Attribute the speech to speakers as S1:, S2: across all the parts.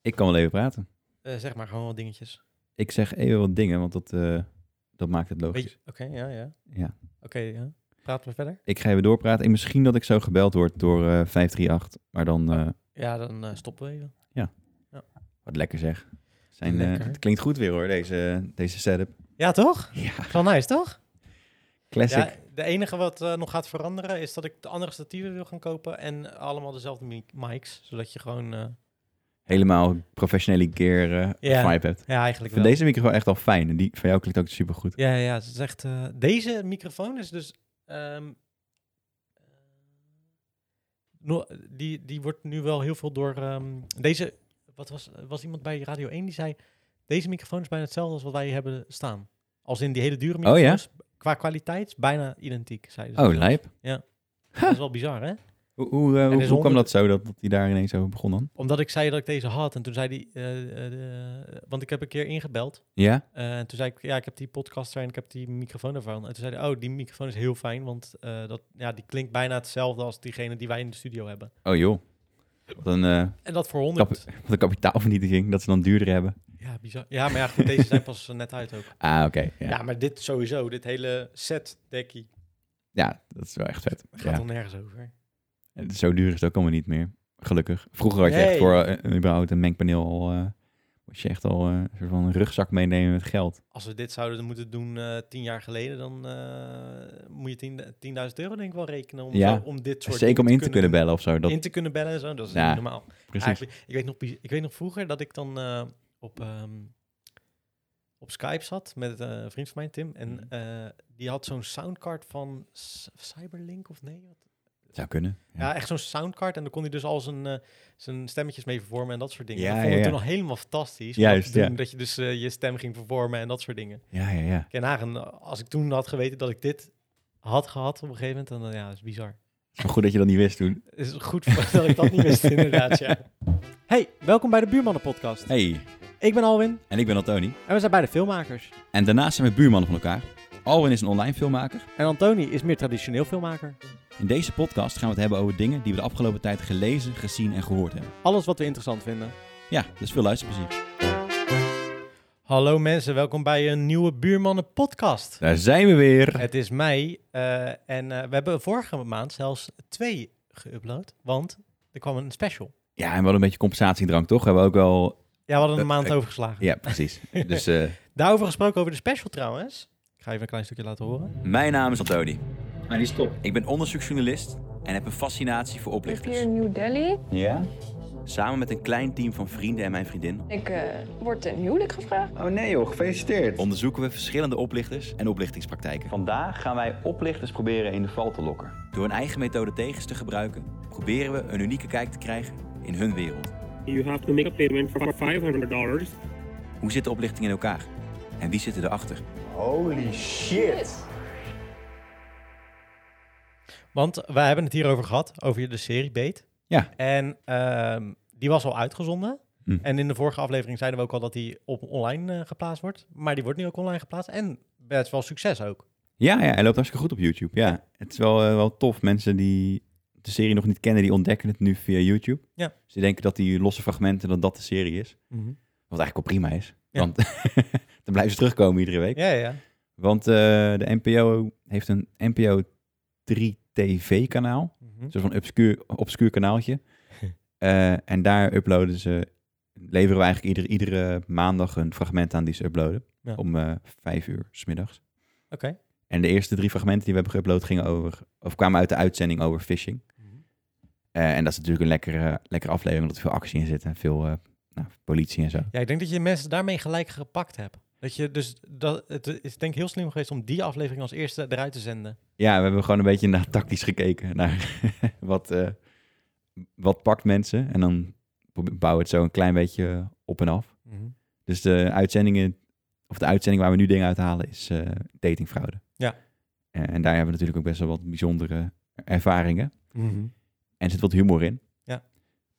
S1: Ik kan wel even praten.
S2: Eh, zeg maar gewoon wat dingetjes.
S1: Ik zeg even wat dingen, want dat, eh, dat maakt het
S2: Weet
S1: logisch.
S2: je- Oké, ja, ja.
S1: Ja.
S2: Oké, ja. Praten we verder?
S1: Ik ga even doorpraten. En misschien dat ik zo gebeld word door eh 538. Maar dan, eh,
S2: Ja, dan eh, stoppen we even.
S1: wat lekker zeg. Zijn, eh,
S2: Lekker.
S1: het klinkt goed weer hoor, deze, deze setup.
S2: Ja, toch?
S1: Ja,
S2: Van nice, toch?
S1: classic.
S2: Ja, de enige wat eh, nog gaat veranderen is dat ik de andere statieven wil gaan kopen en allemaal dezelfde mi- mics, zodat je gewoon... eh,
S1: Helemaal professionele gear eh,
S2: Ja,
S1: vibe hebt.
S2: ja,
S1: Ik
S2: eigenlijk
S1: vind
S2: wel.
S1: deze micro echt al fijn. En die van jou klinkt ook super goed.
S2: Ja, ja, het is echt... eh, deze microfoon is dus... ehm, eh, no- die, die wordt nu wel heel veel door... ehm, deze... Wat was, was iemand bij Radio 1 die zei... Deze microfoon is bijna hetzelfde als wat wij hebben staan. Als in die hele dure
S1: Oh, ja?
S2: microfoons. Qua kwaliteit bijna identiek, zeiden ze.
S1: Oh, lijp.
S2: Dat is wel bizar, hè?
S1: Hoe, hoe, eh, hoe,
S2: is
S1: hoe kwam
S2: honderd-
S1: dat zo, dat, dat die daar ineens over begon dan?
S2: Omdat ik zei dat ik deze had. En toen zei die. eh, eh, de- want ik heb een keer ingebeld.
S1: Ja?
S2: Eh, en toen zei ik, ja, ik heb die podcast en ik heb die microfoon ervan. En toen zei hij, oh, die microfoon is heel fijn, want eh, dat, ja, die klinkt bijna hetzelfde als diegene die wij in de studio hebben.
S1: Oh joh. Wat een, eh,
S2: En dat voor 100.
S1: wat een kapitaalvernietiging, dat ze dan duurder hebben.
S2: Ja, bizar. Ja, maar ja, goed, deze zijn pas eh, net uit ook.
S1: Ah, oké. ja.
S2: Ja. maar dit sowieso, dit hele set dekkie
S1: Ja, dat is wel echt vet.
S2: gaat
S1: Ja.
S2: er nergens over.
S1: En Zo duur is het ook allemaal niet meer. Gelukkig. Vroeger had je echt
S2: Nee.
S1: voor eh, een, überhaupt een mengpaneel al... eh, moest je echt al eh, een soort van rugzak meenemen met geld.
S2: Als we dit zouden moeten doen eh, tien jaar geleden, dan eh, moet je 10.000 euro denk ik wel rekenen om,
S1: Ja.
S2: zo- om dit soort
S1: Zeker om in
S2: dingen
S1: te kunnen bellen of zo. Dat,
S2: in te kunnen bellen en zo, dat is
S1: Ja.
S2: niet normaal.
S1: precies.
S2: Eigenlijk, ik, weet nog, bi- ik weet nog vroeger dat ik dan eh, op, ehm, op Skype zat met eh, een vriend van mij, Tim. En
S1: Mhm.
S2: eh, die had zo'n soundcard van S- Cyberlink of nee? wat?
S1: Zou kunnen. Ja.
S2: Ja, echt zo'n soundcard. En dan kon hij dus al zijn, eh, zijn stemmetjes mee vervormen en dat soort dingen.
S1: Ja,
S2: dat vond
S1: ja,
S2: ik
S1: ja.
S2: toen al helemaal fantastisch. om
S1: Juist,
S2: dat, te doen,
S1: ja.
S2: dat je dus eh, je stem ging vervormen en dat soort dingen.
S1: ja, ja, ja.
S2: Ken Hagen, eh, als ik toen had geweten dat ik dit had gehad op een gegeven moment, dan eh, ja, dat is bizar.
S1: Is maar goed dat je dat niet wist toen.
S2: Het is goed dat ik dat niet wist, inderdaad, ja. Hey, welkom bij de Buurmannen Podcast.
S1: Hey,
S2: Ik ben Alwin
S1: en ik ben Antoni.
S2: en we zijn beide filmmakers.
S1: En daarnaast zijn we buurmannen van elkaar. Alwin is een online filmmaker.
S2: En Antoni is meer traditioneel filmmaker.
S1: In deze podcast gaan we het hebben over dingen die we de afgelopen tijd gelezen, gezien en gehoord hebben.
S2: Alles wat we interessant vinden.
S1: Ja, dus veel luisterplezier.
S2: Hallo mensen, welkom bij een nieuwe Buurmannen Podcast.
S1: Daar zijn we weer.
S2: Het is mei eh, en eh, we hebben vorige maand zelfs twee geüpload, want er kwam een special.
S1: Ja, en we hadden een beetje compensatiedrank, toch? Hebben we ook wel...
S2: Ja, we hadden een
S1: Eh,
S2: maand
S1: eh,
S2: overgeslagen.
S1: Ja, precies. Dus eh,
S2: Daarover gesproken over de special trouwens. Ik ga even een klein stukje laten horen.
S1: Mijn naam is Antoni. Maar die stop. Ik ben onderzoeksjournalist en heb een fascinatie voor
S3: Ik zit hier
S1: oplichters.
S3: in New Delhi.
S1: Ja? Samen met een klein team van vrienden en mijn vriendin
S3: Ik eh, word ten huwelijk gevraagd.
S4: Oh nee joh, gefeliciteerd.
S1: onderzoeken we verschillende oplichters en oplichtingspraktijken.
S4: Vandaag gaan wij oplichters proberen in de val te lokken.
S1: Door hun eigen methode tegens te gebruiken, proberen we een unieke kijk te krijgen in hun wereld.
S5: You have to make a payment for $500
S1: Hoe zit de oplichting in elkaar? En wie zit erachter?
S4: Holy shit.
S2: Want wij hebben het hierover gehad, over de serie Beet.
S1: Ja.
S2: En ehm, die was al uitgezonden.
S1: Hm.
S2: En in de vorige aflevering zeiden we ook al dat die op online eh, geplaatst wordt. Maar die wordt nu ook online geplaatst. En best wel succes ook.
S1: Ja, ja, hij loopt hartstikke goed op YouTube. Ja, het is wel, eh, wel tof. Mensen die de serie nog niet kennen, die ontdekken het nu via YouTube.
S2: Ja.
S1: Dus die denken dat die losse fragmenten, dat dat de serie is.
S2: Mhm.
S1: Wat eigenlijk al prima is.
S2: Ja.
S1: Want dan blijven ze terugkomen iedere week.
S2: Ja, ja.
S1: Want eh, de NPO heeft een NPO 3 TV-kanaal.
S2: Mhm.
S1: Een soort van obscuur, obscuur kanaaltje. Eh, en daar uploaden ze, leveren we eigenlijk iedere, iedere maandag een fragment aan die ze uploaden.
S2: Ja.
S1: Om eh, vijf uur smiddags.
S2: Oké.
S1: En de eerste drie fragmenten die we hebben geüpload gingen over, of kwamen uit de uitzending over phishing.
S2: Mhm.
S1: Eh, en dat is natuurlijk een lekkere, lekkere aflevering, omdat er veel actie in zit en veel eh, nou, politie en zo.
S2: Ja, ik denk dat je mensen daarmee gelijk gepakt hebt. Dat je dus, dat, het is denk ik heel slim geweest om die aflevering als eerste eruit te zenden.
S1: Ja, we hebben gewoon een beetje naar tactisch gekeken, naar wat, eh, wat pakt mensen. En dan probe- bouwen we het zo een klein beetje op en af.
S2: Mhm.
S1: Dus de uitzendingen, of de uitzending waar we nu dingen uithalen, is eh, datingfraude.
S2: Ja.
S1: En, en daar hebben we natuurlijk ook best wel wat bijzondere ervaringen.
S2: Mhm.
S1: En er zit wat humor in.
S2: Ja.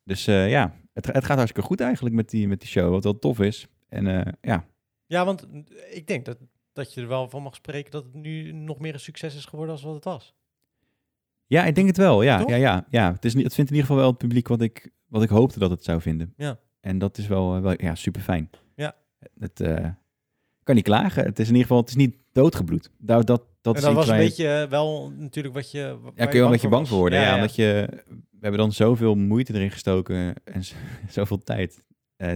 S1: Dus eh, ja, het, het gaat hartstikke goed eigenlijk met die, met die show, wat wel tof is. En eh, ja,
S2: Ja, want ik denk dat, dat je er wel van mag spreken dat het nu nog meer een succes is geworden dan wat het was.
S1: ja, ik denk het wel. Ja,
S2: Toch?
S1: ja, ja, ja. Het, is, niet- het vindt in ieder geval wel het publiek wat ik, wat ik hoopte dat het zou vinden.
S2: Ja.
S1: En dat is wel, eh, wel ja, super fijn.
S2: Ja.
S1: Het eh, kan niet klagen. Het is in ieder geval, het is niet doodgebloed. Nou, dat, dat
S2: en
S1: is
S2: dat
S1: iets
S2: was
S1: waar
S2: een
S1: je-
S2: beetje eh, wel natuurlijk wat je. wa- waar
S1: Ja, kun je wel een beetje bang
S2: was.
S1: voor worden. Ja,
S2: Ja, ja.
S1: Omdat je, we hebben dan zoveel moeite erin gestoken en z- zoveel tijd. eh,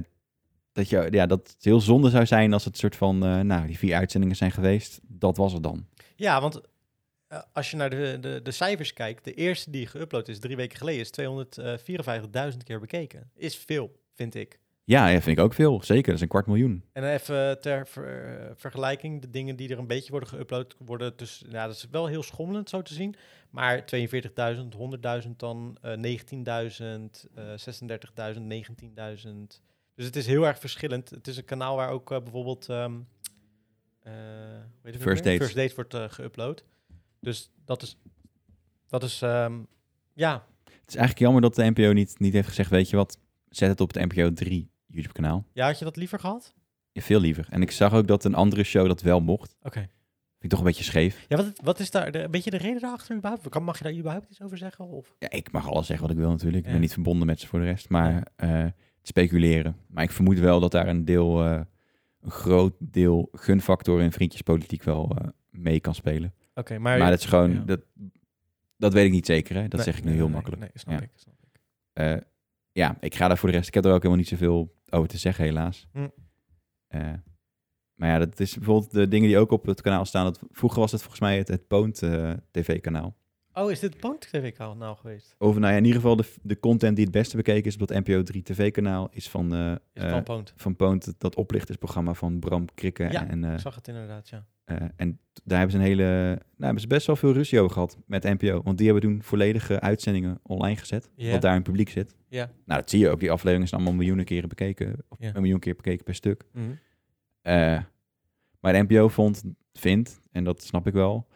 S1: dat, je, ja, dat het heel zonde zou zijn als het soort van, eh, nou, die vier uitzendingen zijn geweest. Dat was het dan.
S2: Ja, want eh, als je naar de, de, de cijfers kijkt, de eerste die geüpload is drie weken geleden, is 254.000 keer bekeken. Is veel, vind ik.
S1: Ja, ja, vind ik ook veel. Zeker, dat is een kwart miljoen.
S2: En dan even ter ver- vergelijking, de dingen die er een beetje worden geüpload worden, dus ja, dat is wel heel schommelend zo te zien, maar 42.000, 100.000 dan, eh, 19.000, eh, 36.000, 19.000. Dus het is heel erg verschillend. Het is een kanaal waar ook eh, bijvoorbeeld ehm, eh, hoe heet het ook
S1: First
S2: weer?
S1: Dates.
S2: First Dates wordt eh, geüpload. Dus dat is, dat is ehm, ja,
S1: Het is eigenlijk jammer dat de NPO niet, niet heeft gezegd, weet je wat, zet het op het NPO 3 YouTube kanaal.
S2: ja, had je dat liever gehad?
S1: Veel liever. En ik zag ook dat een andere show dat wel mocht.
S2: Oké.
S1: Vind ik toch een beetje scheef.
S2: Ja, wat, wat is daar de, een beetje de reden daarachter überhaupt? Kan, mag je daar überhaupt iets over zeggen? Of?
S1: Ja, ik mag alles zeggen wat ik wil natuurlijk. Ik
S2: Ja.
S1: ben niet verbonden met ze voor de rest. Maar eh, het speculeren. Maar ik vermoed wel dat daar een deel, eh, een groot deel gunfactor en vriendjespolitiek wel eh, mee kan spelen.
S2: Oké, maar,
S1: maar dat is gewoon,
S2: ja.
S1: dat, dat weet ik niet zeker. Hè? Dat
S2: Nee,
S1: zeg ik nu
S2: nee,
S1: heel
S2: nee,
S1: makkelijk.
S2: Nee, snap
S1: Ja.
S2: ik. Snap ik.
S1: Eh, ja, ik ga daar voor de rest. Ik heb er ook helemaal niet zoveel over te zeggen, helaas.
S2: Hm.
S1: Eh, maar ja, dat is bijvoorbeeld de dingen die ook op het kanaal staan. Dat, vroeger was het volgens mij het, het Poont eh, TV-kanaal.
S2: Oh, is dit Poont TV al nou geweest?
S1: Over, nou ja, in ieder geval de, de content die het beste bekeken is op dat NPO 3 TV-kanaal is van, eh
S2: Is het van
S1: eh,
S2: Poont?
S1: van Poont, het- dat oplichtersprogramma van Bram Krikke.
S2: Ja.
S1: En, eh,
S2: Ik zag het inderdaad, ja.
S1: eh, en t- daar hebben ze een hele, nou, hebben ze best wel veel ruzie over gehad met NPO. Want die hebben toen volledige uitzendingen online gezet,
S2: Ja.
S1: wat daar in publiek zit.
S2: Ja.
S1: Nou, dat zie je ook. Die afleveringen zijn allemaal miljoenen keren bekeken. Of
S2: Ja.
S1: een miljoen keer bekeken per stuk.
S2: Mhm.
S1: Eh, maar de NPO vond, vindt, en dat snap ik wel,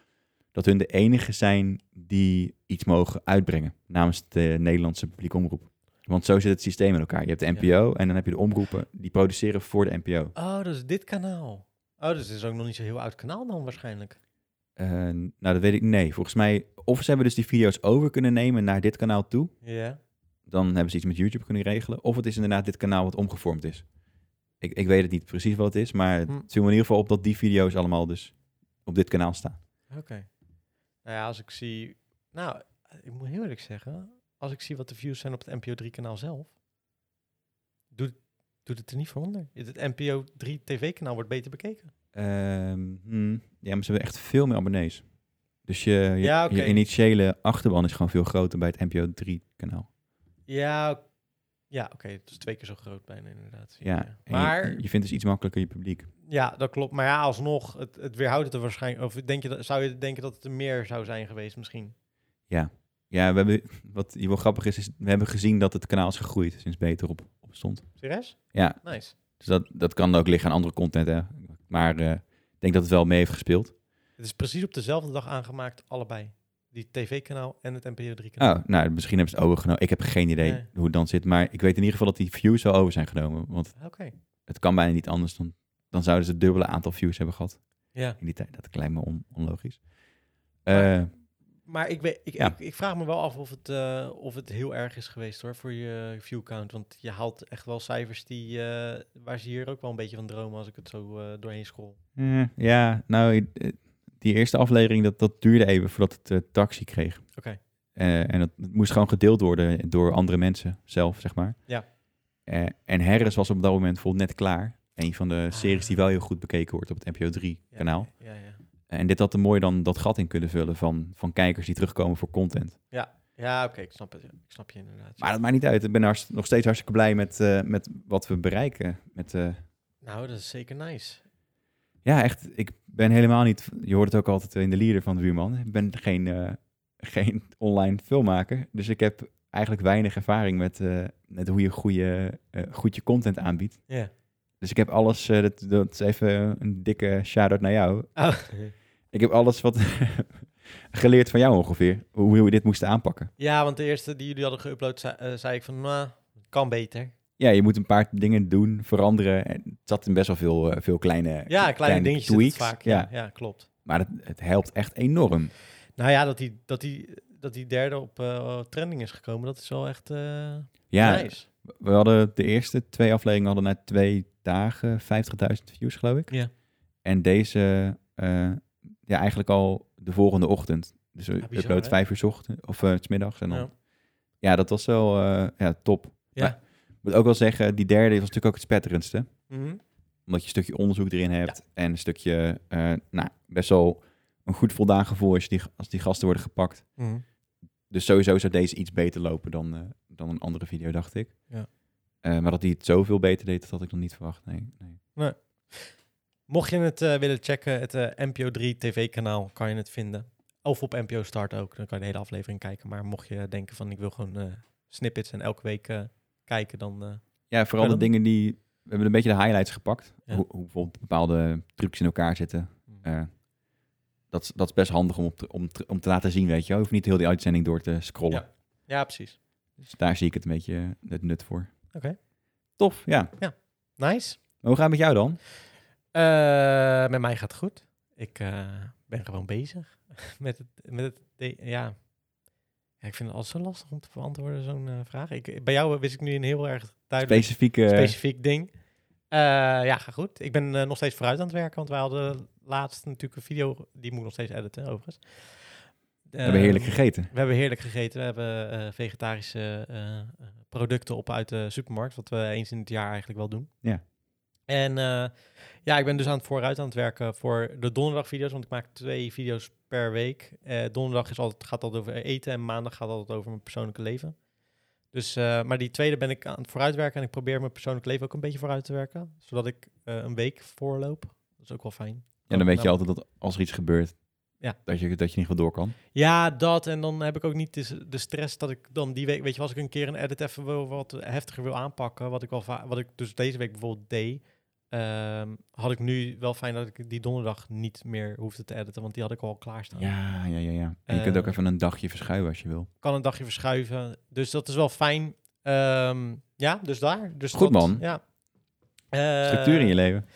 S1: dat hun de enige zijn die iets mogen uitbrengen namens de Nederlandse publieke omroep. Want zo zit het systeem in elkaar. Je hebt de
S2: Ja.
S1: NPO en dan heb je de omroepen die produceren voor de NPO.
S2: Oh, dat is dit kanaal. Oh, dus het is ook nog niet zo heel oud kanaal dan waarschijnlijk.
S1: Eh, nou, dat weet ik. Nee, volgens mij. Of ze hebben dus die video's over kunnen nemen naar dit kanaal toe.
S2: Ja.
S1: Dan hebben ze iets met YouTube kunnen regelen. Of het is inderdaad dit kanaal wat omgevormd is. Ik, ik weet het niet precies wat het is. Maar het
S2: Hm.
S1: viel me in ieder geval op dat die video's allemaal dus op dit kanaal staan.
S2: Oké. Nou ja, als ik zie... Nou, ik moet heel eerlijk zeggen, als ik zie wat de views zijn op het NPO 3 kanaal zelf, doet, doet het er niet voor onder. Het NPO 3 TV kanaal wordt beter bekeken.
S1: Ehm, hmm. Ja, maar ze hebben echt veel meer abonnees. Dus je, je,
S2: Ja, oké.
S1: je initiële achterban is gewoon veel groter bij het NPO 3-kanaal.
S2: Ja, ok- ja oké. het is twee keer zo groot bijna inderdaad.
S1: Ja, en je-
S2: Maar...
S1: je, vindt dus iets makkelijker je publiek.
S2: Ja, dat klopt. Maar ja, alsnog, het, het weerhoudt het er waarschijnlijk... Of denk je dat, zou je denken dat het er meer zou zijn geweest misschien?
S1: Ja, we hebben, wat hier wel grappig is, is we hebben gezien dat het kanaal is gegroeid sinds beter op, op stond.
S2: Serieus?
S1: Ja.
S2: Nice.
S1: Dus dat, dat kan ook liggen aan andere content, hè. Maar eh, ik denk dat het wel mee heeft gespeeld.
S2: Het is precies op dezelfde dag aangemaakt, allebei. Die tv-kanaal en het NPO3-kanaal.
S1: Oh, nou, misschien hebben ze het overgenomen. Ik heb geen idee
S2: Nee.
S1: hoe het dan zit. Maar ik weet in ieder geval dat die views wel over zijn genomen. Want
S2: Oké.
S1: het kan bijna niet anders dan... Dan zouden ze het dubbele aantal views hebben gehad.
S2: Ja.
S1: in die tijd. Dat lijkt me on- onlogisch.
S2: Maar-
S1: Eh,
S2: Maar ik, weet, ik,
S1: Ja.
S2: ik, ik vraag me wel af of het, eh, of het heel erg is geweest hoor, voor je viewcount. Want je haalt echt wel cijfers die, eh, waar ze hier ook wel een beetje van dromen als ik het zo eh, doorheen scroll.
S1: eh, ja, nou, eh, die eerste aflevering, dat, dat duurde even voordat het eh, taxi kreeg.
S2: Oké.
S1: Eh, en dat het moest gewoon gedeeld worden door andere mensen zelf, zeg maar.
S2: Ja.
S1: Eh, en Harris was op dat moment bijvoorbeeld net klaar. Een van de
S2: Ah.
S1: series die wel heel goed bekeken wordt op het NPO 3
S2: Ja,
S1: kanaal.
S2: Ja, ja.
S1: En dit had er mooi dan dat gat in kunnen vullen van, van kijkers die terugkomen voor content.
S2: Ja, oké, ik snap het. ja. Ik snap je inderdaad.
S1: Maar dat maakt niet uit. Ik ben hartst- nog steeds hartstikke blij met, eh, met wat we bereiken. Met, eh,
S2: Nou, dat is zeker nice.
S1: Ja, echt. Ik ben helemaal niet. Je hoort het ook altijd in de lieder van de buurman. Ik ben geen, eh, geen online filmmaker. Dus ik heb eigenlijk weinig ervaring met, eh, met hoe je goede, eh, goed je content aanbiedt.
S2: Ja.
S1: Dus ik heb alles. eh, dat, dat is even een dikke shout-out naar jou.
S2: Oh.
S1: Ik heb alles wat geleerd van jou ongeveer. Hoe, hoe we dit moesten aanpakken.
S2: Ja, want de eerste die jullie hadden geüpload, zei, eh, zei ik van, nou, kan beter.
S1: Ja, je moet een paar dingen doen, veranderen. En het zat in best wel veel, eh, veel kleine.
S2: Ja, kleine, dingetjes zit het
S1: tweaks.
S2: vaak. Ja, ja klopt.
S1: Maar het, het helpt echt enorm.
S2: Nou ja, dat die, dat die, dat die derde op eh, trending is gekomen, dat is wel echt eh,
S1: Ja,
S2: nice.
S1: We hadden de eerste twee afleveringen hadden na twee dagen 50.000 views, geloof ik.
S2: Ja.
S1: En deze, eh, ja, eigenlijk al de volgende ochtend. Dus we
S2: bizar,
S1: upload
S2: hè?
S1: vijf uur 's ochtend of eh, 's middags en dan. Ja.
S2: Ja.
S1: dat was wel eh, ja, top.
S2: Ja.
S1: Maar ik moet ook wel zeggen, die derde was natuurlijk ook het spetterendste.
S2: Mhm.
S1: Omdat je een stukje onderzoek erin hebt en een stukje, eh, nou, best wel een goed voldaan gevoel als, je die, als die gasten worden gepakt.
S2: Mhm.
S1: Dus sowieso zou deze iets beter lopen dan, eh, dan een andere video, dacht ik.
S2: Ja.
S1: Eh, maar dat hij het zoveel beter deed, dat had ik nog niet verwacht. Nee, nee.
S2: Mocht je het eh, willen checken, het eh, NPO 3 tv-kanaal kan je het vinden. Of op NPO Start ook, dan kan je de hele aflevering kijken. Maar mocht je denken van ik wil gewoon eh, snippets en elke week eh, kijken, dan... eh,
S1: Ja, vooral de
S2: Verder?
S1: dingen die... We hebben een beetje de highlights gepakt.
S2: Ja. Mm.
S1: Hoe, hoe bijvoorbeeld bepaalde trucs in elkaar zitten. Eh, dat, is- dat is best handig om, op te, om, te, om te laten zien, weet je. wel. Je hoeft niet heel die uitzending door te scrollen.
S2: ja, precies.
S1: Dus daar zie ik het een beetje eh, het nut voor.
S2: Oké.
S1: Tof, ja.
S2: Nice.
S1: Maar hoe gaat het met jou dan?
S2: Eh, met mij gaat het goed. Ik eh, ben gewoon bezig met het... Met het de- ja. ja, ik vind het altijd zo lastig om te beantwoorden, zo'n eh, vraag. Ik, bij jou eh, wist ik nu een heel erg duidelijk...
S1: Specifieke...
S2: specifiek ding. Eh, ja, ga goed. Ik ben eh, nog steeds vooruit aan het werken, want wij hadden laatst natuurlijk een video, die moet ik nog steeds editen overigens.
S1: we
S2: eh,
S1: hebben heerlijk gegeten.
S2: We hebben heerlijk gegeten. We hebben eh, vegetarische eh, eh, producten op uit de supermarkt, wat we eens in het jaar eigenlijk wel doen.
S1: Ja.
S2: En eh, ja, ik ben dus aan het vooruit aan het werken voor de donderdagvideo's, want ik maak twee video's per week. Eh, donderdag is altijd, gaat altijd over eten en maandag gaat altijd over mijn persoonlijke leven. Dus, eh, maar die tweede ben ik aan het vooruitwerken en ik probeer mijn persoonlijk leven ook een beetje vooruit te werken, zodat ik eh, een week voorloop. Dat is ook wel fijn.
S1: En dan weet je
S2: Nou,
S1: altijd dat als er iets gebeurt,
S2: Ja.
S1: dat, je, dat je niet meer door kan.
S2: Ja, dat. En dan heb ik ook niet de, de stress dat ik dan die week... Weet je, als ik een keer een edit even wil, wat heftiger wil aanpakken... wat ik, wel va- wat ik dus deze week bijvoorbeeld deed... ehm, had ik nu wel fijn dat ik die donderdag niet meer hoefde te editen... want die had ik al klaarstaan.
S1: Ja, ja, ja, ja. En je kunt ook
S2: Eh,
S1: even een dagje verschuiven als je wil.
S2: Kan een dagje verschuiven. Dus dat is wel fijn. Ehm, ja, dus daar. Dus
S1: Goed,
S2: dat-
S1: man.
S2: Ja. Eh,
S1: Structuur in je leven.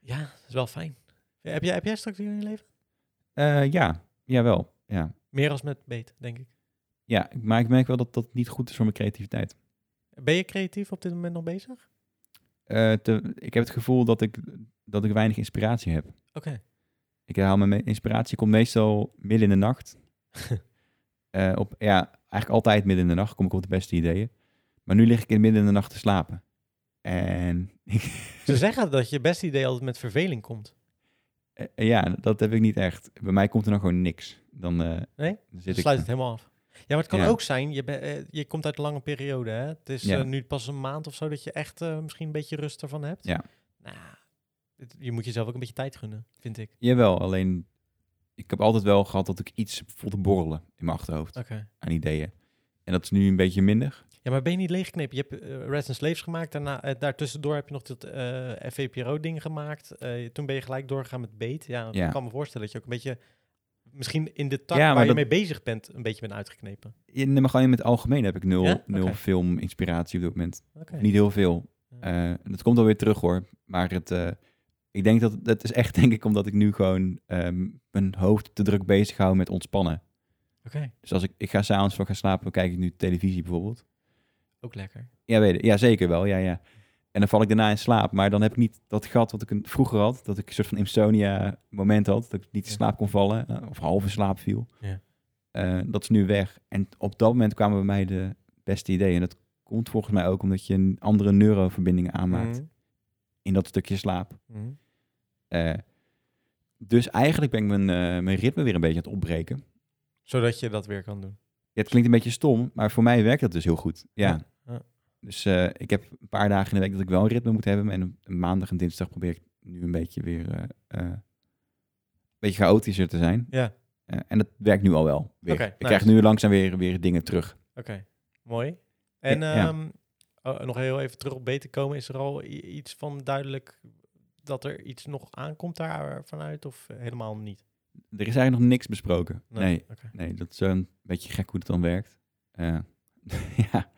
S2: Ja, dat is wel fijn. Ja, Heb jij, heb jij structuur in je leven?
S1: Eh ja, jawel. Ja.
S2: Meer als met beet, denk ik.
S1: ja, maar ik merk wel dat dat niet goed is voor mijn creativiteit.
S2: Ben je creatief op dit moment nog bezig? Oké.
S1: Eh, te- ik heb het gevoel dat ik, dat ik weinig inspiratie heb. Ik haal mijn me- inspiratie komt meestal midden in de nacht. Eh, op, ja, eigenlijk altijd midden in de nacht kom ik op de beste ideeën. Maar nu lig ik in midden in de nacht te slapen. En
S2: Ze zeggen dat je beste idee altijd met verveling komt.
S1: eh, ja, dat heb ik niet echt. Bij mij komt er nog gewoon niks. Dan, eh,
S2: Nee?
S1: dan zit
S2: Dan
S1: ik-
S2: sluit het helemaal af. Ja, maar het kan
S1: Ja.
S2: ook zijn, je, ben- eh, je komt uit een lange periode. Hè? Het is
S1: Ja.
S2: eh, nu pas een maand of zo dat je echt eh, misschien een beetje rust ervan hebt.
S1: Ja.
S2: Nou, het- je moet jezelf ook een beetje tijd gunnen, vind ik.
S1: Jawel, alleen ik heb altijd wel gehad dat ik iets voel te borrelen in mijn achterhoofd
S2: Oké.
S1: aan ideeën. En dat is nu een beetje minder.
S2: Ja, maar ben je niet leeggeknepen? Je hebt eh, Rest in Slaves gemaakt. Daarna, eh, daartussendoor heb je nog dat eh VPRO-ding gemaakt. Eh, toen ben je gelijk doorgegaan met Beet. Ja,
S1: Ja.
S2: ik kan me voorstellen dat je ook een beetje... Misschien in de tak
S1: Ja, maar
S2: waar je
S1: dat-
S2: mee bezig bent, een beetje bent uitgeknepen.
S1: In, maar gewoon in het algemeen heb ik nul,
S2: Ja?
S1: nul
S2: Oké.
S1: filminspiratie op dit moment.
S2: Oké.
S1: Niet heel veel. Eh, dat komt alweer terug hoor. Maar het, eh, ik denk dat dat is echt denk ik omdat ik nu gewoon ehm, mijn hoofd te druk bezig hou met ontspannen.
S2: Oké,
S1: Dus als ik, ik ga s'avonds voor gaan slapen, dan kijk ik nu televisie bijvoorbeeld.
S2: ook lekker.
S1: Ja, weet ik. ja zeker wel. Ja, ja. En dan val ik daarna in slaap. Maar dan heb ik niet dat gat wat ik een- vroeger had. Dat ik een soort van insomnia moment had. Dat ik niet in
S2: Ja.
S1: slaap kon vallen. eh, Of half in slaap viel.
S2: Ja.
S1: Eh, dat is nu weg. En op dat moment kwamen bij mij de beste ideeën. En dat komt volgens mij ook omdat je een andere neuroverbindingen aanmaakt. In dat stukje slaap.
S2: Mhm. Mhm.
S1: Eh, dus eigenlijk ben ik mijn, eh, mijn ritme weer een beetje aan het opbreken.
S2: Zodat je dat weer kan doen.
S1: Ja, het klinkt een beetje stom, maar voor mij werkt dat dus heel goed. Ja.
S2: Ja, ja.
S1: Dus eh, ik heb een paar dagen in de week dat ik wel een ritme moet hebben. En op maandag en dinsdag probeer ik nu een beetje weer eh, eh, een beetje chaotischer te zijn.
S2: Ja.
S1: Eh, en dat werkt nu al wel. Weer.
S2: Oké,
S1: ik
S2: nice.
S1: krijg nu langzaam weer, weer dingen terug.
S2: Oké, mooi. En
S1: Ja, ja.
S2: ehm, oh, nog heel even terug op beter komen. Is er al i- iets van duidelijk dat er iets nog aankomt daar eh, vanuit of helemaal niet?
S1: Er is eigenlijk nog niks besproken. Nee, nee,
S2: Oké.
S1: dat is eh, een beetje gek hoe het dan werkt. Eh, ja.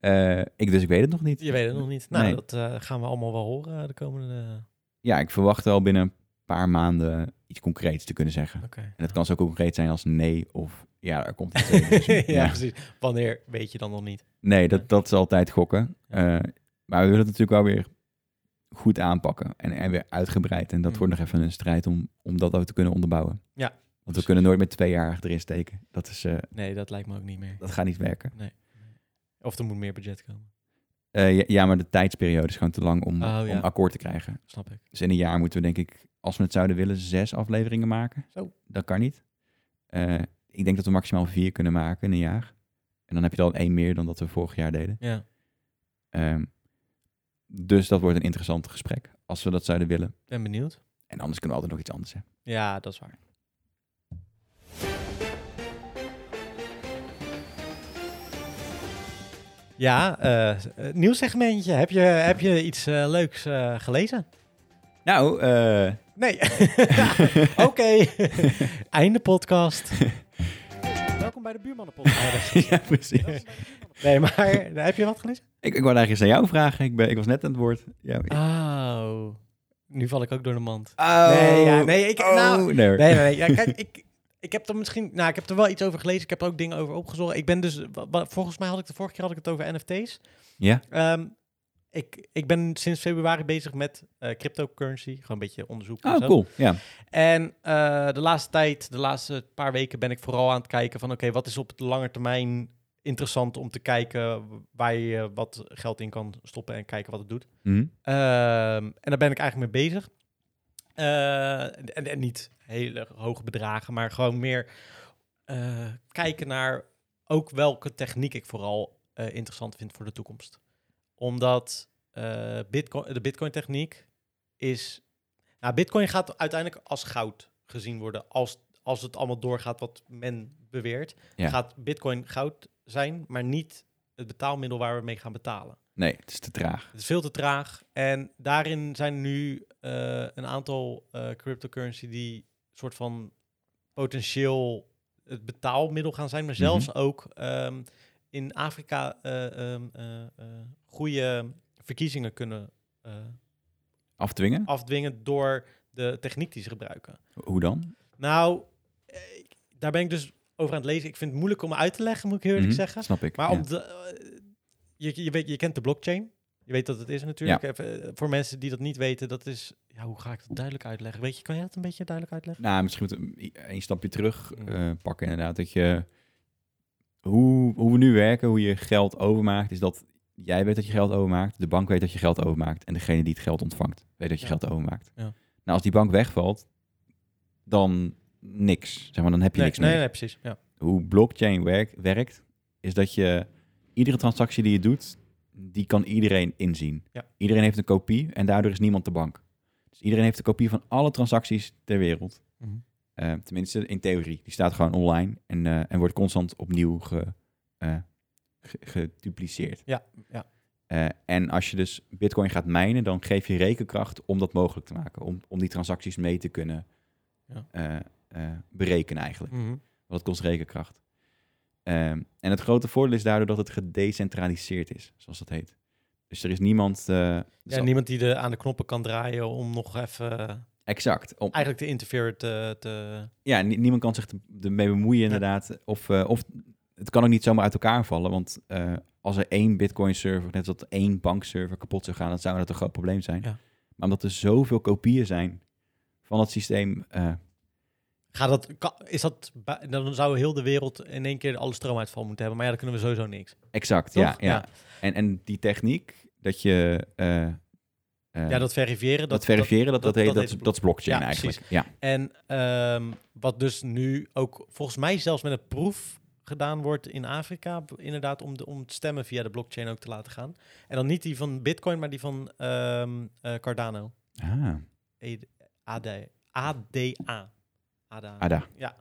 S1: Eh, ik, dus ik weet het nog niet.
S2: Je weet het nog niet. Nou,
S1: Nee.
S2: dat eh, gaan we allemaal wel horen eh, de komende...
S1: Ja, ik verwacht al binnen een paar maanden iets concreets te kunnen zeggen.
S2: Oké.
S1: En dat kan zo concreet zijn als nee of ja, er komt iets. eh, dus,
S2: ja, precies. Wanneer weet je dan nog niet?
S1: Nee, dat, dat is altijd gokken. Eh, maar we willen het natuurlijk wel weer goed aanpakken en, en weer uitgebreid. En dat
S2: Mm.
S1: wordt nog even een strijd om, om dat ook te kunnen onderbouwen.
S2: Ja,
S1: Want we
S2: precies.
S1: kunnen nooit met twee jaar erin steken. Dat, is, eh,
S2: Nee, dat lijkt me ook niet meer.
S1: dat gaat niet werken.
S2: Of er moet meer budget komen.
S1: Eh, ja, ja, maar de tijdsperiode is gewoon te lang om,
S2: Oh, ja.
S1: om akkoord te krijgen.
S2: Snap ik.
S1: Dus in een jaar moeten we denk ik, als we het zouden willen, zes afleveringen maken.
S2: Zo.
S1: Dat kan niet. Eh, ik denk dat we maximaal vier kunnen maken in een jaar. En dan heb je er al één meer dan dat we vorig jaar deden.
S2: Ja.
S1: Ehm, dus dat wordt een interessant gesprek, als we dat zouden willen.
S2: Ben benieuwd.
S1: En anders kunnen we altijd nog iets anders. Hè.
S2: Ja, dat is waar. Ja, eh eh, nieuwssegmentje. Heb je, heb je iets eh, leuks eh, gelezen?
S1: Nou, eh,
S2: Nee. Oké. Einde podcast. Welkom bij de buurmannenpodcast.
S1: ja, precies.
S2: nee, maar nou, heb je wat gelezen?
S1: Ik, ik wou eigenlijk eens aan jou vragen. Ik, ben, ik was net aan het woord. Ja,
S2: Oh. Nu val ik ook door de mand.
S1: Oh.
S2: Nee, ja, nee, ik-
S1: Oh,
S2: nou,
S1: nee.
S2: Nee, nee, nee. Ja, kijk, ik, ik heb er misschien... Nou, ik heb er wel iets over gelezen. Ik heb er ook dingen over opgezocht. Ik ben dus... wa- wa- Volgens mij had ik de vorige keer had ik het over NFT's.
S1: Ja?
S2: Ehm, ik, ik ben sinds februari bezig met eh, cryptocurrency. Gewoon een beetje onderzoek. en
S1: Oh,
S2: zo.
S1: cool. Ja.
S2: En eh, de laatste tijd, de laatste paar weken ben ik vooral aan het kijken van... Oké, wat is op de lange termijn interessant om te kijken... waar je wat geld in kan stoppen en kijken wat het doet.
S1: Mhm.
S2: Ehm, en daar ben ik eigenlijk mee bezig. Eh, en, en niet hele hoge bedragen, maar gewoon meer eh, kijken naar ook welke techniek ik vooral eh, interessant vind voor de toekomst. Omdat eh, Bitcoin, de Bitcoin-techniek is. Nou, Bitcoin gaat uiteindelijk als goud gezien worden. Als, als het allemaal doorgaat wat men beweert,
S1: Ja.
S2: gaat Bitcoin goud zijn, maar niet het betaalmiddel waar we mee gaan betalen.
S1: Nee, het is te traag.
S2: Het is veel te traag. En daarin zijn nu eh, een aantal eh, cryptocurrency die soort van potentieel het betaalmiddel gaan zijn, maar zelfs ook ehm, in Afrika eh, ehm, eh, eh, goede verkiezingen kunnen eh,
S1: Afdwingen?
S2: afdwingen door de techniek die ze gebruiken.
S1: Hoe dan?
S2: Nou, eh, ik- daar ben ik dus over aan het lezen. Ik vind het moeilijk om uit te leggen, moet ik heel eerlijk
S1: Mhm,
S2: zeggen.
S1: Snap ik.
S2: Maar
S1: ja.
S2: om de, eh, je, je, weet, je kent de blockchain. Je weet dat het is natuurlijk. Even, eh, voor mensen die dat niet weten, dat is... Ja, hoe ga ik dat duidelijk uitleggen? Weet je, kan jij dat een beetje duidelijk uitleggen?
S1: Nou, misschien moeten we een stapje terug
S2: Mm.
S1: eh, pakken inderdaad. Dat je, hoe, hoe we nu werken, hoe je geld overmaakt, is dat jij weet dat je geld overmaakt, de bank weet dat je geld overmaakt en degene die het geld ontvangt weet dat je
S2: Ja.
S1: geld overmaakt.
S2: Ja.
S1: Nou, als die bank wegvalt, dan niks. Zeg maar, dan heb je
S2: nee,
S1: niks
S2: nee,
S1: meer.
S2: nee, precies. Ja.
S1: Hoe blockchain werk, werkt, is dat je iedere transactie die je doet, die kan iedereen inzien.
S2: Ja.
S1: Iedereen heeft een kopie en daardoor is niemand de bank. Dus iedereen heeft een kopie van alle transacties ter wereld.
S2: Mhm.
S1: Eh, tenminste, in theorie. Die staat gewoon online en, eh, en wordt constant opnieuw ge, eh, ge- gedupliceerd.
S2: Ja, ja.
S1: Eh, en als je dus bitcoin gaat mijnen, dan geef je rekenkracht om dat mogelijk te maken. Om, om die transacties mee te kunnen
S2: Ja.
S1: eh, eh, berekenen eigenlijk.
S2: Mhm.
S1: Wat kost rekenkracht? Ehm, en het grote voordeel is daardoor dat het gedecentraliseerd is, zoals dat heet. Dus er is niemand... eh, dus
S2: Ja,
S1: al-
S2: niemand die de, aan de knoppen kan draaien om nog even... eh,
S1: Exact. Om,
S2: Eigenlijk de interfere te... te
S1: ja, nie- niemand kan zich te- ermee bemoeien inderdaad. Of, eh, of het kan ook niet zomaar uit elkaar vallen. Want eh, als er één Bitcoin-server, net als dat één bankserver kapot zou gaan, dan zou dat een groot probleem zijn.
S2: Ja.
S1: Maar omdat er zoveel kopieën zijn van het systeem, eh,
S2: gaat dat, kan- is dat, ba- dan zou heel de wereld in één keer alle stroomuitval moeten hebben. Maar ja, dan kunnen we sowieso niks.
S1: exact.
S2: Toch?
S1: Ja, ja.
S2: Ja.
S1: En, en die techniek, dat je eh, eh,
S2: Ja, dat verifiëren.
S1: dat verifiëren, dat, dat, heet, dat,
S2: heet
S1: is- dat is blockchain
S2: Ja,
S1: eigenlijk. Ja.
S2: En ehm, wat dus nu ook volgens mij zelfs met een proef gedaan wordt in Afrika, b- inderdaad om, de, om het stemmen via de blockchain ook te laten gaan. En dan niet die van Bitcoin, maar die van ehm, eh, Cardano.
S1: Ah,
S2: E- AD, ADA. ADA.
S1: Ada.
S2: Ja.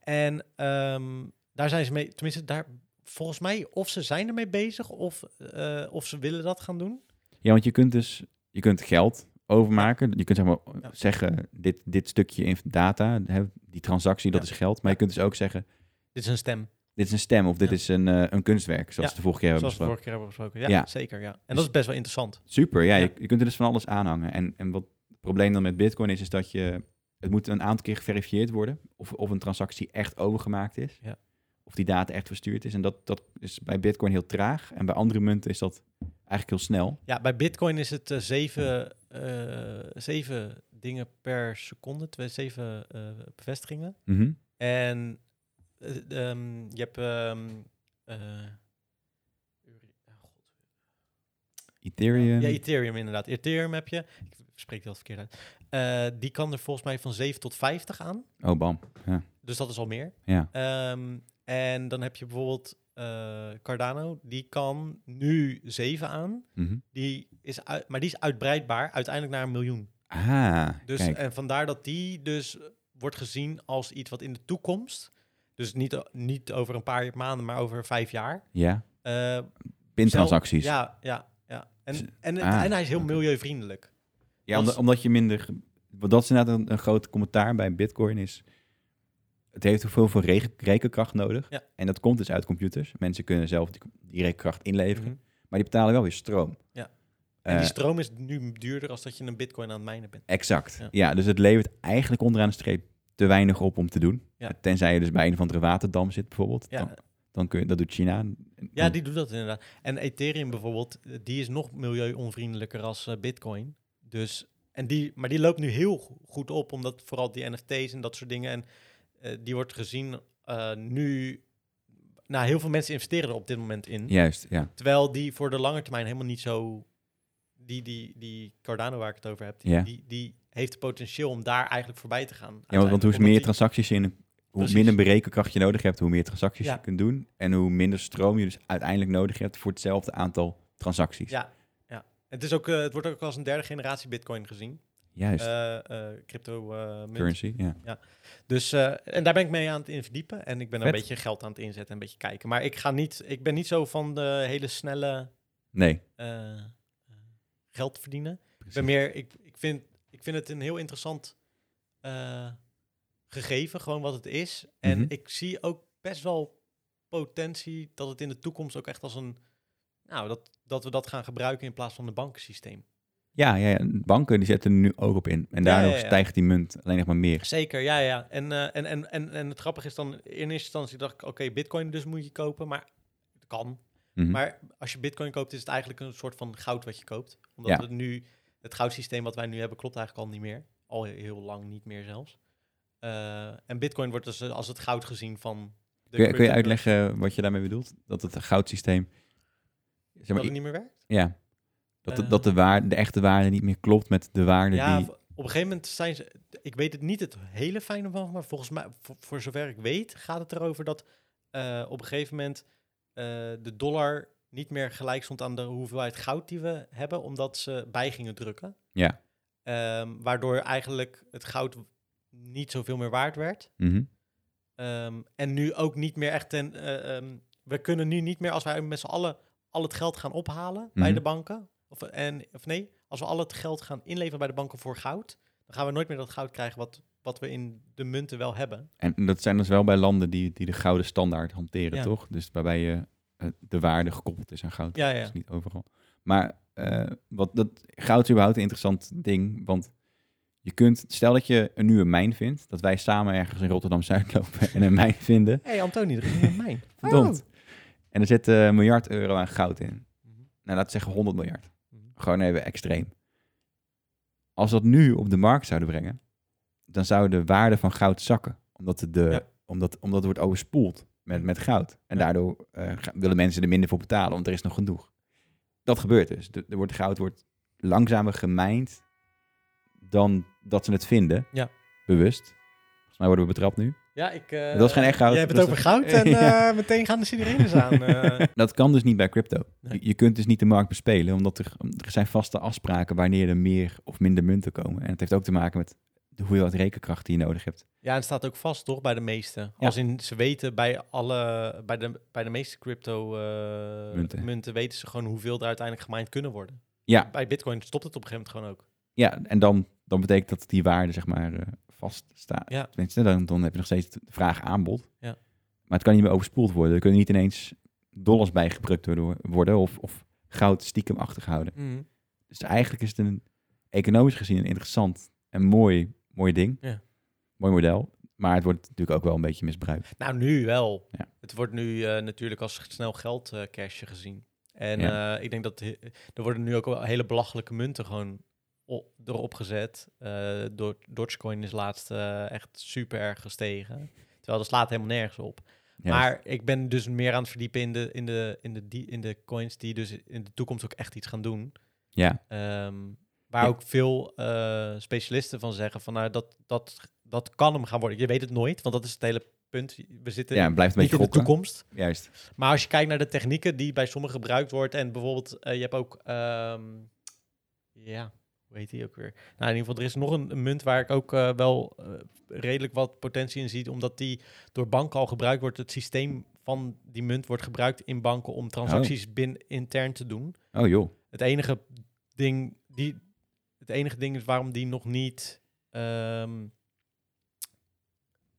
S2: En ehm, daar zijn ze mee, tenminste daar, volgens mij of ze zijn ermee bezig of, eh, of ze willen dat gaan doen.
S1: Ja, want je kunt dus je kunt geld overmaken. Je kunt zeg maar
S2: Ja.
S1: zeggen, dit, dit stukje in data, hè, die transactie, dat
S2: Ja.
S1: is geld. Maar je kunt dus ook zeggen,
S2: Dit is een stem,
S1: dit is een stem of dit
S2: Ja.
S1: is een, eh, een kunstwerk, zoals
S2: Ja,
S1: we de vorige keer hebben
S2: zoals
S1: besproken.
S2: we vorige keer hebben besproken. Ja,
S1: Ja.
S2: zeker. Ja. En dat is best wel interessant.
S1: Super, ja,
S2: Ja.
S1: Je, je kunt er dus van alles aanhangen. En, en wat probleem dan met Bitcoin is, is dat je, het moet een aantal keer geverifieerd worden of, of een transactie echt overgemaakt is.
S2: Ja.
S1: Of die data echt verstuurd is. En dat, dat is bij Bitcoin heel traag. En bij andere munten is dat eigenlijk heel snel.
S2: Ja, bij Bitcoin is het eh, zeven, eh, zeven dingen per seconde, twee, zeven eh, bevestigingen.
S1: Mhm.
S2: En eh, ehm, je hebt. ehm, eh,
S1: Ethereum.
S2: Ja, Ethereum inderdaad. Ethereum heb je. Ik spreek dat verkeerd uit. Eh, die kan er volgens mij van 7 tot 50 aan.
S1: oh, bam. Ja.
S2: Dus dat is al meer.
S1: ja.
S2: Ehm, en dan heb je bijvoorbeeld eh, Cardano. Die kan nu 7 aan.
S1: Mhm.
S2: Die is uit- maar die is uitbreidbaar uiteindelijk naar een miljoen.
S1: Ah,
S2: Dus,
S1: kijk.
S2: en vandaar dat die dus wordt gezien als iets wat in de toekomst... dus niet, o- niet over een paar maanden, maar over vijf jaar...
S1: ja,
S2: eh,
S1: pintransacties.
S2: zelf- Ja, ja, ja. En, en, het-
S1: Ah,
S2: en hij is heel
S1: oké.
S2: milieuvriendelijk.
S1: Ja, omdat,
S2: Als-
S1: omdat je minder... want Dat is inderdaad een, een groot commentaar bij Bitcoin is... Het heeft heel veel voor regen- rekenkracht nodig.
S2: Ja.
S1: En dat komt dus uit computers. Mensen kunnen zelf die, die rekenkracht inleveren.
S2: Mhm.
S1: Maar die betalen wel weer stroom.
S2: Ja.
S1: Eh,
S2: En die stroom is nu duurder als dat je een bitcoin aan het mijnen bent.
S1: exact. Ja.
S2: Ja.
S1: dus het levert eigenlijk onderaan de streep te weinig op om te doen.
S2: Ja.
S1: Tenzij je dus bij een of andere waterdam zit bijvoorbeeld.
S2: Ja, Mhm.
S1: Dan, dan kun je, dat doet China. Hm.
S2: ja, die doet dat inderdaad. En Ethereum bijvoorbeeld, eh, die is nog milieuonvriendelijker als eh, bitcoin. Dus, en die, maar die loopt nu heel go- goed op, omdat vooral die NFT's en dat soort dingen. En eh, die wordt gezien eh, nu... Nou, heel veel mensen investeren er op dit moment in.
S1: Juist, ja.
S2: Terwijl die voor de lange termijn helemaal niet zo... Die, die, die Cardano waar ik het over heb, die,
S1: Ja.
S2: die, die heeft het potentieel om daar eigenlijk voorbij te gaan.
S1: Ja, want, want hoe
S2: uiteindelijk,
S1: meer
S2: omdat
S1: transacties je in een- hoe
S2: Precies.
S1: minder berekenkracht je nodig hebt, hoe meer transacties
S2: Ja.
S1: je kunt doen. En hoe minder stroom je dus uiteindelijk nodig hebt voor hetzelfde aantal transacties.
S2: Ja. die- Het, is ook, eh, het wordt ook als een derde generatie bitcoin gezien.
S1: Juist.
S2: eh, eh, crypto eh, munt.
S1: Currency, ja.
S2: Dus eh, en daar ben ik mee aan het in verdiepen. En ik ben er
S1: Vet.
S2: een beetje geld aan het inzetten en een beetje kijken. Maar ik ga niet, ik ben niet zo van de hele snelle
S1: Nee.
S2: eh, eh, geld verdienen. Ik
S1: precies.
S2: ben meer, ik, ik, vind, ik vind het een heel interessant eh, gegeven, gewoon wat het is. En
S1: Mhm.
S2: ik zie ook best wel potentie dat het in de toekomst ook echt als een, nou, dat, dat we dat gaan gebruiken in plaats van een bankensysteem.
S1: Ja, ja, ja, banken die zetten er nu ook op in. En
S2: Ja,
S1: daardoor
S2: ja, ja.
S1: stijgt die munt alleen nog maar meer.
S2: Zeker, ja, ja. En, eh, en, en, en, en het grappige is dan, in eerste instantie dacht ik, oké, bitcoin dus moet je kopen, maar het kan.
S1: Mhm.
S2: Maar als je bitcoin koopt, is het eigenlijk een soort van goud wat je koopt. Omdat
S1: Ja.
S2: het nu, het goudsysteem wat wij nu hebben, klopt eigenlijk al niet meer. Al he- heel lang niet meer zelfs. Eh, en bitcoin wordt dus eh, als het goud gezien van... De
S1: kun, je, kun je
S2: cryptocurrency.
S1: uitleggen wat je daarmee bedoelt? Dat het goudsysteem... Zeg maar,
S2: Dat het niet meer werkt?
S1: Ja. Dat, de,
S2: Eh.
S1: dat de, waarde, de echte waarde niet meer klopt met de waarde
S2: Ja,
S1: die...
S2: v- op een gegeven moment zijn ze... Ik weet het niet het hele fijne van, maar volgens mij, voor, voor zover ik weet, gaat het erover dat eh, op een gegeven moment eh, de dollar niet meer gelijk stond aan de hoeveelheid goud die we hebben, omdat ze bij gingen drukken.
S1: Ja.
S2: Ehm, waardoor eigenlijk het goud niet zoveel meer waard werd.
S1: Mhm.
S2: Ehm, en nu ook niet meer echt. Ten, eh, ehm, we kunnen nu niet meer, als wij met z'n allen al het geld gaan ophalen bij
S1: Mhm.
S2: de banken. Of, en, of nee, als we al het geld gaan inleveren bij de banken voor goud. dan gaan we nooit meer dat goud krijgen wat, wat we in de munten wel hebben.
S1: En dat zijn dus wel bij landen die, die de gouden standaard hanteren,
S2: Ja.
S1: toch? Dus waarbij je eh, de waarde gekoppeld is aan goud.
S2: Ja, ja.
S1: Dat is niet overal. Maar eh, wat, dat, goud is überhaupt een interessant ding, want je kunt... Stel dat je een nieuwe mijn vindt, dat wij samen ergens in Rotterdam-Zuid lopen en een mijn vinden.
S2: Hé, hey, Antonie, dat is niet mijn.
S1: Verdomd. En er zit eh, een miljard euro aan goud in. Nou, laten we zeggen 100 miljard.
S2: Mhm.
S1: Gewoon even extreem. Als we dat nu op de markt zouden brengen, dan zou de waarde van goud zakken. Omdat het, de,
S2: Ja. Mhm.
S1: omdat, omdat het wordt overspoeld met, met goud. En daardoor eh, ga- willen mensen er minder voor betalen, want er is nog genoeg. Dat gebeurt dus. De, er wordt, goud wordt langzamer gemijnd dan dat ze het vinden.
S2: Ja.
S1: Bewust. Volgens mij worden we betrapt nu.
S2: Ja, ik. eh,
S1: Dat was geen echt goud,
S2: Jij hebt het
S1: dat
S2: over
S1: is-
S2: goud en
S1: Ja.
S2: eh, meteen gaan de sirenes aan. eh.
S1: Dat kan dus niet bij crypto.
S2: Nee.
S1: Je, je kunt dus niet de markt bespelen, omdat er, er zijn vaste afspraken wanneer er meer of minder munten komen. En het heeft ook te maken met de hoeveelheid rekenkracht die je nodig hebt.
S2: Ja, en het staat ook vast, toch, bij de meeste. Als in, ze weten bij alle, bij de, bij de meeste crypto eh,
S1: Munten.
S2: munten. weten ze gewoon hoeveel er uiteindelijk gemined kunnen worden.
S1: Ja.
S2: Bij bitcoin stopt het op een gegeven moment gewoon ook.
S1: Ja, en dan, dan betekent dat die waarde zeg maar eh, vaststaat.
S2: Ja.
S1: Tenminste, dan, dan heb je nog steeds de vraag aanbod.
S2: Ja.
S1: Maar het kan niet meer overspoeld worden. Er kunnen niet ineens dollars bijgedrukt worden- worden of, of goud stiekem achtergehouden. Dus eigenlijk is het een economisch gezien een interessant en mooi, mooi ding.
S2: Ja.
S1: Mooi model. Maar het wordt natuurlijk ook wel een beetje misbruikt.
S2: Nou, nu wel.
S1: Ja.
S2: Het wordt nu eh, natuurlijk als snel geld eh, cashje gezien. En
S1: Ja.
S2: eh, ik denk dat he- er worden nu ook wel hele belachelijke munten gewoon o- erop gezet. Eh, Do- Dogecoin is laatst eh, echt super erg gestegen. Terwijl dat slaat helemaal nergens op.
S1: Ja,
S2: Maar ik ben dus meer aan het verdiepen in de, in, de, in, de, die- in de coins die dus in de toekomst ook echt iets gaan doen.
S1: Ja,
S2: Ehm, waar
S1: Ja.
S2: ook veel eh, specialisten van zeggen van nou, dat, dat, dat kan hem gaan worden. Je weet het nooit, want dat is het hele punt. We zitten
S1: ja het blijft een
S2: eh, niet
S1: beetje
S2: in de
S1: gokken.
S2: toekomst.
S1: Juist.
S2: Maar als je kijkt naar de technieken die bij sommigen gebruikt wordt en bijvoorbeeld eh, je hebt ook, ehm, ja, hoe heet die ook weer? Nou, in ieder geval, er is nog een, een munt waar ik ook eh, wel eh, redelijk wat potentie in zie, omdat die door banken al gebruikt wordt. Het systeem van die munt wordt gebruikt in banken om transacties binnen intern te doen.
S1: Oh joh.
S2: Het enige ding, die, het enige ding is waarom die nog niet ehm,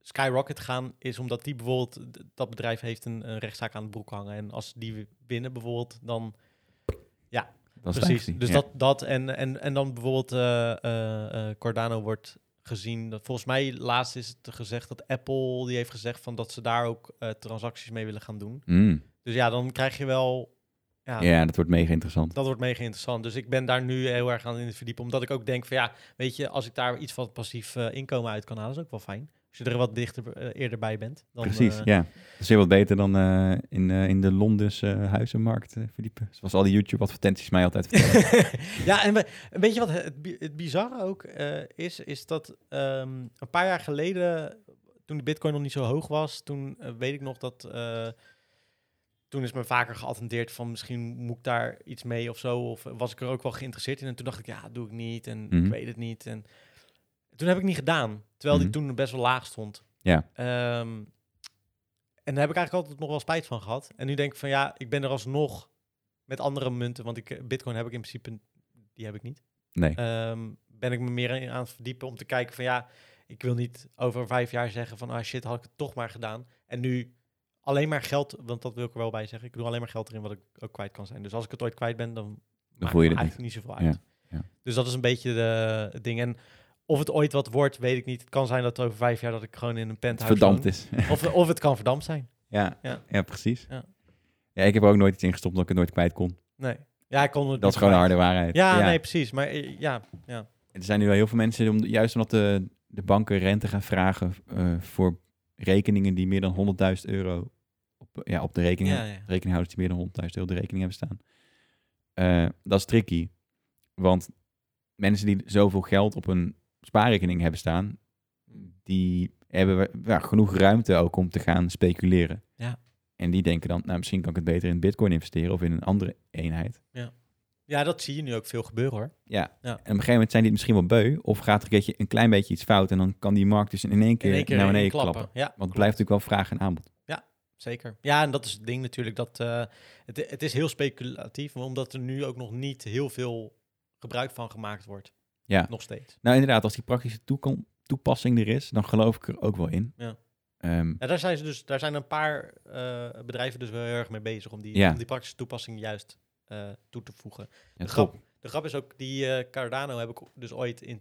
S2: skyrocket gaan, is omdat die bijvoorbeeld, d- dat bedrijf heeft een, een rechtszaak aan de broek hangen. En als die winnen bijvoorbeeld, dan
S1: Dat is
S2: precies.
S1: actie.
S2: Dus
S1: Ja.
S2: dat, dat en, en, en dan bijvoorbeeld eh, eh, eh, Cardano wordt gezien. Dat, volgens mij laatst is het gezegd dat Apple, die heeft gezegd van dat ze daar ook eh, transacties mee willen gaan doen.
S1: Mm.
S2: Dus ja, dan krijg je wel... Ja,
S1: Ja, dat wordt mega interessant.
S2: dat wordt mega interessant. Dus ik ben daar nu heel erg aan in het verdiepen. Omdat ik ook denk van ja, weet je, als ik daar iets van passief eh, inkomen uit kan halen, is ook wel fijn. Als je er wat dichter eh, eerder bij bent. Dan,
S1: Precies,
S2: eh,
S1: ja. Dat is heel wat beter dan eh, in, eh, in de Londense huizenmarkt eh, verdiepen. Zoals al die YouTube-advertenties mij altijd vertellen.
S2: ja, en we- en weet je wat het, bi- het bizarre ook eh, is? Is dat ehm, een paar jaar geleden, toen de bitcoin nog niet zo hoog was, toen eh, weet ik nog dat... eh, toen is me vaker geattendeerd van misschien moet ik daar iets mee of zo. Of was ik er ook wel geïnteresseerd in. En toen dacht ik, ja, doe ik niet. En
S1: Mhm.
S2: ik weet het niet. En toen heb ik niet gedaan. Terwijl
S1: Mhm.
S2: die toen best wel laag stond.
S1: Ja.
S2: Ehm, en daar heb ik eigenlijk altijd nog wel spijt van gehad. En nu denk ik van ja, ik ben er alsnog met andere munten. Want ik, eh, bitcoin heb ik in principe, die heb ik niet.
S1: nee,
S2: Ehm, ben ik me meer in- aan het verdiepen om te kijken van ja, ik wil niet over vijf jaar zeggen van ah shit, had ik het toch maar gedaan. En nu alleen maar geld, want dat wil ik er wel bij zeggen. Ik doe alleen maar geld erin wat ik ook kwijt kan zijn. Dus als ik het ooit kwijt ben, dan
S1: dan
S2: maakt
S1: voel je
S2: me
S1: het niet.
S2: eigenlijk niet zoveel
S1: Ja,
S2: uit.
S1: ja.
S2: Dus dat is een beetje de, het ding. En of het ooit wat wordt, weet ik niet. Het kan zijn dat over vijf jaar dat ik gewoon in een
S1: Het
S2: penthouse
S1: verdampt
S2: woon.
S1: is.
S2: Of, of het kan verdampt zijn.
S1: ja, ja.
S2: Ja.
S1: precies. Ja.
S2: Ja.
S1: ik heb er ook nooit iets ingestopt omdat ik het nooit kwijt kon.
S2: Nee. Ja, ik kon het
S1: Dat is
S2: niet
S1: gewoon de
S2: kwijt.
S1: harde waarheid.
S2: Ja, nee, precies. Maar eh, ja,
S1: Er zijn nu wel heel veel mensen, om, juist omdat de, de banken rente gaan vragen eh, voor rekeningen die meer dan 100.000 euro op, ja, op de rekening
S2: ja, ja.
S1: rekeninghouders die meer dan 100.000 euro op de rekening hebben staan. Eh, dat is tricky. Want mensen die zoveel geld op een spaarrekening hebben staan, die hebben we- ja, genoeg ruimte ook om te gaan speculeren.
S2: Ja.
S1: En die denken dan, nou misschien kan ik het beter in bitcoin investeren of in een andere eenheid.
S2: ja, dat zie je nu ook veel gebeuren hoor.
S1: Ja.
S2: Ja.
S1: En op een gegeven moment zijn die het misschien wel beu. Of gaat er een, keertje, een klein beetje iets fout en dan kan die markt dus in één keer,
S2: In één keer
S1: naar beneden
S2: in
S1: klappen.
S2: klappen. Ja,
S1: Want het blijft natuurlijk wel vraag en aanbod.
S2: Zeker. Ja, en dat is het ding natuurlijk. Dat, eh, het, het is heel speculatief, omdat er nu ook nog niet heel veel gebruik van gemaakt wordt.
S1: Ja.
S2: Nog steeds.
S1: Nou inderdaad, als die praktische toekom- toepassing er is, dan geloof ik er ook wel in.
S2: Ja.
S1: Ehm,
S2: Ja, daar, zijn ze dus, daar zijn een paar eh, bedrijven dus wel heel erg mee bezig om die,
S1: Ja.
S2: om die praktische toepassing juist eh, toe te voegen.
S1: ja,
S2: de,
S1: top.
S2: grap, de grap is ook, die eh, Cardano heb ik dus ooit in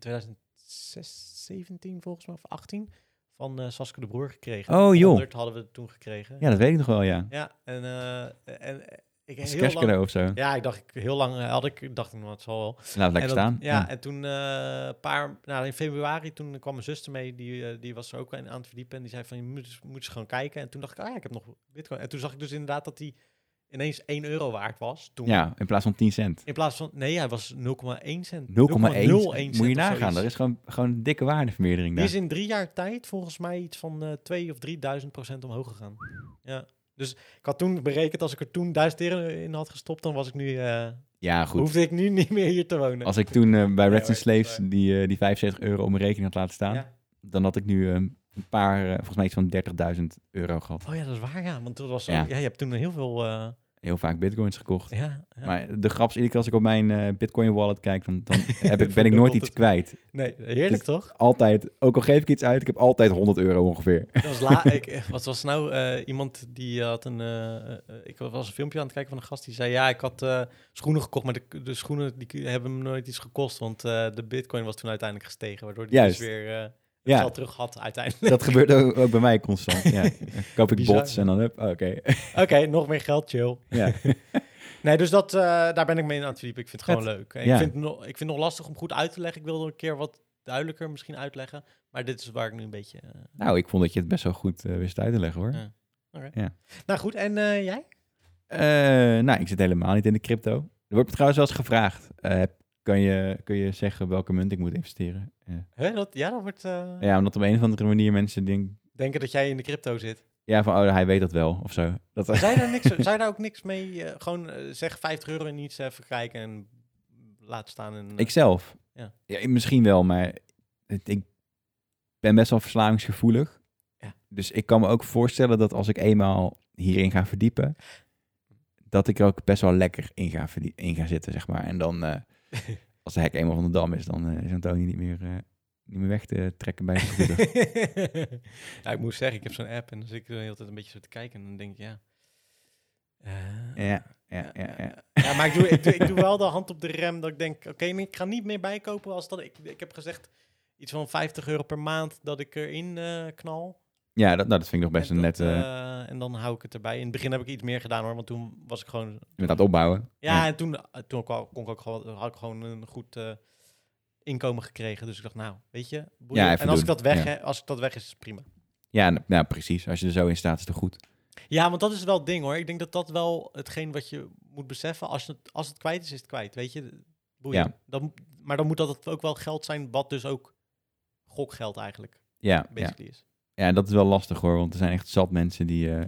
S2: 2017 volgens mij, of 18, van eh Saske de Broer gekregen.
S1: Oh joh.
S2: 100 hadden we het toen gekregen.
S1: Ja, dat weet ik nog wel, ja.
S2: Ja, en, eh, en ik
S1: Als
S2: heel lang...
S1: kerstcadeau of zo. Laat
S2: Ja, ik dacht, ik, heel lang eh, had ik, dacht ik, nou, het zal wel.
S1: het lekker
S2: en dan-
S1: staan.
S2: Ja, en toen eh, een paar, nou in februari, toen kwam mijn zuster mee, die, eh, die was er ook aan aan het verdiepen en die zei van, je moet, eens- moet eens gaan kijken. En toen dacht ik, ah ja, ik heb nog bitcoin. En toen zag ik dus inderdaad dat die ineens 1 euro waard was. Toen,
S1: Ja, in plaats van 10 cent. 0,1
S2: In plaats van, nee, hij was 0,1 cent. 0,01
S1: cent. Moet je
S2: of
S1: nagaan,
S2: zoiets.
S1: er is gewoon, gewoon een dikke waardevermeerdering
S2: Die
S1: daar.
S2: is in drie jaar tijd volgens mij iets van eh 2 of 3000 procent omhoog gegaan. Ja. Dus ik had toen berekend, als ik er toen 1000 euro in had gestopt, dan was ik nu, eh,
S1: Ja, goed.
S2: hoefde ik nu niet meer hier te wonen.
S1: Als ik toen eh, bij Reds
S2: hoor,
S1: Slaves
S2: maar-
S1: die, eh, die 75 euro om mijn rekening had laten staan,
S2: Ja.
S1: dan had ik nu eh, een paar, eh, volgens mij iets van 30.000 euro gehad.
S2: Oh ja, dat is waar, ja. Want dat was,
S1: Ja.
S2: ja. je hebt toen heel veel... eh,
S1: heel vaak bitcoins gekocht.
S2: Ja, ja.
S1: Maar de grap is, iedere keer als ik op mijn eh, bitcoin wallet kijk, dan, dan heb ik, ben ik nooit iets kwijt.
S2: nee, heerlijk toch?
S1: Altijd, ook al geef ik iets uit, ik heb altijd 100 euro ongeveer.
S2: Dat was la- ik, eh, wat was nou eh, iemand die had een. eh, eh, ik was een filmpje aan het kijken van een gast die zei: Ja, ik had eh, schoenen gekocht, maar de, de schoenen die hebben me nooit iets gekost. Want eh, de Bitcoin was toen uiteindelijk gestegen, waardoor die
S1: Juist.
S2: dus weer eh, het
S1: Ja.
S2: geld terug had uiteindelijk.
S1: Dat gebeurt ook, ook bij mij constant. Ja. Koop ik
S2: Bizar.
S1: bots en dan heb, oh, oké.
S2: Oké, nog meer geld, chill.
S1: ja.
S2: Nee, dus dat, eh, daar ben ik mee aan het verdiepen. Ik vind het gewoon leuk. En
S1: Ja.
S2: ik, vind het nog, ik vind het nog lastig om goed uit te leggen. Ik wilde een keer wat duidelijker misschien uitleggen. Maar dit is waar ik nu een beetje. eh,
S1: Nou, ik vond dat je het best wel goed eh, wist uit te leggen hoor.
S2: Ja. oké.
S1: Ja.
S2: Nou goed, en eh, jij?
S1: Eh, nou, ik zit helemaal niet in de crypto. Er wordt me trouwens wel eens gevraagd, eh, kan, je, kun je zeggen welke munt ik moet investeren? Eh,
S2: Huh, dat, ja, dat wordt. eh,
S1: ja, omdat op een of andere manier mensen denken,
S2: Denken dat jij in de crypto zit.
S1: ja van oh, hij weet dat wel of zo. Dat,
S2: Zou je daar, niks, zou je daar ook niks mee... eh, gewoon eh, zeg 50 euro en iets even kijken en laat staan. En, eh,
S1: Ikzelf?
S2: Ja.
S1: ja. Misschien wel, maar het, ik ben best wel verslavingsgevoelig.
S2: Ja.
S1: Dus ik kan me ook voorstellen dat als ik eenmaal hierin ga verdiepen, dat ik er ook best wel lekker in ga, verdie- in ga zitten, zeg maar. En dan, eh, als de hek eenmaal van de dam is, dan eh, is Antonie niet meer, eh, niet meer weg te trekken bij de computer.
S2: eh. ja, ik moet zeggen, ik heb zo'n app en dan zit ik er de hele tijd een beetje zo te kijken. En dan denk ik, ja... eh,
S1: ja, ja, ja, ja.
S2: Ja, maar ik doe, ik, doe, ik doe wel de hand op de rem dat ik denk, oké, maar ik ga niet meer bijkopen als dat ik... Ik heb gezegd iets van 50 euro per maand dat ik erin eh, knal.
S1: Ja, dat, nou, dat vind ik nog best
S2: En
S1: een
S2: dat,
S1: net eh,
S2: eh, en dan hou ik het erbij. In het begin heb ik iets meer gedaan hoor, want toen was ik gewoon
S1: met aan het opbouwen.
S2: Ja, en toen, eh, toen kwam- kon ik ook gewoon, had ik gewoon een goed eh, inkomen gekregen. Dus ik dacht, nou, weet je, boeien.
S1: Ja, even
S2: en als ik,
S1: doen.
S2: dat weg,
S1: Ja.
S2: hè, als ik dat weg is, is het prima.
S1: Ja, nou, nou, precies. Als je er zo in staat, is het goed.
S2: Ja, want dat is wel het ding hoor. Ik denk dat dat wel hetgeen wat je moet beseffen. Als het, als het kwijt is, is het kwijt. Weet je, boeien.
S1: Ja.
S2: Dan, maar dan moet dat het ook wel geld zijn wat dus ook gokgeld eigenlijk
S1: Ja, ja.
S2: basically is.
S1: Ja, dat is wel lastig hoor, want er zijn echt zat mensen die, eh,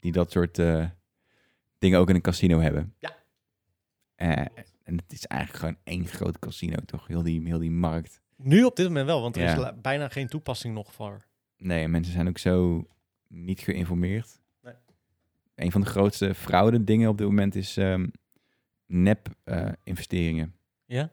S1: die dat soort eh, dingen ook in een casino hebben.
S2: Ja.
S1: Eh, en het is eigenlijk gewoon één groot casino, toch? Heel die, heel die markt.
S2: Nu op dit moment wel, want er
S1: Ja.
S2: is la- bijna geen toepassing nog voor.
S1: Nee, mensen zijn ook zo niet geïnformeerd.
S2: Nee.
S1: Een van de grootste fraude dingen op dit moment is ehm, nep eh, investeringen.
S2: Ja?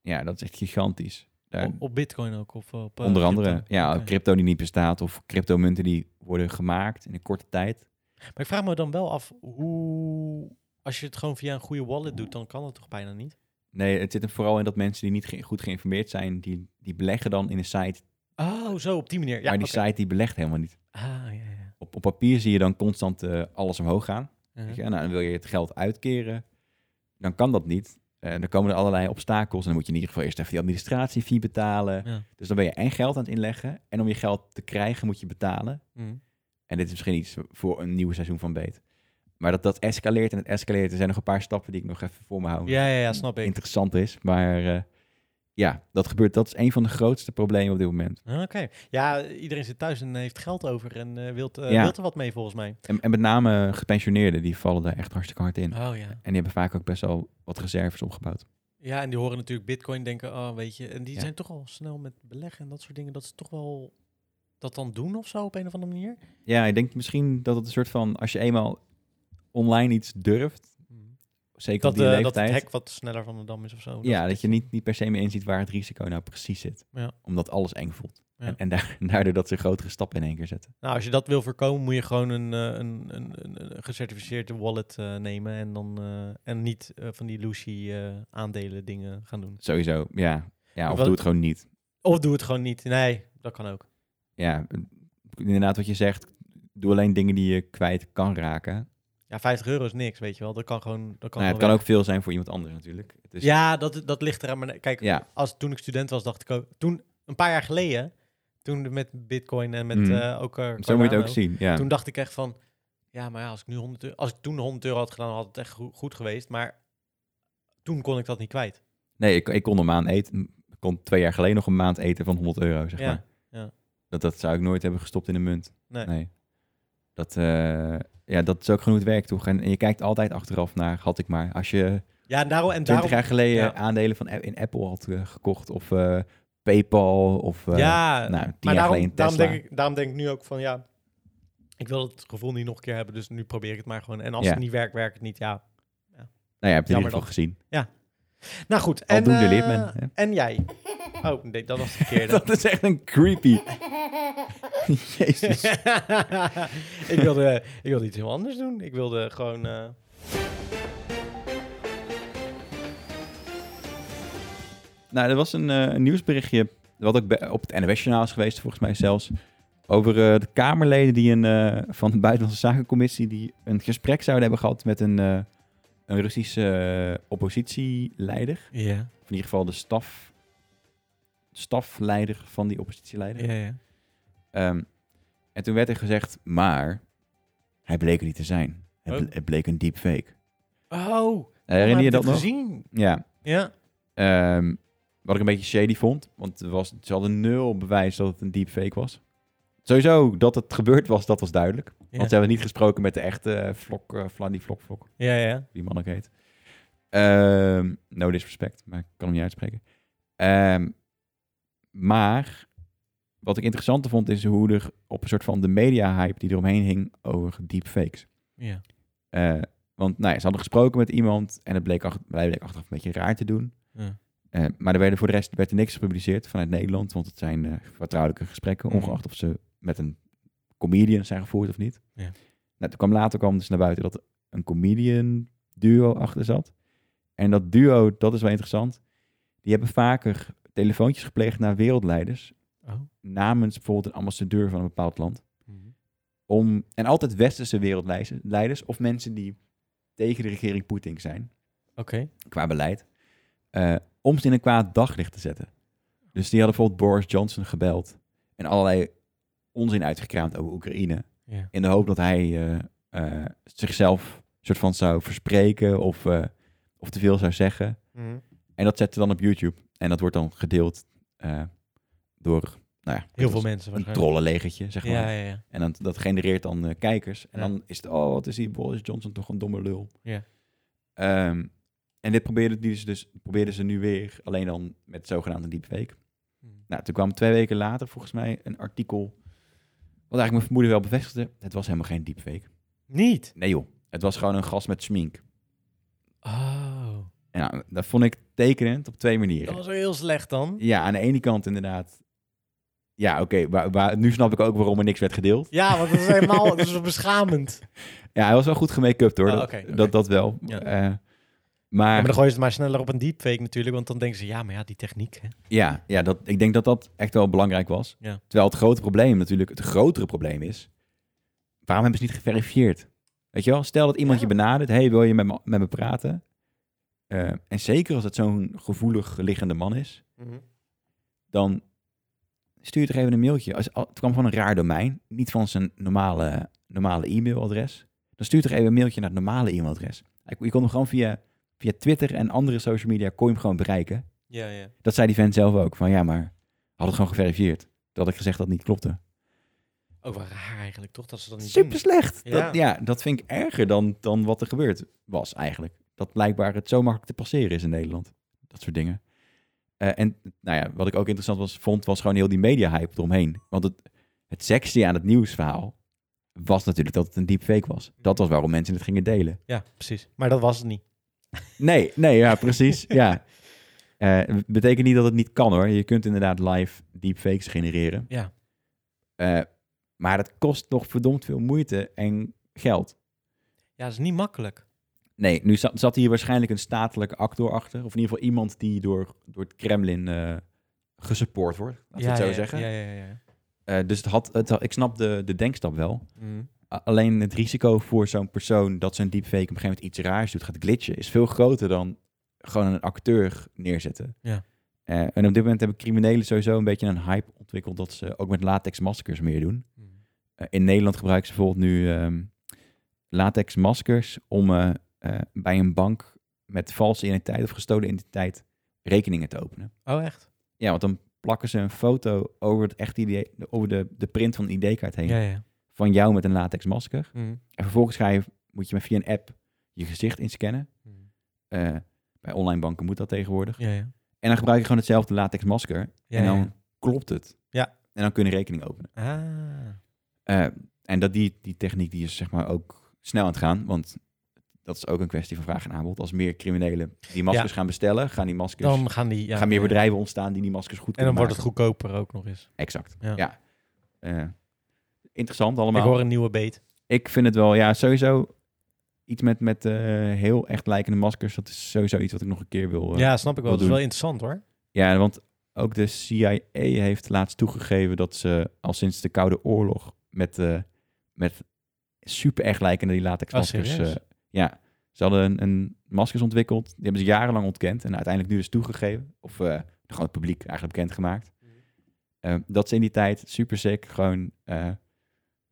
S1: Ja, dat is echt gigantisch. Daar,
S2: Op, op Bitcoin ook. Of op, eh,
S1: onder andere,
S2: crypto.
S1: ja,
S2: Oké.
S1: crypto die niet bestaat of cryptomunten die worden gemaakt in een korte tijd.
S2: Maar ik vraag me dan wel af hoe. Als je het gewoon via een goede wallet doet, dan kan het toch bijna niet?
S1: Nee, het zit er vooral in dat mensen die niet ge- goed geïnformeerd zijn, die, die beleggen dan in een site.
S2: Oh, zo op die manier. Ja,
S1: Ah. maar die
S2: oké.
S1: site die belegt helemaal niet.
S2: Ah, ja, ja.
S1: Op, op papier zie je dan constant eh, alles omhoog gaan.
S2: Uh-huh.
S1: Weet je? Nou, dan wil je het geld uitkeren, dan kan dat niet. En dan komen er allerlei obstakels en dan moet je in ieder geval eerst even die administratiefee betalen.
S2: Ja.
S1: Dus dan ben je en geld aan het inleggen en om je geld te krijgen moet je betalen.
S2: Mhm.
S1: En dit is misschien iets voor een nieuw seizoen van Beet. Maar dat, dat escaleert en het escaleert. Er zijn nog een paar stappen die ik nog even voor me hou.
S2: ja, ja, ja, snap ik.
S1: interessant is. Maar eh, ja, dat gebeurt. Dat is een van de grootste problemen op dit moment.
S2: Ah, Oké. Ja, iedereen zit thuis en heeft geld over en eh wilt, eh,
S1: Ja.
S2: wilt er wat mee volgens mij.
S1: En, en met name gepensioneerden, die vallen daar echt hartstikke hard in.
S2: Oh ja.
S1: En die hebben vaak ook best wel wat reserves opgebouwd.
S2: Ja, en die horen natuurlijk Bitcoin denken, oh weet je. En die
S1: Ja.
S2: zijn toch al snel met beleggen en dat soort dingen. Dat ze toch wel dat dan doen of zo op een of andere manier.
S1: Ja, ik denk misschien dat het een soort van, als je eenmaal online iets durft, zeker
S2: Dat,
S1: op die
S2: eh, dat het
S1: leeftijd,
S2: hek wat sneller van de dam is of zo.
S1: ja, dat je niet, niet per se meer inziet waar het risico nou precies zit.
S2: Ja.
S1: Omdat alles eng voelt.
S2: Ja.
S1: En, en daar- daardoor dat ze grotere stappen in één keer zetten.
S2: Nou, als je dat wil voorkomen, moet je gewoon een, eh, een, een, een, een gecertificeerde wallet eh, nemen en dan eh, en niet eh, van die Lucy eh, aandelen dingen gaan doen.
S1: Sowieso, ja. Ja, of
S2: Wat-
S1: doe het gewoon niet.
S2: Of doe het gewoon niet. Nee, dat kan ook.
S1: Ja, inderdaad wat je zegt, doe alleen dingen die je kwijt kan raken.
S2: Ja, 50 euro is niks, weet je wel. Dat kan gewoon. Dat kan,
S1: Nou ja, het kan
S2: wel
S1: ook
S2: weg.
S1: veel zijn voor iemand anders natuurlijk. Het is,
S2: Ja, dat, dat ligt eraan. Maar nee, kijk,
S1: Dus- Ja.
S2: als toen ik student was, dacht ik ook. Toen een paar jaar geleden, toen met Bitcoin en met
S1: Mm.
S2: eh, ook. eh,
S1: zo moet je het
S2: Cardano,
S1: ook zien. Ja.
S2: Toen dacht ik echt van, ja, maar ja, als ik nu 100 euro, als ik toen 100 euro had gedaan, had het echt goe- goed geweest. Maar toen kon ik dat niet kwijt.
S1: Nee, ik, ik kon een maand eten. Ik kon twee jaar geleden nog een maand eten van 100 euro, zeg
S2: Ja,
S1: maar.
S2: ja.
S1: Dat, dat zou ik nooit hebben gestopt in een munt.
S2: Nee.
S1: Dat, eh, ja, dat is ook gewoon hoe het werkt, toch? En, en je kijkt altijd achteraf naar, had ik maar. Als je
S2: Ja, daarom en
S1: 20
S2: daarom.
S1: jaar geleden
S2: ja.
S1: aandelen van, A- in Apple had eh, gekocht of eh, Paypal of... eh, nou,
S2: ja,
S1: tien
S2: maar
S1: jaar
S2: daarom,
S1: geleden
S2: daarom,
S1: Tesla.
S2: denk ik, daarom denk ik nu ook van ja. Ik wil het gevoel niet nog een keer hebben, dus nu probeer ik het maar gewoon. En als
S1: Ja.
S2: het niet werkt, werkt het niet. Ja.
S1: Nou ja, heb je het in ieder
S2: Jammer
S1: geval
S2: dan.
S1: gezien.
S2: Nou goed. En,
S1: Aldoende
S2: eh,
S1: leert men, hè?
S2: En jij. Oh, nee, dat was de verkeerde.
S1: Dat is echt een creepy. Jezus.
S2: ik, wilde, eh, ik wilde iets heel anders doen. Ik wilde gewoon... eh,
S1: Nou, er was een, eh, een nieuwsberichtje, wat ook bij- op het NOS-journaal is geweest, volgens mij zelfs, over eh, de Kamerleden die een, eh, van de Buitenlandse Zakencommissie die een gesprek zouden hebben gehad met een, eh, een Russische eh, oppositieleider.
S2: ja,
S1: Of in ieder geval de staf, stafleider van die oppositieleider.
S2: ja, ja.
S1: Ehm, en toen werd er gezegd, maar hij bleek er niet te zijn. Het,
S2: Oh.
S1: ble- het bleek een deepfake.
S2: Oh,
S1: Eh, Herinner je dat nog?
S2: gezien?
S1: Ja.
S2: Ja.
S1: Ehm, wat ik een beetje shady vond, want er was, ze hadden nul bewijs dat het een deepfake was. Sowieso dat het gebeurd was, dat was duidelijk. Want ze hebben niet gesproken met de echte eh, Vlok, eh, Vladi Vlok Vlok,
S2: Ja, ja.
S1: die man ook heet. Ehm, no disrespect, maar ik kan hem niet uitspreken. Ehm, maar wat ik interessanter vond is hoe er op een soort van de media-hype die eromheen hing over deepfakes.
S2: Ja.
S1: Eh, want nou ja, ze hadden gesproken met iemand en het bleek, ach- hij bleek achteraf een beetje raar te doen.
S2: Ja.
S1: Eh, maar er werden voor de rest werd er niks gepubliceerd vanuit Nederland, want het zijn eh, vertrouwelijke gesprekken,
S2: Mhm.
S1: ongeacht of ze met een comedian zijn gevoerd of niet.
S2: Ja.
S1: Nou, toen kwam later kwam dus naar buiten dat er een comedian duo achter zat. En dat duo, dat is wel interessant, die hebben vaker telefoontjes gepleegd naar wereldleiders
S2: Oh.
S1: namens bijvoorbeeld een ambassadeur van een bepaald land
S2: Mhm.
S1: om, en altijd westerse wereldleiders of mensen die tegen de regering Poetin zijn,
S2: Oké.
S1: qua beleid, eh, om ze in een kwaad daglicht te zetten. Dus die hadden bijvoorbeeld Boris Johnson gebeld en allerlei onzin uitgekraamd over Oekraïne,
S2: Ja.
S1: in de hoop dat hij eh, eh, zichzelf soort van zou verspreken of, eh, of te veel zou zeggen. En dat zetten ze dan op YouTube en dat wordt dan gedeeld eh, door, nou ja,
S2: Heel veel
S1: een
S2: mensen waarschijnlijk.
S1: trollenlegertje, zeg maar.
S2: Ja, ja, ja.
S1: En dan, dat genereert dan eh, kijkers. En
S2: Ja.
S1: dan is het, oh, wat is die Boris Johnson toch een domme lul.
S2: Ja.
S1: Ehm, en dit probeerden, die ze dus, probeerden ze nu weer, alleen dan met zogenaamde deepfake.
S2: Hmm.
S1: Nou, toen kwam twee weken later volgens mij een artikel, wat eigenlijk mijn vermoeden wel bevestigde, het was helemaal geen deepfake.
S2: Niet.
S1: Nee joh, het was gewoon een gast met smink.
S2: Oh.
S1: En nou, dat vond ik tekenend op twee manieren.
S2: Dat was wel heel slecht dan.
S1: Ja, aan de ene kant inderdaad. Ja, oké, waar, waar, nu snap ik ook waarom er niks werd gedeeld.
S2: Ja, want dat is helemaal dat is beschamend.
S1: Ja, hij was wel goed gemake-upt hoor.
S2: Ah,
S1: dat,
S2: oké, oké.
S1: dat, dat wel.
S2: Ja.
S1: Eh,
S2: Ja, maar
S1: maar
S2: dan gooi je het maar sneller op een deepfake natuurlijk, want dan denken ze, ja, maar ja, die techniek. Hè?
S1: ja, ja dat, ik denk dat dat echt wel belangrijk was.
S2: Ja.
S1: Terwijl het grote probleem natuurlijk, het grotere probleem is, waarom hebben ze niet geverifieerd? Weet je wel, stel dat iemand
S2: Ja.
S1: je benadert, hey, wil je met me, met me praten? Eh, en zeker als het zo'n gevoelig liggende man is,
S2: Mhm.
S1: dan stuur je toch even een mailtje. Als, al- het kwam van een raar domein, niet van zijn normale, normale e-mailadres. Dan stuur toch even een mailtje naar het normale e-mailadres. Hij- Je kon hem gewoon via, via Twitter en andere social media kon je hem gewoon bereiken.
S2: Ja, ja.
S1: Dat zei die vent zelf ook. Van ja, maar had het gewoon geverifieerd. Dat had ik gezegd dat het niet klopte.
S2: Ook wel raar eigenlijk, toch? Dat ze dat niet
S1: Super
S2: doen.
S1: slecht.
S2: Ja.
S1: Dat, ja, dat vind ik erger dan, dan wat er gebeurd was eigenlijk. Dat blijkbaar het zo makkelijk te passeren is in Nederland. Dat soort dingen. Eh, en nou ja, wat ik ook interessant was, vond, was gewoon heel die media-hype eromheen. Want het, het sexy aan het nieuwsverhaal was natuurlijk dat het een deepfake was. Dat was waarom mensen het gingen delen.
S2: Ja, precies. Maar dat was het niet.
S1: Nee, nee, ja, precies. ja. Eh, betekent niet dat het niet kan hoor. Je kunt inderdaad live deepfakes genereren.
S2: Ja.
S1: Eh, maar het kost nog verdomd veel moeite en geld.
S2: Ja, dat is niet makkelijk.
S1: Nee, nu zat, zat hier waarschijnlijk een statelijke actor achter. Of in ieder geval iemand die door, door het Kremlin eh, gesupport wordt. Laten we
S2: ja,
S1: het zo
S2: ja,
S1: zeggen.
S2: Ja, ja, ja. ja.
S1: Eh, dus het had, het had- ik snap de, de denkstap wel. A- Alleen het risico voor zo'n persoon dat zo'n deepfake op een gegeven moment iets raars doet, gaat glitchen, is veel groter dan gewoon een acteur neerzetten.
S2: Ja.
S1: Eh, en op dit moment hebben criminelen sowieso een beetje een hype ontwikkeld dat ze ook met latexmaskers meer doen.
S2: Mm.
S1: Eh, in Nederland gebruiken ze bijvoorbeeld nu ehm latexmaskers om eh, eh, bij een bank met valse identiteit of gestolen identiteit rekeningen te openen.
S2: Oh, echt?
S1: Ja, want dan plakken ze een foto over, het echte ID, over de, de print van de ID-kaart heen
S2: Ja, ja.
S1: van jou met een latexmasker.
S2: Mhm.
S1: En vervolgens ga je, moet je met via een app je gezicht inscannen.
S2: Mhm.
S1: Eh, bij online banken moet dat tegenwoordig.
S2: Ja, ja.
S1: En dan gebruik je gewoon hetzelfde latexmasker.
S2: Ja,
S1: en dan
S2: ja.
S1: klopt het.
S2: Ja.
S1: En dan kun je rekening openen.
S2: Ah.
S1: Eh, en dat die, die techniek die is zeg maar ook snel aan het gaan, want dat is ook een kwestie van vraag en aanbod. Als meer criminelen die maskers gaan bestellen, gaan die maskers,
S2: Dan gaan die... Ja,
S1: Dus gaan meer bedrijven ontstaan die die maskers goed
S2: En
S1: kunnen
S2: dan wordt het
S1: maken.
S2: goedkoper ook nog eens.
S1: Exact.
S2: Ja.
S1: Ja. Eh, interessant allemaal.
S2: Ik hoor een nieuwe beet.
S1: Ik vind het wel, ja, sowieso iets met, met eh, heel echt lijkende maskers. Dat is sowieso iets wat ik nog een keer wil. eh,
S2: Ja, snap ik wel.
S1: Wat
S2: Dat is wel
S1: doen?
S2: interessant hoor.
S1: ja, want ook de CIA heeft laatst toegegeven dat ze al sinds de Koude Oorlog met, eh, met super echt lijkende die latexmaskers.
S2: Oh, serieus?
S1: eh, ja, ze hadden een, een maskers ontwikkeld. Die hebben ze jarenlang ontkend en uiteindelijk nu dus toegegeven. Of eh, gewoon het publiek eigenlijk bekendgemaakt.
S2: Mhm.
S1: Eh, dat ze in die tijd super sick gewoon eh,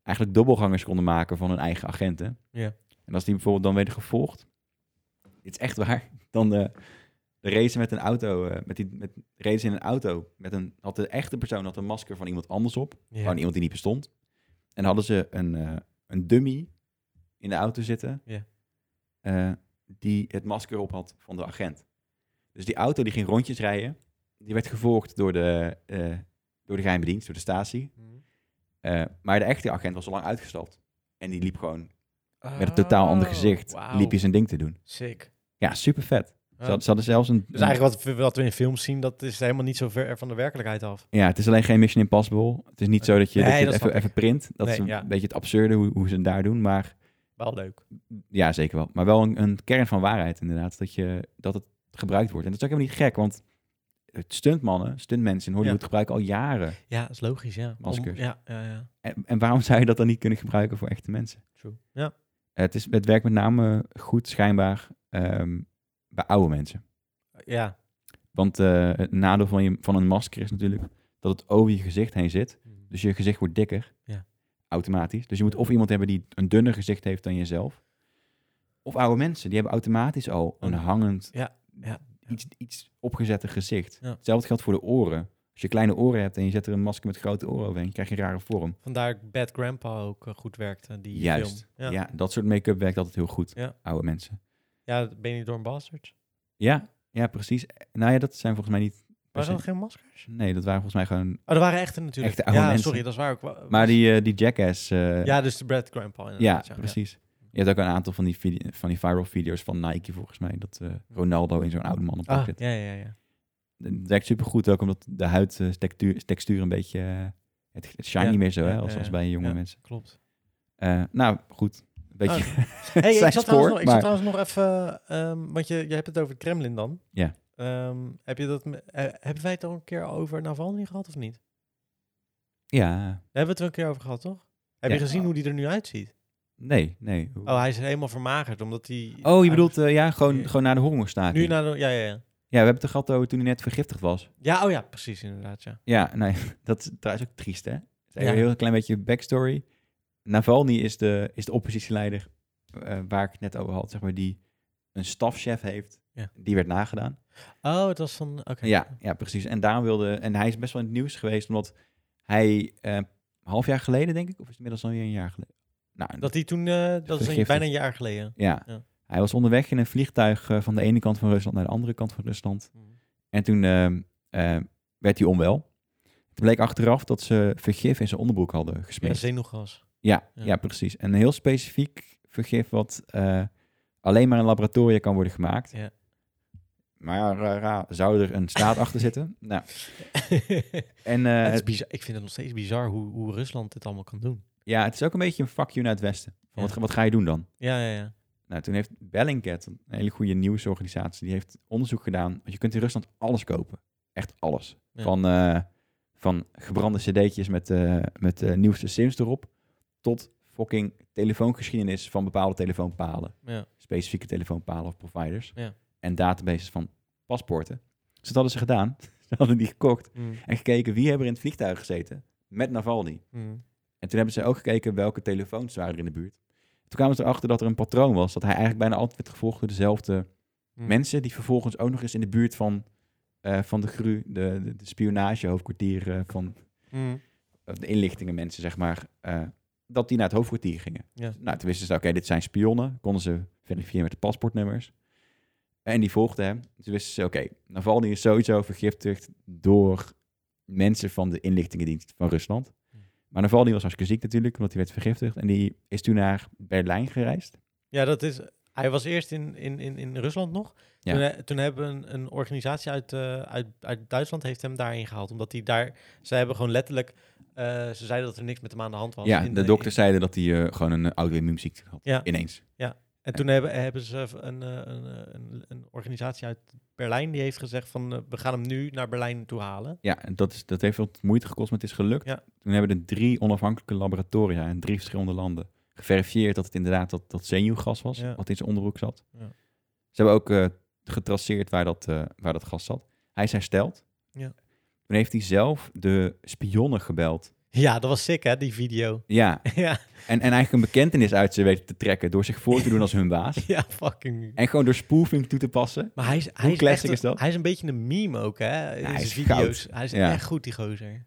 S1: eigenlijk dubbelgangers konden maken van hun eigen agenten.
S2: Ja.
S1: En als die bijvoorbeeld dan werden gevolgd, dit is echt waar, dan eh de race met een auto, eh, met die met racen in een auto, met een, had de echte persoon had een masker van iemand anders op,
S2: Ja.
S1: gewoon iemand die niet bestond. En hadden ze een, eh, een dummy in de auto zitten,
S2: Ja.
S1: eh, die het masker op had van de agent. Dus die auto die ging rondjes rijden, die werd gevolgd door de, eh, door de geheime dienst, door de statie.
S2: Mm.
S1: Eh, maar de echte agent was al lang uitgestapt. En die liep gewoon met een totaal ander
S2: Oh,
S1: gezicht.
S2: wauw.
S1: Liep je zijn ding te doen.
S2: Sick.
S1: Ja, super vet. Ze,
S2: Ja.
S1: had- ze hadden zelfs een.
S2: Dus eigenlijk wat, we- wat we in films zien, dat is helemaal niet zo ver van de werkelijkheid af.
S1: Ja, het is alleen geen Mission Impossible. Het is niet zo dat je,
S2: Nee,
S1: dat je
S2: dat
S1: het
S2: snap
S1: even,
S2: ik.
S1: even print. Dat is
S2: Nee,
S1: een
S2: ja.
S1: beetje het absurde hoe, hoe ze het daar doen. Maar
S2: Wel leuk.
S1: ja, zeker wel. Maar wel een, een kern van waarheid inderdaad. Dat, je, dat het gebruikt wordt. En dat is ook helemaal niet gek. Want het stuntmannen, stuntmensen in Hollywood gebruiken al jaren.
S2: Ja, is logisch, ja. Om-
S1: Maskers.
S2: ja, ja, ja.
S1: En, en waarom zou je dat dan niet kunnen gebruiken voor echte mensen?
S2: True. Ja.
S1: Het, is, het werkt met name goed schijnbaar ehm, bij oude mensen.
S2: Ja.
S1: Want eh, het nadeel van, je, van een masker is natuurlijk dat het over je gezicht heen zit. Dus je gezicht wordt dikker.
S2: Mhm. Ja.
S1: Automatisch. Dus je moet of iemand hebben die een dunner gezicht heeft dan jezelf. Of oude mensen. Die hebben automatisch al een
S2: Een-
S1: hangend,
S2: Oh. ja, ja.
S1: Iets, iets opgezette gezicht.
S2: Ja.
S1: Hetzelfde geldt voor de oren. Als je kleine oren hebt en je zet er een masker met grote oren overheen, krijg je een rare vorm.
S2: Vandaar Bad Grandpa ook eh, goed werkte, die
S1: Juist.
S2: film.
S1: Ja.
S2: Ja. Ja.
S1: dat soort make-up werkt altijd heel goed.
S2: Ja.
S1: Oude mensen.
S2: Benidorm Bastards.
S1: Ja, ja, precies. Nou ja, dat zijn volgens mij niet. per
S2: Waren dat
S1: se-
S2: geen maskers?
S1: Nee, dat waren volgens mij gewoon.
S2: Oh, dat waren echte natuurlijk.
S1: Echte oude
S2: ja,
S1: mensen.
S2: sorry, dat is waar ook. wa-
S1: Maar die, eh, die jackass. eh, ja,
S2: Ja, dus de Bad Grandpa inderdaad.
S1: precies. Je hebt ook een aantal van die, vide- van die viral video's van Nike, volgens mij. Dat eh, Ronaldo in zo'n oude man op
S2: Ah,
S1: zit.
S2: ja, ja, ja.
S1: Het werkt supergoed ook, omdat de huidtextuur textuur een beetje... eh, het, het shine
S2: Ja,
S1: niet meer zo,
S2: ja,
S1: hè, als,
S2: ja,
S1: als
S2: ja.
S1: bij jonge
S2: Ja.
S1: mensen.
S2: Klopt.
S1: Eh, nou, goed. Een beetje...
S2: Oh. Hey, ik,
S1: zijn
S2: zat
S1: spoor,
S2: trouwens nog, ik
S1: maar-
S2: zat trouwens nog even, ehm, want je, je hebt het over het Kremlin dan.
S1: Ja.
S2: Ehm, heb je dat, me- eh, hebben wij het al een keer over Navalny gehad of niet?
S1: Ja,
S2: Daar hebben we het wel een keer over gehad, toch? Heb
S1: Ja.
S2: je gezien hoe die er nu uitziet?
S1: nee, nee. Hoe-
S2: Oh, hij is helemaal vermagerd, omdat hij...
S1: Oh, je bedoelt Ah, eh, ja,
S2: Ja.
S1: gewoon, gewoon naar de hongerstaking.
S2: Nu naar de... Ja, ja, ja.
S1: Ja, we hebben het er gehad over toen hij net vergiftigd was.
S2: Ja, oh ja, precies inderdaad, ja.
S1: Ja, nee, dat is trouwens ook triest, hè? Het is even
S2: Ja.
S1: Een heel klein beetje backstory. Navalny is de, is de oppositieleider eh, waar ik het net over had, zeg maar, die een stafchef heeft.
S2: Ja.
S1: Die werd nagedaan.
S2: Oh, het was van... Oké.
S1: Ja, ja, precies. En daarom wilde, en hij is best wel in het nieuws geweest, omdat hij eh, een half jaar geleden, denk ik, of is het inmiddels alweer een jaar geleden? Nou,
S2: Dat hij toen... eh, dat is een-
S1: Vergiftigd.
S2: bijna een jaar geleden.
S1: ja.
S2: Ja.
S1: Hij was onderweg in een vliegtuig eh, van de ene kant van Rusland naar de andere kant van Rusland.
S2: Mhm.
S1: En toen eh, eh, werd hij onwel. Het bleek achteraf dat ze vergif in zijn onderbroek hadden
S2: Ja,
S1: gesmeerd.
S2: zenuwgas.
S1: Ja,
S2: Ja.
S1: ja. precies. En een heel specifiek vergif wat eh, alleen maar in laboratoria kan worden gemaakt.
S2: Ja.
S1: Maar ra, ra, zou er een staat achter zitten? Nou, en eh,
S2: het is
S1: het-
S2: bizar, ik vind het nog steeds bizar hoe, hoe Rusland dit allemaal kan doen.
S1: ja, het is ook een beetje een fuck you naar het Westen. Van,
S2: Ja.
S1: wat, ga- wat ga je doen dan?
S2: Ja, ja, ja.
S1: Nou, toen heeft Bellingcat, een hele goede nieuwsorganisatie, die heeft onderzoek gedaan. Want je kunt in Rusland alles kopen. Echt alles.
S2: Ja.
S1: Van, eh, van gebrande cd'tjes met, eh met de nieuwste sims erop, tot fucking telefoongeschiedenis van bepaalde telefoonpalen.
S2: Ja.
S1: Specifieke telefoonpalen of providers.
S2: Ja.
S1: En databases van paspoorten. Dus dat hadden ze gedaan. Ze hadden die gekocht
S2: Mm,
S1: en gekeken wie hebben er in het vliegtuig gezeten met Navalny.
S2: mm,
S1: En toen hebben ze ook gekeken welke telefoons waren er in de buurt. Toen kwamen ze erachter dat er een patroon was. Dat hij eigenlijk bijna altijd werd gevolgd door dezelfde
S2: Hmm.
S1: mensen. Die vervolgens ook nog eens in de buurt van, eh, van de GRU, de, de, de spionagehoofdkwartier eh, van
S2: Mm.
S1: eh, de inlichtingen mensen, zeg maar. eh, dat die naar het hoofdkwartier gingen.
S2: Ja.
S1: Nou, toen wisten ze, oké, dit zijn spionnen. Konden ze verifiëren met de paspoortnummers. En die volgden hem. Toen wisten ze, oké, Navalny
S2: Hm.
S1: is sowieso vergiftigd door mensen van de inlichtingendienst van Rusland. Maar Navalny was hartstikke ziek natuurlijk, omdat hij werd vergiftigd. En die is toen naar Berlijn gereisd.
S2: Ja, dat is. Hij was eerst in, in, in, in Rusland nog.
S1: Ja.
S2: Toen, he- toen hebben een, een organisatie uit, eh, uit, uit Duitsland heeft hem daarin gehaald. Omdat hij daar. Ze hebben gewoon letterlijk. eh, ze zeiden dat er niks met hem aan de hand was.
S1: ja,
S2: in-
S1: de
S2: in-
S1: dokters zeiden dat hij eh, gewoon een eh, auto-immuunziekte had.
S2: Ja.
S1: Ineens.
S2: En toen hebben, hebben ze een, eh, een, eh, een, een organisatie uit Berlijn die heeft gezegd van eh, we gaan hem nu naar Berlijn toe halen.
S1: Ja, en dat, is, dat heeft wat moeite gekost, maar het is gelukt.
S2: Ja.
S1: Toen hebben er drie onafhankelijke laboratoria in drie verschillende landen geverifieerd dat het inderdaad dat, dat zenuwgas was,
S2: Ja.
S1: wat in zijn onderbroek zat.
S2: Ja.
S1: Ze hebben ook eh, getraceerd waar dat, eh, waar dat gas zat. Hij is hersteld.
S2: Ja.
S1: Toen heeft hij zelf de spionnen gebeld.
S2: Ja, dat was sick hè, die video.
S1: Ja,
S2: ja,
S1: en, en eigenlijk een bekentenis uit ze weten te trekken door zich voor te doen als hun baas.
S2: ja, fucking.
S1: En gewoon door spoofing toe te passen.
S2: Maar hij is, hij is,
S1: classic
S2: echt een-
S1: is dat?
S2: Hij is een beetje een meme ook, hè? In
S1: hij
S2: zijn
S1: is
S2: video's. Hij is
S1: Ja.
S2: echt goed, die gozer.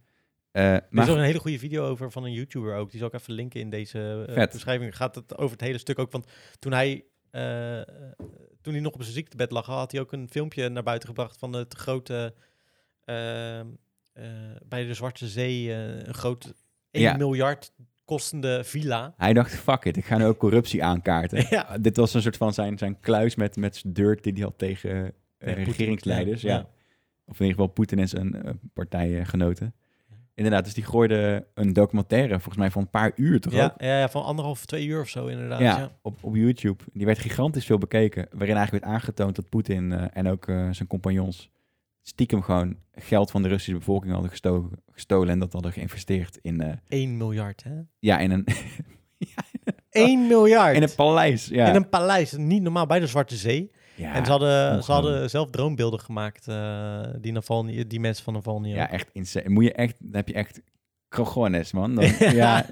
S1: Eh,
S2: Er is
S1: maar
S2: ook een hele goede video over van een YouTuber ook. Die zal ik even linken in deze eh,
S1: Vet.
S2: beschrijving. Gaat het over het hele stuk ook. Want toen hij, eh, eh, toen hij nog op zijn ziektebed lag, had hij ook een filmpje naar buiten gebracht van het grote, eh, eh, bij de Zwarte Zee, eh, een groot 1
S1: Ja.
S2: miljard kostende villa.
S1: Hij dacht, fuck it, ik ga nu ook corruptie aankaarten.
S2: Ja.
S1: Ah, Dit was een soort van zijn, zijn kluis met, met zijn dirt die hij had tegen eh,
S2: Tegen Poetin.
S1: regeringsleiders.
S2: Ja,
S1: Ja.
S2: ja.
S1: Of in ieder geval Poetin en zijn eh, partijgenoten. Inderdaad, dus die gooide een documentaire, volgens mij van een paar uur toch
S2: Ja,
S1: ook?
S2: ja, ja, van anderhalf, twee uur of zo inderdaad.
S1: Ja,
S2: ja.
S1: Op, op YouTube. Die werd gigantisch veel bekeken. Waarin eigenlijk werd aangetoond dat Poetin eh, en ook eh, zijn compagnons stiekem gewoon geld van de Russische bevolking hadden gestoken, gestolen en dat hadden geïnvesteerd in, eh,
S2: 1 miljard, hè?
S1: ja, in, een,
S2: 1 miljard!
S1: Oh, in een paleis. Ja.
S2: In een paleis, niet normaal, bij de Zwarte Zee.
S1: Ja.
S2: en ze hadden, ze
S1: ongelooflijk.
S2: hadden zelf droombeelden gemaakt, eh, die, Navalny, die mensen van Navalny. ook.
S1: Ja, echt insane. Moet je echt, dan heb je echt cojones, man. Dan, ja,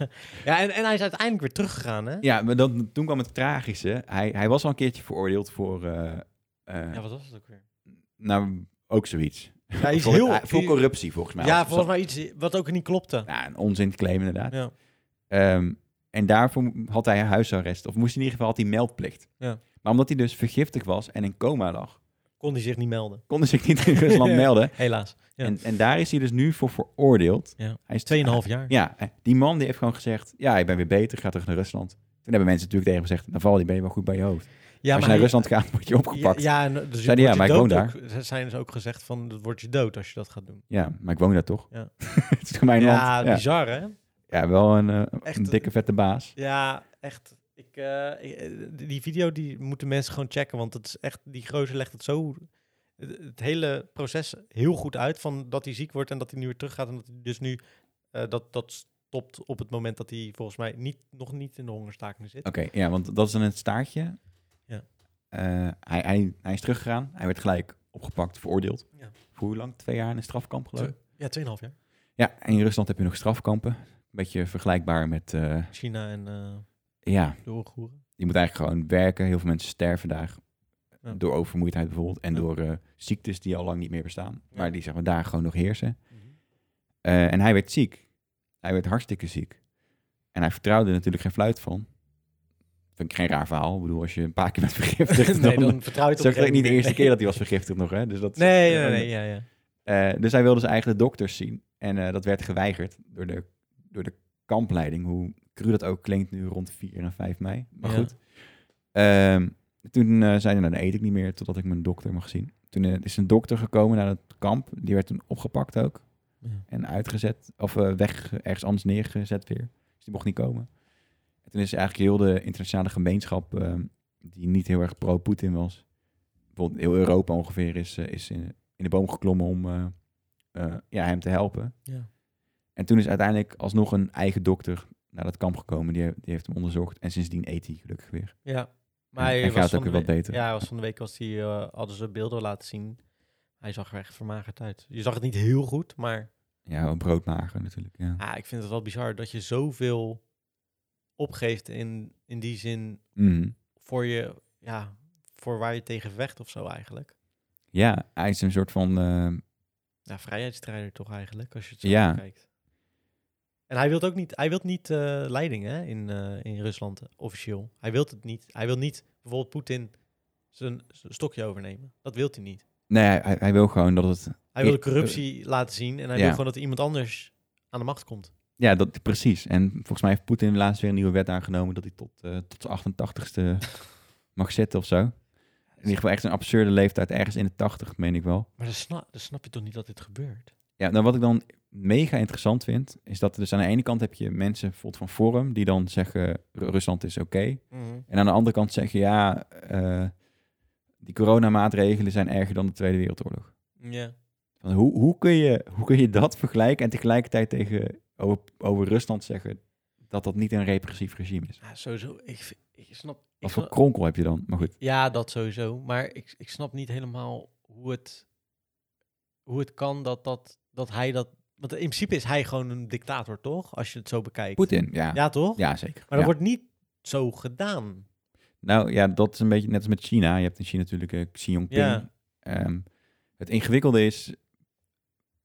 S2: ja en, en hij is uiteindelijk weer teruggegaan, hè?
S1: ja, maar dan, toen kwam het tragische. Hij, hij was al een keertje veroordeeld voor, eh, eh,
S2: Ja, wat was het ook weer?
S1: nou, ook zoiets.
S2: Ja, hij is
S1: voor,
S2: heel...
S1: eh, voor corruptie, volgens mij.
S2: ja,
S1: Of Nou, zo.
S2: volgens mij iets wat ook niet klopte.
S1: Ja, een onzin claim, inderdaad.
S2: Ja.
S1: Ehm, en daarvoor had hij huisarrest. Of moest hij in ieder geval, had hij meldplicht.
S2: Ja.
S1: Maar omdat hij dus vergiftigd was en in coma lag,
S2: Kon hij zich niet melden,
S1: kon hij zich niet in Rusland melden.
S2: helaas. Ja.
S1: En, en daar is hij dus nu voor veroordeeld.
S2: Ja.
S1: Hij is
S2: 2,5 jaar.
S1: Ja, eh, die man die heeft gewoon gezegd, ja, ik ben weer beter, ik ga terug naar Rusland. Toen hebben mensen natuurlijk tegen hem gezegd, Navalny, ben je wel goed bij je hoofd.
S2: Ja,
S1: als je naar Rusland gaat, word je
S2: ja,
S1: opgepakt. Ja,
S2: ja, en dus
S1: Zeiden, ja,
S2: wordt
S1: maar
S2: je
S1: ik woon
S2: dood ook- Ze zijn dus ook gezegd van, dat wordt je dood als je dat gaat doen.
S1: maar ik woon daar toch?
S2: Ja.
S1: het is toch mijn
S2: ja,
S1: land? Ja.
S2: bizar, hè?
S1: ja, wel een, eh,
S2: Echt,
S1: een
S2: eh,
S1: dikke vette baas.
S2: Ja, echt. Ik, eh, ik- eh, die video die moeten mensen gewoon checken, want het is echt, die gozer legt het zo, het, het hele proces heel goed uit van dat hij ziek wordt en dat hij nu weer teruggaat en dat hij dus nu eh, dat, dat stopt op het moment dat hij volgens mij niet, nog niet in de hongerstaking zit.
S1: Oké, ja, want dat is dan het staartje.
S2: Ja.
S1: Eh, hij, hij, hij is teruggegaan, hij werd gelijk opgepakt, veroordeeld.
S2: Ja.
S1: Voor hoe lang? Twee jaar in een strafkamp geloof ik?
S2: Ja, 2,5 jaar.
S1: Ja, en in Rusland heb je nog strafkampen. Beetje vergelijkbaar met, eh,
S2: China en eh
S1: ja,
S2: de Oeigoeren.
S1: je moet eigenlijk gewoon werken. Heel veel mensen sterven daar
S2: Ja.
S1: door oververmoeidheid bijvoorbeeld en
S2: Ja.
S1: door eh, ziektes die al lang niet meer bestaan,
S2: Ja.
S1: maar die zeg maar daar gewoon nog heersen. Eh, en hij werd ziek. Hij werd hartstikke ziek. En hij vertrouwde er natuurlijk geen fluit van. Vind ik geen raar verhaal. Ik bedoel, als je een paar keer bent vergiftigd,
S2: nee,
S1: dan,
S2: dan vertrouw je het
S1: is ook
S2: op een gegeven
S1: niet de
S2: moment.
S1: eerste keer dat hij was vergiftigd nog. Hè? Dus, dat,
S2: Nee, nee, nee, nee, ja, ja.
S1: Eh, dus hij wilde zijn eigen dokters zien. En eh, dat werd geweigerd door de, door de kampleiding. Hoe cru dat ook klinkt nu rond 4 en 5 mei. Maar
S2: Ja.
S1: goed. Ehm, toen eh zei hij, nou dan eet ik niet meer totdat ik mijn dokter mag zien. Toen eh, is een dokter gekomen naar het kamp. Die werd toen opgepakt ook.
S2: Ja.
S1: En uitgezet. Of eh, weg, ergens anders neergezet weer. Dus die mocht niet komen. En toen is eigenlijk heel de internationale gemeenschap... ehm, die niet heel erg pro-Poetin was. Bijvoorbeeld heel Europa ongeveer is, eh, is in, in de boom geklommen om eh, eh, ja, hem te helpen.
S2: Ja.
S1: En toen is uiteindelijk alsnog een eigen dokter naar dat kamp gekomen. Die, he- die heeft hem onderzocht. En sindsdien eet hij gelukkig weer.
S2: Ja.
S1: En-
S2: Maar hij,
S1: en
S2: was
S1: gaat
S2: van
S1: ook
S2: de
S1: weer
S2: we-
S1: wat beter.
S2: Ja, hij was van de week als hij, eh, hadden ze beelden laten zien. Hij zag er echt vermagerd uit. Je zag het niet heel goed, maar
S1: Ja, een broodmager natuurlijk. Ja.
S2: ah, ik vind het wel bizar dat je zoveel opgeeft in, in die zin
S1: Mhm.
S2: voor je, ja, voor waar je tegen vecht of zo eigenlijk.
S1: ja, hij is een soort van... eh,
S2: Ja, vrijheidsstrijder toch eigenlijk, als je het zo
S1: Ja.
S2: kijkt. En hij wil ook niet, hij wilt niet eh, leiding hè, in, eh, in Rusland eh, officieel. Hij wil het niet. Hij wil niet bijvoorbeeld Poetin zijn zijn stokje overnemen. Dat wil hij niet.
S1: nee, hij, hij wil gewoon dat het...
S2: Hij wil
S1: Ja,
S2: de corruptie laten zien en hij
S1: eh, ja.
S2: wil gewoon dat er iemand anders aan de macht komt.
S1: Ja, dat, precies. En volgens mij heeft Poetin laatst weer een nieuwe wet aangenomen dat hij tot, eh, tot zijn 88ste mag zitten of zo. In ieder geval echt een absurde leeftijd, ergens in de 80, meen ik wel.
S2: Maar dan snap, dan snap je toch niet dat dit gebeurt?
S1: Ja, nou wat ik dan mega interessant vind, is dat er dus aan de ene kant heb je mensen bijvoorbeeld van Forum die dan zeggen Ru- Rusland is oké.
S2: Mhm.
S1: En aan de andere kant zeggen ja, eh, die coronamaatregelen zijn erger dan de Tweede Wereldoorlog.
S2: Ja.
S1: Van hoe, hoe, kun je, hoe kun je dat vergelijken en tegelijkertijd tegen over, over Rusland zeggen dat dat niet een repressief regime is?
S2: ja sowieso. Ik, vind- ik snap... Ik
S1: Wat voor
S2: snap-
S1: kronkel heb je dan? Maar goed.
S2: Ja, dat sowieso. Maar ik, ik snap niet helemaal hoe het, hoe het kan dat, dat, dat hij dat... Want in principe is hij gewoon een dictator, toch? Als je het zo bekijkt.
S1: Poetin, ja. ja.
S2: Ja, toch?
S1: zeker.
S2: Maar dat
S1: Ja.
S2: wordt niet zo gedaan.
S1: Nou ja, dat is een beetje net als met China. Je hebt in China natuurlijk eh, Xi Jinping.
S2: Ja.
S1: Ehm, het ingewikkelde is,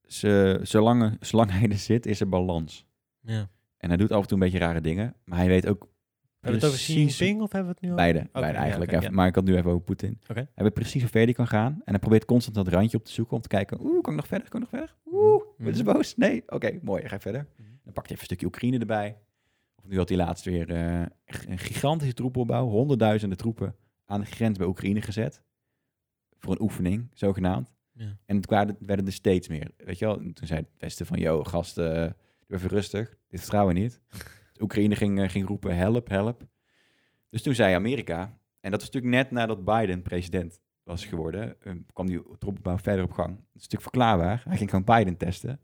S1: ze, zolang, zolang hij er zit, is er balans.
S2: Ja.
S1: En hij doet af en toe een beetje rare dingen, maar hij weet ook
S2: Hebben we het over Xi
S1: precies-
S2: Jinping of hebben we het nu over...
S1: Beide,
S2: ja,
S1: beide eigenlijk.
S2: oké,
S1: Even-
S2: ja.
S1: Maar ik had het nu even over Poetin.
S2: Oké.
S1: Hij weet precies hoe ver hij kan gaan. En hij probeert constant dat randje op te zoeken om te kijken. Oeh, kan ik nog verder? Kan ik nog verder? Oeh,
S2: Mhm.
S1: worden ze boos? Nee? Oké, mooi. Dan ga ik verder.
S2: Mhm.
S1: Dan pakt hij even een stukje Oekraïne erbij. Of nu had hij laatst weer eh, echt een gigantische troepenopbouw. Honderdduizenden troepen aan de grens bij Oekraïne gezet. Voor een oefening, zogenaamd.
S2: Ja.
S1: En het kwamen- werden er steeds meer. Weet je wel? En Toen zei het Westen van, yo, gasten, eh, doe even rustig. Dit vertrouwen we niet. Oekraïne ging, eh, ging roepen, help, help. Dus toen zei Amerika, en dat was natuurlijk net nadat Biden president was geworden, eh, kwam die troepenbouw verder op gang. Dat is natuurlijk verklaarbaar. Hij ging gewoon Biden testen.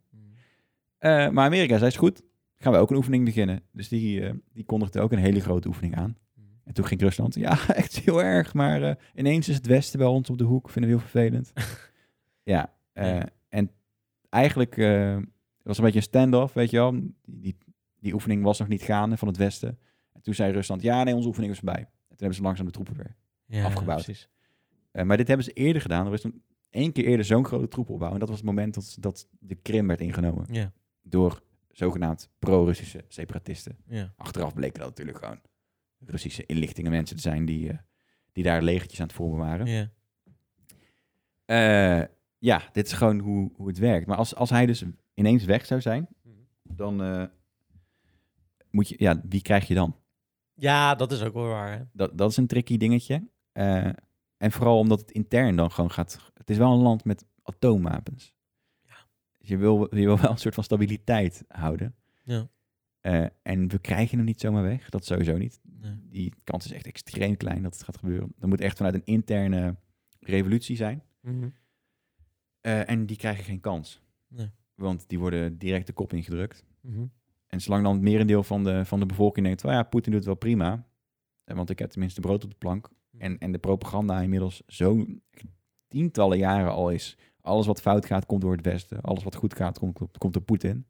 S1: Eh, maar Amerika zei, is goed, gaan we ook een oefening beginnen. Dus die, eh, die kondigde ook een hele grote oefening aan. En toen ging Rusland, ja, echt heel erg, maar eh, ineens is het Westen bij ons op de hoek, vinden we heel vervelend. ja, eh,
S2: Ja.
S1: en eigenlijk eh, was een beetje een standoff, weet je wel. Die, die oefening was nog niet gaande van het Westen. En toen zei Rusland, ja, nee, onze oefening is voorbij. En toen hebben ze langzaam de troepen weer.
S2: Ja,
S1: afgebouwd.
S2: precies.
S1: Eh, maar dit hebben ze eerder gedaan. Er is een, één keer eerder zo'n grote troepenopbouw. En dat was het moment dat, dat de Krim werd ingenomen
S2: Ja,
S1: door zogenaamd pro-Russische separatisten.
S2: ja.
S1: Achteraf bleken dat natuurlijk gewoon Russische inlichtingenmensen te zijn die, eh, die daar legertjes aan het vormen waren.
S2: ja.
S1: Eh, ja, dit is gewoon hoe, hoe het werkt. Maar als, als hij dus ineens weg zou zijn,
S2: Mhm.
S1: dan eh, moet je, ja, wie krijg je dan?
S2: Ja, dat is ook wel waar. Hè?
S1: Dat, dat is een tricky dingetje. Eh, en vooral omdat het intern dan gewoon gaat. Het is wel een land met atoomwapens. Dus je wil, je wil wel een soort van stabiliteit houden.
S2: Ja.
S1: Eh, en we krijgen hem niet zomaar weg. Dat sowieso niet.
S2: Nee.
S1: Die kans is echt extreem klein dat het gaat gebeuren. Dat moet echt vanuit een interne revolutie zijn.
S2: Mhm.
S1: Eh, en die krijgen geen kans.
S2: Nee.
S1: Want die worden direct de kop ingedrukt.
S2: Mhm.
S1: En zolang dan het merendeel van de, van de bevolking denkt... "Wel ja, Poetin doet het wel prima. eh, Want ik heb tenminste brood op de plank. En, en de propaganda inmiddels zo tientallen jaren al is... alles wat fout gaat, komt door het Westen. Alles wat goed gaat, komt, komt door Poetin.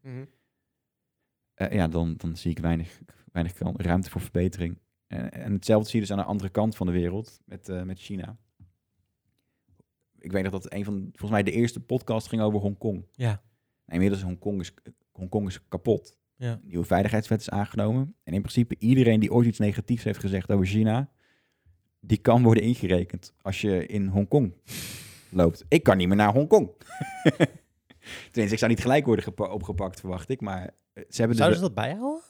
S1: Eh, ja, dan, dan zie ik weinig, weinig kan- ruimte voor verbetering. En, en hetzelfde zie je dus aan de andere kant van de wereld met, eh, met China. Ik weet nog dat een van, volgens mij de eerste podcast ging over Hongkong.
S2: Ja.
S1: En inmiddels is Hongkong is, Hongkong is kapot.
S2: Ja.
S1: Een Nieuwe veiligheidswet is aangenomen. En in principe iedereen die ooit iets negatiefs heeft gezegd over China, die kan worden ingerekend als je in Hongkong loopt. Ik kan niet meer naar Hongkong. Tenminste, ik zou niet gelijk worden gepa- opgepakt, verwacht ik. Maar eh, ze hebben dus...
S2: Zouden ze dat bijhouden?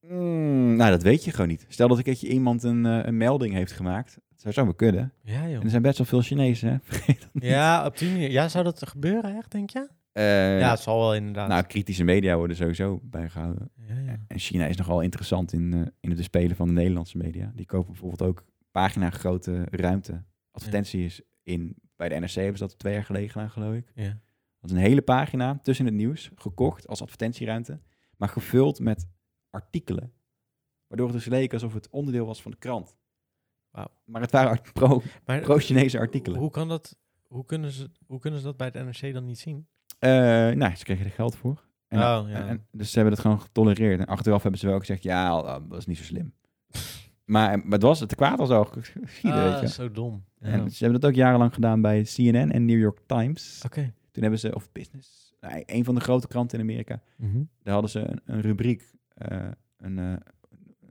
S1: Mm, nou, dat weet je gewoon niet. Stel dat een keertje iemand een, eh, een melding heeft gemaakt. Dat zou zomaar kunnen.
S2: Ja,
S1: En
S2: joh.
S1: er zijn best wel veel Chinezen, hè? Vergeet dat niet.
S2: Ja, op die manier. Ja, zou dat gebeuren echt, denk je?
S1: Eh,
S2: ja, het zal wel inderdaad.
S1: nou, kritische media worden sowieso bijgehouden.
S2: ja, ja.
S1: En China is nogal interessant in, eh, in het bespelen van de Nederlandse media. Die kopen bijvoorbeeld ook pagina grote ruimte. Advertenties in, bij de NRC hebben ze dat twee jaar geleden gedaan, geloof ik.
S2: Ja.
S1: Dat is een hele pagina tussen het nieuws, gekocht als advertentieruimte, maar gevuld met artikelen. Waardoor het dus leek alsof het onderdeel was van de krant.
S2: Wauw.
S1: Maar het waren art- pro-
S2: Maar
S1: pro-Chinese artikelen.
S2: Hoe, kan dat, hoe, kunnen ze, hoe kunnen ze dat bij het NRC dan niet zien?
S1: Eh, nou, ze kregen er geld voor. En,
S2: Oh, ja.
S1: en- en- dus ze hebben dat gewoon getolereerd. En achteraf hebben ze wel gezegd, ja, eh, dat is niet zo slim. maar, maar het was het kwaad als al geschieden,
S2: Ah,
S1: weet je.
S2: zo dom. Ja.
S1: En ze hebben dat ook jarenlang gedaan bij CNN en New York Times.
S2: Oké.
S1: Toen hebben ze, of Business, nou, een van de grote kranten in Amerika,
S2: Mhm.
S1: daar hadden ze een, een rubriek, eh, een, eh,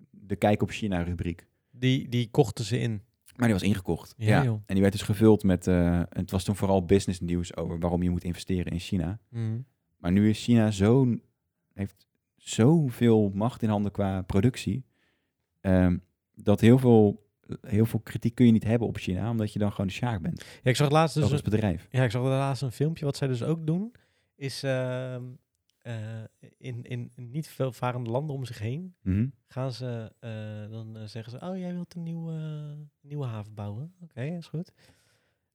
S1: de Kijk op China rubriek.
S2: Die, die kochten ze in.
S1: Maar die was ingekocht.
S2: Ja,
S1: Ja.
S2: joh.
S1: En die werd dus gevuld met, eh, het was toen vooral business
S2: Mhm.
S1: nieuws over waarom je moet investeren in China. Maar nu is China zo'n, heeft zoveel macht in handen qua productie. ehm, dat heel veel, heel veel kritiek kun je niet hebben op China, omdat je dan gewoon de sjaak bent.
S2: Ja, ik zag laatst dus
S1: als
S2: een-
S1: bedrijf.
S2: Ja, ik zag laatst een filmpje. Wat zij dus ook doen, is ehm, eh, in, in niet veelvarende landen om zich heen
S1: Mhm.
S2: gaan ze, eh, dan eh, zeggen ze, oh jij wilt een nieuwe, nieuwe haven bouwen. Oké, is goed.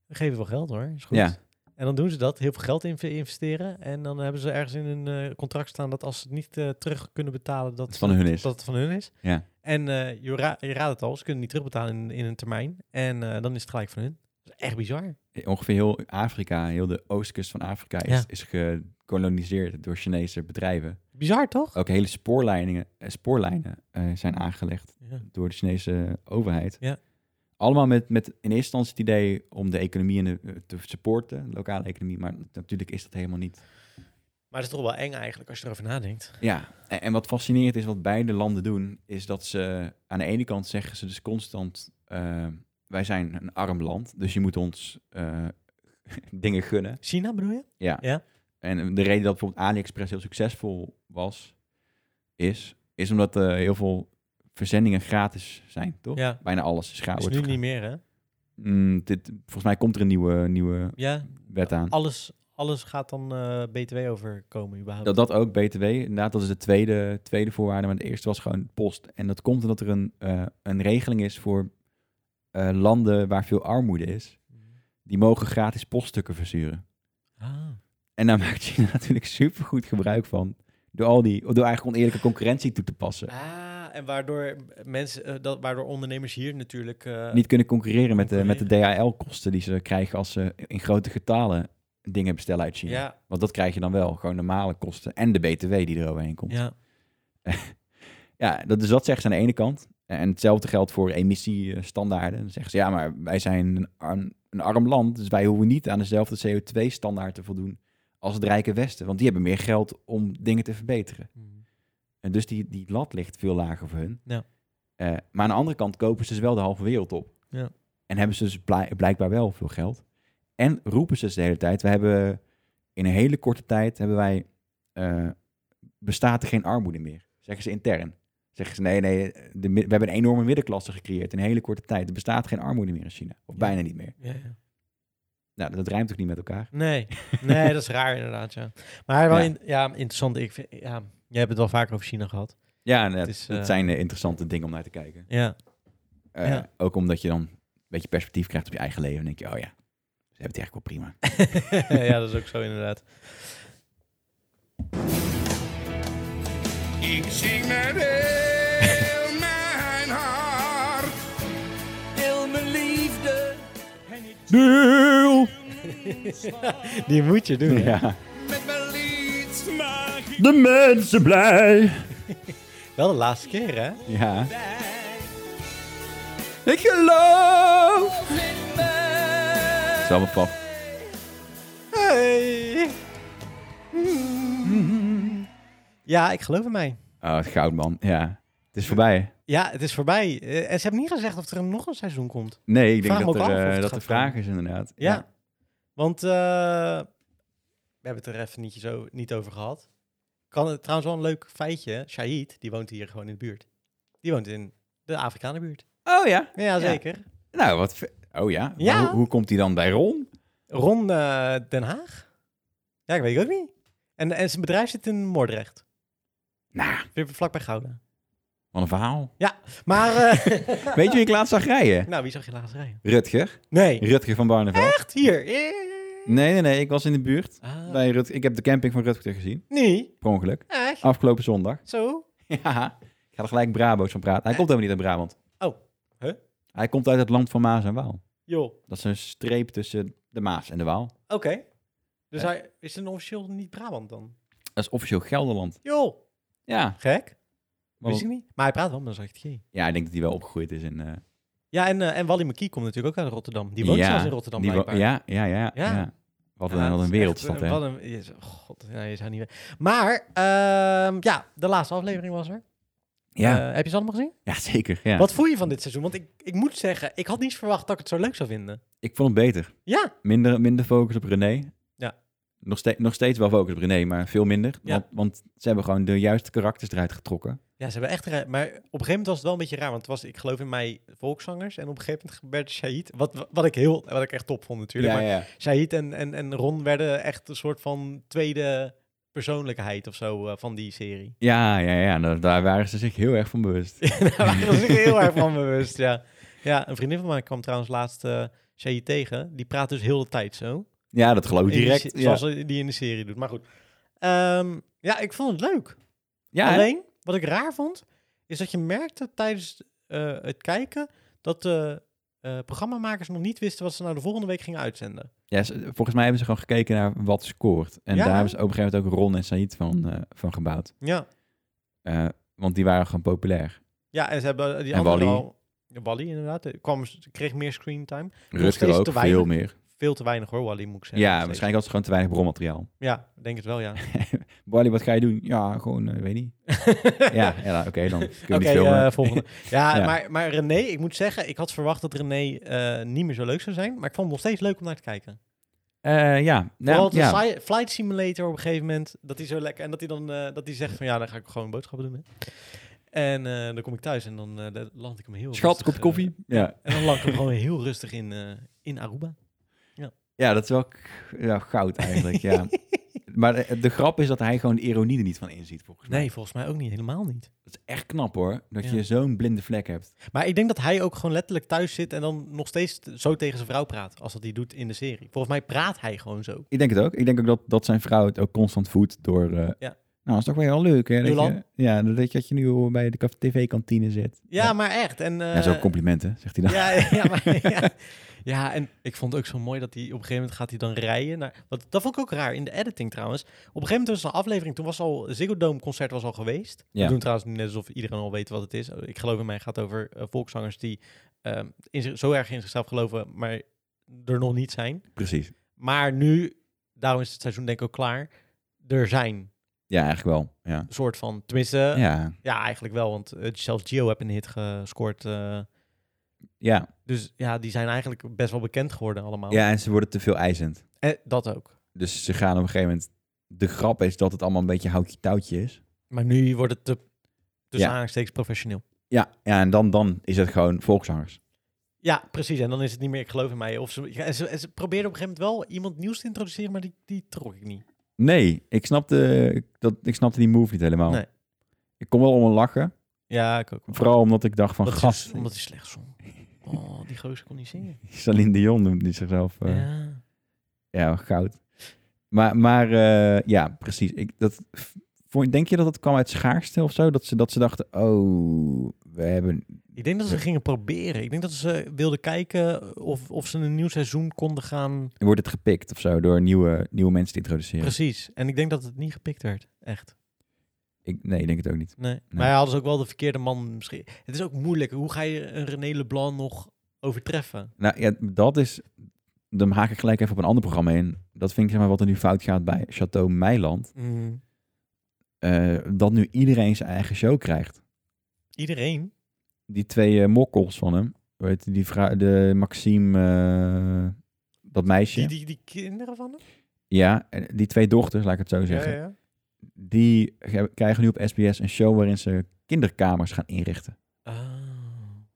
S2: We geven wel geld hoor, is goed.
S1: Ja.
S2: En dan doen ze dat, heel veel geld in investeren. En dan hebben ze ergens in hun eh, contract staan dat als ze het niet eh, terug kunnen betalen, dat
S1: Het van hun is.
S2: Dat het van hun is.
S1: Ja.
S2: En eh, je, ra- je raadt het al, ze kunnen niet terugbetalen in, in een termijn. En eh, dan is het gelijk van hun. Dat is echt bizar.
S1: Eh, Ongeveer heel Afrika, heel de oostkust van Afrika is,
S2: Ja.
S1: is gekoloniseerd door Chinese bedrijven.
S2: Bizar toch?
S1: Ook hele spoorlijnen, eh, spoorlijnen eh, zijn aangelegd.
S2: Ja.
S1: door de Chinese overheid.
S2: Ja.
S1: Allemaal met, met in eerste instantie het idee om de economie en de, eh, te supporten, de lokale economie, maar natuurlijk is dat helemaal niet.
S2: Maar het is toch wel eng eigenlijk als je erover nadenkt.
S1: Ja, en, en wat fascinerend is wat beide landen doen, is dat ze aan de ene kant zeggen ze dus constant, eh, wij zijn een arm land, dus je moet ons eh, dingen gunnen.
S2: China bedoel je?
S1: Ja.
S2: Ja.
S1: En de reden dat bijvoorbeeld AliExpress heel succesvol was, is, is omdat eh, heel veel verzendingen gratis zijn, toch?
S2: Ja.
S1: Bijna alles is gratis.
S2: is nu niet meer hè?
S1: Mm, dit, volgens mij komt er een nieuwe, nieuwe
S2: Ja,
S1: wet aan.
S2: alles, alles gaat dan eh, BTW overkomen überhaupt.
S1: Dat, dat ook, BTW. Inderdaad, dat is de tweede, tweede voorwaarde. Maar de eerste was gewoon post. En dat komt omdat er een, eh, een regeling is voor eh, landen waar veel armoede is. Die mogen gratis poststukken versturen.
S2: Ah.
S1: En daar maakt China natuurlijk supergoed gebruik van. Door, al die, door eigenlijk oneerlijke concurrentie toe te passen.
S2: Ah, en waardoor mensen, eh, dat, waardoor ondernemers hier natuurlijk... eh,
S1: Niet kunnen concurreren met de, met de DHL-kosten die ze krijgen als ze in grote getalen dingen bestellen uit China.
S2: Ja,
S1: Want dat krijg je dan wel. Gewoon normale kosten. En de BTW die er overheen komt.
S2: ja.
S1: Ja, dat, dus dat zeggen ze aan de ene kant. En hetzelfde geldt voor emissiestandaarden. Dan zeggen ze, ja, maar wij zijn een arm, een arm land, dus wij hoeven niet aan dezelfde CO2-standaard te voldoen als het rijke Westen. Want die hebben meer geld om dingen te verbeteren. En dus die, die lat ligt veel lager voor hun.
S2: Ja.
S1: Eh, maar aan de andere kant kopen ze dus wel de halve wereld op.
S2: Ja.
S1: En hebben ze dus bla- blijkbaar wel veel geld. En roepen ze dus de hele tijd. We hebben in een hele korte tijd hebben wij eh, bestaat er geen armoede meer. Zeggen ze intern. Zeggen ze nee, nee, de, mi- we hebben een enorme middenklasse gecreëerd in een hele korte tijd. Er bestaat geen armoede meer in China. Of
S2: Ja.
S1: bijna niet meer.
S2: Ja, ja.
S1: Nou, dat, dat rijmt ook niet met elkaar.
S2: Nee, nee, dat is raar inderdaad, ja. Maar wel
S1: Ja.
S2: in- ja, interessant. Ik vind, ja, jij hebt het wel vaker over China gehad.
S1: Ja, en dat,
S2: is,
S1: dat
S2: eh,
S1: zijn eh, interessante dingen om naar te kijken.
S2: Ja,
S1: Eh,
S2: Ja.
S1: Ook omdat je dan een beetje perspectief krijgt op je eigen leven. Dan denk je, oh ja, ze hebben het eigenlijk wel prima.
S2: ja dat is ook zo inderdaad.
S6: Ik zing met heel mijn hart, heel mijn liefde.
S1: Deel!
S2: Die moet je doen, ja.
S1: Ja.
S6: Met mijn lied maak ik
S1: De mensen blij!
S2: Wel de laatste keer, hè?
S1: Ja. Ik geloof!
S6: in mij.
S1: Dat is allemaal pap.
S2: Hey. Ja, ik geloof in mij.
S1: Oh, het goud, man. Ja. Het is voorbij.
S2: Ja, het is voorbij. Eh, En ze hebben niet gezegd of er nog een seizoen komt.
S1: Nee, ik denk
S2: Vraag me
S1: dat
S2: ook af of
S1: er,
S2: het
S1: eh, dat
S2: gaat
S1: er vraag is, inderdaad.
S2: Ja. Want eh, we hebben het er even niet, zo, niet over gehad. Kan het trouwens wel een leuk feitje. Shahid, die woont hier gewoon in de buurt. Die woont in de Afrikanenbuurt.
S1: Oh ja.
S2: Ja, zeker.
S1: Nou, wat... ver- Oh ja? Maar
S2: Ja.
S1: Hoe, hoe komt hij dan bij Ron?
S2: Ron eh, Den Haag? Ja, ik weet het ook niet. En, en zijn bedrijf zit in Moordrecht.
S1: Nou,
S2: Weer vlakbij Gouda.
S1: wat een verhaal.
S2: Maar, eh,
S1: Weet je wie ik laatst zag rijden?
S2: nou, wie zag je laatst rijden?
S1: Rutger.
S2: Nee.
S1: Rutger van Barneveld.
S2: Echt hier? Eh.
S1: Nee, nee, nee. Ik was in de buurt.
S2: Ah.
S1: Bij Rut... Ik heb de camping van Rutger gezien.
S2: Nee,
S1: Per ongeluk.
S2: echt?
S1: Afgelopen zondag.
S2: Zo?
S1: Ja, ik ga er gelijk Brabo's van praten. Hij komt helemaal niet uit Brabant.
S2: Oh, huh?
S1: Hij komt uit het land van Maas en Waal.
S2: Joh, oké.
S1: Dat is een streep tussen de Maas en de Waal.
S2: Dus
S1: Ja.
S2: hij is een officieel niet Brabant dan?
S1: Dat is officieel Gelderland.
S2: Joh,
S1: Ja.
S2: gek.
S1: want-
S2: Wist ik niet. Maar hij praat wel met een zacht G.
S1: ja, ik denk dat hij wel opgegroeid is in... eh,
S2: Ja, en, eh, en Wally McKee komt natuurlijk ook uit Rotterdam. Die woont
S1: ja,
S2: zelfs in Rotterdam
S1: die wo-
S2: blijkbaar.
S1: Ja, ja, ja. ja.
S2: Ja.
S1: Wat,
S2: Ja,
S1: een, wat
S2: dat
S1: een
S2: is
S1: wereldstad,
S2: echt, eh,
S1: hè?
S2: Wat een... je- God, nou, je zou niet... we- Maar, ehm, ja, de laatste aflevering was er.
S1: Ja,
S2: Eh, heb je ze allemaal gezien?
S1: ja, zeker. Ja.
S2: Wat voel je van dit seizoen? Want ik, ik moet zeggen, ik had niet verwacht dat ik het zo leuk zou vinden.
S1: Ik vond het beter.
S2: Ja,
S1: Minder, minder focus op René.
S2: Ja.
S1: Nog, ste- nog steeds wel focus op René, maar veel minder.
S2: Ja.
S1: Want, want ze hebben gewoon de juiste karakters eruit getrokken.
S2: Ja, ze hebben echt... ra- Maar op een gegeven moment was het wel een beetje raar. Want het was, ik geloof in mij, volkszangers. En op een gegeven moment werd Shahid... Wat, wat, ik, heel, wat ik echt top vond natuurlijk. maar
S1: ja.
S2: Shahid en, en, en Ron werden echt een soort van tweede persoonlijkheid of zo eh, van die serie.
S1: Ja, ja, ja. Daar, daar waren ze zich heel erg van bewust.
S2: Daar waren ze zich heel erg van bewust, ja. Ja, een vriendin van mij kwam trouwens laatst eh Shahid tegen. Die praat dus heel de tijd zo.
S1: Ja, dat geloof ik
S2: In die
S1: direct.
S2: se-
S1: Ja,
S2: Zoals die in de serie doet. Maar goed. Ehm, ja, ik vond het leuk.
S1: ja hè?
S2: Alleen, wat ik raar vond, is dat je merkte tijdens eh, het kijken dat de eh, programmamakers nog niet wisten wat ze nou de volgende week gingen uitzenden.
S1: Ja, ze- volgens mij hebben ze gewoon gekeken naar wat scoort. En
S2: Ja.
S1: daar hebben ze op een gegeven moment ook Ron en Said van, eh, van gebouwd.
S2: Ja,
S1: Eh, want die waren gewoon populair.
S2: ja en ze hebben die
S1: En
S2: andere
S1: Wall-E.
S2: al... Ja, Wally inderdaad, eh, kwam, kreeg meer screen time. steeds
S1: Rutger ook,
S2: te
S1: veel
S2: weinig.
S1: meer.
S2: Veel te weinig hoor, Wally moet
S1: Ja,
S2: ik zeggen. nog steeds.
S1: waarschijnlijk had ze gewoon te weinig bronmateriaal.
S2: Ja, ik denk het wel, ja.
S1: Wally, wat ga je doen? Ja, gewoon, eh, weet niet. Ja, ja oké, dan kun je
S2: Oké,
S1: niet filmen.
S2: eh, volgende. Ja,
S1: Ja.
S2: Maar, maar René, ik moet zeggen, ik had verwacht dat René eh, niet meer zo leuk zou zijn, maar ik vond hem nog steeds leuk om naar te kijken.
S1: Eh, ja,
S2: Vooral
S1: nou,
S2: de
S1: ja.
S2: fly- flight simulator op een gegeven moment. Dat hij zo lekker. En dat hij dan eh, dat hij zegt van ja, dan ga ik gewoon boodschappen doen. Hè. En eh, dan kom ik thuis en dan eh, dan land ik hem heel
S1: Schat,
S2: rustig,
S1: kop
S2: eh,
S1: koffie. Ja.
S2: en dan land ik hem gewoon heel rustig in, eh, in Aruba.
S1: ja, dat is wel k- ja, goud eigenlijk, ja. Maar eh, de, de grap is dat hij gewoon de ironie er niet van inziet, volgens mij.
S2: Nee, volgens mij ook niet. Helemaal niet.
S1: Dat is echt knap hoor, dat
S2: Ja.
S1: je zo'n blinde vlek hebt.
S2: Maar ik denk dat hij ook gewoon letterlijk thuis zit en dan nog steeds t- zo tegen zijn vrouw praat. Als dat hij doet in de serie. Volgens mij praat hij gewoon zo.
S1: Ik denk het ook. Ik denk ook dat, dat zijn vrouw het ook constant voedt door... eh,
S2: Ja.
S1: Nou, is toch wel heel leuk, hè? Dat
S2: Jolan?
S1: je, ja, dat je, dat je nu bij de kaf- tv-kantine zit.
S2: Ja, maar echt. En, eh,
S1: ja, zo complimenten, zegt hij dan.
S2: Ja, ja, maar, ja. ja, en ik vond het ook zo mooi dat hij op een gegeven moment gaat hij dan rijden. Naar, want dat vond ik ook raar in de editing trouwens. Op een gegeven moment was er een aflevering, toen was al Ziggo Dome concert was al geweest.
S1: Ja.
S2: We doen trouwens net alsof iedereen al weet wat het is. Ik geloof in mij gaat over eh, volkszangers die ehm, in zich, zo erg in zichzelf geloven, maar er nog niet zijn.
S1: Precies.
S2: Maar nu, daarom is het seizoen denk ik ook klaar, er zijn
S1: Ja, eigenlijk wel. Ja.
S2: een soort van, tenminste, ja,
S1: Ja,
S2: eigenlijk wel. Want eh, zelfs Gio heeft een hit gescoord. eh,
S1: ja.
S2: dus ja, die zijn eigenlijk best wel bekend geworden allemaal.
S1: ja, en ze worden te veel eisend.
S2: Eh, dat ook.
S1: Dus ze gaan op een gegeven moment... De grap is dat het allemaal een beetje houtje-touwtje is.
S2: Maar nu wordt het te, tussen
S1: Ja.
S2: aanhalingstekens professioneel.
S1: Ja, ja en dan, dan is het gewoon volkszangers.
S2: Ja, precies. En dan is het niet meer, ik geloof in mij. Of ze, ja, en ze, en ze probeerden op een gegeven moment wel iemand nieuws te introduceren, maar die, die trok ik niet.
S1: Nee, ik snapte, dat, ik snapte die move niet helemaal.
S2: Nee.
S1: Ik kon wel om een lachen.
S2: Ja, ik ook wel.
S1: Vooral omdat ik dacht van,
S2: Omdat ze-
S1: gast,
S2: Omdat hij slecht zong. Oh, die gozer kon niet zingen.
S1: Celine Dion noemt die zichzelf... eh,
S2: Ja.
S1: Ja, goud. Maar, maar eh, ja, precies. Ik, dat, vond, denk je dat dat kwam uit schaarste of zo? Dat ze, dat ze dachten, oh, we hebben...
S2: Ik denk dat ze gingen proberen. Ik denk dat ze wilden kijken of, of ze een nieuw seizoen konden gaan.
S1: Wordt het gepikt of zo door nieuwe, nieuwe mensen te introduceren?
S2: Precies. En ik denk dat het niet gepikt werd. Echt.
S1: Ik, nee, ik denk het ook niet.
S2: Nee. Maar ja, hadden ze ook wel de verkeerde man misschien. Het is ook moeilijk. Hoe ga je een René Leblanc nog overtreffen?
S1: Nou ja, dat is... Dan haak ik gelijk even op een ander programma in. Dat vind ik zeg maar wat er nu fout gaat bij Chateau Meiland. Eh, dat nu iedereen zijn eigen show krijgt.
S2: Iedereen.
S1: Die twee eh, mokkels van hem. Hoe heet die, die vrou- de Maxime, eh, dat meisje.
S2: Die, die, die kinderen van hem?
S1: Ja, en die twee dochters, laat ik het zo zeggen. die ge- krijgen nu op SBS een show waarin ze kinderkamers gaan inrichten.
S2: Ah.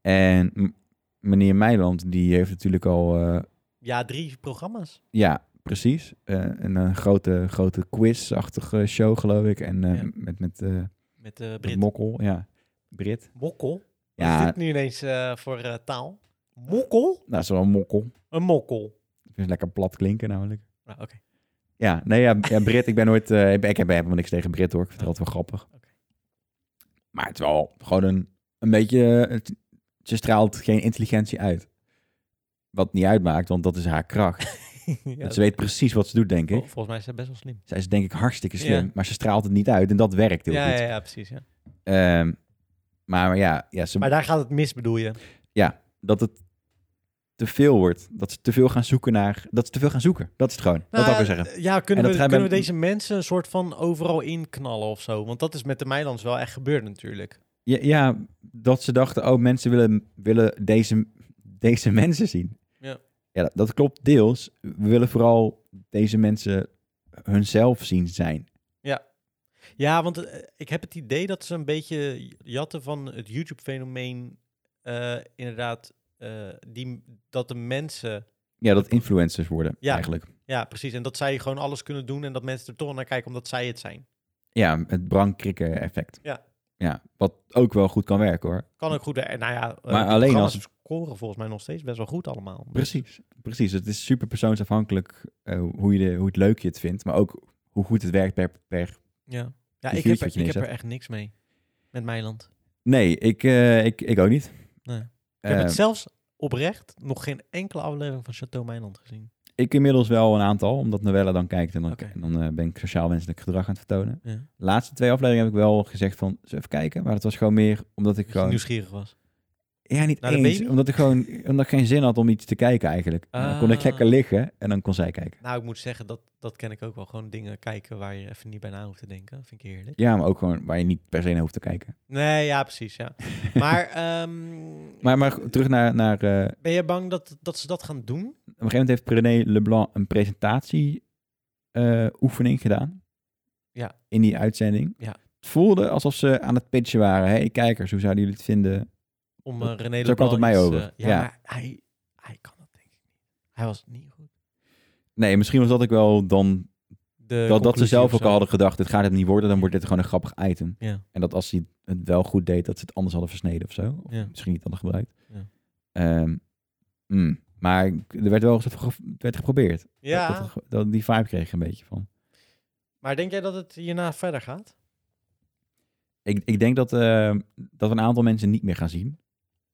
S1: En m- meneer Meiland, die heeft natuurlijk al, eh,
S2: Ja, drie programma's.
S1: ja, precies, eh, een, eh, grote, grote quiz-achtige show, geloof ik. En eh,
S2: Ja.
S1: met, met, eh,
S2: Met eh
S1: met
S2: Brit.
S1: Mokkel, ja. Brit.
S2: mokkel. Wat is
S1: Ja,
S2: dit nu ineens eh, voor eh, taal? Mokkel?
S1: nou, is wel een mokkel.
S2: Een mokkel.
S1: Dat is lekker plat klinken namelijk.
S2: Nou, oké.
S1: Ja, nee, ja, ja Brit, ik ben nooit, eh, ik, ben- ik heb helemaal niks tegen Brit hoor. Ik vind het altijd wel grappig.
S2: Oké.
S1: Maar het is wel gewoon een, een beetje, eh, het, ze straalt geen intelligentie uit. Wat niet uitmaakt, want dat is haar kracht.
S2: Ja,
S1: Want ze weet precies wat ze doet, denk
S2: vol-
S1: ik.
S2: volgens mij is ze best wel slim.
S1: Zij is denk ik hartstikke slim,
S2: Ja.
S1: maar ze straalt het niet uit en dat werkt heel
S2: Ja,
S1: goed.
S2: ja, ja, precies. Ja.
S1: Ehm, maar, maar ja, ja, ze,
S2: Maar daar gaat het mis, bedoel je?
S1: ja, dat het te veel wordt. Dat ze te veel gaan zoeken naar... Dat ze te veel gaan zoeken. Dat is het gewoon. dat
S2: Nou,
S1: wil ik zeggen.
S2: Ja, kunnen,
S1: En
S2: we,
S1: dat gaan
S2: kunnen we
S1: we-
S2: deze mensen een soort van overal inknallen of zo? Want dat is met de Meilands wel echt gebeurd natuurlijk.
S1: Ja, ja, dat ze dachten, oh, mensen willen, willen deze, deze mensen zien.
S2: Ja.
S1: ja dat, dat klopt deels. We willen vooral deze mensen hunzelf zien zijn.
S2: Ja, want eh, ik heb het idee dat ze een beetje jatten van het YouTube-fenomeen. eh, inderdaad, eh, die, dat de mensen.
S1: Ja, dat influencers worden
S2: Ja.
S1: eigenlijk.
S2: Ja, precies. En dat zij gewoon alles kunnen doen en dat mensen er toch naar kijken omdat zij het zijn.
S1: Ja, het brankrikken effect.
S2: Ja.
S1: ja. Wat ook wel goed kan werken hoor.
S2: Kan ook goed. eh, Nou ja, eh,
S1: Maar
S2: die
S1: alleen
S2: programma's
S1: als-
S2: scoren volgens mij nog steeds best wel goed allemaal.
S1: Precies, precies. Het is super persoonsafhankelijk eh, hoe, je de, hoe het leuk je het vindt, maar ook hoe goed het werkt per... per...
S2: Ja, ja
S1: Die
S2: ik, heb
S1: vuurtje
S2: er,
S1: wat je
S2: ik heb er
S1: neerzet.
S2: echt niks mee. Met Meiland.
S1: Nee, ik, eh, ik, ik ook niet.
S2: Nee. Ik Ik heb
S1: Eh,
S2: het zelfs oprecht nog geen enkele aflevering van Chateau Meiland gezien.
S1: ik inmiddels wel een aantal, omdat Novella dan kijkt en dan,
S2: Oké.
S1: en dan eh, ben ik sociaal wenselijk gedrag aan het vertonen.
S2: Ja.
S1: De laatste twee afleveringen heb ik wel gezegd van, eens even kijken, maar het was gewoon meer omdat ik
S2: Dat je
S1: gewoon...
S2: nieuwsgierig was.
S1: Ja, niet
S2: Naar de
S1: eens,
S2: baby?
S1: omdat ik gewoon omdat ik geen zin had om iets te kijken eigenlijk. En Dan kon ik
S2: Ah.
S1: lekker liggen en dan kon zij kijken.
S2: Nou, ik moet zeggen, dat, dat ken ik ook wel. Gewoon dingen kijken waar je even niet bij na hoeft te denken. Vind ik heerlijk.
S1: Ja, maar ook gewoon waar je niet per se naar hoeft te kijken.
S2: Nee, ja, precies, ja. Maar, ehm,
S1: Maar, maar goed, terug naar, naar eh,
S2: ben je bang dat, dat ze dat gaan doen?
S1: op een gegeven moment heeft René Leblanc een presentatieoefening gedaan.
S2: Ja.
S1: In die uitzending.
S2: Ja.
S1: Het voelde alsof ze aan het pitchen waren. hey, kijkers, hoe zouden jullie het vinden?
S2: Om
S1: Dat-
S2: eh, René
S1: zo kwam het
S2: Leblanc
S1: mij
S2: iets,
S1: over.
S2: eh, ja,
S1: Ja.
S2: maar hij, hij kan dat denk ik niet. Hij was niet goed.
S1: Nee, misschien was dat ik wel dan...
S2: De
S1: Dat, dat ze
S2: conclusie
S1: zelf
S2: of
S1: ook
S2: zo.
S1: al hadden gedacht, dit gaat het niet worden, dan wordt dit gewoon een grappig item.
S2: Ja.
S1: En dat als hij het wel goed deed, dat ze het anders hadden versneden of zo. Of
S2: Ja.
S1: misschien niet hadden gebruikt.
S2: Ja.
S1: Ehm, mm, maar er werd wel eens even ge- het werd geprobeerd.
S2: Ja,
S1: Dat, dat, dat- die vibe kreeg ik een beetje van.
S2: maar denk jij dat het hierna verder gaat?
S1: Ik, ik denk dat, eh, dat we een aantal mensen niet meer gaan zien.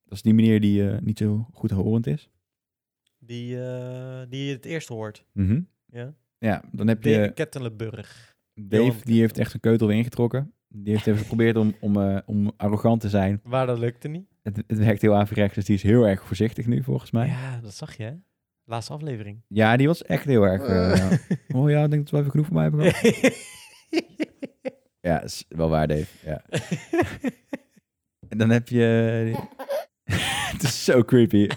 S1: Dat is die meneer die eh, niet zo goed horend is.
S2: Die, eh, die je het eerst hoort. Ja.
S1: ja, dan heb
S2: De
S1: je
S2: Kettelenburg. Johan
S1: Dave, die heeft echt zijn keutel weer ingetrokken. Die heeft even geprobeerd om, om, eh, om arrogant te zijn.
S2: Maar dat lukte niet.
S1: Het, het werkt heel averechts, dus die is heel erg voorzichtig nu volgens mij. Ja,
S2: Ja, dat zag je hè? Laatste aflevering.
S1: die was echt heel erg... eh, oh ja, ik denk dat we even genoeg van mij hebben gehad. ja, is wel waar Dave. Ja. En dan heb je... het is zo creepy.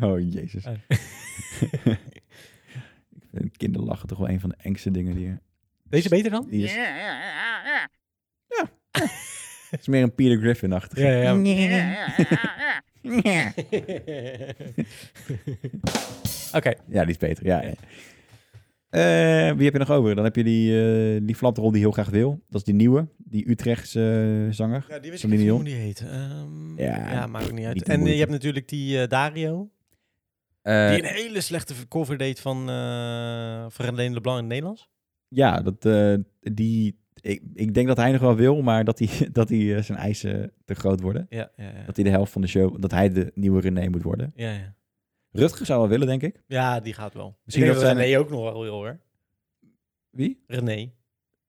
S1: oh, jezus.
S2: Oh.
S1: Ik vind kinderlachen toch wel een van de engste dingen die er...
S2: Deze beter dan?
S1: Die is... Ja. Het is meer een Peter Griffin-achtig.
S2: ja. Oké.
S1: Ja, die is beter. Ja, ja. Eh, wie heb je nog over? Dan heb je die, eh, die flaprol die heel graag wil. Dat is die nieuwe, die Utrechtse eh, zanger.
S2: Ja, die wist ik
S1: Celine
S2: niet
S1: Dion.
S2: hoe die heet. Ehm, ja,
S1: Ja,
S2: maakt ook niet uit.
S1: niet te
S2: en eh, je
S1: moeilijk.
S2: hebt natuurlijk die eh, Dario,
S1: Eh,
S2: die een hele slechte cover deed van eh van René Leblanc in het Nederlands.
S1: Ja, dat, eh, die, ik, ik denk dat hij nog wel wil, maar dat hij, dat hij eh, zijn eisen te groot worden.
S2: Ja, ja, ja.
S1: Dat hij de helft van de show, dat hij de nieuwe René moet worden.
S2: ja, ja.
S1: Rutger zou wel willen, denk ik.
S2: Ja, die gaat wel.
S1: Misschien
S2: ik denk
S1: dat
S2: dat
S1: zijn-
S2: René ook nog wel wil hoor.
S1: Wie?
S2: René.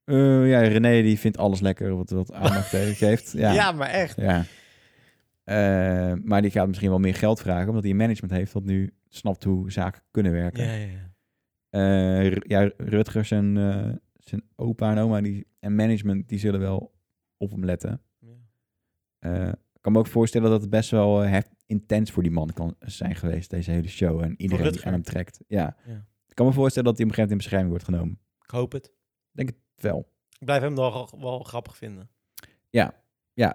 S1: Eh, ja, René die vindt alles lekker wat, wat aandacht eh, geeft.
S2: Ja,
S1: Ja.
S2: maar echt.
S1: Ja. Eh, maar die gaat misschien wel meer geld vragen, omdat hij een management heeft dat nu snapt hoe zaken kunnen werken.
S2: Ja, ja, ja.
S1: Eh, Ru- ja, Rutger, zijn, eh, zijn opa en oma die, en management, die zullen wel op hem letten.
S2: Ja.
S1: Eh, ik kan me ook voorstellen dat het best wel eh, hef- intens voor die man kan zijn geweest, deze hele show. En iedereen die
S2: Rutger?
S1: aan hem trekt. Ja.
S2: Ja.
S1: Ik kan me voorstellen dat hij op een gegeven moment in bescherming wordt genomen.
S2: Ik hoop het.
S1: Wel.
S2: Ik blijf hem wel, wel grappig vinden.
S1: Ja,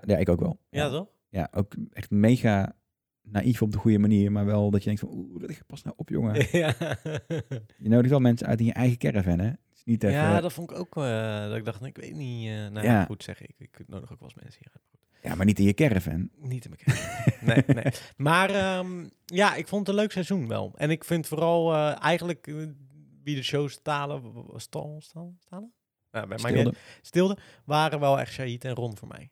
S1: ja, ik ook wel.
S2: Ja, toch?
S1: ja, ook echt mega naïef op de goede manier, maar wel dat je denkt van, oeh, Rutger, pas nou op, jongen.
S2: Ja,
S1: Je nodigt wel mensen uit in je eigen caravan, hè? Het is niet even,
S2: ja
S1: ja,
S2: dat vond ik ook. eh, dat ik dacht, ik weet niet. eh, nou ja.
S1: Ja.
S2: goed zeg ik. Ik nodig ook wel eens mensen hier uit.
S1: maar niet in je caravan.
S2: Niet in elkaar. nee, nee. Maar ehm, ja, ik vond het een leuk seizoen wel. En ik vind vooral eh, eigenlijk eh, wie de show stalen, stal, stal, stalen? Nou, bij mij
S1: Stilde.
S2: niet. stilde, waren wel echt Shahid en Ron voor mij.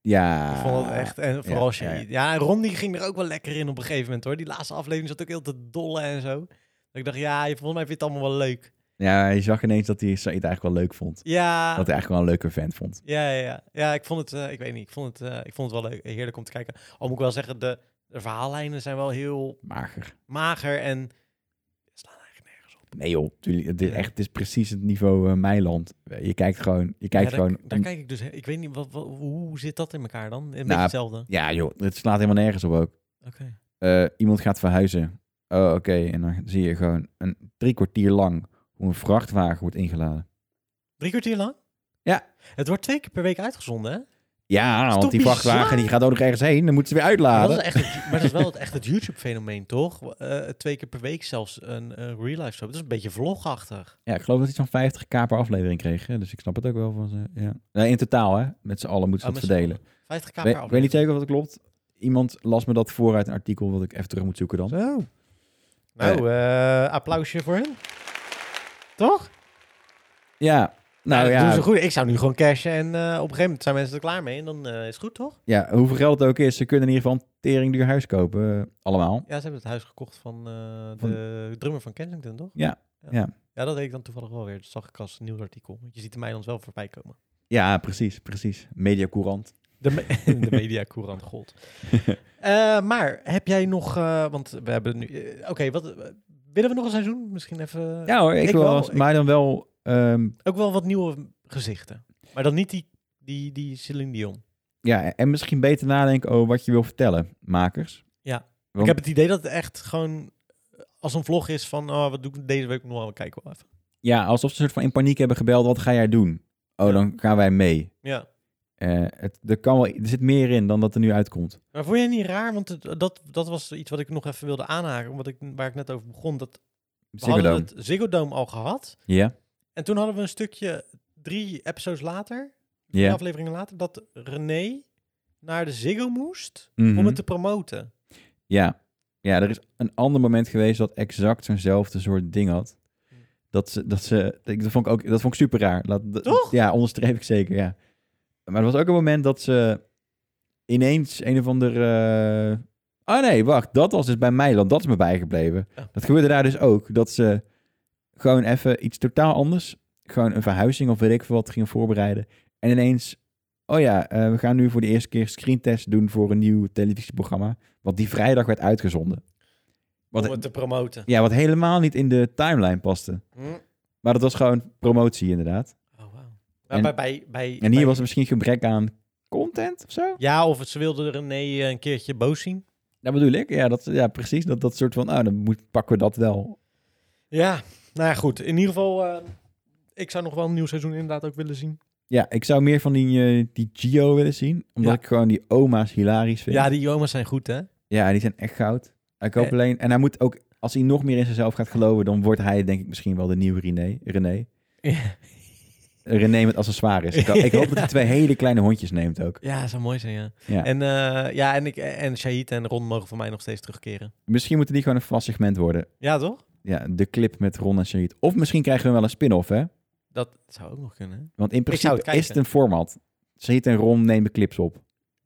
S1: Ja.
S2: ik vond het echt, en vooral
S1: Ah, ja,
S2: Shahid. Ja, en Ron die ging er ook wel lekker in op een gegeven moment hoor. Die laatste aflevering zat ook heel te dolle en zo. Dat ik dacht, ja, je- volgens mij vind je het allemaal wel leuk.
S1: Ja, je zag ineens dat hij Said eigenlijk wel leuk vond.
S2: Ja.
S1: Dat hij eigenlijk wel een leuke vent vond.
S2: Ja, ja, ja. ja ik vond het, eh, ik weet niet, ik vond het, eh, ik vond het wel leuk, heerlijk om te kijken. Al moet ik wel zeggen, de, de verhaallijnen zijn wel heel
S1: Mager.
S2: mager en slaan eigenlijk nergens op.
S1: Nee joh, tuurlijk, het is, echt, het is precies het niveau eh, Meiland. Je kijkt gewoon... Je kijkt
S2: ja, daar,
S1: gewoon
S2: daar
S1: om-
S2: kijk ik dus, he- ik weet niet, wat, wat- hoe zit dat in elkaar dan? Een beetje
S1: Nou,
S2: hetzelfde. Oké.
S1: ja joh, het slaat helemaal nergens op ook. Eh, iemand gaat verhuizen. Oh, oké. En dan zie je gewoon een drie kwartier lang hoe een vrachtwagen wordt ingeladen.
S2: Drie kwartier lang?
S1: Ja.
S2: Het wordt twee keer per week uitgezonden, hè?
S1: Ja, want
S2: toch
S1: die
S2: bizar?
S1: vrachtwagen die gaat ook nog ergens heen. Dan moeten ze weer
S2: Maar
S1: uitladen.
S2: dat, is echt het- maar dat is wel het, echt het YouTube-fenomeen, toch? Eh, twee keer per week zelfs een eh, real life show. Dat is een beetje vlogachtig.
S1: Ja, ik geloof dat hij zo'n 50k per aflevering kreeg. Hè? Dus ik snap het ook wel van ze. Ja. Nee, in totaal, hè? Met z'n allen moeten ze
S2: Oh,
S1: dat
S2: met z'n
S1: verdelen.
S2: allen. 50k
S1: We-
S2: per
S1: Ik weet niet zeker of dat klopt. Iemand las me dat voor uit een artikel wat ik even terug moet zoeken dan.
S2: Zo. Nou, eh, applausje voor hen. Toch?
S1: Ja, nou
S2: dat doen ze
S1: ja,
S2: goed. Ik zou nu gewoon cashen en eh, op een gegeven moment zijn mensen er klaar mee. En dan eh, is het goed, toch?
S1: ja, hoeveel geld het ook is, ze kunnen in ieder geval een tering duur huis kopen. eh, allemaal.
S2: Ja, ze hebben het huis gekocht van eh,
S1: Van-
S2: de drummer van Kensington, toch?
S1: Ja,
S2: Ja.
S1: ja.
S2: Ja, dat deed ik dan toevallig wel weer. Dat zag ik als nieuwsartikel. Want je ziet de Meilands wel voorbij komen.
S1: Ja, precies, precies. Mediacourant.
S2: De, me- de mediacourant gold. Eh, maar heb jij nog... eh, want we hebben nu... eh, Oké, wat... eh, willen we nog een seizoen? Misschien even...
S1: Ja hoor, ik,
S2: ik
S1: wil,
S2: wel, ik-
S1: maar dan wel... ehm,
S2: Ook wel wat nieuwe gezichten. Maar dan niet die, die, die Celine Dion.
S1: ja, en misschien beter nadenken over wat je wil vertellen, makers.
S2: Ik heb het idee dat het echt gewoon als een vlog is van... Oh, wat doe ik deze week nog? We kijken wel even.
S1: Ja, alsof ze soort van in paniek hebben gebeld, wat ga jij doen? Oh,
S2: Ja.
S1: dan gaan wij mee.
S2: Ja.
S1: Eh, het, er, kan wel, er zit meer in dan dat er nu uitkomt.
S2: Maar vond je het niet raar? Want het- dat, dat was iets wat ik nog even wilde aanhaken. Omdat ik, waar ik net over begon. Dat we
S1: Ziggo Dome.
S2: hadden het Ziggo Dome al gehad.
S1: Ja,
S2: En toen hadden we een stukje drie episodes later... drie
S1: ja.
S2: afleveringen later... Dat René naar de Ziggo moest
S1: Mhm.
S2: om het te promoten.
S1: Ja. ja, er is een ander moment geweest dat exact zo'nzelfde soort ding had. Dat ze, dat ze, ik- dat vond ik ook, dat vond ik super raar. Laat- dat-
S2: Toch?
S1: Ja, onderstreep ik zeker, ja. Maar er was ook een moment dat ze ineens een of ander... eh, Ah nee, wacht, dat was dus bij mij, want dat is me bijgebleven.
S2: Ja.
S1: Dat gebeurde daar dus ook, dat ze gewoon even iets totaal anders, gewoon een verhuizing of weet ik veel wat, gingen voorbereiden. En ineens, oh ja, eh, we gaan nu voor de eerste keer screentest doen voor een nieuw televisieprogramma, wat die vrijdag werd uitgezonden.
S2: om
S1: Wat,
S2: het te promoten.
S1: ja, wat helemaal niet in de timeline paste.
S2: Hm.
S1: Maar dat was gewoon promotie inderdaad.
S2: Oh, wauw.
S1: En-
S2: Maar bij, bij, bij,
S1: En hier
S2: bij-
S1: was er misschien gebrek aan content of zo?
S2: Ja, of ze wilden René eh, een keertje boos zien.
S1: Dat bedoel ik, ja, dat, ja precies. Dat, dat soort van, nou, dan moet, pakken we dat wel.
S2: Ja, nou ja, goed. In ieder geval, eh, ik zou nog wel een nieuw seizoen inderdaad ook willen zien.
S1: Ja, ik zou meer van die, eh, die Gio willen zien. Omdat
S2: Ja.
S1: ik gewoon die oma's hilarisch vind.
S2: Ja, die oma's zijn goed, hè?
S1: Ja, die zijn echt goud. Ik hoop
S2: Eh.
S1: alleen... En hij moet ook... Als hij nog meer in zichzelf gaat geloven... dan wordt hij denk ik misschien wel de nieuwe René. René, Eh, René met accessoires. Ik, ho- ik hoop dat hij twee hele kleine hondjes neemt ook.
S2: Ja, zou mooi zijn, ja.
S1: Ja.
S2: En, eh, ja, en, ik, en Shahid en Ron mogen voor mij nog steeds terugkeren.
S1: Misschien moeten die gewoon een vast segment worden.
S2: Ja, toch?
S1: Ja, de clip met Ron en Shahid. Of misschien krijgen we wel een spin-off, hè?
S2: Dat zou ook nog kunnen.
S1: Want in
S2: zou
S1: principe
S2: het
S1: is
S2: kijken.
S1: het een format. Shahid en Ron nemen clips op.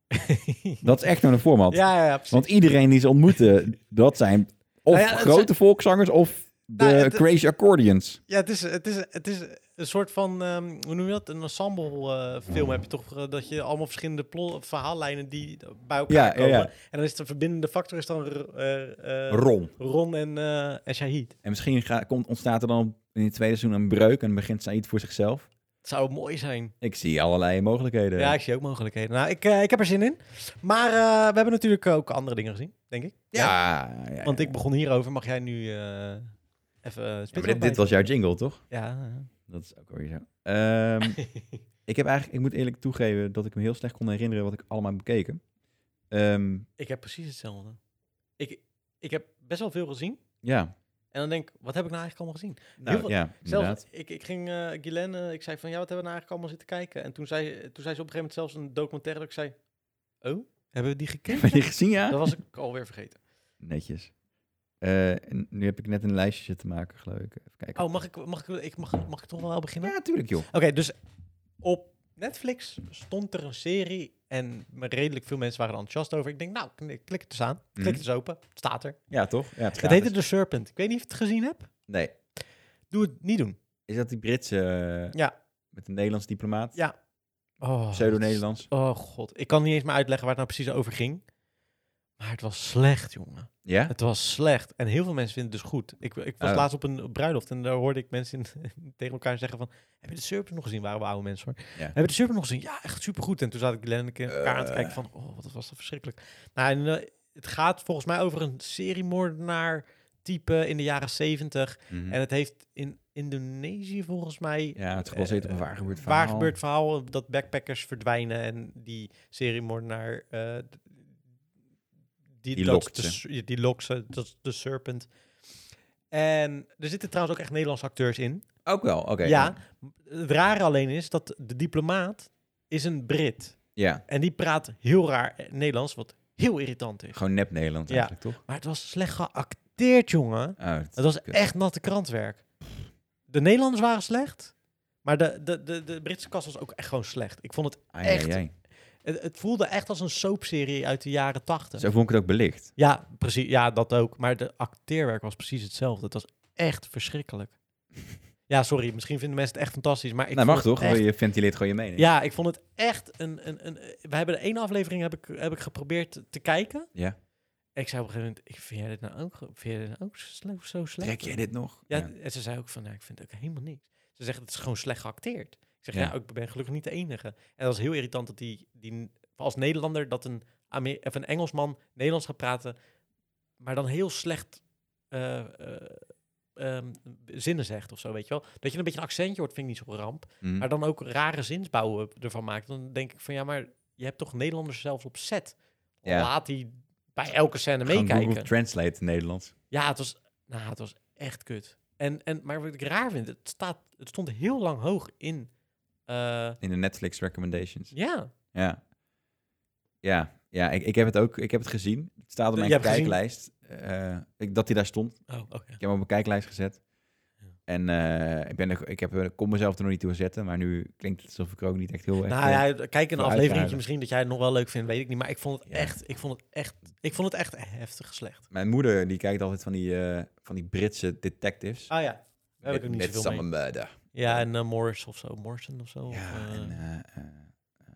S1: Dat is echt gewoon een format.
S2: ja, ja, ja, precies.
S1: Want iedereen die ze ontmoeten, dat zijn of
S2: Nou ja, het
S1: grote volkszangers of de
S2: Nou ja, het-
S1: crazy accordions.
S2: Ja, het is, het, is, het is een soort van, ehm, hoe noem je dat? Een ensemble eh, film heb je toch? eh, dat je allemaal verschillende plo- verhaallijnen die bij elkaar
S1: Ja, ja,
S2: komen.
S1: ja.
S2: En dan is de verbindende factor is dan r- eh, eh,
S1: Ron.
S2: Ron en, eh en Shahid.
S1: En misschien ga- komt, ontstaat er dan in het tweede seizoen een breuk en begint Said voor zichzelf.
S2: Het zou mooi zijn.
S1: Ik zie allerlei mogelijkheden.
S2: Ja, ik zie ook mogelijkheden. Nou, ik, eh, ik heb er zin in. Maar eh, we hebben natuurlijk ook andere dingen gezien, denk ik.
S1: Ja, ja, ja.
S2: Want ik begon hierover. Mag jij nu eh, even... eh,
S1: Ja, maar
S2: spits
S1: dit, dit
S2: opbijten?
S1: was jouw jingle, toch?
S2: Ja,
S1: Dat is ook weer zo. Ehm, ik heb eigenlijk, ik moet eerlijk toegeven dat ik me heel slecht kon herinneren wat ik allemaal heb bekeken. Ehm,
S2: ik heb precies hetzelfde. Ik, ik heb best wel veel gezien.
S1: ja,
S2: En dan denk ik, wat heb ik nou eigenlijk allemaal gezien?
S1: nou,
S2: veel-
S1: ja,
S2: Zelfs,
S1: inderdaad.
S2: ik, ik ging eh Guylaine, eh, ik zei van, ja, wat hebben we nou eigenlijk allemaal zitten kijken? En toen zei, toen zei ze op een gegeven moment zelfs een documentaire, dat ik zei, oh, hebben we die
S1: Heb je
S2: gekeken?
S1: gezien, ja?
S2: dat was ik alweer vergeten.
S1: Netjes. Eh, en nu heb ik net een lijstje zitten maken, geloof ik. Even kijken.
S2: Oh, mag ik, mag ik, ik, mag, mag ik toch wel beginnen?
S1: Ja, tuurlijk, joh.
S2: Oké, dus op Netflix stond er een serie en redelijk veel mensen waren er enthousiast over. Ik denk, nou, kn- klik het eens aan. Klik
S1: Mhm.
S2: het eens open. Het staat er.
S1: Ja, toch? Ja, dus-
S2: Het heette The Serpent. Ik weet niet of je het gezien hebt.
S1: Nee.
S2: Doe het niet doen.
S1: Is dat die Britse eh,
S2: Ja.
S1: met een Nederlands diplomaat?
S2: Ja. Oh,
S1: Pseudo-Nederlands.
S2: Oh god, ik kan niet eens meer uitleggen waar het nou precies over ging. Maar het was slecht, jongen.
S1: Ja?
S2: Het was slecht. En heel veel mensen vinden het dus goed. Ik, ik was
S1: Oh.
S2: laatst op een bruiloft en daar hoorde ik mensen in- tegen elkaar zeggen van... Heb je de Serpent nog gezien? Waren we oude mensen hoor.
S1: Ja.
S2: Heb je de Serpent nog gezien? Ja, echt supergoed. En toen zat ik Glenn en ik elkaar aan te kijken van... Oh, wat was dat verschrikkelijk. Nou, en, eh, het gaat volgens mij over een seriemoordenaar type in de jaren zeventig.
S1: Mhm.
S2: En het heeft in, in Indonesië volgens mij.
S1: Ja, het is gebaseerd op een waar gebeurd verhaal.
S2: Waar gebeurt verhaal dat backpackers verdwijnen en die seriemoordenaar... eh die,
S1: Die
S2: dat
S1: lokt
S2: is de
S1: ze.
S2: s- ja, die lokt ze, dat is de serpent. En er zitten trouwens ook echt Nederlandse acteurs in.
S1: Ook wel, oké.
S2: ja, het rare alleen is dat de diplomaat is een Brit.
S1: Ja,
S2: En die praat heel raar Nederlands, wat heel irritant is.
S1: gewoon nep Nederland
S2: Ja.
S1: eigenlijk, toch?
S2: Maar het was slecht geacteerd, jongen.
S1: Oh, het-
S2: Het was
S1: Kut.
S2: echt natte krantwerk. De Nederlanders waren slecht, maar de, de, de, de Britse kast was ook echt gewoon slecht. Ik vond het
S1: ai,
S2: echt.
S1: ai, ai.
S2: Het, het voelde echt als een soapserie uit de jaren
S1: Zo
S2: tachtig.
S1: vond ik het ook belicht.
S2: Ja, precies. Ja, dat ook. Maar de acteerwerk was precies hetzelfde. Het was echt verschrikkelijk. Ja, sorry. Misschien vinden mensen het echt fantastisch, maar ik
S1: nou,
S2: vond
S1: mag
S2: het
S1: toch?
S2: echt-
S1: Je ventileert gewoon je mening.
S2: ja, ik vond het echt een... een, een we hebben de ene aflevering heb ik, heb ik geprobeerd te- te kijken.
S1: Ja.
S2: En ik zei op een gegeven moment, ik vind jij dit nou ook, vind jij dit nou ook sle- zo slecht?
S1: Trek jij dit nog?
S2: Ja, en ze zei ook van, nou, ik vind het ook helemaal niks. Ze zegt, het is gewoon slecht geacteerd. Ik zeg, ja,
S1: Ja.
S2: ik ben gelukkig niet de enige. En dat was heel irritant dat die, die als Nederlander, dat een, Amer of een Engelsman Nederlands gaat praten, maar dan heel slecht eh, eh, ehm, zinnen zegt of zo, weet je wel. Dat je een beetje een accentje hoort, vind ik niet zo'n ramp.
S1: Mm.
S2: Maar dan ook rare zinsbouwen ervan maakt. Dan denk ik van, ja, maar je hebt toch Nederlanders zelfs op set?
S1: Ja.
S2: Laat die bij elke scène
S1: Gewoon Google
S2: meekijken.
S1: Translate in Nederlands.
S2: Ja, het was, nou, het was echt kut. En, en, maar wat ik raar vind, het, staat, het stond heel lang hoog in. eh,
S1: In de Netflix recommendations.
S2: ja,
S1: Ja. Ja, ja ik, ik heb het ook ik heb het gezien. Het staat op
S2: Je
S1: mijn
S2: hebt gezien?
S1: kijklijst. Eh, ik, dat hij daar stond.
S2: oh, oké.
S1: Ik heb hem op mijn kijklijst gezet.
S2: Ja.
S1: En eh, ik, ben er, ik, heb, ik kon mezelf er nog niet toe zetten. Maar nu klinkt het alsof ik er ook niet echt heel erg...
S2: Nou
S1: eh,
S2: ja, kijk een
S1: voor
S2: afleveringetje
S1: uitruilen.
S2: misschien dat jij het nog wel leuk vindt, weet ik niet. Maar ik vond het
S1: Ja.
S2: echt, ik vond het echt, ik vond het echt heftig slecht.
S1: Mijn moeder die kijkt altijd van die, eh, van die Britse detectives.
S2: Ah ja, daar heb ik ook niet
S1: met
S2: zoveel mee.
S1: Sam Murder.
S2: Ja, en eh, Morris of zo, Morrison of zo.
S1: Ja,
S2: of, eh,
S1: en eh, eh, eh,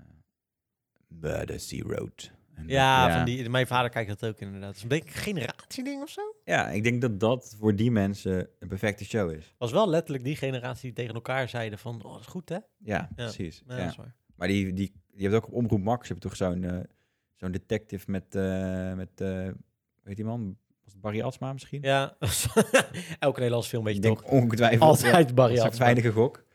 S1: Murder Sea Road. En,
S2: ja, Van die, mijn vader kijkt dat ook inderdaad. Het is een beetje een generatieding of zo.
S1: ja, ik denk dat dat voor die mensen een perfecte show is.
S2: was wel letterlijk die generatie die tegen elkaar zeiden van, oh, dat is goed hè?
S1: Ja, precies.
S2: Ja,
S1: ja.
S2: dat is waar.
S1: Maar die, die, die hebt ook op Omroep Max heb je toch zo'n eh, zo'n detective met, eh, met eh, weet die man? Was het Barry Altsma misschien?
S2: Ja, elke Nederlandse film weet je
S1: ik
S2: toch.
S1: denk ongetwijfeld.
S2: Altijd
S1: ja.
S2: Barry
S1: Dat is een
S2: Altsma.
S1: veilige gok.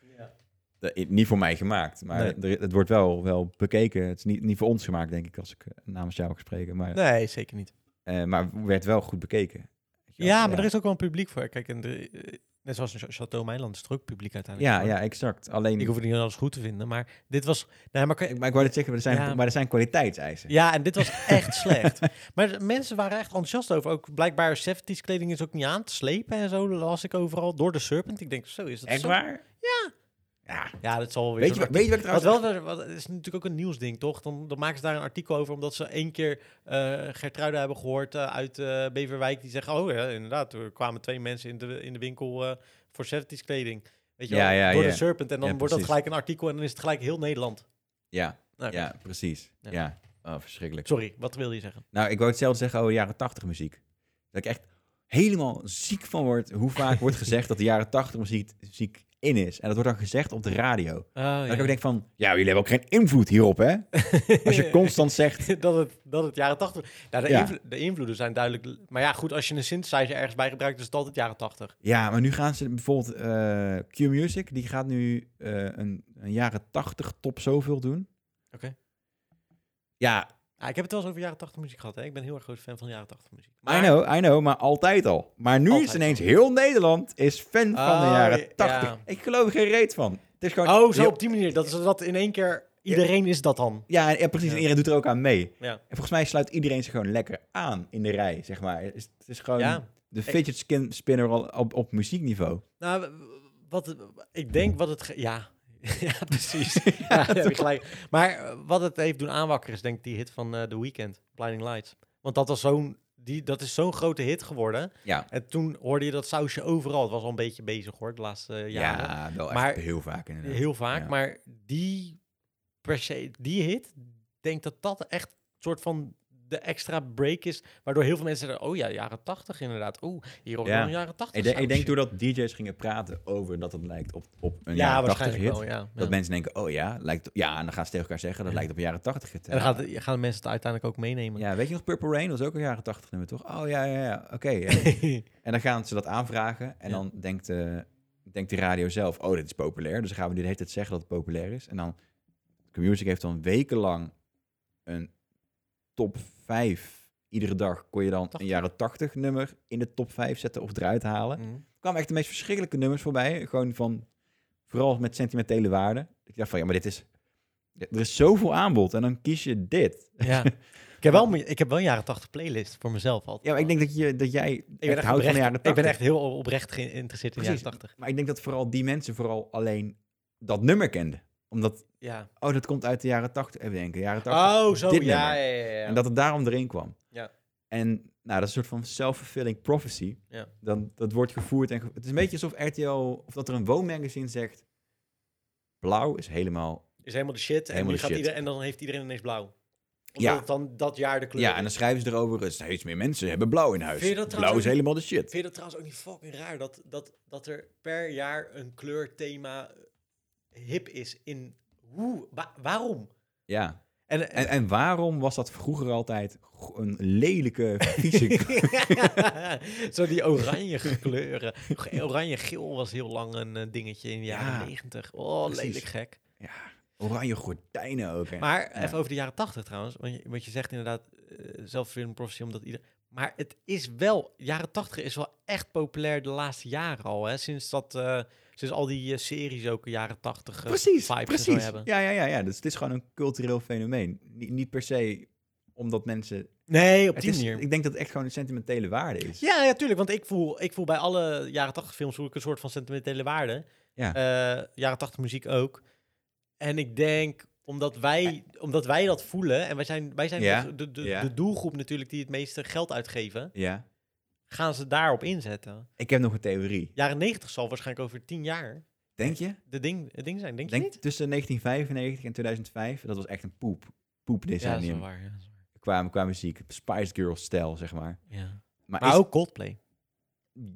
S1: Dat is Niet voor mij gemaakt, maar
S2: Nee.
S1: er- het wordt wel, wel bekeken. Het is niet, niet voor ons gemaakt, denk ik, als ik eh, namens jou mag spreken. Maar,
S2: Nee, zeker niet.
S1: eh, maar werd wel goed bekeken.
S2: Ja, maar er is ook wel een publiek voor. Kijk, en de, eh, net zoals in Ch- Chateau Meiland is er ook publiek uiteindelijk.
S1: Ja,
S2: voor.
S1: ja, exact. Alleen,
S2: Ik
S1: ik,
S2: hoef het niet alles goed te vinden, maar dit was... Nee, maar, kan-
S1: maar ik wou net zeggen, er zijn,
S2: Ja.
S1: maar er zijn kwaliteitseisen.
S2: ja, en dit was echt slecht. Maar de mensen waren echt enthousiast over. Ook blijkbaar 70s kleding is ook niet aan te slepen en zo, las ik overal. Door de Serpent. Ik denk, zo is dat
S1: Echt
S2: zo.
S1: waar?
S2: Ja, dat zal wel weer
S1: Weet je,
S2: zo'n
S1: wat- weet je wat ik
S2: Wat
S1: trouwens...
S2: wel, weer- wat, het is natuurlijk ook een nieuwsding, toch? Dan, dan maken ze daar een artikel over, omdat ze één keer eh Gertruida hebben gehoord eh, uit eh, Beverwijk. Die zeggen, oh ja, inderdaad, er kwamen twee mensen in de, in de winkel eh, voor 70s kleding. Weet je
S1: Ja,
S2: wel,
S1: ja,
S2: door
S1: ja.
S2: de Serpent. En dan
S1: Ja,
S2: wordt dat
S1: precies.
S2: gelijk een artikel en dan is het gelijk heel Nederland.
S1: Ja,
S2: Nou,
S1: ja, precies.
S2: Ja.
S1: Ja, Oh, verschrikkelijk.
S2: Sorry, wat wil je zeggen?
S1: Nou, ik wou hetzelfde zeggen over de jaren 80 muziek. Dat ik echt helemaal ziek van word hoe vaak wordt gezegd dat de jaren 80 muziek, muziek in is. En dat wordt dan gezegd op de radio.
S2: Oh,
S1: Dat ik ook denk van, ja, jullie hebben ook geen invloed hierop, hè? Als je constant zegt...
S2: dat, het, dat het jaren 80. Nou, de,
S1: Ja.
S2: invlo- de invloeden zijn duidelijk. Maar ja, goed, als je een synthesizer ergens bij gebruikt, is het altijd jaren 80.
S1: Ja, maar nu gaan ze bijvoorbeeld... eh, Q Music, die gaat nu eh, een, een jaren 80 top zoveel doen.
S2: Oké.
S1: Ja,
S2: Ah, ik heb het wel eens over jaren 80 muziek gehad. Hè? Ik ben een heel erg groot fan van jaren 80 muziek.
S1: I know, I know, maar altijd al. Maar nu is
S2: Altijd
S1: ineens
S2: al.
S1: heel Nederland is fan van de
S2: Oh,
S1: jaren
S2: ja.
S1: 80. Ik geloof er geen reet van. Het is gewoon
S2: Oh, zo
S1: heel-
S2: op die manier. Dat is dat in één keer iedereen is dat dan.
S1: Ja, en- ja, precies.
S2: Ja.
S1: En iedereen doet er ook aan mee.
S2: Ja.
S1: En volgens mij sluit iedereen zich gewoon lekker aan in de rij, zeg maar. Het is, het is gewoon
S2: Ja.
S1: de fidget skin spinner al op, op muziekniveau.
S2: Nou, w- w- wat ik denk wat het ge- ja. ja, precies. ja, daar heb je gelijk. Maar eh, wat het heeft doen aanwakkeren is denk ik die hit van eh The Weeknd, Blinding Lights. Want dat was zo'n die dat is zo'n grote hit geworden.
S1: Ja,
S2: En toen hoorde je dat sausje overal. Het was al een beetje bezig hoor de laatste eh, jaren.
S1: ja wel echt
S2: Maar-
S1: heel vaak inderdaad.
S2: Heel vaak,
S1: Ja.
S2: maar die per se die hit denk dat dat echt soort van de extra break is, waardoor heel veel mensen zeggen, oh ja, jaren 80 inderdaad. Oeh, hier hoor ik
S1: Ja.
S2: nog een jaren 80.
S1: Ik, denk- ik denk
S2: sausje.
S1: doordat DJ's gingen praten over dat het lijkt op, op een
S2: ja,
S1: jaren 80
S2: waarschijnlijk
S1: hit.
S2: wel, ja.
S1: Dat
S2: Ja.
S1: mensen denken, oh ja, lijkt, ja, en dan gaan ze tegen elkaar zeggen, dat lijkt op een jaren 80 hit.
S2: En dan gaat, gaan de mensen het uiteindelijk ook meenemen.
S1: Ja, weet je nog, Purple Rain was ook een jaren 80 nummer, toch? Oh ja, ja, ja, oké. ja. en dan gaan ze dat aanvragen en
S2: Ja.
S1: dan denkt eh, denkt die radio zelf, oh, dit is populair. Dus dan gaan we nu de hele tijd zeggen dat het populair is. En dan, Q-Music heeft dan wekenlang een top 5. Iedere dag kon je dan een
S2: 80.
S1: jaren 80 nummer in de top 5 zetten of eruit halen.
S2: Mm.
S1: Er kwamen echt de meest verschrikkelijke nummers voorbij. Gewoon van, vooral met sentimentele waarde. Ik dacht van, ja, maar dit is... Er is zoveel aanbod en dan kies je dit.
S2: Ja. ik, heb wel, me- ik heb wel een jaren 80 playlist voor mezelf altijd.
S1: Ja, maar ik denk dat, je, dat jij ik
S2: ben
S1: houdt
S2: echt
S1: van
S2: oprecht-
S1: de jaren 80.
S2: ik ben echt heel oprecht geïnteresseerd in de jaren
S1: Precies.
S2: 80.
S1: Maar ik denk dat vooral die mensen vooral alleen dat nummer kenden. Omdat,
S2: Ja.
S1: oh, dat komt uit de jaren 80. Even denken, jaren 80.
S2: Oh, zo.
S1: dit
S2: Ja,
S1: nummer.
S2: ja, ja, ja.
S1: En dat het daarom erin kwam.
S2: Ja.
S1: En nou, dat is een soort van self-fulfilling prophecy.
S2: Ja.
S1: Dan, dat wordt gevoerd. En ge- het is een beetje alsof RTL, of dat er een woonmagazine zegt, blauw is helemaal...
S2: is helemaal de shit. en,
S1: Helemaal
S2: nu
S1: de
S2: gaat
S1: shit.
S2: Ieder, en dan heeft iedereen ineens blauw. Omdat
S1: Ja.
S2: het dan dat jaar de kleur
S1: Ja, en dan
S2: is.
S1: schrijven ze erover, steeds meer mensen hebben blauw in huis.
S2: Vind je dat
S1: blauw is
S2: trouwens ook-
S1: helemaal de shit.
S2: Vind je dat trouwens ook niet fucking raar dat, dat, dat er per jaar een kleurthema eh, hip is in hoe, wa- waarom?
S1: Ja.
S2: En, eh,
S1: En, en waarom was dat vroeger altijd go- een lelijke, vieze
S2: Zo die oranje kleuren. Oranje-geel was heel lang een eh, dingetje in de
S1: Ja.
S2: jaren negentig. Oh,
S1: Precies.
S2: lelijk gek.
S1: oranje gordijnen ook. hè.
S2: Maar
S1: Ja.
S2: even over de jaren tachtig trouwens. Want je, want je zegt inderdaad eh zelf een prophecy omdat ieder... Maar het is wel... Jaren tachtig is wel echt populair de laatste jaren al. Hè? Sinds, dat, eh, sinds al die eh, series ook een jaren tachtig eh,
S1: precies,
S2: vibes en zo
S1: precies.
S2: hebben.
S1: Ja, ja, ja, ja. Dus het is gewoon een cultureel fenomeen. Ni- niet per se omdat mensen...
S2: Nee, op
S1: Het
S2: die
S1: is,
S2: manier.
S1: ik denk dat het echt gewoon een sentimentele waarde is.
S2: Ja, ja, tuurlijk. Want ik voel, ik voel bij alle jaren 80 films voel ik een soort van sentimentele waarde.
S1: Ja.
S2: Eh, jaren 80 muziek ook. En ik denk, omdat wij, omdat wij dat voelen... en wij zijn, wij zijn
S1: Ja,
S2: de- de, de,
S1: ja.
S2: de doelgroep natuurlijk die het meeste geld uitgeven...
S1: Ja.
S2: gaan ze daarop inzetten.
S1: Ik heb nog een theorie.
S2: Jaren 90 zal waarschijnlijk over 10 jaar
S1: Denk je?
S2: de ding, het ding zijn. Denk,
S1: Denk
S2: je niet?
S1: tussen 1995 en 2005, dat was echt een poep.
S2: Ja,
S1: Poepdecennium
S2: waar. Ja, dat is waar.
S1: qua, qua muziek. Spice Girls stijl, zeg maar.
S2: Ja.
S1: Maar
S2: Maar
S1: is-
S2: ook Coldplay.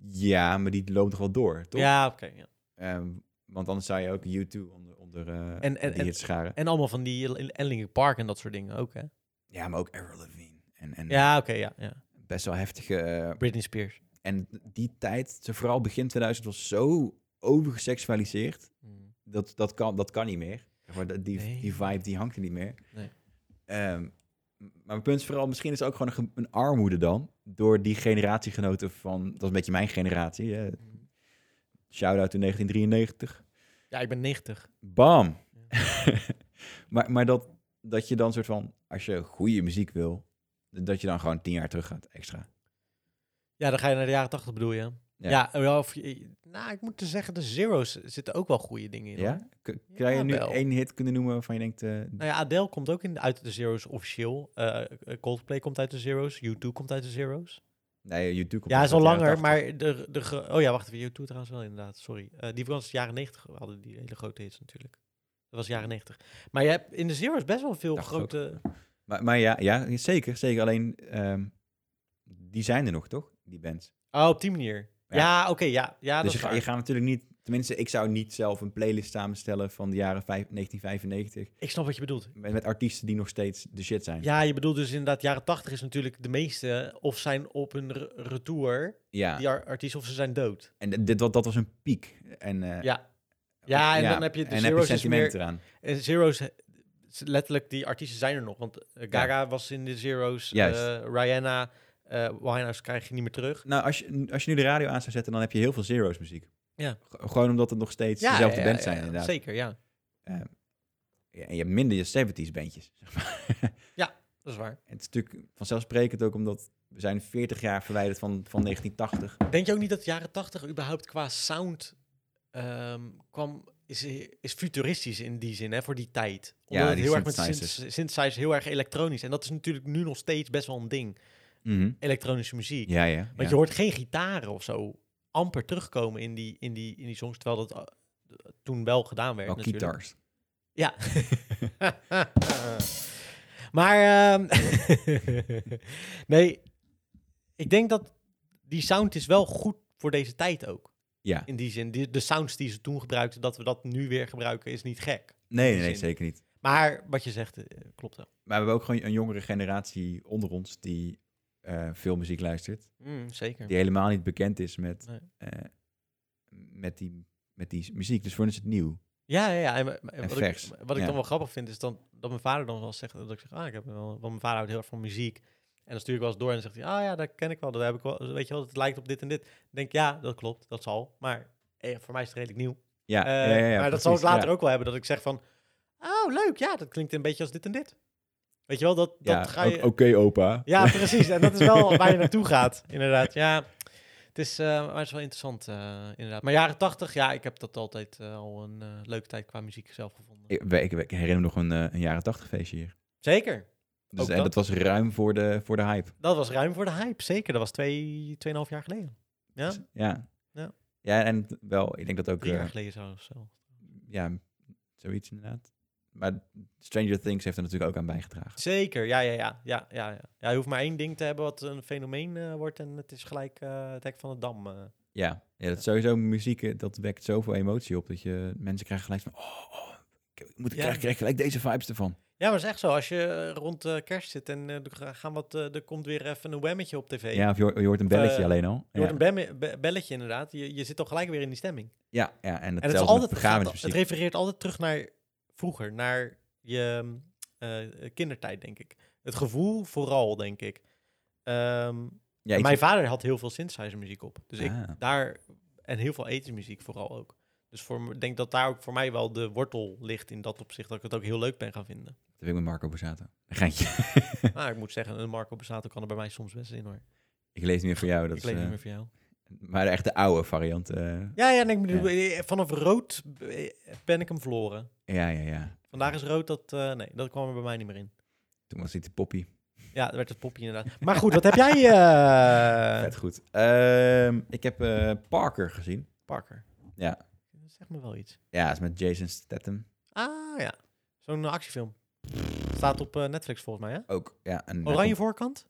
S1: ja, maar die loopt toch wel door, toch?
S2: Ja, oké. ja.
S1: Ehm, want anders zou je ook U2 onder, onder eh,
S2: en-
S1: die
S2: en-
S1: hits scharen.
S2: En allemaal van die en Linkin Park en dat soort dingen ook, hè?
S1: Mm. ja, maar ook Avril Lavigne. En, en
S2: Ja, oké, ja, ja.
S1: best wel heftige... eh,
S2: Britney Spears.
S1: En die tijd, zo vooral begin 2000, was zo overgeseksualiseerd.
S2: Hmm.
S1: Dat, dat, kan, dat kan niet meer. Zeg Maar dat- die,
S2: Nee.
S1: die vibe die hangt er niet meer.
S2: Nee.
S1: Ehm, m- maar mijn punt is vooral, misschien is het ook gewoon een, ge- een armoede dan. Door die generatiegenoten van, dat is een beetje mijn generatie. Hè. Shout-out in 1993.
S2: Ja, ik ben 90.
S1: Bam! maar maar dat, dat je dan soort van, als je goede muziek wil, dat je dan gewoon tien jaar terug gaat extra.
S2: Ja, dan ga je naar de jaren 80 bedoel je.
S1: Ja.
S2: Ja, eh, wel, of, je- nou, ik moet te zeggen, de zeros zitten ook wel goede dingen in. hoor.
S1: Ja? K- Kan je nu
S2: Jawel.
S1: één hit kunnen noemen waarvan je denkt, eh,
S2: Nou ja, Adele komt ook in, uit de zeros officieel. Eh, Coldplay komt uit de zeros. U2 komt uit de zeros.
S1: Nee, YouTube.
S2: ja, is al langer, maar de, de... gro- Oh ja, wacht even. U2 trouwens wel inderdaad, sorry. Eh, die was jaren 90, hadden die hele grote hits natuurlijk. Dat was jaren 90. Maar je hebt in de zeros best wel veel
S1: Dacht ik ook.
S2: grote...
S1: Maar, maar ja, ja, zeker, zeker. Alleen, ehm, die zijn er nog, toch? Die bands.
S2: Oh, op die manier.
S1: Ja.
S2: Ja, oké, ja. ja
S1: dus
S2: dat
S1: je,
S2: is
S1: ga-
S2: waar.
S1: je gaat natuurlijk niet... Tenminste, ik zou niet zelf een playlist samenstellen van de jaren vijf- 1995.
S2: Ik snap wat je bedoelt.
S1: Met, met artiesten die nog steeds de shit zijn.
S2: Ja, je bedoelt dus inderdaad, jaren 80 is natuurlijk de meeste of zijn op een re- retour,
S1: Ja,
S2: die ar- artiesten, of ze zijn dood.
S1: En d- dit, dat, dat was een piek. En, eh,
S2: Ja. Ja, en dan heb je de
S1: en heb
S2: Zero's is
S1: sentiment
S2: meer-
S1: eraan.
S2: En Zero's, eh, s- letterlijk, die artiesten zijn er nog. Want eh, Gaga was in de Zero's,
S1: Juist.
S2: eh, Rihanna, eh Winehouse krijg je niet meer terug.
S1: Nou, als je, als je nu de radio aan zou zetten, dan heb je heel veel Zero's muziek.
S2: Ja.
S1: G- gewoon omdat het nog steeds dezelfde
S2: ja,
S1: band
S2: ja,
S1: zijn,
S2: ja,
S1: inderdaad.
S2: Zeker, ja.
S1: Ja, en je hebt minder je 70s bandjes.
S2: Dat is waar.
S1: Het is natuurlijk vanzelfsprekend ook omdat we zijn 40 jaar verwijderd van, van 1980.
S2: Denk je ook niet dat jaren 80 überhaupt qua sound ehm, kwam, is, is futuristisch in die zin, hè, voor die tijd? Omdat
S1: Ja,
S2: het
S1: die
S2: heel erg met
S1: synthesizers.
S2: synth- synthesizers heel erg elektronisch. En dat is natuurlijk nu nog steeds best wel een ding, elektronische muziek.
S1: Mhm. Ja, ja.
S2: Want je
S1: ja.
S2: hoort geen gitaren of zo amper terugkomen in die, in die, in die songs, terwijl dat eh, toen wel gedaan werd
S1: Wel
S2: natuurlijk.
S1: guitars.
S2: Ja. maar, ehm, nee, ik denk dat die sound is wel goed voor deze tijd ook.
S1: Ja.
S2: In die zin, die, de sounds die ze toen gebruikten, dat we dat nu weer gebruiken, is niet gek.
S1: Nee, nee,
S2: die
S1: nee,
S2: zin.
S1: zeker niet.
S2: Maar wat je zegt, eh, klopt wel.
S1: Maar we hebben ook gewoon een jongere generatie onder ons die eh, veel muziek luistert.
S2: zeker.
S1: Die helemaal niet bekend is met,
S2: Nee.
S1: eh, met die met die s- muziek. Dus voor ons is het nieuw.
S2: Ja, ja, ja. En, wa- en
S1: En
S2: wat
S1: vers,
S2: ik, wat ik
S1: ja.
S2: dan wel grappig vind, is dan, dat mijn vader dan wel zegt, dat ik zeg, ah, ik heb wel, want mijn vader houdt heel erg van muziek. En dan stuur ik wel eens door en dan zegt hij, ah ja, dat ken ik wel, dat heb ik wel, weet je wel, het lijkt op dit en dit. Dan denk ik, ja, dat klopt, dat zal, maar eh, voor mij is het redelijk nieuw.
S1: Ja,
S2: Eh,
S1: ja, ja, ja,
S2: maar dat zal ik
S1: precies,
S2: later
S1: ja.
S2: ook wel hebben, dat ik zeg van, oh leuk, ja, dat klinkt een beetje als dit en dit. Weet je wel, dat, dat
S1: Ja,
S2: ga
S1: ook
S2: je...
S1: Oké, opa.
S2: Ja, precies. En dat is wel waar je naartoe gaat, inderdaad. Ja, het is, eh, maar het is wel interessant, eh, inderdaad. Maar jaren tachtig, ja, ik heb dat altijd eh, al een eh, leuke tijd qua muziek zelf gevonden.
S1: Ik, ik- ik herinner me nog een, eh, een jaren tachtig feestje hier.
S2: Zeker.
S1: Dus
S2: Ook
S1: eh,
S2: Oh, dat.
S1: dat was ruim voor de, voor de hype.
S2: Dat was ruim voor de hype, zeker. Dat was twee, tweeënhalf jaar geleden. Ja,
S1: Dus, Ja.
S2: Ja.
S1: Ja, en het- wel, ik denk dat ook...
S2: drie jaar
S1: eh,
S2: geleden zo. zo.
S1: ja, zoiets inderdaad. Maar Stranger Things heeft er natuurlijk ook aan bijgedragen.
S2: Zeker, ja, ja, ja, ja, ja, ja. Ja, je hoeft maar één ding te hebben wat een fenomeen eh, wordt en het is gelijk eh, het hek van de dam. eh.
S1: Ja, ja dat is sowieso muziek, eh, dat wekt zoveel emotie op. Dat je mensen krijgen gelijk van, oh, oh, ik moet, ik
S2: Ja.
S1: krijg, krijg gelijk deze vibes ervan.
S2: Ja, maar het is echt zo. Als je eh, rond eh, kerst zit en eh, er, ga- gaan wat, eh, er komt weer even een whammetje op tv.
S1: Ja, of je, hoort- je hoort een
S2: Of,
S1: belletje
S2: eh,
S1: alleen al.
S2: Je
S1: Ja.
S2: hoort een bemme- be- belletje inderdaad. Je, je zit toch gelijk weer in die stemming.
S1: ja, ja, en
S2: En het, is
S1: hetzelfde met
S2: altijd, het, gaat- het
S1: begrafenismuziek.
S2: refereert altijd terug naar vroeger, naar je eh, kindertijd, denk ik. Het gevoel vooral, denk ik. Ehm,
S1: ja, ik
S2: mijn
S1: zit-
S2: vader had heel veel synthesizer muziek op. Dus
S1: Ah.
S2: ik daar... En heel veel ethische muziek vooral ook. Dus voor, me- ik denk dat daar ook voor mij wel de wortel ligt in dat opzicht. Dat ik het ook heel leuk ben gaan vinden.
S1: dat heb ik met Marco Borsato. Geintje.
S2: maar ik moet zeggen, een Marco Bezato kan er bij mij soms best in hoor.
S1: ik lees niet meer voor jou. Dat
S2: ik
S1: is,
S2: leef niet
S1: eh,
S2: meer voor jou.
S1: Maar echt de oude variant. eh,
S2: Ja, ja, en ik bedoel, eh, vanaf rood eh, ben ik hem verloren.
S1: ja, ja, ja.
S2: Vandaag is rood, dat, eh, nee, dat kwam er bij mij niet meer in.
S1: Toen was dit de poppy.
S2: Ja, dat werd het popje inderdaad. Maar goed, wat heb jij, eh,
S1: Vet goed. Ehm, ik heb eh, Parker gezien.
S2: Parker?
S1: Ja.
S2: Zeg me wel iets.
S1: Ja, het is met Jason Statham.
S2: Ah, ja. Zo'n eh, actiefilm. Staat op eh, Netflix volgens mij, hè?
S1: Ook, ja. En hij
S2: Oranje
S1: komt
S2: voorkant?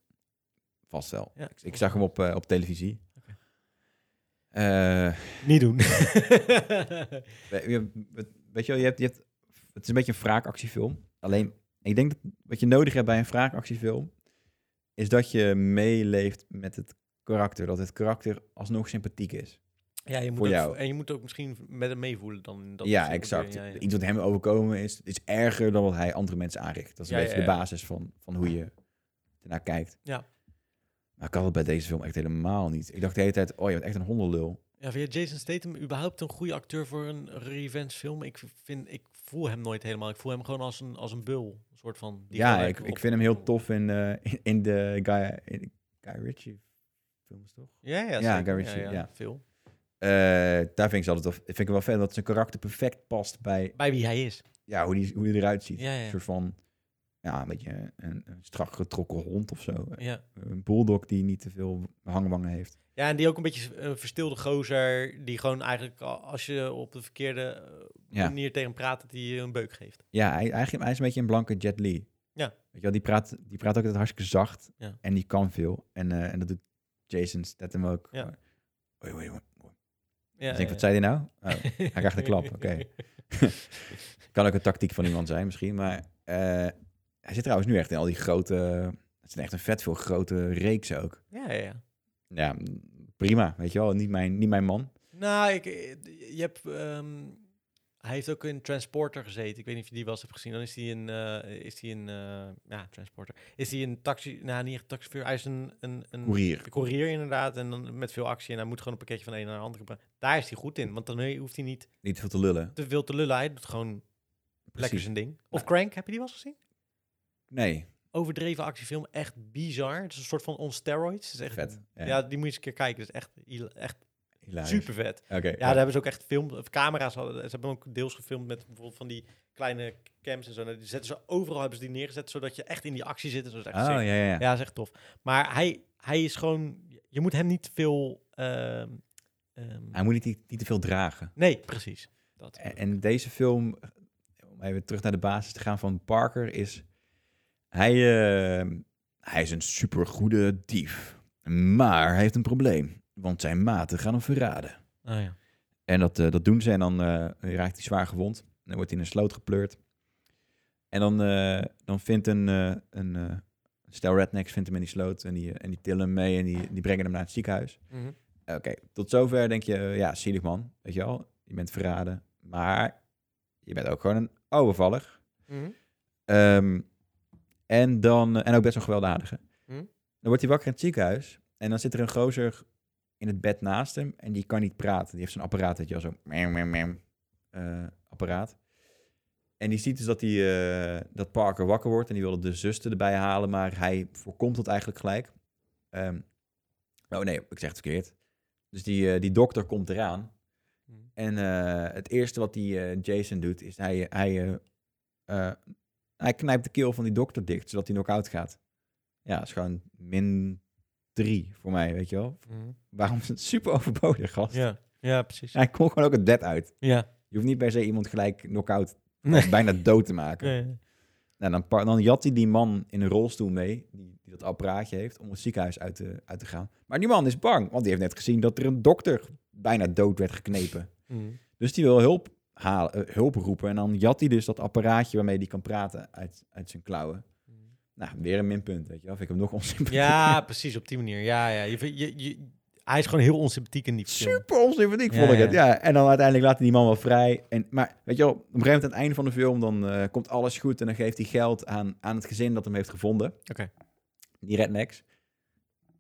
S1: Vast wel.
S2: Ja.
S1: Ik, ik zag hem op, eh, op televisie.
S2: Oké.
S1: Eh,
S2: Niet doen.
S1: we- we- we- weet je wel, je hebt, je hebt, het is een beetje een wraakactiefilm. Alleen, ik denk dat wat je nodig hebt bij een wraakactiefilm... is dat je meeleeft met het karakter. Dat het karakter alsnog sympathiek is.
S2: ja, je moet
S1: Voor
S2: ook-
S1: jou.
S2: En je moet ook misschien met hem meevoelen dan. in Dat
S1: ja,
S2: opzicht
S1: exact.
S2: natuurlijk. Ja, ja.
S1: Iets wat hem overkomen is, is erger dan wat hij andere mensen aanricht. Dat is een
S2: Ja,
S1: beetje
S2: ja,
S1: de
S2: ja.
S1: basis van, van hoe je ernaar kijkt.
S2: Ja.
S1: Maar ik had het bij deze film echt helemaal niet. Ik dacht de hele tijd, oh, je bent echt een hondenlul.
S2: Ja, vind je Jason Statham überhaupt een goede acteur voor een revenge film? Ik, vind, ik voel hem nooit helemaal. Ik voel hem gewoon als een, als een bul. Een soort van... die
S1: ja,
S2: gelijk
S1: ik,
S2: op-
S1: ik vind hem heel tof in, eh, in, in de Guy, in de Guy Ritchie films, toch?
S2: Ja, ja,
S1: Ja,
S2: zeker.
S1: Guy Ritchie, ja.
S2: Veel.
S1: Eh, daar vind ik ze altijd tof. Vind ik wel vet dat zijn karakter perfect past bij
S2: Bij wie hij is.
S1: ja, hoe, die, hoe die eruit ziet.
S2: Ja, ja.
S1: Een soort van, ja, een beetje een, een strak getrokken hond of zo.
S2: Ja.
S1: Een bulldog die niet te veel hangwangen heeft.
S2: Ja, en die ook een beetje een verstilde gozer, die gewoon eigenlijk a- als je op de verkeerde eh,
S1: Ja.
S2: manier tegen hem praat, dat hij je een beuk geeft.
S1: Ja, hij, hij, hij is een beetje een blanke Jet Li.
S2: Ja.
S1: Weet je wel, die praat, die praat ook altijd hartstikke zacht.
S2: Ja.
S1: En die kan veel. En, eh, en dat doet Jason Statham ook.
S2: Ja.
S1: Oei, oei, oei. oei.
S2: Ja,
S1: ik denk, wat zei hij nou? Oh, hij krijgt een klap, oké. Kan ook een tactiek van iemand zijn misschien. Maar eh, hij zit trouwens nu echt in al die grote... Het zijn echt een vet veel grote reeks ook.
S2: ja, ja, ja.
S1: Ja, prima, weet je wel. Niet mijn, niet mijn man.
S2: Nou, ik, je hebt, ehm, hij heeft ook in Transporter gezeten. Ik weet niet of je die wel eens hebt gezien. Dan is hij een, eh, is hij een eh, ja, Transporter. Is hij een taxi, nou niet echt taxichauffeur, hij is een, een, een
S1: Koerier.
S2: een courier inderdaad. En dan met veel actie en hij moet gewoon een pakketje van de een naar de andere brengen. Daar is hij goed in, want dan hoeft hij niet
S1: Niet veel te lullen.
S2: te veel te lullen. Hij doet gewoon lekker
S1: Precies.
S2: zijn ding. Of Crank, heb je die wel eens gezien?
S1: Nee,
S2: Overdreven actiefilm, echt bizar. Het is een soort van on steroids. Het is echt,
S1: vet. Ja,
S2: Ja. die moet je eens een keer kijken. Het is echt, hila- echt
S1: hilarisch.
S2: super vet.
S1: Oké.
S2: Ja, daar hebben ze ook echt film, of camera's. hadden- Ze hebben ook deels gefilmd met bijvoorbeeld van die kleine cams en zo. Nou, Die zetten ze overal, hebben ze die neergezet, zodat je echt in die actie zit. en zo. Dat is echt
S1: Oh, ja,
S2: sick.
S1: ja, ja.
S2: Ah, Ja, dat is echt tof. Maar hij, hij is gewoon, je moet hem niet te veel... ehm, ehm,
S1: Hij moet niet, niet te veel dragen.
S2: nee, precies. Dat.
S1: En, en deze film, om even terug naar de basis te gaan van Parker, is hij, eh, hij is een supergoede dief. Maar hij heeft een probleem, want zijn maten gaan hem verraden.
S2: Oh, ja.
S1: En dat, eh, dat doen ze en dan eh, raakt hij zwaar gewond. En dan wordt hij in een sloot gepleurd. En dan, eh, dan vindt een, eh een eh, stel rednecks vindt hem in die sloot en die, eh, en die tillen hem mee en die, die brengen hem naar het ziekenhuis.
S2: Mhm.
S1: Oké, tot zover denk je, ja, zielig eh, man, weet je wel. Je- je bent verraden. Maar je bent ook gewoon een ouwevaller.
S2: Mhm.
S1: Ehm, en, dan, eh, en ook best wel gewelddadige.
S2: Mhm.
S1: Dan wordt hij wakker in het ziekenhuis. En dan zit er een gozer in het bed naast hem. En die kan niet praten. Die heeft zo'n apparaat, weet je wel, zo'n meow, meow, meow, eh, apparaat. En die ziet dus dat, die, eh, dat Parker wakker wordt. En die wilde de zuster erbij halen. Maar hij voorkomt dat eigenlijk gelijk. Ehm, oh nee, ik zeg het verkeerd. Dus die, eh, die dokter komt eraan.
S2: Mhm.
S1: En eh, het eerste wat die eh, Jason doet, is hij, hij eh, eh, hij knijpt de keel van die dokter dicht, zodat hij knock-out gaat. Ja, dat is gewoon min drie voor mij, weet je wel. Waarom is het super overbodig, gast?
S2: Mhm. Ja. ja, precies.
S1: Hij kon gewoon ook het dead uit.
S2: Ja.
S1: Je hoeft niet per se iemand gelijk knock-out,
S2: Nee.
S1: bijna dood te maken.
S2: Nee.
S1: Nou, dan, par- dan jat hij die man in een rolstoel mee, die, die dat apparaatje heeft, om het ziekenhuis uit te, uit te gaan. Maar die man is bang, want die heeft net gezien dat er een dokter bijna dood werd geknepen.
S2: Mhm.
S1: Dus die wil hulp, halen, eh, hulp roepen. En dan jat hij dus dat apparaatje waarmee hij kan praten uit, uit zijn klauwen. Nou, weer een minpunt, weet je wel. Vind ik hem nog onsympathiek.
S2: Mm. Ja, precies, op die manier. Ja, ja. Je, vindt- je, je, hij is gewoon heel onsympathiek in die film.
S1: Super onsympathiek
S2: Ja,
S1: vond ik het.
S2: ja.
S1: Ja, en dan uiteindelijk laat hij die man wel vrij. En, maar weet je wel, op een gegeven moment aan het einde van de film... dan eh, komt alles goed en dan geeft hij geld aan, aan het gezin dat hem heeft gevonden.
S2: Oké.
S1: Die rednecks.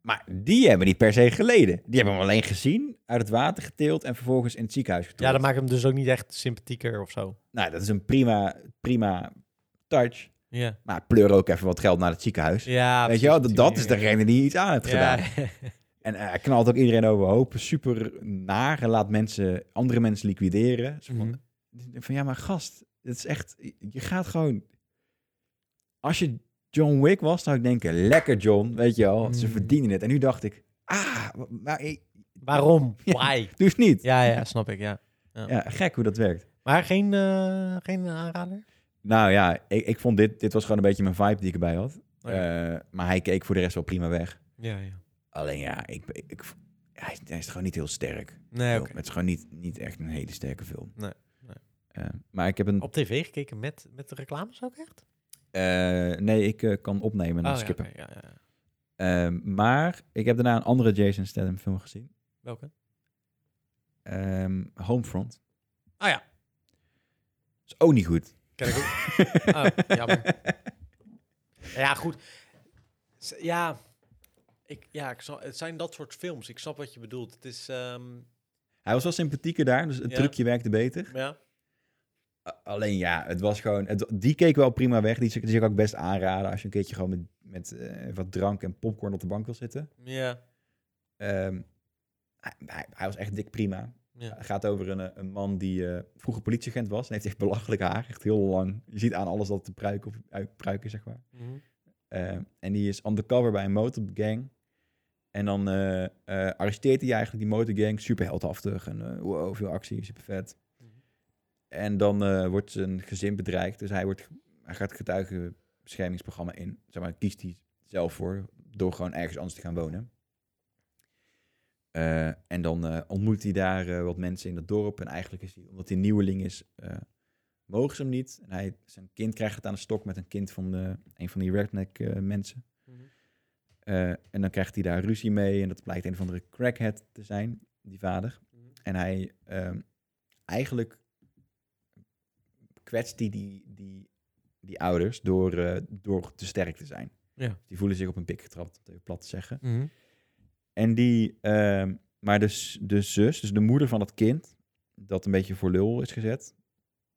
S1: Maar die hebben niet per se geleden. Die hebben hem alleen gezien, uit het water getild... en vervolgens in het ziekenhuis getrokken.
S2: Ja, dat maakt hem dus ook niet echt sympathieker of zo.
S1: Nou, dat is een prima, prima touch.
S2: Ja.
S1: Maar pleur ook even wat geld naar het ziekenhuis.
S2: Ja,
S1: Weet je wel, dat, dat is degene die iets aan heeft gedaan.
S2: gedaan.
S1: En eh, hij knalt ook iedereen overhoop. Super naar. en Laat mensen, andere mensen liquideren. Zo
S2: Mhm.
S1: van, van, ja, maar gast. Het is echt... Je gaat gewoon... Als je John Wick was, zou ik denken... Lekker, John. Weet je wel. Ze
S2: Mm.
S1: verdienen het. En nu dacht ik... Ah, wa- maar ik
S2: Waarom? Why?
S1: doe het niet.
S2: Ja, ja, snap ik, ja.
S1: Ja, gek hoe dat werkt.
S2: Maar geen, eh, geen aanrader?
S1: Nou ja, ik, ik vond dit... Dit was gewoon een beetje mijn vibe die ik erbij had.
S2: Oh ja.
S1: Eh, maar hij keek voor de rest wel prima weg.
S2: Ja, ja.
S1: Alleen ja, ik, ik, hij, is- hij is gewoon niet heel sterk.
S2: Nee,
S1: film.
S2: oké.
S1: Het is gewoon niet, niet echt een hele sterke film.
S2: Nee, nee.
S1: Eh, maar ik heb een...
S2: Op tv gekeken met, met de reclames ook echt?
S1: eh, nee, ik eh, kan opnemen en dan
S2: Oh, ja,
S1: skippen.
S2: oké, ja, ja, ja.
S1: Eh, maar ik heb daarna een andere Jason Statham film gezien.
S2: Welke?
S1: Ehm, Homefront.
S2: Ah ja.
S1: Is ook niet goed.
S2: Ken ik ook. Oh, jammer. Ja, goed. S- Ja, ik, ja ik snap- het zijn dat soort films. Ik snap wat je bedoelt. Het is, ehm,
S1: Hij was wel sympathieker daar, dus het
S2: Ja.
S1: trucje werkte beter.
S2: ja.
S1: A- Alleen ja, het was gewoon... Het, die keek wel prima weg. Die zou die zou ik ook best aanraden als je een keertje gewoon met, met eh, wat drank en popcorn op de bank wil zitten.
S2: Ja.
S1: Ehm, hij, hij- hij was echt dik prima.
S2: ja.
S1: Het gaat over een, eh, een man die eh, vroeger politieagent was. En heeft echt belachelijk haar. Echt heel lang. Je ziet aan alles dat het een pruik, of, uit- pruik is, zeg maar.
S2: Mhm.
S1: Eh, en die is undercover bij een motorgang. En dan eh, eh, arresteert hij eigenlijk die motorgang. Super heldhaftig. En eh, wow, veel actie. Super vet. En dan eh, wordt zijn gezin bedreigd. Dus hij, wordt, hij gaat het getuigenbeschermingsprogramma in. Zeg maar, kiest hij zelf voor. Door gewoon ergens anders te gaan wonen. Eh, en dan eh, ontmoet hij daar eh, wat mensen in dat dorp. En eigenlijk is hij, omdat hij nieuweling is, eh, mogen ze hem niet. En hij, zijn kind krijgt het aan de stok met een kind van de, een van die redneck eh, mensen.
S2: Mhm.
S1: Eh, en dan krijgt hij daar ruzie mee. En dat blijkt een of andere crackhead te zijn, die vader.
S2: Mhm.
S1: En hij ehm, eigenlijk kwetst hij die, die, die ouders door, eh, door te sterk te zijn. Dus
S2: Ja.
S1: Die voelen zich op een pik getrapt, om het even plat te zeggen.
S2: Mhm.
S1: En die, ehm, maar de, s- de zus, dus de moeder van dat kind, dat een beetje voor lul is gezet.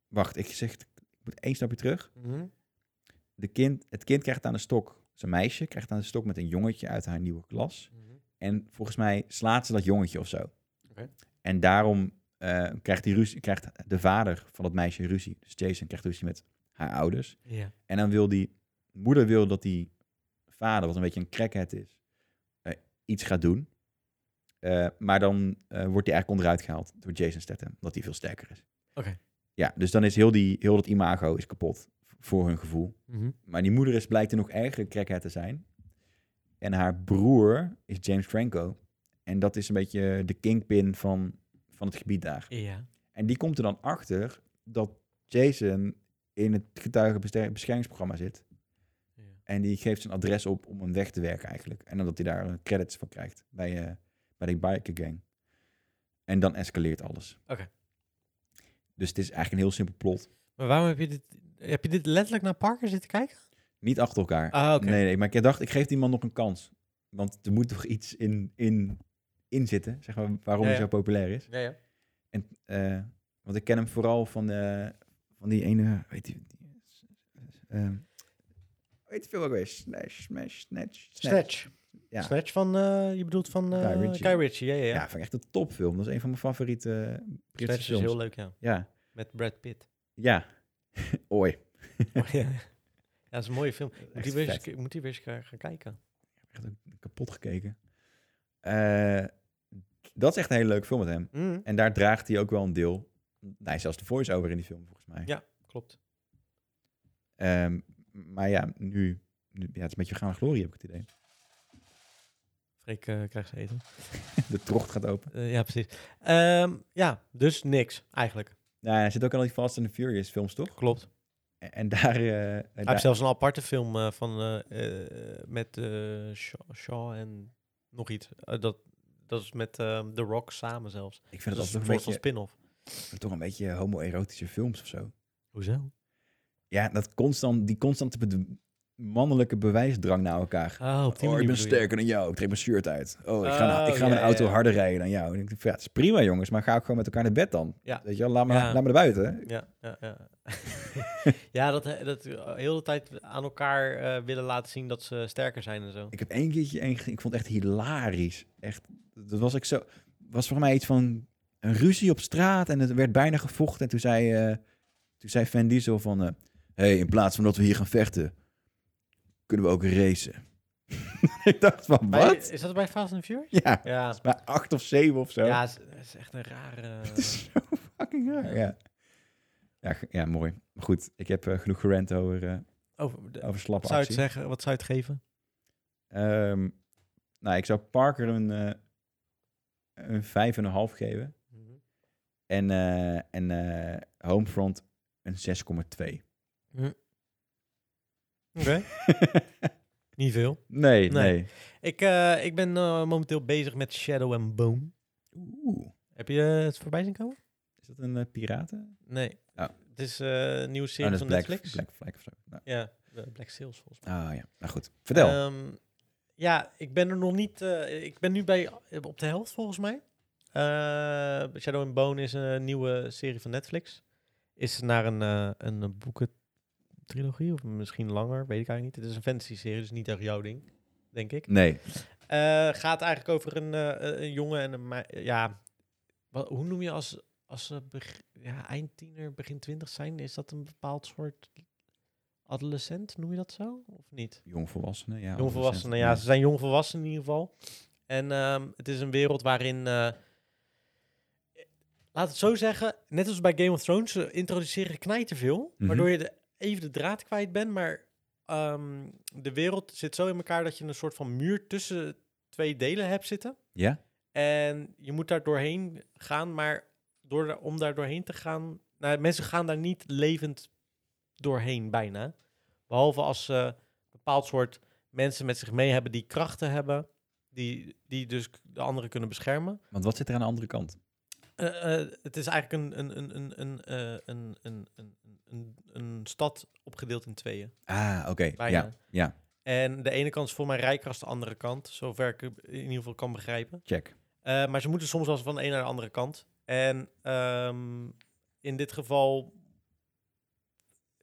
S1: Wacht, ik zeg, het- ik moet één stapje terug.
S2: Mhm.
S1: De kind, het kind krijgt aan de stok, zijn meisje krijgt aan de stok met een jongetje uit haar nieuwe klas.
S2: Mhm.
S1: En volgens mij slaat ze dat jongetje of zo.
S2: Oké.
S1: En daarom eh, krijgt, die ruzie, krijgt de vader van dat meisje ruzie. Dus Jason krijgt ruzie met haar ouders.
S2: Ja.
S1: En dan wil die moeder wil dat die vader, wat een beetje een crackhead is, eh, iets gaat doen. Eh, maar dan eh, wordt hij eigenlijk onderuit gehaald door Jason Statham, omdat hij veel sterker is.
S2: Oké.
S1: Ja, dus dan is heel, die, heel dat imago is kapot v- voor hun gevoel.
S2: Mhm.
S1: Maar die moeder is blijkt een nog erger crackhead te zijn. En haar broer is James Franco. En dat is een beetje de kingpin van, van het gebied daar.
S2: Ja.
S1: En die komt er dan achter dat Jason in het getuigenbeschermingsprogramma zit.
S2: Ja.
S1: En die geeft zijn adres op om hem weg te werken eigenlijk. En dan dat hij daar eh, credits voor krijgt bij, eh, bij die biker gang. En dan escaleert alles.
S2: Oké.
S1: Dus het is eigenlijk een heel simpel plot.
S2: Maar waarom heb je dit... Heb je dit letterlijk naar Parker zitten kijken?
S1: Niet achter elkaar.
S2: Ah, oké.
S1: Nee, nee, maar ik dacht, ik geef die man nog een kans. Want er moet toch iets in, in, in zitten, zeg maar, waarom
S2: Ja,
S1: hij
S2: ja.
S1: zo populair is.
S2: Ja, ja.
S1: En, eh, want ik ken hem vooral van, eh, van die ene, weet je, die, eh, weet je veel ook weer? Smash, smash, snatch,
S2: Snatch.
S1: Ja.
S2: Snatch van... eh, je bedoelt van... eh
S1: Guy
S2: Guy
S1: Ritchie.
S2: Ritchie. ja, ja, ja.
S1: Ja, vind ik echt een topfilm. Dat is een van mijn favoriete eh, Britse
S2: Snatch is
S1: films.
S2: heel leuk, ja.
S1: Ja,
S2: Met Brad Pitt.
S1: ja. Ooi.
S2: Oh, ja. ja, dat is een mooie film. Moet
S1: Echt
S2: die weer eens,
S1: vet.
S2: ke- moet die weer eens gaan gaan kijken.
S1: Echt ook kapot gekeken. Eh, dat is echt een hele leuke film met hem.
S2: Mhm.
S1: En daar draagt hij ook wel een deel. Nee, zelfs de voice-over in die film, volgens mij.
S2: Ja. Klopt.
S1: Ehm, maar ja, nu, nu... Ja, het is een beetje gaan glorie, heb ik het idee.
S2: Freek eh, krijgt ze eten.
S1: De trocht gaat open.
S2: Eh, ja, precies. Ehm, ja, dus niks eigenlijk.
S1: Nou, hij zit ook al in die Fast and the Furious films, toch?
S2: Klopt.
S1: En, en daar... eh, en
S2: Hij
S1: daar-
S2: heeft zelfs een aparte film eh, van, eh, eh, met eh, Shaw, Shaw en nog iets. Eh, dat, dat is met eh, The Rock samen zelfs.
S1: ik vind het
S2: Dat, is een
S1: altijd een
S2: soort van
S1: beetje,
S2: spin-off.
S1: toch een beetje homoerotische films of zo.
S2: Hoezo?
S1: Ja, dat constant, die constante be- mannelijke bewijsdrang naar elkaar.
S2: Oh,
S1: Oh, ik
S2: op die manier
S1: ben
S2: bedoel je.
S1: sterker dan jou. Ik trek mijn shirt uit. Oh, ik ga,
S2: Oh,
S1: ik ga
S2: ja,
S1: mijn auto
S2: ja.
S1: harder rijden dan jou. En ik denk, ja, het is prima jongens, maar ga ook gewoon met elkaar naar bed dan.
S2: Ja.
S1: Weet je wel, laat me,
S2: Ja.
S1: laat me naar buiten.
S2: Ja, ja, ja. ja dat, eh, dat heel de tijd aan elkaar eh, willen laten zien dat ze sterker zijn en zo.
S1: Ik heb één keertje, één, ge- ik vond het echt hilarisch. Echt, dat was ik zo, was voor mij iets van een ruzie op straat en het werd bijna gevochten. En toen zei, eh, toen zei Van Diesel van, eh, hey, in plaats van dat we hier gaan vechten, kunnen we ook racen. ik dacht van,
S2: Bij-
S1: wat?
S2: Is dat bij Fast and Furious?
S1: Ja,
S2: Ja,
S1: maar acht of zeven of zo.
S2: ja het is- het is echt een rare... eh,
S1: Het is zo fucking raar. Ja, ja, g- ja mooi. Maar goed, ik heb eh, genoeg gerant over, eh
S2: Over de-
S1: over slappe
S2: wat zou je het
S1: actie.
S2: zeggen? Wat zou je het geven?
S1: Ehm, nou, ik zou Parker een, eh een vijf en een half geven. En, eh, en eh, Homefront een 6,2.
S2: Oké. Niet veel.
S1: nee, nee.
S2: Nee. Ik, eh, ik ben eh, momenteel bezig met Shadow and Bone.
S1: Oeh.
S2: Heb je eh, het voorbij zien komen?
S1: Is dat een eh, piraten?
S2: Nee.
S1: Oh.
S2: Het is eh, een nieuwe
S1: Oh,
S2: serie
S1: dat is
S2: van
S1: Black,
S2: Netflix.
S1: Black Flag of zo. Nou,
S2: Ja, eh, Black Sales volgens mij.
S1: Ah ja, nou goed. Vertel.
S2: Ehm, ja, ik ben er nog niet... eh, ik ben nu bij, op de helft volgens mij. Eh, Shadow and Bone is een nieuwe serie van Netflix. Is naar een, eh een boekentrilogie of misschien langer, weet ik eigenlijk niet. Het is een fantasy serie, dus niet echt jouw ding, denk ik.
S1: nee.
S2: Eh, gaat eigenlijk over een, eh, eh, een jongen en een mei- Ja, wat, hoe noem je als, als ze beg- ja, eind tiener, begin twintig zijn? Is dat een bepaald soort adolescent? Noem je dat zo? Of niet?
S1: Jongvolwassenen, ja.
S2: Jongvolwassenen, ja.
S1: adolescenten,
S2: Ze zijn jongvolwassenen in ieder geval. En ehm, het is een wereld waarin... eh, laat het zo zeggen, net als bij Game of Thrones, ze introduceren knijterveel.
S1: Mhm.
S2: Waardoor je de, even de draad kwijt bent, maar ehm, de wereld zit zo in elkaar dat je een soort van muur tussen twee delen hebt zitten.
S1: Ja?
S2: En je moet daar doorheen gaan, maar door, daar- om daar doorheen te gaan... Nou, mensen gaan daar niet levend doorheen, bijna. Behalve als ze een bepaald soort mensen met zich mee hebben die krachten hebben... die, die dus k- de anderen kunnen beschermen.
S1: Want wat zit er aan de andere kant?
S2: Eh, eh, het is eigenlijk een, een, een, een, een, eh, een, een, een, een, een stad opgedeeld in tweeën.
S1: Ah, oké.
S2: Bijna.
S1: Ja, ja.
S2: En de ene kant is voor mij rijker als de andere kant. Zover ik het in ieder geval kan begrijpen.
S1: Check.
S2: Eh, maar ze moeten soms wel eens van de een naar de andere kant. En ehm, in dit geval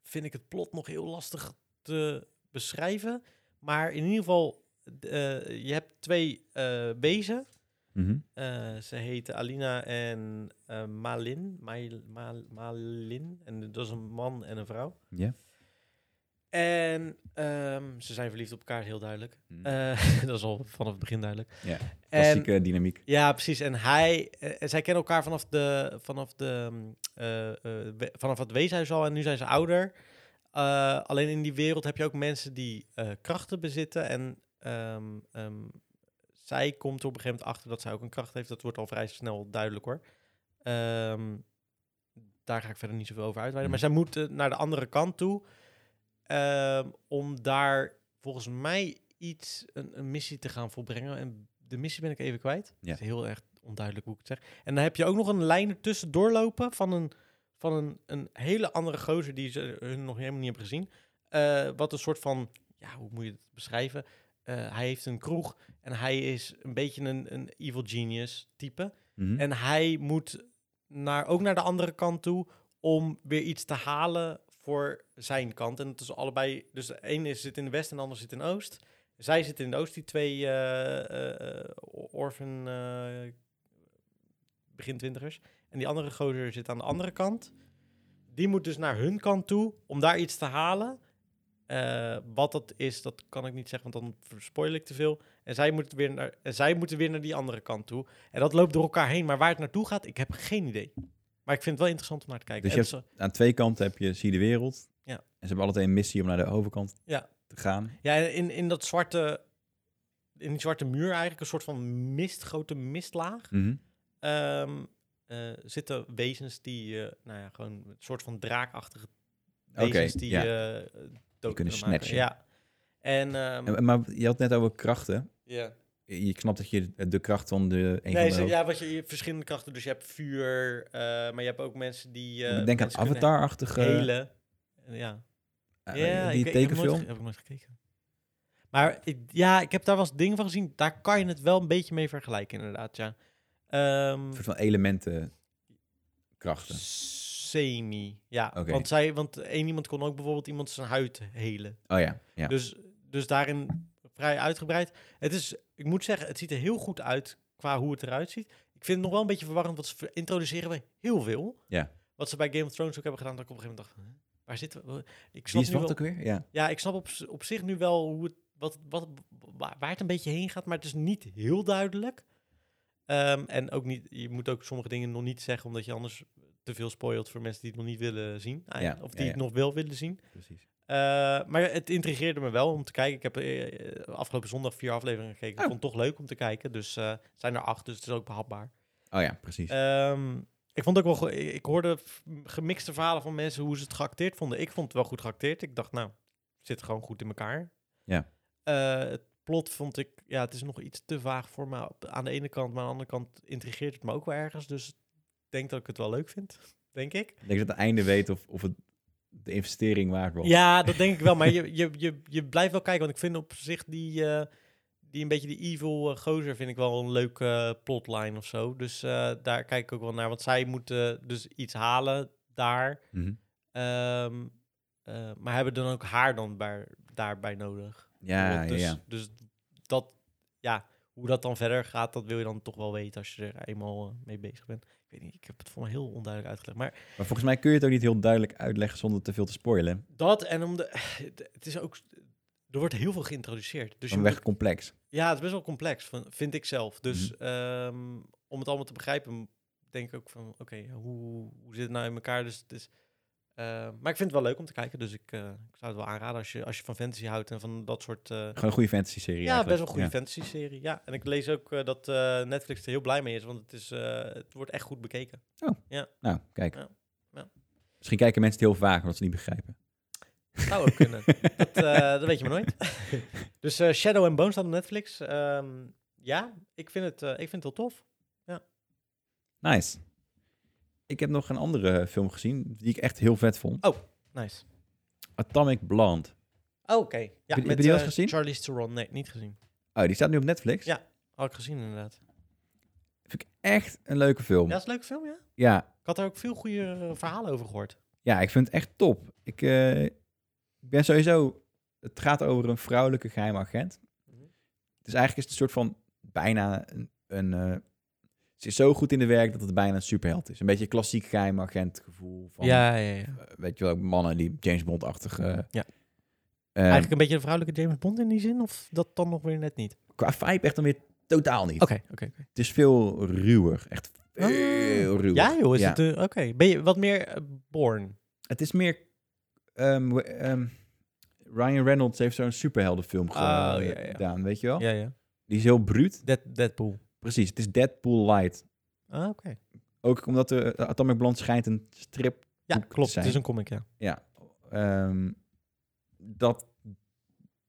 S2: vind ik het plot nog heel lastig te beschrijven. Maar in ieder geval, d- eh, je hebt twee eh, wezen.
S1: Mhm.
S2: Eh, ze heten Alina en eh, Malin. Mail- Mal- Malin. En dat is een man en een vrouw.
S1: Ja.
S2: En ehm, ze zijn verliefd op elkaar, heel duidelijk.
S1: Hm.
S2: Eh, dat is al vanaf het begin duidelijk.
S1: Ja,
S2: en,
S1: Klassieke eh, dynamiek.
S2: ja precies. En hij, eh, en zij kennen elkaar vanaf, de, vanaf, de, mm, eh, eh, we- vanaf het weeshuis al en nu zijn ze ouder. Eh, alleen in die wereld heb je ook mensen die eh, krachten bezitten. En ehm, ehm, zij komt er op een gegeven moment achter dat zij ook een kracht heeft. Dat wordt al vrij snel duidelijk hoor. Ehm, daar ga ik verder niet zoveel over uitweiden. Maar zij moeten naar de andere kant toe. ehm, om daar volgens mij iets, een, een missie te gaan volbrengen. En de missie ben ik even kwijt.
S1: Ja.
S2: Het is heel erg onduidelijk hoe ik het zeg. En dan heb je ook nog een lijn ertussen doorlopen van een, van een, een hele andere gozer die ze hun nog helemaal niet hebben gezien. Eh, wat een soort van, ja, hoe moet je het beschrijven? Eh, hij heeft een kroeg en hij is een beetje een, een evil genius type.
S1: Mhm.
S2: En hij moet naar, ook naar de andere kant toe om weer iets te halen voor zijn kant. En het is allebei, dus de een is, zit in de west en de ander zit in de oost. Zij zitten in de oost, die twee eh, eh, eh, orphan eh, begin twintigers. En die andere gozer zit aan de andere kant. Die moet dus naar hun kant toe om daar iets te halen. Eh, wat dat is, dat kan ik niet zeggen, want dan verspoil ik te veel. En zij, moeten weer naar, en zij moeten weer naar die andere kant toe. En dat loopt door elkaar heen. Maar waar het naartoe gaat, ik heb geen idee. Maar ik vind het wel interessant om naar te kijken.
S1: Dus je
S2: En
S1: hebt-
S2: zo-
S1: Aan twee kanten heb je Zie de Wereld.
S2: Ja.
S1: En ze hebben alle twee een missie om naar de overkant
S2: Ja.
S1: te gaan.
S2: ja, in, in dat zwarte... In die zwarte muur eigenlijk, een soort van mist, grote mistlaag.
S1: Mhm.
S2: ehm, eh, zitten wezens die, eh, nou ja, gewoon een soort van draakachtige
S1: Oké,
S2: wezens die
S1: ja.
S2: eh, eh, dood
S1: kunnen
S2: maken.
S1: snatchen.
S2: Ja. En, ehm,
S1: En- Maar je had het net over krachten.
S2: ja.
S1: Je snapt dat je de kracht van de een
S2: Nee,
S1: van
S2: ze-
S1: de
S2: ja, wat je, je hebt verschillende krachten, dus je hebt vuur, eh, maar je hebt ook mensen die... eh,
S1: Denk aan
S2: mensen kunnen
S1: Avatar-achtige...
S2: Helen. Ja.
S1: eh,
S2: ja,
S1: die
S2: ik, weet- Ik heb, nooit,
S1: tekenfilm.
S2: ge- heb ik nooit gekeken. Maar ik- ja, ik heb daar wel eens dingen van gezien. Daar kan je het wel een beetje mee vergelijken, inderdaad, ja. Ehm,
S1: Een soort van elementenkrachten.
S2: Semi, ja.
S1: Oké.
S2: Want, zij, want één iemand kon ook bijvoorbeeld iemand zijn huid helen.
S1: Oh ja, ja.
S2: Dus, dus daarin vrij uitgebreid. Het is, ik moet zeggen, het ziet er heel goed uit qua hoe het eruit ziet. Ik vind het nog wel een beetje verwarrend, want ze ver- introduceren we heel veel.
S1: Ja.
S2: Wat ze bij Game of Thrones ook hebben gedaan, dat ik op een gegeven moment dacht, "Huh? waar zitten we? Ik
S1: Die
S2: snap,
S1: is
S2: nu
S1: wat
S2: wel,
S1: ook weer? Ja.
S2: ja, ik snap op, z- op zich nu wel hoe het, wat, wat, waar waar het een beetje heen gaat, maar het is niet heel duidelijk. Ehm, en ook niet, je moet ook sommige dingen nog niet zeggen, omdat je anders te veel spoilt voor mensen die het nog niet willen zien. eigenlijk,
S1: Ja,
S2: of
S1: ja,
S2: die het
S1: ja.
S2: nog wel willen zien.
S1: Precies.
S2: Eh, maar het intrigeerde me wel om te kijken. Ik heb eh, afgelopen zondag vier afleveringen gekeken. Ik
S1: Oh.
S2: vond het toch leuk om te kijken. Dus eh, het zijn er acht, dus het is ook behapbaar.
S1: Oh ja, precies.
S2: Ehm, ik vond ook wel. go- Ik hoorde f- gemixte verhalen van mensen hoe ze het geacteerd vonden. Ik vond het wel goed geacteerd. Ik dacht, nou, het zit gewoon goed in elkaar.
S1: Ja.
S2: Eh, het plot vond ik, ja, het is nog iets te vaag voor me op- aan de ene kant, maar aan de andere kant intrigeert het me ook wel ergens. Dus ik denk dat ik het wel leuk vind, denk ik.
S1: Ik denk dat het einde weet of, of het de investering waard was.
S2: Ja, dat denk ik wel. Maar je, je, je, je blijft wel kijken. Want ik vind op zich die, eh, die een beetje die evil eh, gozer vind ik wel een leuke eh, plotline of zo. Dus eh, daar kijk ik ook wel naar. Want zij moeten dus iets halen daar.
S1: Mhm.
S2: Ehm, eh, maar hebben dan ook haar dan bij, daarbij nodig.
S1: ja,
S2: Want
S1: ja,
S2: dus,
S1: ja.
S2: dus dat, ja, hoe dat dan verder gaat, dat wil je dan toch wel weten als je er eenmaal eh, mee bezig bent. Ik weet niet, ik heb het voor me heel onduidelijk uitgelegd. Maar
S1: Maar volgens mij kun je het ook niet heel duidelijk uitleggen zonder te veel te spoilen.
S2: Dat en om de. Het is ook. Er wordt heel veel geïntroduceerd. Dus je
S1: Dan
S2: moet
S1: weg complex.
S2: ook- ja, het is best wel complex, van- vind ik zelf. Dus ehm, om het allemaal te begrijpen, denk ik ook van: oké, hoe, hoe zit het nou in elkaar? Dus het is. eh, maar ik vind het wel leuk om te kijken. Dus ik, eh, ik zou het wel aanraden als je, als je van fantasy houdt en van dat soort. eh,
S1: Gewoon een goede fantasy serie
S2: ja, best wel een goede fantasy-serie. Ja, en ik lees ook eh, dat eh, Netflix er heel blij mee is, want het, is, eh, het wordt echt goed bekeken.
S1: Nou, kijk.
S2: Ja. Ja.
S1: Misschien kijken mensen het heel vaag omdat ze het niet begrijpen.
S2: Zou ook kunnen. dat, eh, dat weet je maar nooit. dus eh, Shadow and Bone staat op Netflix. Ehm, ja, ik vind, het, eh, ik vind het wel tof.
S1: Nice. Ik heb nog een andere film gezien die ik echt heel vet vond.
S2: Nice.
S1: Atomic Blonde.
S2: Oh, Oké. Ja,
S1: je- heb je die wel eens
S2: eh,
S1: gezien?
S2: Charlize Theron. Nee, niet gezien.
S1: Oh, die staat nu op Netflix.
S2: Ja. Had ik gezien inderdaad.
S1: Vind ik echt een leuke film.
S2: Ja, is een leuke film, ja?
S1: ja,
S2: Ik had er ook veel goede eh, verhalen over gehoord.
S1: Ja, ik vind het echt top. Ik, eh, ik ben sowieso... Het gaat over een vrouwelijke geheime agent.
S2: Mhm.
S1: Dus eigenlijk is het een soort van bijna een... een eh, ze is zo goed in de werk dat het bijna een superheld is. Een beetje klassiek geheime agent gevoel van...
S2: ja, ja.
S1: eh, weet je wel, mannen die James Bond-achtige...
S2: Ja.
S1: eh,
S2: Eigenlijk een beetje de vrouwelijke James Bond in die zin, of dat dan nog weer net niet?
S1: Qua vibe echt dan weer totaal niet.
S2: Oké, oké. oké.
S1: Het is veel ruwer. Echt veel ruwer.
S2: Ah. Ja joh, is
S1: Ja.
S2: het... eh, oké, ben je wat meer eh, born?
S1: Het is meer... ehm, we- ehm, Ryan Reynolds heeft zo'n superheldenfilm ge-
S2: Oh, ja, ja.
S1: gedaan, weet je wel?
S2: Ja, ja.
S1: Die is heel bruut.
S2: Dead, Deadpool.
S1: Precies, het is Deadpool Light.
S2: Ah, oké.
S1: Ook omdat de eh, Atomic Blonde schijnt een strip.
S2: Ja,
S1: Moet ik
S2: klopt.
S1: zijn.
S2: Het is een comic, ja.
S1: Ja, ehm, dat,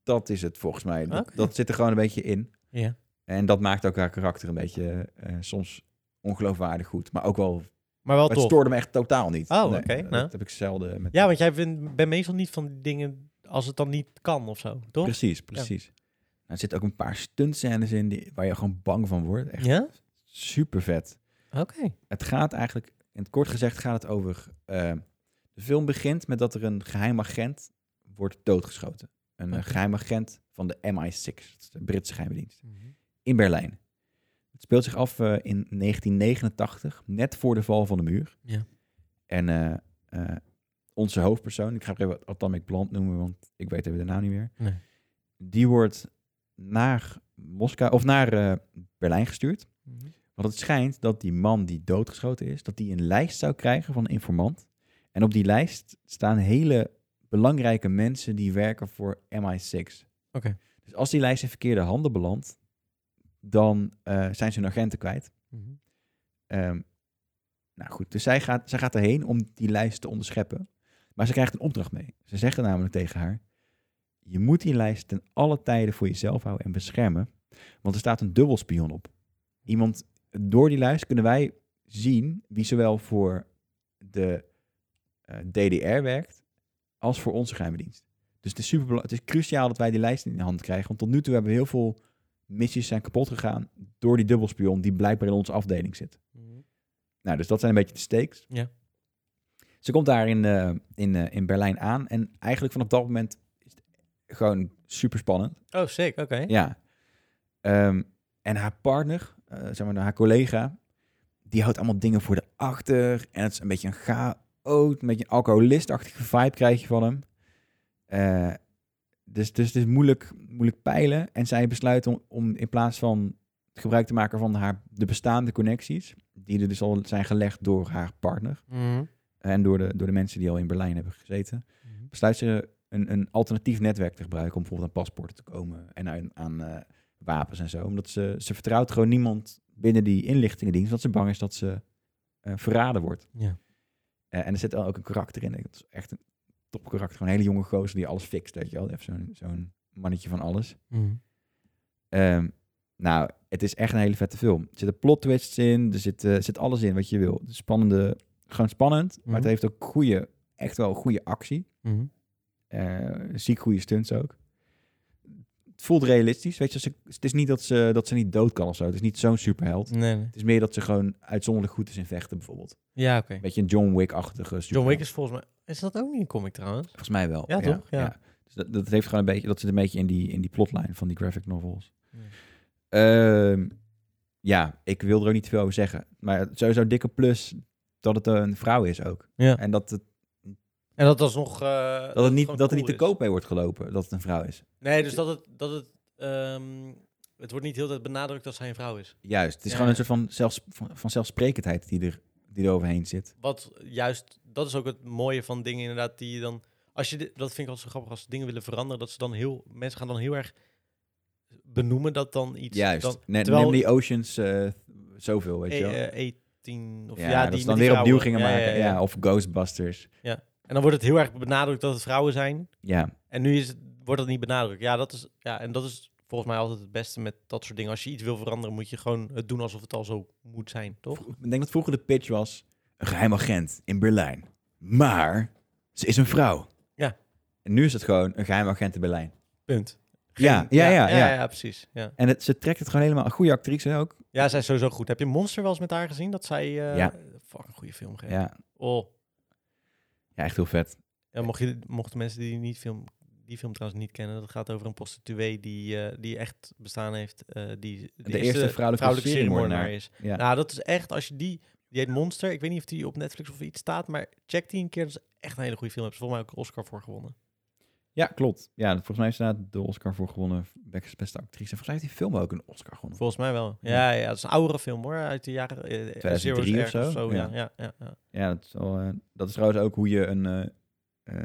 S1: dat is het volgens mij. Dat,
S2: Oké.
S1: dat zit er gewoon een beetje in.
S2: Ja.
S1: En dat maakt ook haar karakter een beetje eh, soms ongeloofwaardig goed. Maar ook wel
S2: Maar wel
S1: Maar het
S2: tof.
S1: stoorde me echt totaal niet.
S2: Oh,
S1: Nee,
S2: oké,
S1: Dat
S2: nou.
S1: heb ik zelden met...
S2: Ja, want jij vindt- bent meestal niet van dingen als het dan niet kan of zo, toch?
S1: Precies, precies. Nou, er zitten ook een paar stuntscènes in die, waar je gewoon bang van wordt. Echt
S2: Ja?
S1: super vet.
S2: Oké.
S1: Het gaat eigenlijk, in het kort gezegd, gaat het over. eh, de film begint met dat er een geheim agent wordt doodgeschoten. Een eh,
S2: Oké.
S1: geheim agent van de MI6, dat is de Britse geheime dienst, in Berlijn. Het speelt zich af eh, in 1989, net voor de val van de muur.
S2: Ja.
S1: En eh, eh, onze hoofdpersoon, ik ga hem even Atomic Blonde noemen, want ik weet even de naam niet meer.
S2: Nee.
S1: Die wordt naar Moskou, of naar eh, Berlijn gestuurd. Want het schijnt dat die man die doodgeschoten is, dat die een lijst zou krijgen van een informant. En op die lijst staan hele belangrijke mensen die werken voor MI6.
S2: Oké.
S1: Dus als die lijst in verkeerde handen belandt, dan eh, zijn ze hun agenten kwijt.
S2: Mhm.
S1: Ehm, nou goed, dus zij gaat, zij gaat erheen om die lijst te onderscheppen. Maar ze krijgt een opdracht mee. Ze zeggen namelijk tegen haar, je moet die lijst ten alle tijden voor jezelf houden en beschermen. Want er staat een dubbelspion op. Iemand, door die lijst kunnen wij zien wie zowel voor de eh, DDR werkt als voor onze geheime dienst. Dus het is, superbela- het is cruciaal dat wij die lijst in de hand krijgen. Want tot nu toe hebben we heel veel missies zijn kapot gegaan door die dubbelspion die blijkbaar in onze afdeling zit. Nou, dus dat zijn een beetje de stakes.
S2: Ja.
S1: Ze komt daar in, eh, in, eh, in Berlijn aan. En eigenlijk vanaf dat moment is het gewoon super spannend.
S2: Oh, sick. Oké.
S1: Ja. Ehm, en haar partner, eh, zeg maar haar collega, die houdt allemaal dingen voor de achter. En het is een beetje een chaot, een beetje een alcoholistachtige vibe krijg je van hem. Eh, dus, dus het is moeilijk, moeilijk peilen. En zij besluit om, om in plaats van gebruik te maken van haar, de bestaande connecties, die er dus al zijn gelegd door haar partner, en door de, door de mensen die al in Berlijn hebben gezeten,
S2: Mhm.
S1: besluit ze een, een alternatief netwerk te gebruiken om bijvoorbeeld aan paspoorten te komen en aan, aan eh, wapens en zo. Omdat ze, ze vertrouwt gewoon niemand binnen die inlichtingendienst, want ze bang is dat ze eh, verraden wordt.
S2: Ja.
S1: Eh, en er zit wel ook een karakter in. Dat is echt een top karakter. Gewoon een hele jonge gozer die alles fixt, weet je wel. Even zo'n zo'n mannetje van alles.
S2: Mhm.
S1: Ehm, nou, het is echt een hele vette film. Er zitten plot twists in, er zit, eh, zit alles in wat je wil. Het is Spannende, gewoon spannend, maar het
S2: Mhm.
S1: heeft ook goede, echt wel goede actie. Eh, ziek goede stunts ook. Het voelt realistisch, weet je. Ze, het is niet dat ze, dat ze niet dood kan of zo. Het is niet zo'n superheld.
S2: Nee, nee.
S1: Het is meer dat ze gewoon uitzonderlijk goed is in vechten bijvoorbeeld.
S2: Ja, oké.
S1: Een beetje een John Wick-achtige
S2: John
S1: superheld.
S2: Wick is volgens mij... Is dat ook niet een comic trouwens?
S1: Volgens mij wel.
S2: Ja, toch? Ja.
S1: Dus dat, dat heeft gewoon een beetje, dat zit een beetje in die, in die plotlijn van die graphic novels.
S2: Ja.
S1: Ja. ja, ik wil er ook niet te veel over zeggen. Maar sowieso dikke plus dat het een vrouw is ook.
S2: Ja.
S1: En dat het,
S2: En dat was nog...
S1: dat het niet, dat er niet te koop mee wordt gelopen dat het een vrouw is.
S2: Nee, dus dat het... Dat het ehm, het wordt niet heel de tijd benadrukt dat zij een vrouw is.
S1: Juist, het is
S2: Ja.
S1: gewoon een soort van, zelfs, van, van zelfsprekendheid die er, die er overheen zit.
S2: Wat juist... Dat is ook het mooie van dingen inderdaad die je dan... Als je, dit- dat vind ik altijd zo grappig, als ze dingen willen veranderen, dat ze dan heel... Mensen gaan dan heel erg benoemen dat dan iets...
S1: Juist.
S2: Dan,
S1: Ne-
S2: terwijl-
S1: Neem die Oceans eh, zoveel, weet je wel.
S2: eh, eh, 18 of
S1: ja,
S2: ja,
S1: dat
S2: die
S1: ze dan
S2: met die
S1: weer opnieuw
S2: vrouwen.
S1: gingen
S2: Ja,
S1: maken.
S2: ja, ja.
S1: ja, of Ghostbusters.
S2: En dan wordt het heel erg benadrukt dat het vrouwen zijn.
S1: Ja.
S2: En nu is het, wordt dat niet benadrukt. Ja, dat is, ja, en dat is volgens mij altijd het beste met dat soort dingen. Als je iets wil veranderen, moet je gewoon het doen alsof het al zo moet zijn, toch?
S1: Vro- Ik denk dat vroeger de pitch was: een geheim agent in Berlijn. Maar ze is een vrouw.
S2: Ja.
S1: En nu is het gewoon een geheim agent in Berlijn.
S2: Punt.
S1: ja, ja, ja, ja,
S2: ja, precies. Ja.
S1: En het, ze trekt het gewoon helemaal. Een goede actrice ook.
S2: ja, zij is sowieso goed. Heb je Monster wel eens met haar gezien? Dat zij... eh
S1: Ja.
S2: Fuck, een goede film
S1: Ja.
S2: geeft.
S1: ja.
S2: Oh.
S1: echt heel vet.
S2: Ja, mocht je, mochten mensen die niet film, die film trouwens niet kennen, dat gaat over een prostituee die, eh, die echt bestaan heeft. eh, die, de,
S1: eerste vrouwelijke seriemoordenaar.
S2: seriemoordenaar is.
S1: Ja.
S2: Nou, dat is echt, als je die, die heet Monster, ik weet niet of die op Netflix of iets staat, maar check die een keer, dat is echt een hele goede film. Hebben ze volgens mij ook een Oscar voor gewonnen.
S1: Ja, klopt. Ja, volgens mij is daar de Oscar voor gewonnen. Beck's beste actrice. En volgens mij heeft die film ook een Oscar gewonnen.
S2: Volgens mij wel. Ja, ja, het is een oudere film hoor, uit de jaren... eh,
S1: 2003
S2: zero's
S1: Hm. of
S2: ergens
S1: zo?
S2: Ja,
S1: Ja.
S2: ja, ja, ja.
S1: Ja, dat is, wel, eh, dat is trouwens ook hoe je een, eh, eh,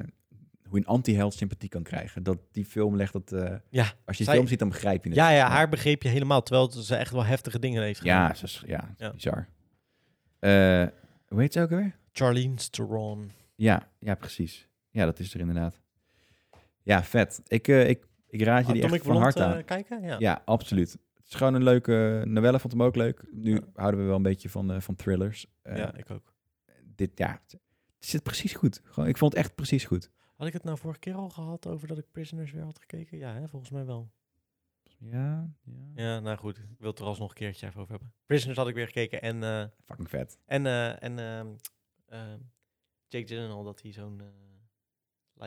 S1: hoe je een anti-held sympathie kan krijgen. Dat die film legt dat. eh,
S2: Ja,
S1: als je die
S2: zij-
S1: film ziet, dan begrijp je het.
S2: Ja, ja, haar begreep je helemaal, terwijl ze echt wel heftige dingen heeft gedaan.
S1: Ja, ze is, ja,
S2: Ja.
S1: bizar. Eh, hoe heet ze ook alweer?
S2: Charlene Theron.
S1: Ja, ja, precies. Ja, dat is er inderdaad. Ja, vet. Ik, eh, ik, ik raad je die
S2: Atomic
S1: echt van harte
S2: Blonde,
S1: aan.
S2: eh, kijken? Ja.
S1: ja, absoluut. Het is gewoon een leuke... Novelle vond hem ook leuk. Nu houden we wel een beetje van, eh, van thrillers. Eh,
S2: ja, ik ook.
S1: dit, ja, het zit precies goed. Gewoon, ik vond het echt precies goed.
S2: Had ik het nou vorige keer al gehad over dat ik Prisoners weer had gekeken? Ja, hè, volgens mij wel.
S1: Ja, ja.
S2: Ja, nou goed. Ik wil het er alsnog een keertje even over hebben. Prisoners had ik weer gekeken. En, eh,
S1: Fucking vet.
S2: en, eh, en ehm, ehm, Jake Gyllenhaal, dat hij zo'n... eh,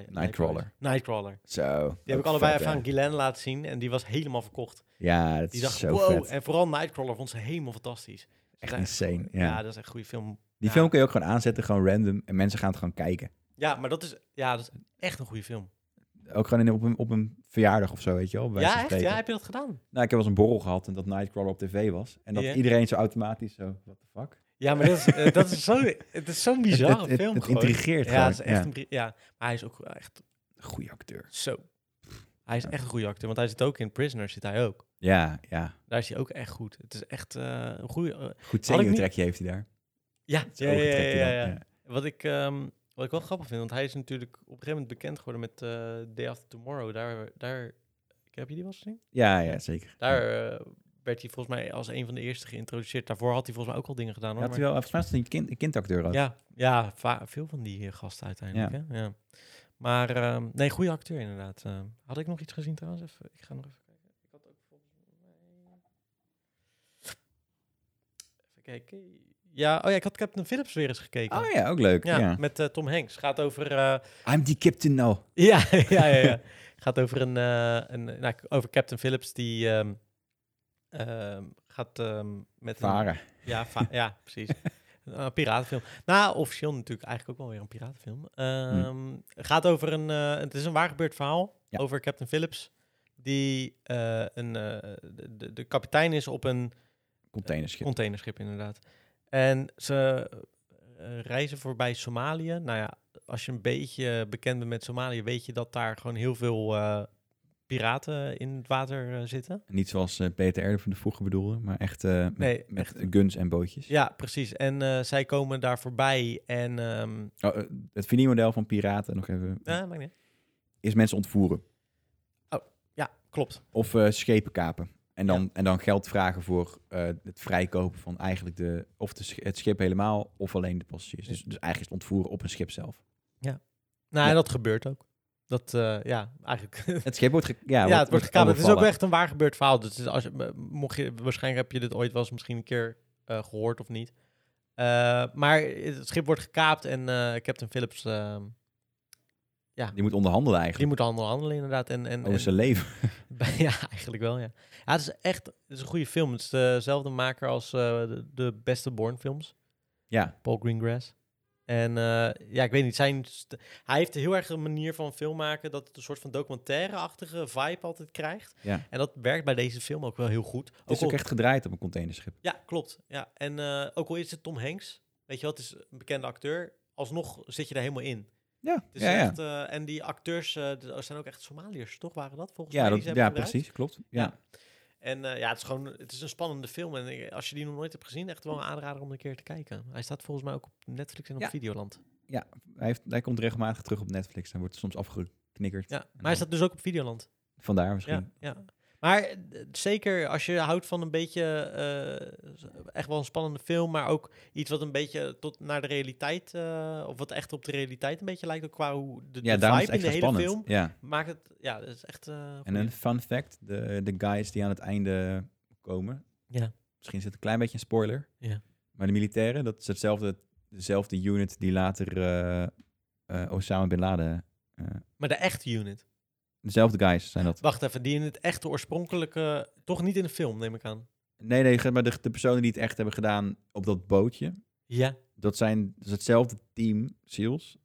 S2: li-
S1: Nightcrawler.
S2: Nightcrawler. Oh,
S1: Zo.
S2: Die heb ik allebei even aan Guylaine laten zien. En die was helemaal verkocht.
S1: Ja, dat
S2: Die
S1: is
S2: dacht,
S1: zo
S2: wow.
S1: vet.
S2: En vooral Nightcrawler vond ze helemaal fantastisch.
S1: Echt
S2: Ja.
S1: insane. Ja.
S2: Ja, dat is echt een goede film.
S1: die
S2: ja.
S1: film kun je ook gewoon aanzetten, gewoon random. En mensen gaan het gewoon kijken.
S2: Ja, maar dat is, ja, dat is echt een goede film.
S1: Ook gewoon in, op, een, op een verjaardag of zo, weet je wel. bij wijze
S2: Ja,
S1: van
S2: echt?
S1: spreken.
S2: Ja, heb je dat gedaan?
S1: Nou, ik heb wel eens een borrel gehad en dat Nightcrawler op tv was. En dat
S2: Ja.
S1: iedereen zo automatisch zo, what the fuck?
S2: Ja, maar dat is, eh, dat is zo, het is zo'n bizarre
S1: het, het,
S2: film
S1: het
S2: gewoon.
S1: intrigeert
S2: Ja, het is
S1: gewoon.
S2: echt
S1: ja.
S2: een bri- ja, maar hij is ook wel echt
S1: Goeie acteur.
S2: zo. Hij is echt een goede acteur, want hij zit ook in Prisoners, zit hij ook.
S1: Ja, ja.
S2: Daar is hij ook echt goed. Het is echt eh, een goede... eh,
S1: Goed
S2: Had ik niet-
S1: zenuwtrekje heeft hij daar.
S2: ja,
S1: Zo'n
S2: ja, ja, ja,
S1: oogtrekje
S2: ja,
S1: dan,
S2: ja. Wat, ik, ehm, wat ik wel grappig vind, want hij is natuurlijk op een gegeven moment bekend geworden met eh, Day After Tomorrow. Daar, daar, heb je die wel eens gezien?
S1: Ja, ja, zeker.
S2: Daar eh, werd hij volgens mij als een van de eerste geïntroduceerd. Daarvoor had hij volgens mij ook al dingen gedaan. Hoor,
S1: Had
S2: maar-
S1: hij wel, volgens mij was het een, kind, een kindacteur ook.
S2: Ja, ja va- veel van die eh, gasten uiteindelijk. Ja. Hè? Ja. Maar ehm, nee, goede acteur inderdaad. Ehm, had ik nog iets gezien trouwens? Even, ik ga nog even kijken. Ik had ook volgens mij... Even kijken. Ja, oh ja, ik had Captain Phillips weer eens gekeken.
S1: Oh ja, ook leuk. Ja.
S2: Ja, met eh, Tom Hanks. Gaat over... eh,
S1: I'm the captain now.
S2: ja, ja, ja, ja. Gaat over een, eh, een nou, over Captain Phillips die ehm, ehm, gaat ehm, met een-
S1: Varen.
S2: ja, va- ja precies. Een eh, piratenfilm. Nou, officieel natuurlijk eigenlijk ook wel weer een piratenfilm. Ehm, Het gaat over een... eh, het is een waar gebeurd verhaal
S1: Ja.
S2: over Captain Phillips. Die eh, een, eh, de, de- de kapitein is op een
S1: Containerschip.
S2: containerschip, inderdaad. En ze eh, reizen voorbij Somalië. Nou ja, als je een beetje bekend bent met Somalië... weet je dat daar gewoon heel veel eh, piraten in het water eh, zitten.
S1: Niet zoals eh, Peter R. van de vroeger bedoelde, maar echt eh, met,
S2: Nee,
S1: met guns en bootjes.
S2: Ja, precies. En eh, zij komen daar voorbij en... ehm,
S1: Oh, eh, het verdienmodel van piraten, nog even,
S2: ja, maakt niet uit.
S1: is mensen ontvoeren.
S2: Ja, klopt.
S1: Of eh, schepen kapen. En dan, en dan geld vragen voor eh, het vrijkopen van eigenlijk de, of de, sch- het schip helemaal, of alleen de passagiers. Dus, dus eigenlijk is het ontvoeren op een schip zelf.
S2: Nou,
S1: Ja.
S2: en dat gebeurt ook. Dat, eh, ja, eigenlijk... ja,
S1: Het schip wordt, ge- ja,
S2: het wordt gekaapt. Het is ook
S1: overvallen.
S2: echt een waar gebeurd verhaal. Dus als je, eh, mocht je, waarschijnlijk heb je dit ooit wel eens misschien een keer eh, gehoord of niet. Eh, maar het schip wordt gekaapt en eh, Captain Phillips... ehm,
S1: Die moet onderhandelen
S2: die
S1: eigenlijk
S2: moet handelen, handelen inderdaad. En, en,
S1: over
S2: en-
S1: zijn leven.
S2: ja, eigenlijk wel, ja. ja. Het is echt het is een goede film. Het is eh, dezelfde maker als eh, de, de beste Born films.
S1: Ja,
S2: Paul Greengrass. En eh, ja, ik weet niet, zijn st- hij heeft heel erg een manier van film maken dat het een soort van documentaire-achtige vibe altijd krijgt.
S1: Ja.
S2: En dat werkt bij deze film ook wel heel goed.
S1: het is
S2: al-
S1: ook echt gedraaid op een containerschip.
S2: Ja, klopt. Ja. En eh, ook al is het Tom Hanks, weet je wel, het is een bekende acteur, alsnog zit je er helemaal in.
S1: Ja,
S2: Het is
S1: ja, ja.
S2: echt, eh, en die acteurs eh, d- zijn ook echt Somaliërs, toch? Waren dat volgens
S1: Ja,
S2: mij?
S1: dat,
S2: die ze hebben
S1: ja
S2: gebruikt?
S1: precies, klopt.
S2: Ja.
S1: Ja.
S2: En eh, ja, het is gewoon het is een spannende film. En eh, als je die nog nooit hebt gezien, echt wel een aanrader om een keer te kijken. Hij staat volgens mij ook op Netflix en op
S1: Ja.
S2: Videoland.
S1: Hij, heeft, hij komt regelmatig terug op Netflix. Hij wordt soms afgeknikkerd.
S2: Ja, maar hij
S1: dan-
S2: staat dus ook op Videoland.
S1: Vandaar
S2: Ja,
S1: misschien.
S2: ja. Maar eh, d- zeker als je houdt van een beetje eh, z- echt wel een spannende film, maar ook iets wat een beetje tot naar de realiteit, eh, of wat echt op de realiteit een beetje lijkt, ook qua hoe de,
S1: Ja,
S2: de
S1: daarom is
S2: vibe
S1: het
S2: in de
S1: extra
S2: hele
S1: spannend.
S2: film
S1: Ja.
S2: maakt het, ja, dat is echt. eh,
S1: En
S2: goeie.
S1: een fun fact, de, de guys die aan het einde komen,
S2: Ja.
S1: misschien zit een klein beetje een spoiler,
S2: Ja.
S1: maar de militairen, dat is hetzelfde, dezelfde unit die later eh, eh, Osama Bin Laden,
S2: Maar de echte unit.
S1: dezelfde guys zijn dat.
S2: Wacht even, die in het echte oorspronkelijke, toch niet in de film, neem ik aan.
S1: Nee, nee, maar de, de personen die het echt hebben gedaan op dat bootje,
S2: Ja.
S1: dat zijn dus hetzelfde team, SEALs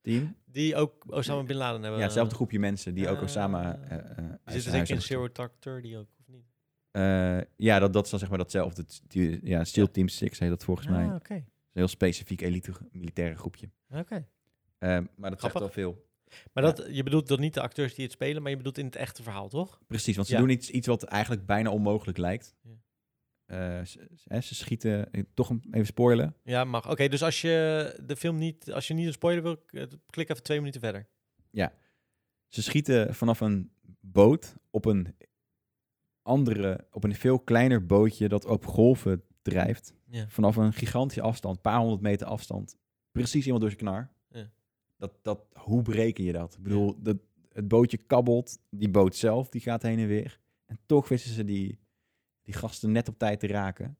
S1: team.
S2: Die ook Osama Bin Laden hebben.
S1: Ja, hetzelfde groepje mensen die ook
S2: eh,
S1: Osama eh, eh, uit
S2: Die
S1: zijn
S2: zitten
S1: huis
S2: zeker in
S1: hebben
S2: Zero Dark Thirty ook, of niet?
S1: Eh, ja, dat, dat is dan zeg maar datzelfde. t- die- Ja, SEAL Team 6 heet dat volgens mij.
S2: Ah,
S1: Een
S2: oké.
S1: heel specifiek elite militaire groepje.
S2: Oké.
S1: Eh, maar dat zegt
S2: Grappig.
S1: al veel.
S2: Maar
S1: Ja.
S2: dat, je bedoelt dan niet de acteurs die het spelen, maar je bedoelt in het echte verhaal, toch?
S1: Precies, want ze
S2: Ja.
S1: doen iets, iets wat eigenlijk bijna onmogelijk lijkt.
S2: Ja.
S1: Eh, ze, ze- hè, ze schieten, eh, toch een- even spoilen.
S2: Ja, mag. Oké, dus als je de film niet, als je niet een spoiler wil, k- klik even twee minuten verder.
S1: Ze schieten vanaf een boot op een andere, op een veel kleiner bootje dat op golven drijft.
S2: Ja.
S1: Vanaf een gigantische afstand, een paar honderd meter afstand, precies iemand door zijn knar.
S2: Ja.
S1: Dat, dat, hoe breken je dat? Ik bedoel, dat, het bootje kabbelt, die boot zelf, die gaat heen en weer. En toch wisten ze die, die gasten net op tijd te raken.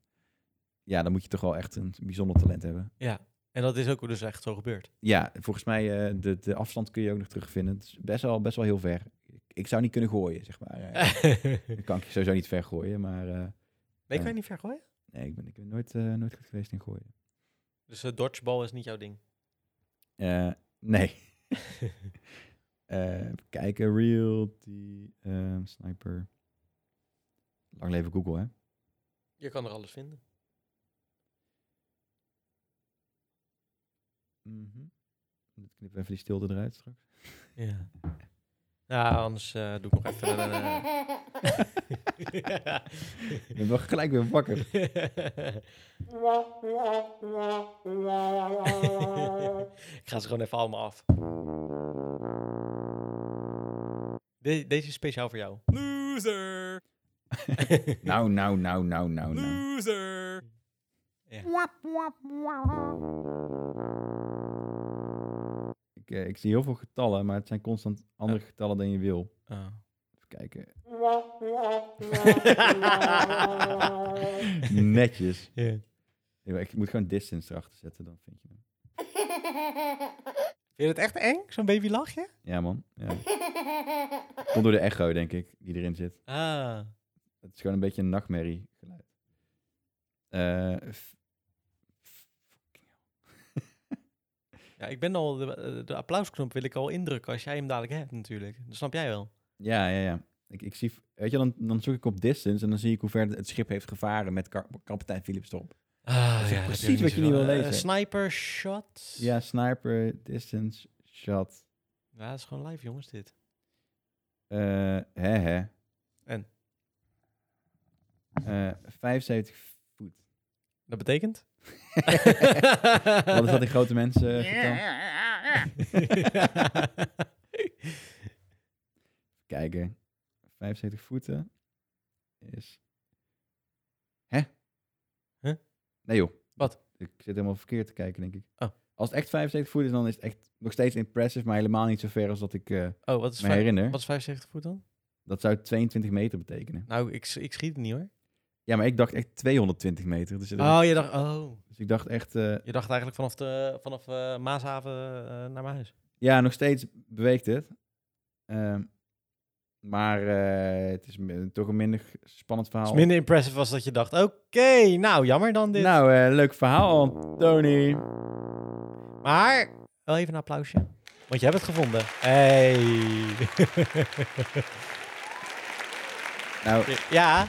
S1: Ja, dan moet je toch wel echt een bijzonder talent hebben.
S2: Ja, en dat is ook dus echt zo gebeurd.
S1: Ja, volgens mij, eh, de, de afstand kun je ook nog terugvinden. Het is best wel, best wel heel ver. Ik, ik zou niet kunnen gooien, zeg maar. Eh,
S2: nee,
S1: Dan kan ik je sowieso niet ver gooien, maar... eh,
S2: kan je niet vergooien?
S1: nee, ik ben, ik ben nooit, eh, nooit goed geweest in gooien.
S2: Dus eh, dodgeball is niet jouw ding.
S1: Eh, nee. Eh, even kijken, realty, ehm, sniper. Lang leven Google, hè?
S2: Je kan er alles vinden.
S1: Dat knippen we even die stilte eruit straks.
S2: Ja. Nou, anders eh, doe ik nog even een... eh,
S1: Ik ben wel gelijk weer wakker.
S2: eh, ik ga ze gewoon even allemaal af. De- deze is speciaal voor jou.
S6: Loser.
S1: Nou, nou, nou, nou, nou, nou.
S6: Loser.
S1: Ik, eh, ik zie heel veel getallen, maar het zijn constant andere getallen dan je wil.
S2: Oh.
S1: Even kijken. Netjes.
S2: Ja.
S1: Ik moet gewoon distance erachter zetten, dan vind je hem.
S2: Vind je het echt eng, zo'n babylachje?
S1: Ja, man. Ja. Komt door de echo, denk ik, die erin zit.
S2: Ah.
S1: Het is gewoon een beetje een nachtmerrie geluid. Eh, f- f-
S2: Ja, ik ben al... De, de applausknop wil ik al indrukken als jij hem dadelijk hebt natuurlijk. Dat snap jij wel.
S1: ja, ja, ja. Ik, ik zie, weet je, dan, dan zoek ik op distance en dan zie ik hoe ver het schip heeft gevaren met kar- kapitein Philips erop.
S2: Ah,
S1: is echt precies wat je niet wil lezen.
S2: sniper shot.
S1: Ja, sniper, distance, shot.
S2: Ja, dat is gewoon live, jongens, dit.
S1: Eh hè, hè.
S2: En?
S1: Eh, 75 foot.
S2: Dat betekent?
S1: Wat is dat in grote mensen? eh, getal? Kijken. 75 voeten is. Hè?
S2: Hè?
S1: Nee, joh.
S2: Wat?
S1: Ik zit helemaal verkeerd te kijken, denk ik.
S2: Oh.
S1: Als het echt 75 voet is, dan is het echt nog steeds impressive, maar helemaal niet zo ver als dat ik eh,
S2: oh, wat is,
S1: me
S2: vijf-
S1: herinner.
S2: wat is 75 voet dan?
S1: Dat zou 22 meter betekenen.
S2: Nou, ik, s- ik schiet het niet hoor.
S1: Ja, maar ik dacht echt 220 meter. Dus,
S2: Oh, je dacht, oh.
S1: dus ik dacht echt, eh,
S2: je dacht eigenlijk vanaf, de, vanaf eh, Maashaven eh, naar mijn huis.
S1: ja, nog steeds beweegt het. Ehm, maar eh, het is mi- toch een minder spannend
S2: Dus
S1: verhaal.
S2: minder impressive was dat je dacht, oké, nou jammer dan dit.
S1: Nou, eh, leuk verhaal, Tony. Nou,
S2: Maar wel even een applausje. Want je hebt het gevonden. Hey.
S1: Nou,
S2: ja.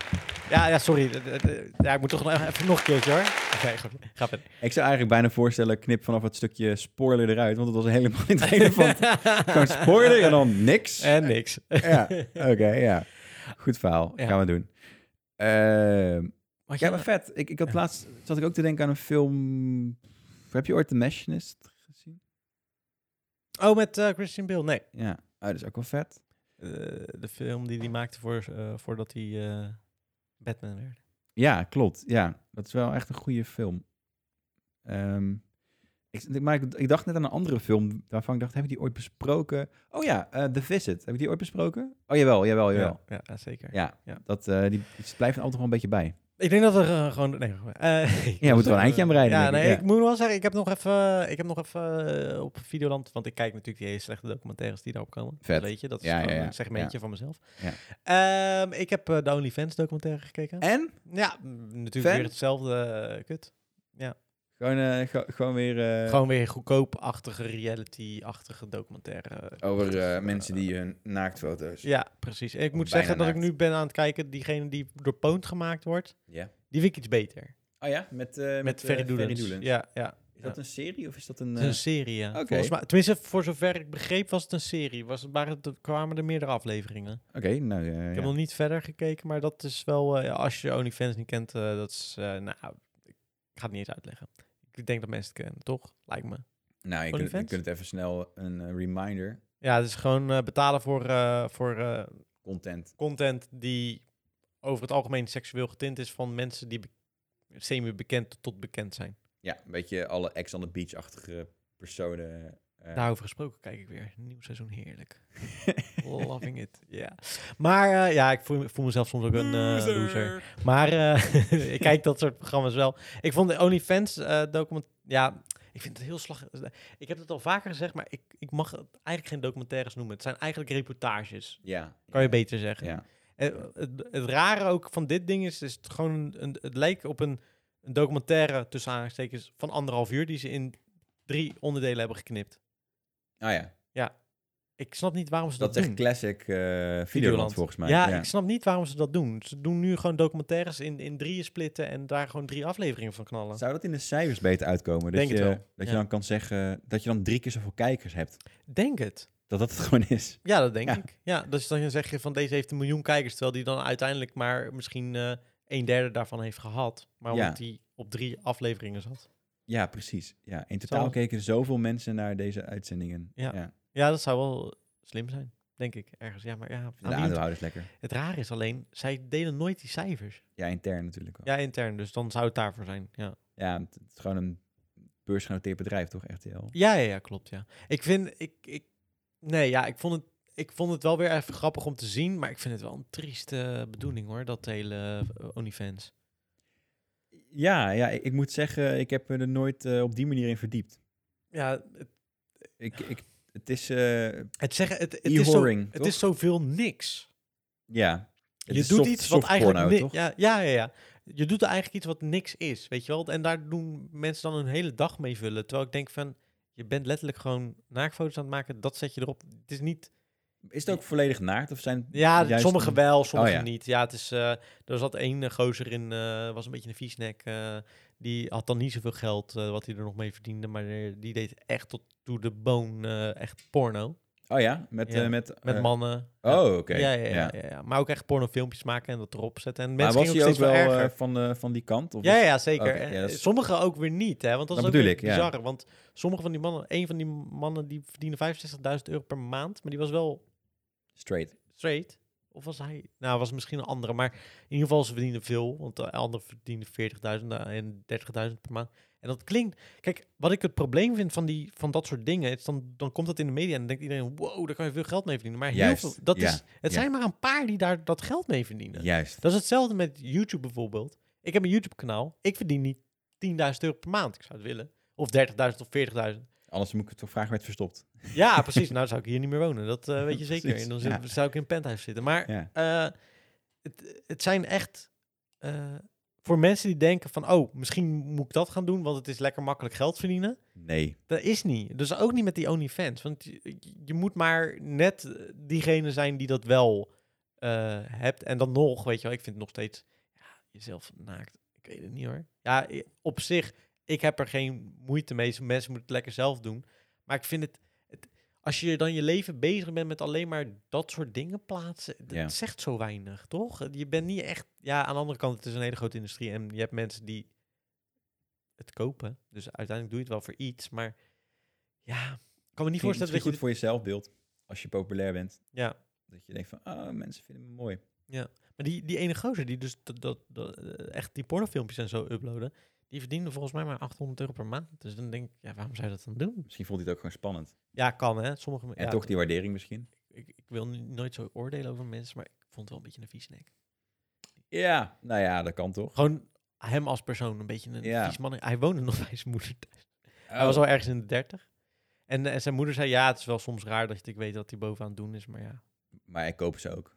S2: ja, ja, sorry. Eh, eh, eh, Ja, ik moet toch nog even nog een keertje hoor. Oké, goed. Ga verder.
S1: Ik zou eigenlijk bijna voorstellen, knip vanaf het stukje spoiler eruit, want het was helemaal niet relevant. Gewoon spoiler en dan niks.
S2: En niks.
S1: Ja, oké, ja. Goed verhaal,
S2: Ja.
S1: gaan we doen. Ehm,
S2: Wat
S1: ja, maar vet. Ik, ik had laatst, zat ik ook te denken aan een film... Heb je ooit The Machinist gezien?
S2: Oh, met eh, Christian Bale. Nee.
S1: Ja, Ah, dat is ook wel vet.
S2: Eh, de film die hij maakte voor, eh, voordat hij eh, Batman werd.
S1: Ja, klopt. Ja, dat is wel echt een goede film. Ehm, ik, maar ik, ik dacht net aan een andere film waarvan ik dacht, heb ik die ooit besproken? Oh ja, eh, The Visit. Heb ik die ooit besproken? Oh jawel, jawel, jawel.
S2: ja, ja, zeker.
S1: Ja,
S2: Ja.
S1: Dat, eh, die, het blijft altijd nog wel een beetje bij.
S2: Ik denk dat we eh, gewoon... Nee,
S1: Ja,
S2: eh, ik
S1: we moeten
S2: moest
S1: wel een eindje
S2: even-
S1: aan bereiden,
S2: Ja,
S1: denk
S2: nee,
S1: ik, ja.
S2: ik, moet wel zeggen, ik heb nog even, ik heb nog even eh, op Videoland... Want ik kijk natuurlijk die hele slechte documentaires die daarop komen.
S1: Vet.
S2: Dat weet je, dat is
S1: Ja, ja,
S2: gewoon
S1: ja.
S2: een segmentje van mezelf.
S1: Ja.
S2: Ehm, ik heb eh, de OnlyFans documentaire gekeken.
S1: En?
S2: Ja, mm, natuurlijk
S1: Fan?
S2: weer hetzelfde eh, kut.
S1: Gewoon, eh, ge- gewoon weer eh,
S2: Gewoon weer goedkoop-achtige, reality-achtige documentaire.
S1: over eh,
S2: Eh,
S1: mensen die hun naaktfoto's.
S2: Ja, precies. En ik moet
S1: Bijna
S2: zeggen dat ik
S1: naakt.
S2: nu ben aan het kijken, diegene die door Poont gemaakt wordt,
S1: Ja.
S2: die vind ik iets beter.
S1: Oh ja, met, eh met,
S2: Met
S1: eh,
S2: Ferry Doelens.
S1: Doelens.
S2: Ja, ja.
S1: Is dat een serie of is dat een...
S2: Het is een
S1: eh,
S2: serie, ja.
S1: Oké.
S2: Volgens mij, tenminste, voor zover ik begreep was het een serie. Was het, waren het, kwamen er meerdere afleveringen.
S1: Oké, nou eh, ja.
S2: Ik heb nog niet verder gekeken, maar dat is wel... eh, ja, als je OnlyFans niet kent, eh, dat is... eh, nou, ik ga het niet eens uitleggen. Ik denk dat mensen het kennen, toch? Lijkt me.
S1: Nou, je kunt, je
S2: OnlyFans?
S1: kunt het even snel een eh, reminder.
S2: Ja, het is gewoon eh, betalen voor, eh, voor eh,
S1: Content.
S2: content die over het algemeen seksueel getint is van mensen die be- semi-bekend tot bekend zijn.
S1: Ja, een beetje alle ex on the beach-achtige personen. eh,
S2: Daarover gesproken kijk ik weer. Nieuw seizoen heerlijk. Loving it. Ja. Maar eh, ja, ik voel, voel mezelf soms ook een eh, loser. Maar eh, ik kijk dat soort programma's wel. Ik vond de OnlyFans eh document... Ja, ik vind het heel slag... Ik heb het al vaker gezegd, maar ik, ik mag het eigenlijk geen documentaires noemen. Het zijn eigenlijk reportages,
S1: ja.
S2: kan je beter zeggen.
S1: Ja.
S2: Eh, het, het rare ook van dit ding is, is het gewoon een, een- het leek op een, een documentaire tussen aanstekens van anderhalf uur die ze in drie onderdelen hebben geknipt.
S1: Ah ja,
S2: Ik snap niet waarom ze Dus dat,
S1: dat is echt
S2: doen.
S1: classic eh Videoland, volgens mij.
S2: Ja, ik snap niet waarom ze dat doen. Ze doen nu gewoon documentaires in, in drieën splitten en daar gewoon drie afleveringen van knallen.
S1: Zou dat in de cijfers beter uitkomen? Dat
S2: Denk
S1: je,
S2: het wel,
S1: Dat
S2: ja.
S1: je dan kan zeggen dat je dan drie keer zoveel kijkers hebt.
S2: Denk het.
S1: Dat dat het gewoon is.
S2: Ja, dat denk
S1: Ja.
S2: ik. Ja, dus dan zeg je van deze heeft een miljoen kijkers, terwijl die dan uiteindelijk maar misschien eh, een derde daarvan heeft gehad. Maar
S1: Ja.
S2: omdat die op drie afleveringen zat.
S1: Ja, precies. Ja, in totaal
S2: Zou-
S1: keken zoveel mensen naar deze uitzendingen.
S2: Ja. Ah,
S1: ja.
S2: Ja, dat zou wel slim zijn, denk ik, ergens. Ja, maar ja, aan
S1: De
S2: wie het-
S1: aandeelhouders lekker.
S2: het raar is alleen, zij delen nooit die cijfers.
S1: Ja, intern natuurlijk wel. Ja,
S2: Ja, intern, dus dan zou het daarvoor zijn, ja.
S1: het, het is gewoon een beursgenoteerd bedrijf, toch? RTL.
S2: Ja, ja, ja, klopt, ja. Ik vind, ik, ik, nee, ja, ik vond het, ik vond het wel weer even grappig om te zien, maar ik vind het wel een trieste bedoeling, hoor, dat hele eh, OnlyFans.
S1: Ja, ja ik, ik moet zeggen, ik heb me er nooit eh, op die manier in verdiept.
S2: Ja, het,
S1: Ik, ik, het is, eh,
S2: het zeggen, het, het is zo,
S1: E-horing,
S2: het
S1: toch?
S2: is zoveel niks.
S1: ja. Het
S2: je
S1: is
S2: doet
S1: soft-
S2: iets wat
S1: soft
S2: eigenlijk
S1: porno,
S2: ni-
S1: toch?
S2: Ja, ja, ja, ja. Je doet eigenlijk iets wat niks is, weet je wel? En daar doen mensen dan een hele dag mee vullen, terwijl ik denk van, je bent letterlijk gewoon naaktfoto's aan het maken, dat zet je erop. Het is niet
S1: Is het ook volledig naakt of zijn
S2: Ja,
S1: juist- Oh,
S2: sommige wel, sommige
S1: ja.
S2: niet. Ja, het is, eh, er zat één eh, gozer in, eh, was een beetje een viesnek. eh die had dan niet zoveel geld eh, wat hij er nog mee verdiende. Maar eh, die deed echt tot to the bone eh, echt porno.
S1: Oh ja, met
S2: Ja,
S1: eh, met,
S2: Met
S1: eh,
S2: mannen.
S1: Oh, oké.
S2: Ja, ja, ja, ja, ja. Maar ook echt pornofilmpjes maken en dat erop zetten. En
S1: Maar
S2: mensen
S1: was
S2: gingen
S1: hij
S2: ook
S1: ook
S2: steeds wel
S1: wel eh,
S2: erger.
S1: van, eh, van die kant? Of
S2: Ja,
S1: was-
S2: ja, zeker.
S1: Oké, ja,
S2: Eh,
S1: dat is-
S2: Sommigen ook weer niet, hè? Want dat,
S1: Dat
S2: is ook
S1: bedoel
S2: weer
S1: ik, ja.
S2: bizar. Want sommige van die mannen, één van die mannen die verdienen 65.000 euro per maand, maar die was wel
S1: straight.
S2: straight. Of was hij... Nou, was misschien een andere. Maar in ieder geval, ze verdienen veel. Want de ander verdiende 40.000 en 30.000 per maand. En dat klinkt... Kijk, wat ik het probleem vind van, die, van dat soort dingen... Is dan, dan komt dat in de media en dan denkt iedereen... Wow, daar kan je veel geld mee verdienen. Maar heel
S1: Juist,
S2: veel, dat
S1: ja,
S2: is, het
S1: ja.
S2: zijn maar een paar die daar dat geld mee verdienen.
S1: Juist.
S2: Dat is hetzelfde met YouTube bijvoorbeeld. Ik heb een YouTube-kanaal. Ik verdien niet 10.000 euro per maand. Ik zou het willen. Of 30.000 of 40.000.
S1: Anders moet ik het toch vragen werd verstopt.
S2: Ja, precies. Nou zou ik hier niet meer wonen. Dat eh, weet je zeker.
S1: Precies,
S2: En dan zit-
S1: ja.
S2: zou ik in een penthouse zitten. Maar
S1: Ja.
S2: eh, het, het zijn echt... eh, voor mensen die denken van... Oh, misschien moet ik dat gaan doen, want het is lekker makkelijk geld verdienen.
S1: Nee.
S2: Dat is niet. Dus ook niet met die OnlyFans. Want je, je moet maar net diegene zijn die dat wel eh, hebt. En dan nog, weet je wel. Ik vind het nog steeds... Ja, jezelf naakt. Ik weet het niet hoor. Ja, i- op zich, ik heb er geen moeite mee. Mensen moeten het lekker zelf doen. Maar ik vind het... het- als je dan je leven bezig bent met alleen maar dat soort dingen plaatsen, dat
S1: Ja.
S2: zegt zo weinig, toch? Je bent niet echt... Ja, aan de andere kant, het is een hele grote industrie en je hebt mensen die het kopen. Dus uiteindelijk doe je het wel voor iets, maar ja, ik kan me niet
S1: Niet voorstel
S2: voorstellen dat je...
S1: goed voor je zelfbeeld. Als je populair bent.
S2: Ja,
S1: Dat je denkt van, oh, mensen vinden me mooi.
S2: maar die, die ene gozer die dus dat, dat, dat, eh, echt die pornofilmpjes en zo uploaden, die verdiende volgens mij maar 800 euro per maand. Dus dan denk ik, ja, waarom zou je dat dan doen?
S1: Misschien vond hij het ook gewoon spannend.
S2: Ja, kan hè. Sommige
S1: En
S2: ja,
S1: toch die waardering misschien.
S2: ik, ik wil nu nooit zo oordelen over mensen, maar ik vond het wel een beetje een viesnek.
S1: Ja, nou ja, dat kan toch.
S2: Gewoon hem als persoon een beetje een
S1: Ja.
S2: vies man. Hij woonde nog bij zijn moeder thuis. Hij
S1: Oh.
S2: was al ergens in de 30. En, eh, zijn moeder zei, ja, het is wel soms raar dat ik weet wat hij bovenaan het doen is, maar ja,
S1: Maar hij koopt ze ook.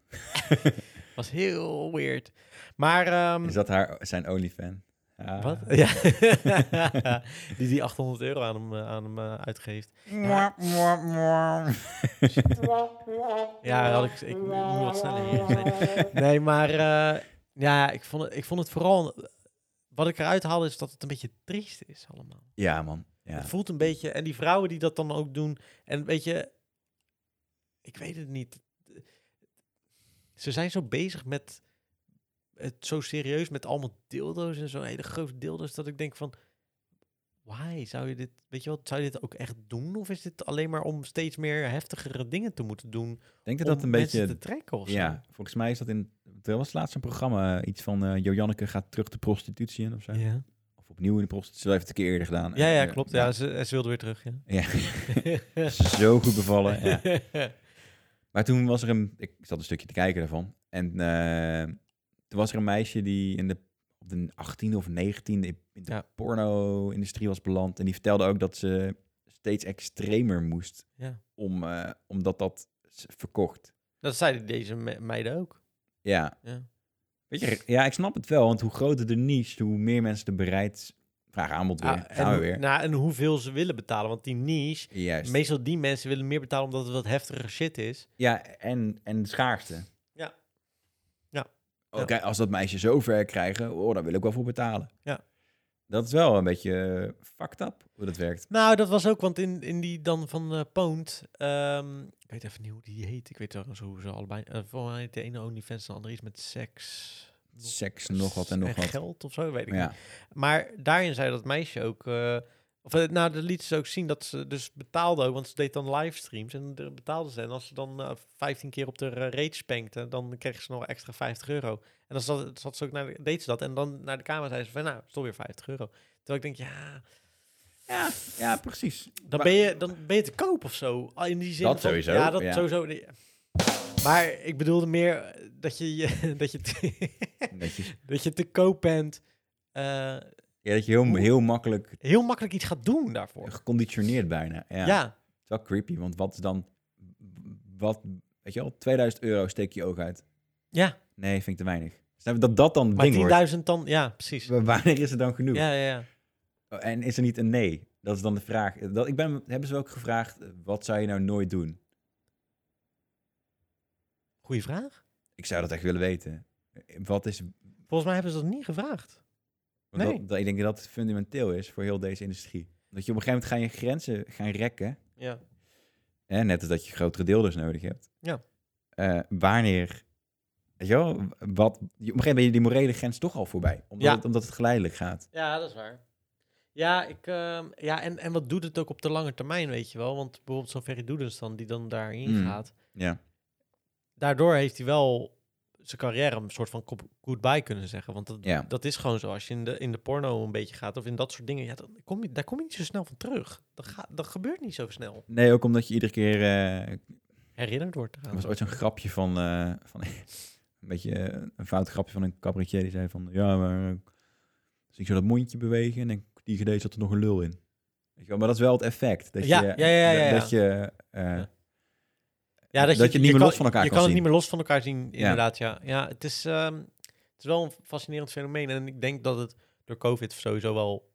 S2: was heel weird. Maar ehm,
S1: Is dat haar, zijn OnlyFan? Ah.
S2: Wat? Ja. die die 800 euro aan hem, eh, aan hem eh, uitgeeft.
S1: Mwah, mwah, mwah.
S2: Ja, had ik, ik moet wat sneller hier zijn. Nee, maar eh, ja, ik vond, het, ik vond het vooral... Wat ik eruit haalde is dat het een beetje triest is allemaal.
S1: Ja, man. Ja.
S2: Het voelt een beetje... En die vrouwen die dat dan ook doen... En weet je... Ik weet het niet. Ze zijn zo bezig met... Het zo serieus met allemaal dildo's en zo. Hele grote dildo's. Dat ik denk van... Why? Zou je dit... Weet je wel, zou je dit ook echt doen? Of is dit alleen maar om steeds meer heftigere dingen te moeten doen?
S1: Ik denk dat
S2: om
S1: dat een
S2: mensen
S1: beetje...
S2: te trekken of zo?
S1: Ja, volgens mij is dat in... Er was laatst een programma, eh, iets van eh, Joanneke gaat terug de prostitutie in of zo.
S2: Ja.
S1: Of op opnieuw in de prostitutie. Ze heeft het een keer eerder gedaan.
S2: Ja,
S1: En,
S2: ja,
S1: eh,
S2: klopt. Ja, ze, ze wilde weer terug. Ja.
S1: Ja. Zo goed bevallen. Ja. Maar toen was er een... Ik zat een stukje te kijken daarvan. En eh, toen was er een meisje die in de, op de 18e of 19e in de
S2: Ja.
S1: porno-industrie was beland. En die vertelde ook dat ze steeds extremer moest.
S2: Ja.
S1: Om, eh, omdat dat s- verkocht.
S2: Dat zeiden deze me- meiden ook.
S1: Ja.
S2: Ja.
S1: Weet je, ja, ik snap het wel. Want hoe groter de niche, hoe meer mensen er bereid... Vraag aanbod weer.
S2: Ah,
S1: Gaan we
S2: en,
S1: weer.
S2: Nou, en hoeveel ze willen betalen. Want die niche,
S1: Juist.
S2: meestal die mensen willen meer betalen omdat het wat heftigere shit is.
S1: Ja, en, en schaarste.
S2: Ja. Ja.
S1: Oké, als dat meisje zo ver krijgen, oh, daar wil ik wel voor betalen.
S2: Ja.
S1: Dat is wel een beetje eh, fucked up hoe dat werkt.
S2: Nou, dat was ook, want in, in die dan van eh Poont, ehm, ik weet even niet hoe die heet. Ik weet trouwens hoe ze allebei, eh volgens mij heet de ene OnlyFans en de andere iets met seks. nog-
S1: Seks, nog wat en nog wat.
S2: geld of zo, weet ik
S1: Ja.
S2: niet. Maar daarin zei dat meisje ook, eh, of eh, nou, dat liet ze ook zien dat ze dus betaalde ook, want ze deed dan livestreams en daar betaalde ze. En als ze dan eh, 15 keer op de eh, rate spankte, dan kreeg ze nog extra 50 euro. En dan zat, zat ze ook naar de- deed ze dat en dan naar de camera zei ze van, nou, het is toch weer 50 euro. Terwijl ik denk, ja...
S1: Ja, ja, precies.
S2: Dan
S1: Maar-
S2: ben, je, dan ben je te koop of zo. Ah, In die zin
S1: Dat
S2: van-
S1: sowieso,
S2: Ja, dat
S1: ja.
S2: sowieso. Nee. Maar ik bedoelde meer eh, dat je, je- dat je, te,
S1: Netjes.
S2: dat je te koop bent. eh,
S1: Ja, dat je heel, heel makkelijk
S2: heel makkelijk iets gaat doen daarvoor.
S1: geconditioneerd bijna. Ja.
S2: Ja,
S1: Het is wel creepy, want wat is dan... Wat, weet je wel, 2000 euro steek je oog uit.
S2: Ja.
S1: Nee, vind ik te weinig. Snap je, Dat dat dan het ding wordt.
S2: maar 10.000 dan, ja, precies. Ja,
S1: Wanneer is het dan genoeg?
S2: ja, ja.
S1: Oh, En is er niet een nee? Dat is dan de vraag. Dat, ik ben, hebben ze ook gevraagd, eh, wat zou je nou nooit doen?
S2: Goeie vraag.
S1: Ik zou dat echt willen weten. Eh, Wat is... want
S2: Volgens mij hebben ze dat niet gevraagd.
S1: dat-
S2: Nee.
S1: Dat, ik denk dat dat fundamenteel is voor heel deze industrie. Dat je op een gegeven moment gaan je grenzen gaan rekken.
S2: Ja.
S1: Hè? Net als dat je grotere deelders nodig hebt.
S2: Ja.
S1: Eh, wanneer... Weet je wel, wat, je- op een gegeven moment ben je die morele grens toch al voorbij. Omdat,
S2: Ja.
S1: het, omdat het geleidelijk gaat.
S2: Ja, dat is waar. Ja, ik, ehm, ja en, en wat doet het ook op de lange termijn, weet je wel? Want bijvoorbeeld zo'n Ferry Doedens dan, die dan daarin
S1: Mm.
S2: gaat.
S1: Ja.
S2: daardoor heeft hij wel zijn carrière een soort van kop- goodbye kunnen zeggen. Want dat,
S1: Ja.
S2: dat is gewoon zo. Als je in de, in de porno een beetje gaat of in dat soort dingen, ja, dan kom je, daar kom je niet zo snel van terug. Dat, ga, dat gebeurt niet zo snel.
S1: Nee, ook omdat je iedere keer... eh,
S2: Herinnerd wordt
S1: Er
S2: eraan.
S1: was ooit zo'n grapje van, eh, van een beetje eh, een fout grapje van een cabaretier die zei van, ja, maar eh, als ik zo dat mondje bewegen en dan die gedeelte zat er nog een lul in. Weet je wel, maar dat is wel het effect. Dat
S2: Ja,
S1: je,
S2: ja, ja, ja,
S1: Dat je, eh,
S2: Ja. ja,
S1: dat je het niet meer los van elkaar
S2: je
S1: kan
S2: kan
S1: zien.
S2: het niet meer los van elkaar zien, inderdaad. Ja, ja het, is, ehm, het is wel een fascinerend fenomeen. En ik denk dat het door COVID sowieso wel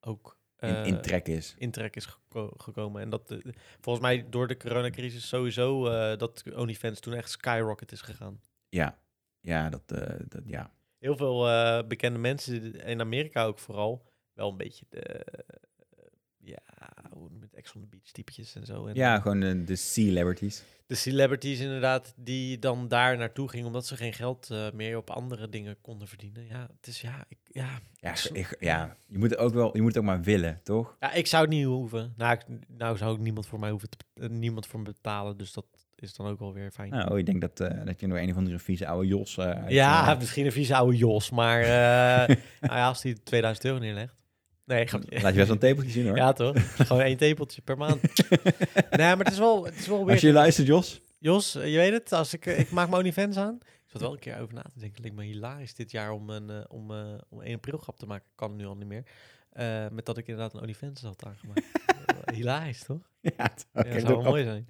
S2: ook...
S1: in,
S2: eh,
S1: in trek is.
S2: intrek is geko- gekomen. En dat eh, volgens mij door de coronacrisis sowieso eh, dat OnlyFans toen echt skyrocket is gegaan.
S1: Ja, ja, dat, eh, dat ja.
S2: heel veel eh, bekende mensen in Amerika ook vooral wel een beetje de eh, ja hoe noem je het Ex on the Beach typetjes en zo en
S1: Ja, gewoon eh, de, de celebrities.
S2: de celebrities inderdaad die dan daar naartoe gingen omdat ze geen geld eh, meer op andere dingen konden verdienen ja het is ja ik, ja.
S1: Ja, ik- ja, je moet het ook wel, je moet het ook maar willen, toch?
S2: ja ik zou het niet hoeven nou ik, nou zou ook niemand voor mij hoeven te, eh, niemand voor me betalen dus dat is dan ook wel weer fijn
S1: Nou, ik denk dat, eh, dat je nog een of andere vieze oude Jos... eh, uit,
S2: ja
S1: eh,
S2: misschien een vieze oude Jos maar eh, nou ja, als die 2000 euro neerlegt nee grapje.
S1: laat je best wel een tepeltje zien, hoor.
S2: Ja, toch? Gewoon één tepeltje per maand. nee, maar het is wel, het is wel
S1: als
S2: weer.
S1: je luistert, Jos,
S2: Jos, eh, je weet het, als ik, eh, ik maak mijn OnlyFans aan. Ik zat wel een keer over na te denken. Het leek me hilarisch dit jaar om een, eh, om, eh, om 1 april grap te maken. Kan nu al niet meer. Eh, met dat ik inderdaad een OnlyFans had aangemaakt. Eh, hilarisch, toch?
S1: Ja, het Dus-
S2: Ja, dat zou wel mooi zijn.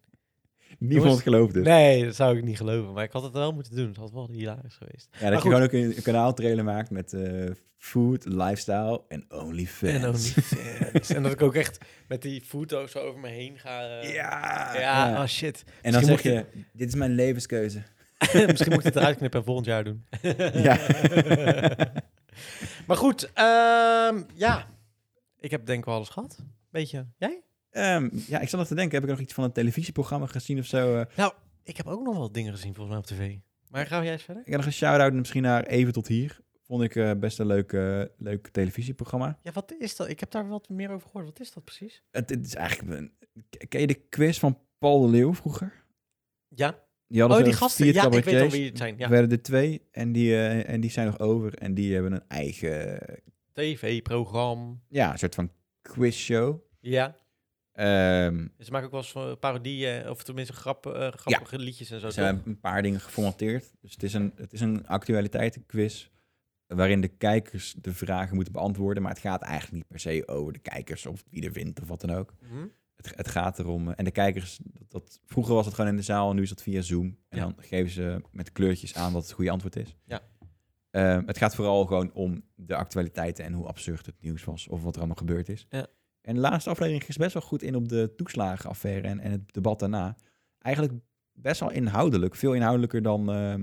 S1: Niemand
S2: Jongens,
S1: geloofde.
S2: Nee, dat zou ik niet geloven. Maar ik had het wel moeten doen. Het had wel hilarisch geweest.
S1: Ja,
S2: Maar
S1: dat je
S2: goed.
S1: gewoon ook een, een kanaaltrailer maakt met eh, food, lifestyle en OnlyFans.
S2: En OnlyFans. en dat ik ook echt met die foto zo over me heen ga. eh,
S1: Ja.
S2: Ja,
S1: Ja.
S2: oh shit.
S1: en dan zeg
S2: moet
S1: je, dit is mijn levenskeuze.
S2: Misschien moet ik dit eruit knippen en volgend jaar doen.
S1: Ja.
S2: maar goed, ehm, ja. Ik heb denk ik wel alles gehad. Beetje. Jij?
S1: Ehm, ja, ik zat nog te denken, heb ik nog iets van een televisieprogramma gezien of zo? Eh,
S2: Nou, ik heb ook nog wel dingen gezien volgens mij op tv. Maar ga jij eens verder?
S1: ik heb nog een shout-out misschien naar Even Tot Hier. Vond ik eh, best een leuk, eh, leuk televisieprogramma.
S2: Ja, wat is dat? Ik heb daar wat meer over gehoord. Wat is dat precies?
S1: Het, het is eigenlijk een... Ken je de quiz van Paul de Leeuw vroeger?
S2: Ja.
S1: Die hadden
S2: Oh,
S1: zo'n
S2: die gasten.
S1: vier
S2: Ja, ik weet al
S1: cabaretiers.
S2: wie het zijn. Ja.
S1: Er werden er twee en die, eh, en die zijn nog over. En die hebben een eigen
S2: tv-programma.
S1: Ja, een soort van quizshow.
S2: Ja.
S1: Ehm,
S2: Ze maken ook wel eens eh, parodieën, of tenminste grap, eh, grappige liedjes en zo.
S1: Ze hebben een paar dingen geformateerd. Dus het is een, het is een actualiteitenquiz waarin de kijkers de vragen moeten beantwoorden. Maar het gaat eigenlijk niet per se over de kijkers of wie er wint of wat dan ook.
S2: toch? Mhm.
S1: Het, het gaat erom... eh, En de kijkers, dat, dat- vroeger was het gewoon in de zaal en nu is dat via Zoom. En
S2: Ja.
S1: dan geven ze met kleurtjes aan wat het goede antwoord is.
S2: Ja.
S1: Ehm, het gaat vooral gewoon om de actualiteiten en hoe absurd het nieuws was. Of wat er allemaal gebeurd is.
S2: Ja.
S1: En de laatste aflevering ging best wel goed in op de toeslagenaffaire en, en het debat daarna. Eigenlijk best wel inhoudelijk. Veel inhoudelijker dan, ehm,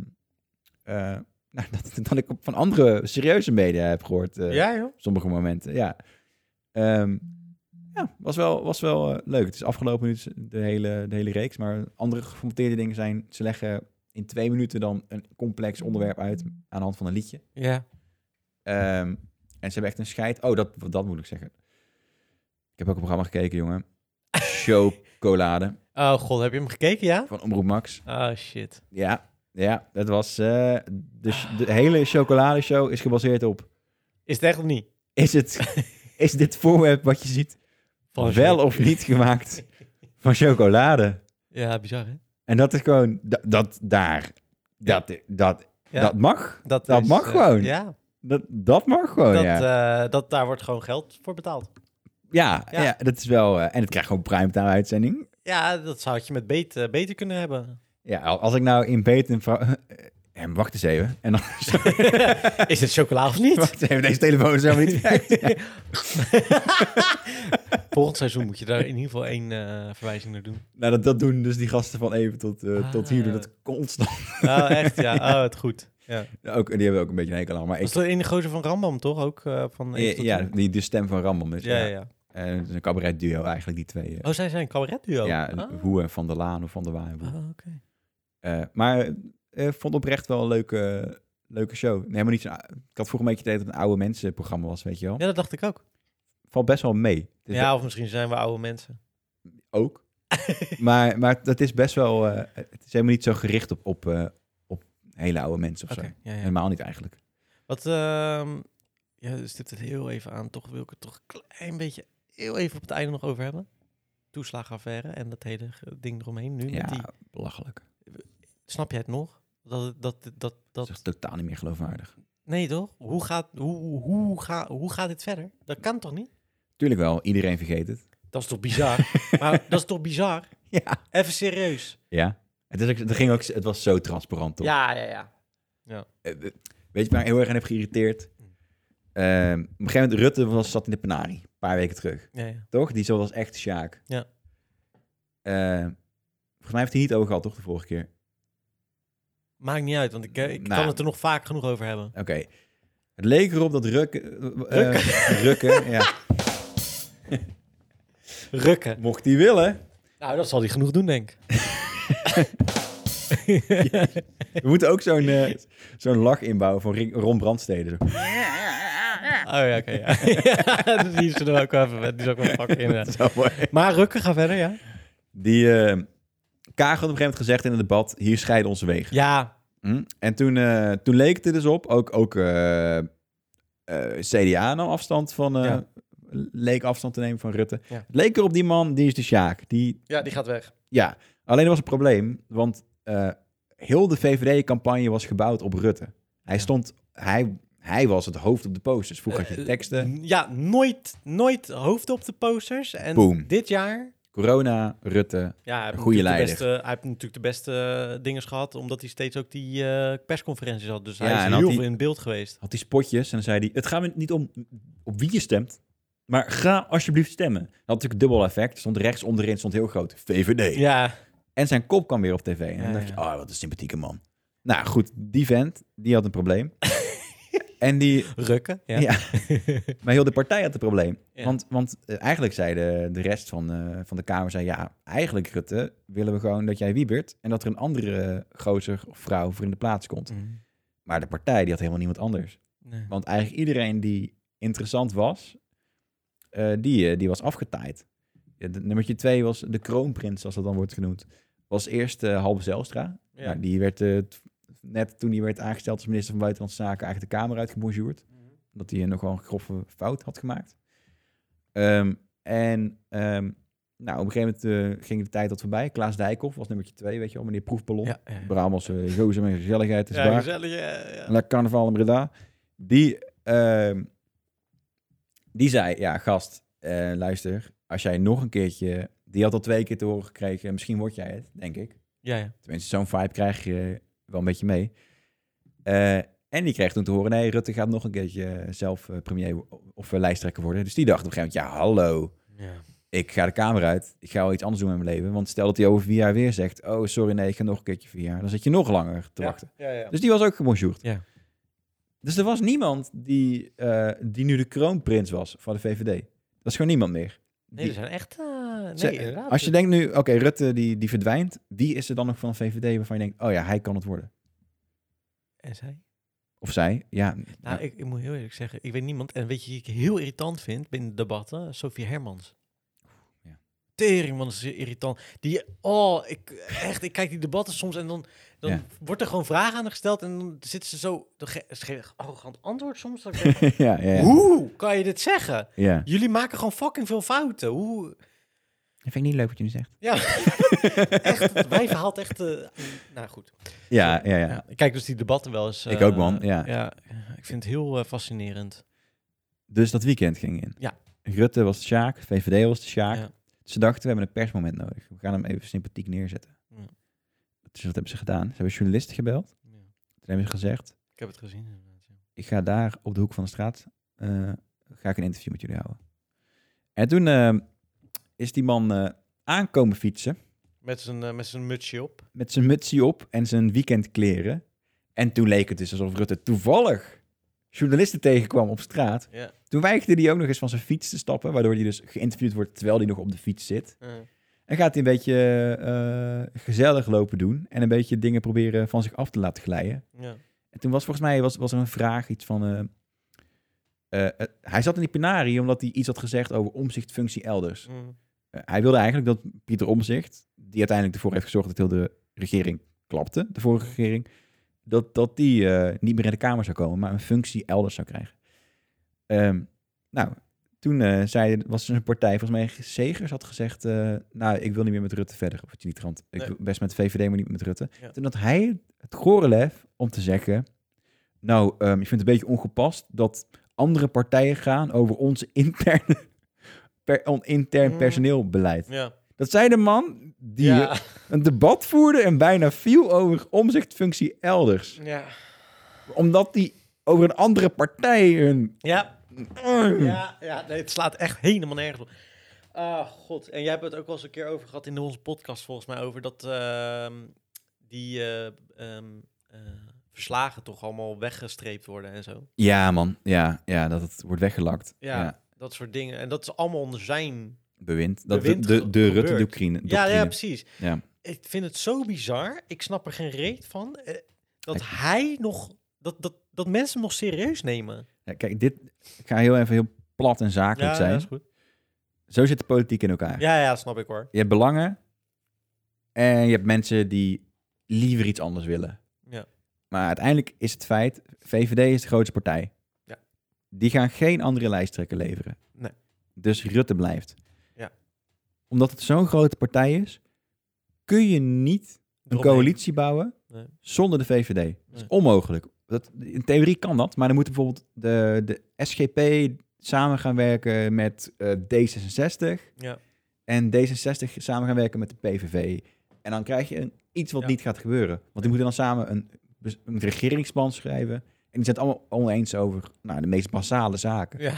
S1: eh, nou, dat, dan ik op- van andere serieuze media heb gehoord. eh,
S2: ja, joh.
S1: op sommige momenten, ja. Ehm, ja, was wel, was wel eh, leuk. Het is afgelopen nu de hele, de hele reeks. Maar andere geformateerde dingen zijn... ze leggen in twee minuten dan een complex onderwerp uit... aan de hand van een liedje.
S2: Ja.
S1: Ehm, en ze hebben echt een scheid. Oh, dat, dat moet ik zeggen. Ik heb ook een programma gekeken, jongen. Chocolade
S2: Oh god, heb je hem gekeken, ja?
S1: van Omroep Max.
S2: Oh shit.
S1: Ja, ja dat was... eh, de, ch- de hele chocoladeshow is gebaseerd op...
S2: Is het echt of niet?
S1: Is, het, is dit voorwerp wat je ziet wel
S2: op.
S1: of niet gemaakt van chocolade?
S2: Ja, bizar hè?
S1: En dat is gewoon... Dat, dat daar... Dat, dat,
S2: Ja.
S1: dat mag.
S2: Dat,
S1: Dat
S2: is,
S1: mag
S2: eh,
S1: gewoon.
S2: Ja,
S1: Dat, dat mag gewoon,
S2: dat,
S1: Oh, ja.
S2: eh, dat, daar wordt gewoon geld voor betaald.
S1: ja, ja.
S2: ja.
S1: dat is wel... eh, en het krijgt gewoon primetime-uitzending.
S2: Ja, dat zou je met beter, beter kunnen hebben.
S1: Ja, al- als ik nou in bed een vrouw... En wacht eens even. En dan...
S2: Is het chocola of niet?
S1: wacht even, deze telefoon is helemaal niet... werkt.
S2: Volgend seizoen moet je daar in ieder geval één eh, verwijzing naar doen.
S1: nou, dat, dat doen dus die gasten van even tot, eh,
S2: Ah.
S1: tot hier. doen Dat constant.
S2: Oh, echt? Ja, oh, het goed. Ja.
S1: Ook, die hebben ook een beetje een hekel aan. Maar ik,
S2: Was dat in de gozer van Rambam, toch? Ook eh, van Even tot
S1: ja,
S2: Tien?
S1: die, de stem van Rambam. Dus,
S2: ja, ja,
S1: ja,
S2: ja.
S1: Eh, het is een cabaret duo eigenlijk, die twee. eh,
S2: Oh, zij zijn een cabaretduo?
S1: ja,
S2: Ah.
S1: Hoe en Van der Laan of Van der Waan.
S2: Ah, oké.
S1: Eh, maar eh, ik vond oprecht wel een leuke, leuke show. Nee, helemaal niet zo, ik had vroeger een beetje het idee dat het een oude mensenprogramma was, weet je wel.
S2: Ja, dat dacht ik ook.
S1: Valt best wel mee. Het is
S2: Ja, of misschien zijn we oude mensen.
S1: ook. maar, maar dat is best wel. eh, het is helemaal niet zo gericht op, op, eh, op hele oude mensen of
S2: Oké.
S1: zo.
S2: Ja, ja.
S1: Helemaal niet eigenlijk.
S2: Wat, ehm ja, dus dit het heel even aan. Toch wil ik het toch een klein beetje, heel even op het einde nog over hebben. Toeslagaffaire en dat hele ge- ding eromheen. Nu met die,
S1: Ja, belachelijk.
S2: snap jij het nog? Dat, dat, dat, dat,
S1: Dat is totaal niet meer geloofwaardig.
S2: nee toch? Hoe gaat, hoe, hoe, ga, hoe gaat dit verder? Dat kan toch niet?
S1: Tuurlijk wel, iedereen vergeet het.
S2: Dat is toch bizar? maar dat is toch bizar?
S1: Ja.
S2: Even serieus.
S1: Ja. Het, is ook, het, ging ook, het was zo transparant toch?
S2: Ja, ja, ja.
S1: Eh, eh, Weet je waar ik heel erg aan heb geïrriteerd? Ehm, op een gegeven moment, Rutte was, zat in de penarie. Een paar weken terug.
S2: Ja, ja.
S1: Toch? Die zo was echt Sjaak.
S2: Ja.
S1: Eh, volgens mij heeft hij het niet over gehad, toch? De vorige keer.
S2: Maakt niet uit, want ik, eh, ik
S1: Nou.
S2: kan het er nog vaak genoeg over hebben.
S1: Oké. Het leek erop dat Rukken... Rukken? rukken, ja.
S2: Rukken.
S1: Mocht hij willen.
S2: Nou, dat zal hij genoeg doen, denk ik.
S1: We moeten ook zo'n eh, zo'n lach inbouwen van Ri- Ron Brandstede. Zo.
S2: Oh ja, oké. ja. ja, dus die is er dan ook wel even met. Die is ook wel fucking inderdaad.
S1: Zo mooi.
S2: Maar Rukke, ga verder, ja?
S1: Die eh, Kaag had op een gegeven moment gezegd in het debat... hier scheiden onze wegen.
S2: Ja.
S1: Hm? En toen, eh, toen leek het er dus op. Ook, ook eh, eh, CDA nam afstand van... eh,
S2: Ja.
S1: leek afstand te nemen van Rutte.
S2: Ja.
S1: Het leek erop die man, die is de Sjaak. Die,
S2: Ja, die gaat weg.
S1: Ja, alleen er was een probleem, want eh, heel de VVD-campagne was gebouwd op Rutte. Hij stond, hij, hij was het hoofd op de posters. Vroeger
S2: Eh,
S1: had je teksten,
S2: Ja, nooit, nooit hoofd op de posters. En
S1: Boom.
S2: dit jaar...
S1: corona, Rutte.
S2: Ja, hij heeft
S1: Een goede
S2: natuurlijk de
S1: leider.
S2: beste- hij heeft natuurlijk de beste dingen gehad, omdat hij steeds ook die eh, persconferenties had. Dus
S1: Ja,
S2: hij
S1: en
S2: is
S1: had
S2: heel
S1: die-
S2: veel in beeld geweest.
S1: Had die spotjes en dan zei hij, het gaat me niet om op wie je stemt, maar ga alsjeblieft stemmen. Dat had natuurlijk dubbel effect. Stond rechts onderin, stond heel groot, VVD.
S2: Ja,
S1: En zijn kop kwam weer op tv. En dan
S2: Ja,
S1: dacht je,
S2: ja.
S1: oh, wat een sympathieke man. Nou goed, die vent, die had een probleem. en die,
S2: Rukke. Ja.
S1: Ja. maar heel de partij had het probleem.
S2: Ja.
S1: Want, want eh, eigenlijk zei de, de rest van, eh, van de Kamer, zei ja, eigenlijk Rutte, willen we gewoon dat jij wiebert en dat er een andere gozer of vrouw voor in de plaats komt.
S2: Mm.
S1: Maar de partij die had helemaal niemand anders.
S2: Nee.
S1: Want eigenlijk iedereen die interessant was, eh, die, eh, die was afgetaaid. Ja, de- nummertje twee was de kroonprins, zoals dat dan wordt genoemd. Was eerst eh Halbe Zijlstra.
S2: Ja. Mhm.
S1: Nou, die werd eh, t- net toen hij werd aangesteld als minister van Buitenlandse Zaken eigenlijk de Kamer uitgebonjourd. dat hij nogal een grove fout had gemaakt. Ehm, en ehm, nou, op een gegeven moment eh, ging de tijd dat voorbij. Klaas Dijkhoff was nummertje twee, weet je wel, meneer Proefballon.
S2: Ja, ja.
S1: Brabants eh, gozer met gezelligheid is
S2: Ja,
S1: daar.
S2: gezellig, ja, ja.
S1: La Carnaval in Breda. Die, ehm, die zei, ja, gast, eh, luister, als jij nog een keertje... Die had al twee keer te horen gekregen, misschien word jij het, denk ik.
S2: Ja, ja.
S1: Tenminste, zo'n vibe krijg je wel een beetje mee. Eh, en die kreeg toen te horen, nee, Rutte gaat nog een keertje zelf eh, premier wo- of eh, lijsttrekker worden. Dus die dacht op een gegeven moment, ja, hallo,
S2: ja.
S1: ik ga de kamer uit. Ik ga wel iets anders doen met mijn leven. Want stel dat hij over vier jaar weer zegt, oh, sorry, nee, ik ga nog een keertje vier jaar. Dan zit je nog langer te wachten.
S2: Ja, ja.
S1: Dus die was ook gebonjourd.
S2: Ja.
S1: Dus er was niemand die, eh, die nu de kroonprins was van de VVD. Dat is gewoon niemand meer.
S2: Nee,
S1: Die-
S2: er zijn echt... eh, nee,
S1: Ze-
S2: inderdaad.
S1: als je denkt nu, oké, Rutte die, die verdwijnt. Wie is er dan nog van VVD waarvan je denkt, oh ja, hij kan het worden?
S2: En zij?
S1: Of zij, ja.
S2: Nou, ik, ik moet heel eerlijk zeggen, ik weet niemand. En weet je, die ik heel irritant vind binnen debatten, Sophie Hermans.
S1: Ja.
S2: Tering, man, is ze irritant. Die, oh, ik, echt, ik kijk die debatten soms en dan, dan
S1: Ja.
S2: wordt er gewoon vragen aan haar gesteld en dan zitten ze zo, dan ge- ze geven echt arrogant antwoord soms. Dat ik denk,
S1: ja, ja, ja.
S2: Hoe kan je dit zeggen?
S1: Ja.
S2: Jullie maken gewoon fucking veel fouten. Hoe?
S1: Dat vind ik niet leuk wat je nu zegt.
S2: Ja, echt, wij verhaalt echt, eh, nou goed.
S1: Ja, ja, ja.
S2: Ja, ik kijk dus die debatten wel eens.
S1: Ik
S2: eh,
S1: ook, man, ja.
S2: ik vind het heel eh, fascinerend.
S1: Dus dat weekend ging in.
S2: Ja.
S1: Rutte was de Sjaak, VVD was de Sjaak. Dus
S2: Ja.
S1: Ze dachten, we hebben een persmoment nodig. We gaan hem even sympathiek neerzetten.
S2: Ja.
S1: Dus dat hebben ze gedaan. Ze hebben journalisten gebeld.
S2: Ja.
S1: Toen hebben ze gezegd,
S2: Ik heb het gezien inderdaad. ja.
S1: ik ga daar op de hoek van de straat eh, ga ik een interview met jullie houden. En toen eh, is die man eh, aankomen fietsen
S2: Met zijn, eh, met zijn mutsje op.
S1: met zijn mutsie op en zijn weekendkleren. En toen leek het dus alsof Rutte toevallig journalisten tegenkwam op straat.
S2: Ja.
S1: Toen weigerde hij ook nog eens van zijn fiets te stappen, waardoor hij dus geïnterviewd wordt terwijl hij nog op de fiets zit. En gaat hij een beetje eh, gezellig lopen doen en een beetje dingen proberen van zich af te laten glijden.
S2: ja.
S1: En toen was volgens mij was, was er een vraag, iets van... eh, eh, eh, hij zat in die penarie omdat hij iets had gezegd over omzichtfunctie elders.
S2: Mm.
S1: Eh, hij wilde eigenlijk dat Pieter Omzicht, die uiteindelijk ervoor heeft gezorgd dat heel de regering klapte, de vorige regering, dat, dat die eh, niet meer in de Kamer zou komen, maar een functie elders zou krijgen. Ehm, nou, toen eh, zei, was er een partij, volgens mij Segers had gezegd, eh, nou, ik wil niet meer met Rutte verder, of het niet rand. Ik
S2: Nee.
S1: wil best met VVD, maar niet met Rutte.
S2: Ja.
S1: Toen had hij het gore lef om te zeggen, nou, ehm, ik vind het een beetje ongepast dat andere partijen gaan over onze interne, per, on, intern
S2: Mm.
S1: personeelbeleid.
S2: ja.
S1: Dat zei de man die een debat voerde en bijna viel over omzichtfunctie elders.
S2: Ja.
S1: Omdat die over een andere partij hun...
S2: Ja.
S1: Mm.
S2: Ja. ja. Nee, het slaat echt helemaal nergens op. Ah, god. En jij hebt het ook wel eens een keer over gehad in onze podcast, volgens mij, over dat ehm, die eh, ehm, eh, verslagen toch allemaal weggestreept worden en zo.
S1: Ja, man. Ja, ja, dat het wordt weggelakt.
S2: Ja. Dat soort dingen. En dat is allemaal onder zijn
S1: Bewind. Dat
S2: Bewind
S1: de, de,
S2: ge-
S1: de
S2: gebeurt.
S1: Rutte-doctrine.
S2: Ja, ja,
S1: doctrine.
S2: precies.
S1: Ja.
S2: Ik vind het zo bizar. Ik snap er geen reet van. eh, Dat hij nog... Dat, dat, dat mensen hem nog serieus nemen.
S1: Ja, Kijk, dit... Ik ga heel even heel plat en zakelijk zijn.
S2: goed.
S1: Zo zit de politiek in elkaar.
S2: Ja, ja, snap ik hoor.
S1: Je hebt belangen. En je hebt mensen die liever iets anders willen.
S2: Ja.
S1: Maar uiteindelijk is het feit, VVD is de grootste partij.
S2: Ja.
S1: Die gaan geen andere lijsttrekker leveren.
S2: Nee.
S1: Dus Rutte blijft.
S2: Ja.
S1: Omdat het zo'n grote partij is, kun je niet een
S2: Eromheen.
S1: coalitie bouwen
S2: Nee.
S1: zonder de VVD. Dat is
S2: Nee.
S1: onmogelijk. Dat, in theorie kan dat, maar dan moeten bijvoorbeeld de, de SGP samen gaan werken met eh, D66
S2: Ja.
S1: en D66 samen gaan werken met de PVV. En dan krijg je een, iets wat
S2: Ja.
S1: niet gaat gebeuren. Want die moeten dan samen een, bes- een regeringsplan schrijven. En die zijn het allemaal oneens over nou, de meest basale zaken.
S2: Ja.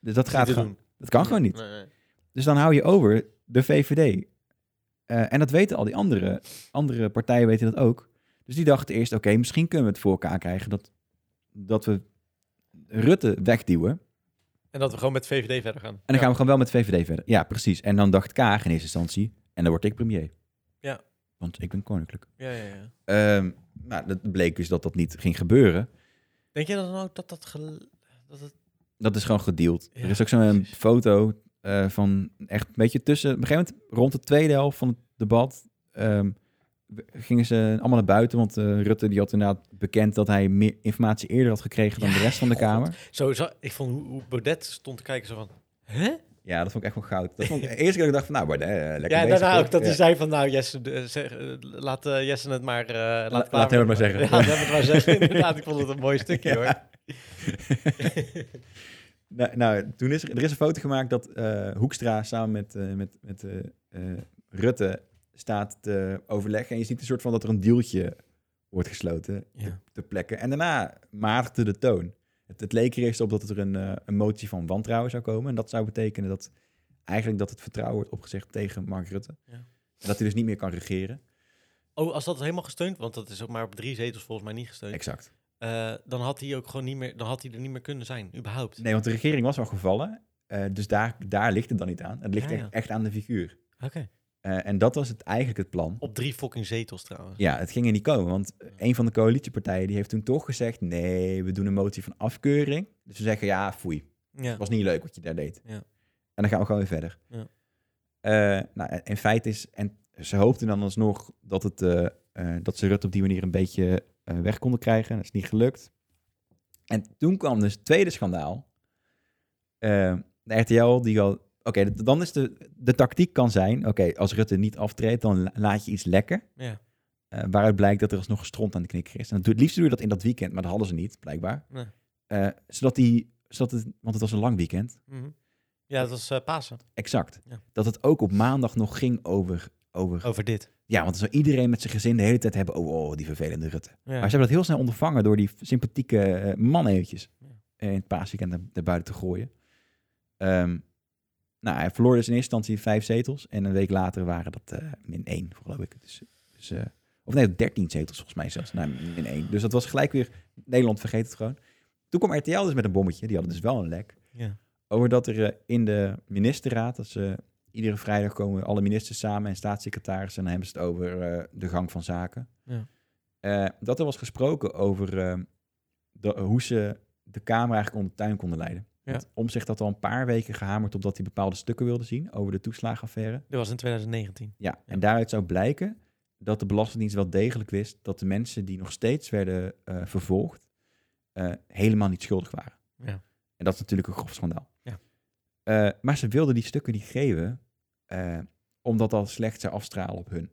S1: Dus dat, gaat
S2: te
S1: gewoon,
S2: doen.
S1: dat kan gewoon niet.
S2: Nee, nee.
S1: Dus dan hou je over de VVD. Eh, en dat weten al die andere, andere partijen weten dat ook. Dus die dachten eerst, oké, misschien kunnen we het voor elkaar krijgen... dat, dat we Rutte wegduwen.
S2: En dat we gewoon met VVD verder gaan.
S1: En dan gaan we gewoon wel met VVD verder. Ja, precies. En dan dacht Kaag in eerste instantie, en dan word ik premier.
S2: Ja.
S1: Want ik ben koninklijk.
S2: Ja, ja, ja.
S1: Ehm nou, dat bleek dus dat dat niet ging gebeuren.
S2: Denk je dan ook dat dat... gel- dat het...
S1: Dat is gewoon gedeeld.
S2: Ja,
S1: er is ook zo'n
S2: precies.
S1: foto eh, van echt een beetje tussen... Op een gegeven moment, rond de tweede helft van het debat... ehm, gingen ze allemaal naar buiten, want eh, Rutte die had inderdaad bekend dat hij meer informatie eerder had gekregen dan
S2: Ja,
S1: de rest van de
S2: god.
S1: Kamer.
S2: Sowieso, ik vond hoe, hoe Baudet stond te kijken zo van... Hè?
S1: Ja, dat vond ik echt wel goud. Dat vond ik, de eerste keer dat ik dacht van, nou, Baudet, eh, lekker
S2: Ja,
S1: bezig,
S2: daarna
S1: toch?
S2: ook dat
S1: Ja.
S2: hij zei van... Nou, Jesse, de- zeg, eh, laat eh, Jesse het maar... eh, laat,
S1: laat
S2: Klaver-
S1: hem het maar zeggen.
S2: Ja, laat hem het maar zeggen. Inderdaad, ik vond het een mooi stukje,
S1: Ja.
S2: hoor.
S1: Nou, nou, toen is er, er is een foto gemaakt dat eh, Hoekstra samen met, eh, met, met eh, eh, Rutte staat te overleggen. En je ziet een soort van dat er een deeltje wordt gesloten te,
S2: Ja.
S1: te plekken. En daarna maagde de toon. Het, het leek er eerst op dat er een, eh, een motie van wantrouwen zou komen. En dat zou betekenen dat eigenlijk dat het vertrouwen wordt opgezegd tegen Mark Rutte.
S2: Ja.
S1: En dat hij dus niet meer kan regeren.
S2: Oh, als dat helemaal gesteund... Want dat is ook maar op drie zetels volgens mij niet gesteund.
S1: Exact.
S2: eh, dan had hij ook gewoon niet meer... Dan had hij er niet meer kunnen zijn, überhaupt.
S1: Nee, want de regering was al gevallen. Eh, dus daar, daar ligt het dan niet aan. Het ligt
S2: Ja, ja.
S1: Echt, echt aan de figuur.
S2: Oké.
S1: Eh, en dat was het, eigenlijk het plan.
S2: Op drie fucking zetels, trouwens.
S1: Ja, het ging er niet komen, want een van de coalitiepartijen die heeft toen toch gezegd... nee, we doen een motie van afkeuring. Dus we zeggen, ja, foei,
S2: Ja.
S1: het was niet leuk wat je daar deed.
S2: Ja.
S1: En dan gaan we gewoon weer verder.
S2: Ja.
S1: Eh, nou, en- en feit is, en ze hoopten dan alsnog dat, het, eh, eh, dat ze Rutte op die manier een beetje eh, weg konden krijgen. Dat is niet gelukt. En toen kwam dus het tweede schandaal. Eh, de RTL die al... Oké, d- dan is de, de tactiek kan zijn... Oké, als Rutte niet aftreedt, dan la- laat je iets lekker.
S2: Ja.
S1: Eh, waaruit blijkt dat er alsnog stront aan de knikker is. En dat doe, het liefst doe je dat in dat weekend, maar dat hadden ze niet, blijkbaar.
S2: Nee.
S1: Eh, zodat die, zodat Dus het, want het was een lang weekend,
S2: Mhm. Ja, dat was eh, Pasen.
S1: exact.
S2: Ja. Oh.
S1: Dat het ook op maandag nog ging over, over...
S2: Over dit.
S1: Ja, want dan zou iedereen met zijn gezin de hele tijd hebben... Oh, oh, die vervelende Rutte.
S2: Ja.
S1: Maar ze hebben dat heel snel ondervangen door die sympathieke eh, man eventjes
S2: Ja.
S1: eh, in het paasweekend naar, naar buiten te gooien. Ehm, nou, hij verloor dus in eerste instantie vijf zetels en een week later waren dat eh, min één, geloof ik. Dus, dus, eh, of nee, dertien zetels volgens mij zelfs, nou, min één. Dus dat was gelijk weer, Nederland vergeet het gewoon. Toen kwam RTL dus met een bommetje, die hadden dus wel een lek,
S2: Ja.
S1: over dat er eh, in de ministerraad, dat ze iedere vrijdag komen alle ministers samen en staatssecretarissen en dan hebben ze het over eh, de gang van zaken.
S2: Ja.
S1: Eh, dat er was gesproken over eh, de- hoe ze de Kamer eigenlijk onder de tuin konden leiden.
S2: Ja.
S1: Want Omtzigt had al een paar weken gehamerd op dat hij bepaalde stukken wilde zien over de toeslagenaffaire.
S2: Dit was in 2019.
S1: Ja, en daaruit zou blijken dat de Belastingdienst wel degelijk wist dat de mensen die nog steeds werden eh, vervolgd eh, helemaal niet schuldig waren.
S2: Ja.
S1: En dat is natuurlijk een grof schandaal.
S2: Ja.
S1: Eh, maar ze wilden die stukken niet geven, eh, omdat dat slecht zou afstralen op hun.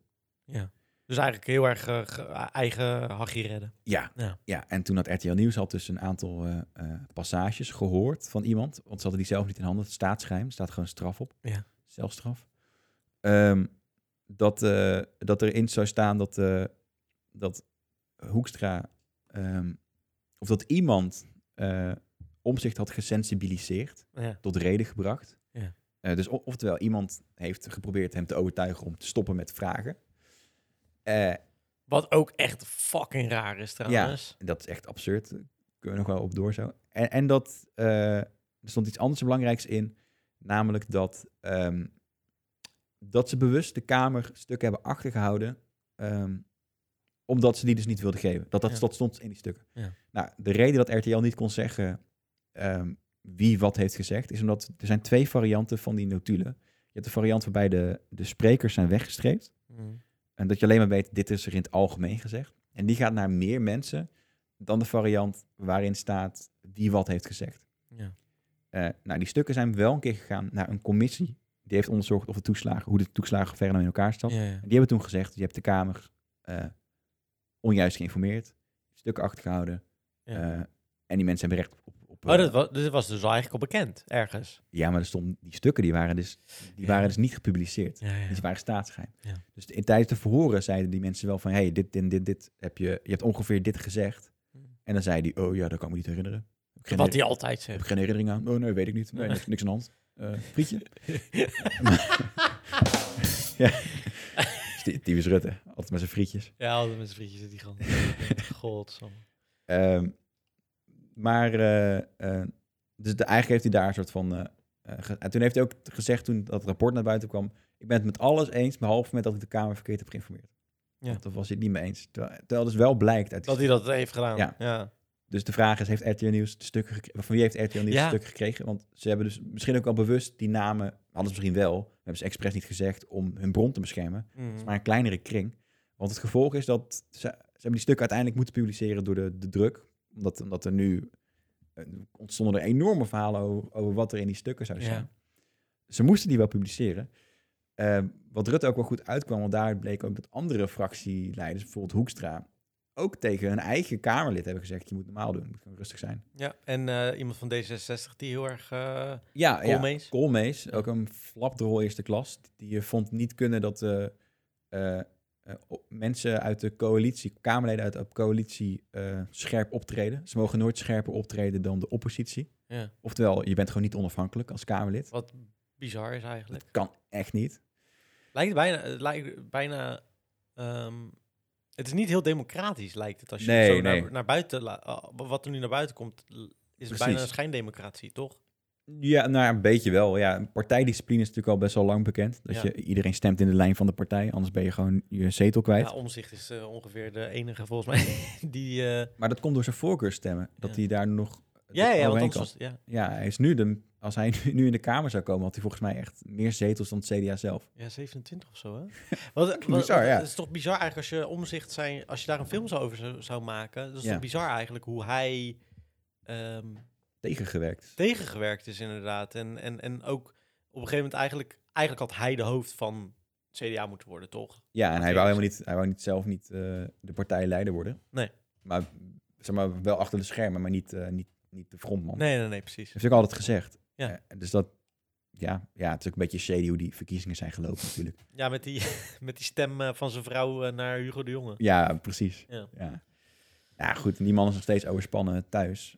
S2: Dus eigenlijk heel erg eh, ge- eigen hachje redden.
S1: Ja.
S2: Ja.
S1: ja. en toen had RTL Nieuws had dus een aantal eh, eh, passages gehoord van iemand. Want ze hadden die zelf niet in handen. Het staatsgeheim, staat gewoon straf op.
S2: Ja.
S1: Zelfstraf. Ehm, dat, eh dat erin zou staan dat, eh, dat Hoekstra... ehm, of dat iemand eh omzicht had gesensibiliseerd
S2: Ja.
S1: tot reden gebracht.
S2: Ja.
S1: Eh, dus o- oftewel, iemand heeft geprobeerd hem te overtuigen om te stoppen met vragen. Eh,
S2: Wat ook echt fucking raar is trouwens.
S1: dat is echt absurd. Daar Kunnen we nog wel op door zo. En, en dat eh, er stond iets anders belangrijks in. Namelijk dat, ehm, dat ze bewust de Kamer stukken hebben achtergehouden. ehm, omdat ze die dus niet wilden geven. Dat, dat,
S2: Ja.
S1: dat stond in die stukken.
S2: Ja.
S1: Nou, de reden dat RTL niet kon zeggen ehm, wie wat heeft gezegd, is omdat er zijn twee varianten van die notulen. Je hebt de variant waarbij de, de sprekers zijn weggestreept.
S2: Mm.
S1: En dat je alleen maar weet, dit is er in het algemeen gezegd. En die gaat naar meer mensen dan de variant waarin staat wie wat heeft gezegd.
S2: Ja.
S1: Eh, nou, die stukken zijn wel een keer gegaan naar een commissie. Die heeft onderzocht of de toeslagen, hoe de toeslagen verder nou in elkaar zat.
S2: Ja, ja.
S1: En die hebben toen gezegd, je hebt de Kamer eh, onjuist geïnformeerd, stukken achtergehouden.
S2: Ja.
S1: eh, en die mensen hebben recht op... op
S2: Oh,
S1: eh,
S2: dat was, dit was dus al eigenlijk al bekend, ergens.
S1: Ja, maar er stond, die stukken die waren, dus, die
S2: Ja.
S1: waren dus niet gepubliceerd.
S2: Ja, ja.
S1: Die waren staatsgeheim.
S2: Ja.
S1: Dus in, tijdens de verhoren zeiden die mensen wel van... hey, dit en dit, dit heb je... Je hebt ongeveer dit gezegd. En dan zei die... Oh ja, dat kan ik me niet herinneren. Heb ik geen
S2: Hmm. Wat
S1: her-
S2: hij altijd
S1: Heb
S2: zegt.
S1: ik geen herinnering aan? Oh nee, weet ik niet. Nee, niks, niks aan de hand. Eh, frietje. ja. Ty- Typisch Rutte. Altijd met zijn frietjes.
S2: Ja, al met zijn vriendjes zit hij gewoon. Godsamme.
S1: Ehm, maar... eh, eh, dus de, eigenlijk heeft hij daar een soort van... eh, eh, ge- en toen heeft hij ook gezegd, toen dat rapport naar buiten kwam... Ik ben het met alles eens, behalve met dat ik de Kamer verkeerd heb geïnformeerd.
S2: Ja.
S1: Ja. Dat was hij het niet mee eens. Terwijl, terwijl dus wel blijkt uit die
S2: Dat hij dat heeft gedaan. Ja.
S1: Ja. Dus de vraag is, heeft RTL Nieuws de stukken gekregen? Van wie heeft RTL Nieuws
S2: Ja.
S1: de stukken gekregen? Want ze hebben dus misschien ook al bewust die namen... Hadden ze misschien wel, hebben ze expres niet gezegd... om hun bron te beschermen.
S2: Mm.
S1: Het is maar een kleinere kring. Want het gevolg is dat ze, ze hebben die stukken uiteindelijk moeten publiceren door de, de druk. Omdat, omdat er nu eh, ontstonden er enorme verhalen over, over wat er in die stukken zou
S2: Ja.
S1: zijn. Ze moesten die wel publiceren. Eh, wat Rutte ook wel goed uitkwam, want daaruit bleek ook dat andere fractieleiders, bijvoorbeeld Hoekstra, ook tegen hun eigen Kamerlid hebben gezegd, je moet normaal doen, je moet gewoon rustig zijn.
S2: Ja, en eh, iemand van D66 die heel erg... eh,
S1: Ja, ja.
S2: Koolmees.
S1: Koolmees, ook een flapdrol eerste klas. Die je vond niet kunnen dat eh, eh, eh, op- mensen uit de coalitie, Kamerleden uit de coalitie, eh, scherp optreden. Ze mogen nooit scherper optreden dan de oppositie.
S2: ja,
S1: Oftewel, je bent gewoon niet onafhankelijk als Kamerlid.
S2: wat bizar is eigenlijk.
S1: Dat kan echt niet.
S2: Lijkt bijna... Het lijkt bijna ehm, het is niet heel democratisch, lijkt het. Als je
S1: Nee,
S2: zo
S1: nee.
S2: Naar, naar buiten... la- ah, wat er nu naar buiten komt, l- is het bijna
S1: Precies.
S2: een schijndemocratie, toch?
S1: Ja, nou, een beetje wel. Ja, partijdiscipline is natuurlijk al best wel lang bekend. Dat
S2: Ja.
S1: je iedereen stemt in de lijn van de partij, anders ben je gewoon je zetel kwijt.
S2: Ja, omzicht is eh, ongeveer de enige, volgens mij, die... eh,
S1: Maar dat komt door zijn voorkeurstemmen, dat
S2: Ja.
S1: hij daar nog
S2: ja, ja, want
S1: overheen
S2: anders
S1: kan.
S2: was- ja,
S1: Ja, hij is nu de, als hij nu- nu in de Kamer zou komen, had hij volgens mij echt meer zetels dan het CDA zelf.
S2: ja, 27 of zo, hè? Wat, wat,
S1: Bizar, ja.
S2: Het is toch bizar eigenlijk als je omzicht zijn... Als je daar een film zou over zou, zou maken... Dat is
S1: Ja.
S2: toch bizar eigenlijk hoe hij... ehm,
S1: Tegengewerkt.
S2: tegengewerkt is inderdaad. En, en, en ook op een gegeven moment eigenlijk... Eigenlijk had hij de hoofd van CDA moeten worden, toch?
S1: Ja, en hij wou
S2: Oké, dus-
S1: helemaal niet, hij wou niet zelf niet eh, de partijleider worden.
S2: Nee.
S1: Maar, zeg maar wel achter de schermen, maar niet, eh, niet, niet de frontman.
S2: Nee, nee, nee, precies.
S1: Dat heeft hij ook altijd gezegd.
S2: Ja.
S1: Eh, dus dat, ja, ja, het is ook een beetje shady hoe die verkiezingen zijn gelopen natuurlijk.
S2: Ja, met die, met die stem eh, van zijn vrouw eh, naar Hugo de Jonge.
S1: Ja, precies.
S2: Ja.
S1: Ja. Nou goed, en die man is nog steeds overspannen thuis.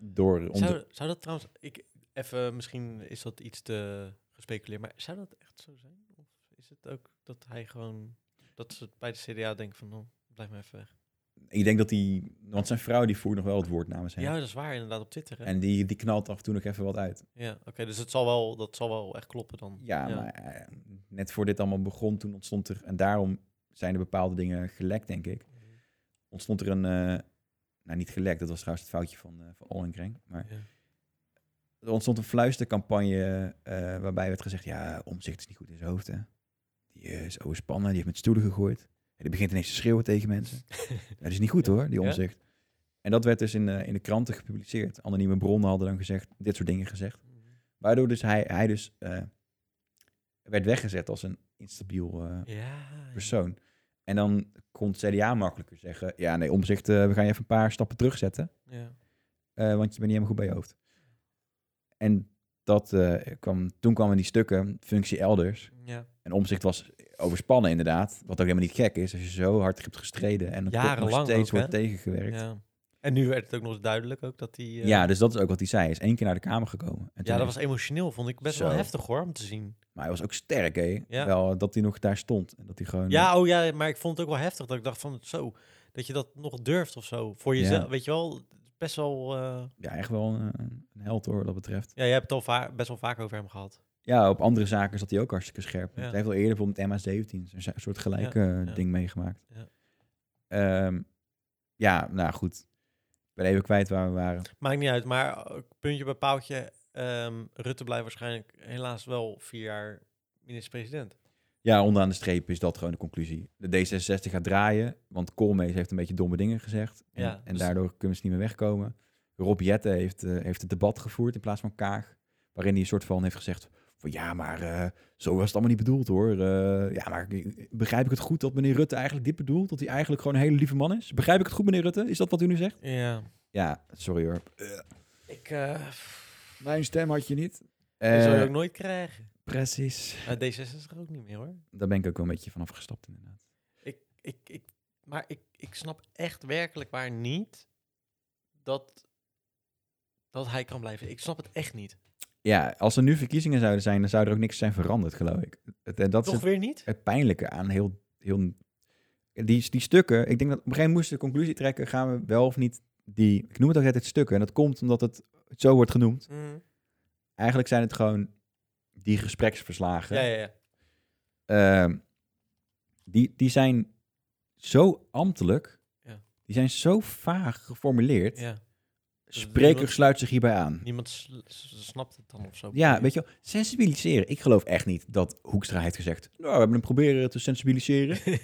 S1: Door, om
S2: Zou, zou dat trouwens... Ik, even, misschien is dat iets te gespeculeerd, maar zou dat echt zo zijn? Of is het ook dat hij gewoon... Dat ze bij de CDA denken van, oh, blijf maar even weg.
S1: ik denk dat hij, want zijn vrouw die voert nog wel het woord namens hem.
S2: Ja, dat is waar, inderdaad, op Twitter. Hè?
S1: En die, die knalt af en toe nog even wat uit.
S2: Ja, oké, dus het zal wel, dat zal wel echt kloppen dan.
S1: Ja, maar eh, net voor dit allemaal begon, toen ontstond er, en daarom zijn er bepaalde dingen gelekt, denk ik. Ontstond er een, eh, nou niet gelekt, dat was trouwens het foutje van, eh van Ollengren, maar
S2: Ja.
S1: er ontstond een fluistercampagne eh, waarbij werd gezegd, ja, omzicht is niet goed in zijn hoofd, hè. Die eh, is overspannen, die heeft met stoelen gegooid. En die begint ineens te schreeuwen tegen mensen. dat is niet goed hoor, die
S2: Ja?
S1: omzicht. En dat werd dus in, eh, in de kranten gepubliceerd. Anonieme bronnen hadden dan gezegd, dit soort dingen gezegd.
S2: Mhm.
S1: Waardoor dus hij, hij dus eh, werd weggezet als een instabiel eh,
S2: Ja, ja.
S1: persoon. En dan kon het CDA makkelijker zeggen... ja, nee, omzicht, eh, we gaan je even een paar stappen terugzetten...
S2: ja.
S1: eh, want je bent niet helemaal goed bij je hoofd. En dat, eh, kwam, toen kwamen die stukken, functie elders.
S2: ja.
S1: En omzicht was overspannen inderdaad. Wat ook helemaal niet gek is, als je zo hard hebt gestreden... en dan toch nog
S2: Jarenlang
S1: steeds
S2: ook,
S1: wordt
S2: hè?
S1: tegengewerkt. Ja.
S2: Ja. En nu werd het ook nog eens duidelijk ook dat hij... eh,
S1: dus dat is ook wat hij zei. Hij is één keer naar de Kamer gekomen. En toen
S2: ja, dat was emotioneel, vond ik best wel
S1: Zo.
S2: heftig hoor, om te zien.
S1: Maar hij was ook sterk, hè?
S2: Ja.
S1: Wel, eh, dat hij nog daar stond. En dat hij gewoon...
S2: Ja, oh ja, maar ik vond het ook wel heftig dat ik dacht van zo, dat je dat nog durft of zo. Voor
S1: Ja.
S2: jezelf, weet je wel, best wel... eh,
S1: ja, echt wel een, een held hoor, wat dat betreft.
S2: ja, je hebt het al va- best wel vaak over hem gehad.
S1: Ja, op andere zaken zat hij ook hartstikke scherp.
S2: Ja.
S1: Hij heeft al eerder bijvoorbeeld met MH17 een zo- soort gelijke eh,
S2: ja.
S1: ding meegemaakt.
S2: Ja.
S1: Ja. ja, nou goed. Ik ben even kwijt waar we waren.
S2: Maakt niet uit, maar eh, puntje bij paaltje, ehm, Rutte blijft waarschijnlijk helaas wel vier jaar minister-president.
S1: Ja, onderaan de streep is dat gewoon de conclusie. De D66 gaat draaien, want Koolmees heeft een beetje domme dingen gezegd. En,
S2: Ja,
S1: en
S2: dus-
S1: daardoor kunnen ze niet meer wegkomen. Rob Jette heeft, eh, heeft het debat gevoerd in plaats van Kaag. Waarin hij een soort van heeft gezegd van ja, maar eh, zo was het allemaal niet bedoeld hoor. Eh, ja, maar begrijp ik het goed dat meneer Rutte eigenlijk dit bedoelt? Dat hij eigenlijk gewoon een hele lieve man is? Begrijp ik het goed meneer Rutte? Is dat wat u nu zegt?
S2: Ja,
S1: Ja, sorry hoor.
S2: ik eh
S1: Mijn stem had je niet.
S2: dat zou je
S1: Eh,
S2: ook nooit krijgen.
S1: precies.
S2: Eh, D66 ook niet meer hoor.
S1: Daar ben ik ook wel een beetje van afgestapt inderdaad.
S2: Ik, ik, ik, maar ik, ik snap echt werkelijk waar niet dat, dat hij kan blijven. Ik snap het echt niet.
S1: Ja, als er nu verkiezingen zouden zijn, dan zou er ook niks zijn veranderd, geloof ik. Het- En dat
S2: Toch
S1: is het,
S2: weer niet?
S1: het pijnlijke aan heel... heel die, die stukken, ik denk dat op een gegeven moment moesten we de conclusie trekken, gaan we wel of niet die... Ik noem het ook altijd stukken, en dat komt omdat het zo wordt genoemd.
S2: Mm.
S1: Eigenlijk zijn het gewoon die gespreksverslagen.
S2: Ja, ja, ja.
S1: Ehm, die, die zijn zo ambtelijk,
S2: Ja.
S1: die zijn zo vaag geformuleerd...
S2: ja.
S1: Spreker sluit zich hierbij aan.
S2: Niemand sl- s- snapt het dan of zo.
S1: Ja, weet je wel, sensibiliseren. Ik geloof echt niet dat Hoekstra heeft gezegd... Nou, we hebben hem proberen te sensibiliseren.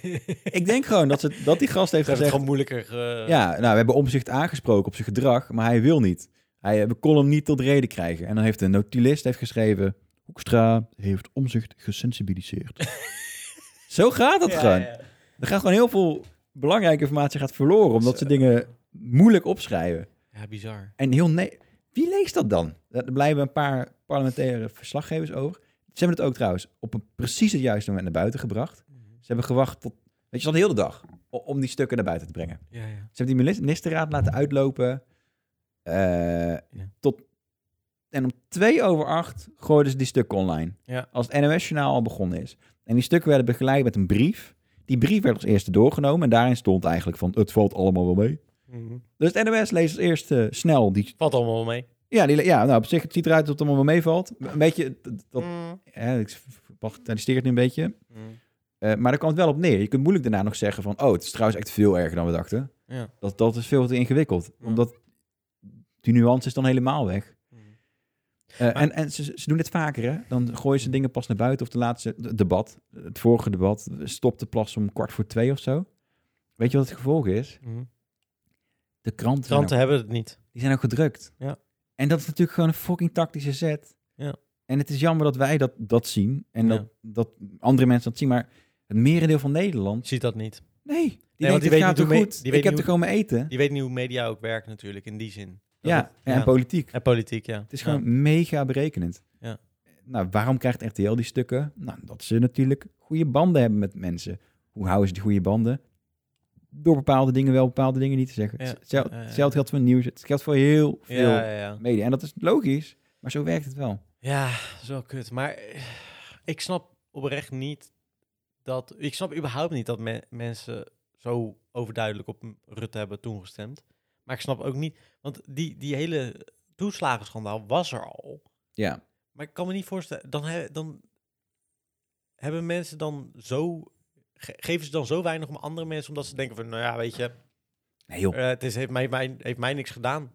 S1: ik denk gewoon dat, ze, dat die gast heeft
S2: Dat is
S1: gezegd...
S2: het gewoon moeilijker. eh,
S1: Ja, nou, we hebben omzicht aangesproken op zijn gedrag, maar hij wil niet. Hij, eh, we kon hem niet tot reden krijgen. En dan heeft een notulist heeft geschreven... Hoekstra heeft omzicht gesensibiliseerd. Zo gaat het
S2: ja,
S1: gewoon.
S2: ja.
S1: Er gaat gewoon heel veel belangrijke informatie gaat verloren... omdat ze
S2: Zo.
S1: dingen moeilijk opschrijven.
S2: Ja, bizar.
S1: En heel nee. Wie leest dat dan? Daar blijven een paar parlementaire verslaggevers over. Ze hebben het ook trouwens op een precies het juiste moment naar buiten gebracht. Ze hebben gewacht tot, weet je, wel, de hele dag o- om die stukken naar buiten te brengen.
S2: Ja, ja.
S1: Ze hebben die minis- ministerraad laten uitlopen. eh, tot, en om twee over acht gooiden ze die stukken online.
S2: Ja.
S1: Als het NOS-journaal al begonnen is. En die stukken werden begeleid met een brief. Die brief werd als eerste doorgenomen. En daarin stond eigenlijk van, het valt allemaal wel mee.
S2: Mm-hmm.
S1: Dus het NOS leest als eerste snel die
S2: Valt allemaal wel mee.
S1: ja, die, ja nou, op zich, het ziet eruit dat het allemaal wel meevalt. Een beetje, dat, dat,
S2: Mm.
S1: hè, ik bagatelliseer het nu een beetje.
S2: Mm-hmm.
S1: Eh, maar daar kwam het wel op neer. Je kunt moeilijk daarna nog zeggen van... oh, het is trouwens echt veel erger dan we dachten.
S2: Ja.
S1: Dat, dat is veel te ingewikkeld.
S2: Ja.
S1: Omdat die nuance is dan helemaal weg.
S2: Mhm.
S1: Eh, en en ze, ze doen het vaker, hè? Dan gooien ze dingen pas naar buiten. Of de laatste het debat, het vorige debat... stopte pas om kwart voor twee of zo. Weet je wat het gevolg is? De kranten, zijn ook-
S2: Kranten hebben het niet.
S1: die zijn ook gedrukt.
S2: Ja.
S1: En dat is natuurlijk gewoon een fucking tactische zet.
S2: Ja.
S1: En het is jammer dat wij dat, dat zien. En dat,
S2: Ja.
S1: dat andere mensen dat zien. Maar het merendeel van Nederland...
S2: Ziet dat niet.
S1: Nee, die,
S2: want
S1: denkt,
S2: die
S1: het
S2: weet
S1: gaat
S2: niet
S1: toch
S2: hoe me-
S1: goed.
S2: die
S1: Ik
S2: weet
S1: heb
S2: niet
S1: te
S2: hoe-
S1: komen eten.
S2: Die weet niet hoe media ook werkt natuurlijk, in die zin. Dat
S1: ja,
S2: het-
S1: en politiek.
S2: En politiek, ja.
S1: Het is gewoon mega berekenend.
S2: Ja.
S1: Nou, waarom krijgt RTL die stukken? Nou, dat ze natuurlijk goede banden hebben met mensen. Hoe houden ze die goede banden? Door bepaalde dingen wel, bepaalde dingen niet te zeggen.
S2: Ja.
S1: Het- Hetzelfde
S2: Ja, ja, ja.
S1: hetzelfde geldt voor nieuws. Het geldt voor heel
S2: Ja,
S1: veel
S2: ja, ja, ja.
S1: media. En dat is logisch, maar zo werkt het wel.
S2: Ja, dat is wel kut. Maar eh, ik snap oprecht niet dat... Ik snap überhaupt niet dat me- mensen zo overduidelijk op M- Rutte hebben toen gestemd. Maar ik snap ook niet... Want die, die hele toeslagenschandaal was er al.
S1: Ja.
S2: Maar ik kan me niet voorstellen... Dan, he- dan hebben mensen dan zo... ge- geven ze dan zo weinig om andere mensen... omdat ze denken van, nou ja, weet je...
S1: Nee joh,
S2: eh, het is, heeft, mij, mij, heeft mij niks gedaan.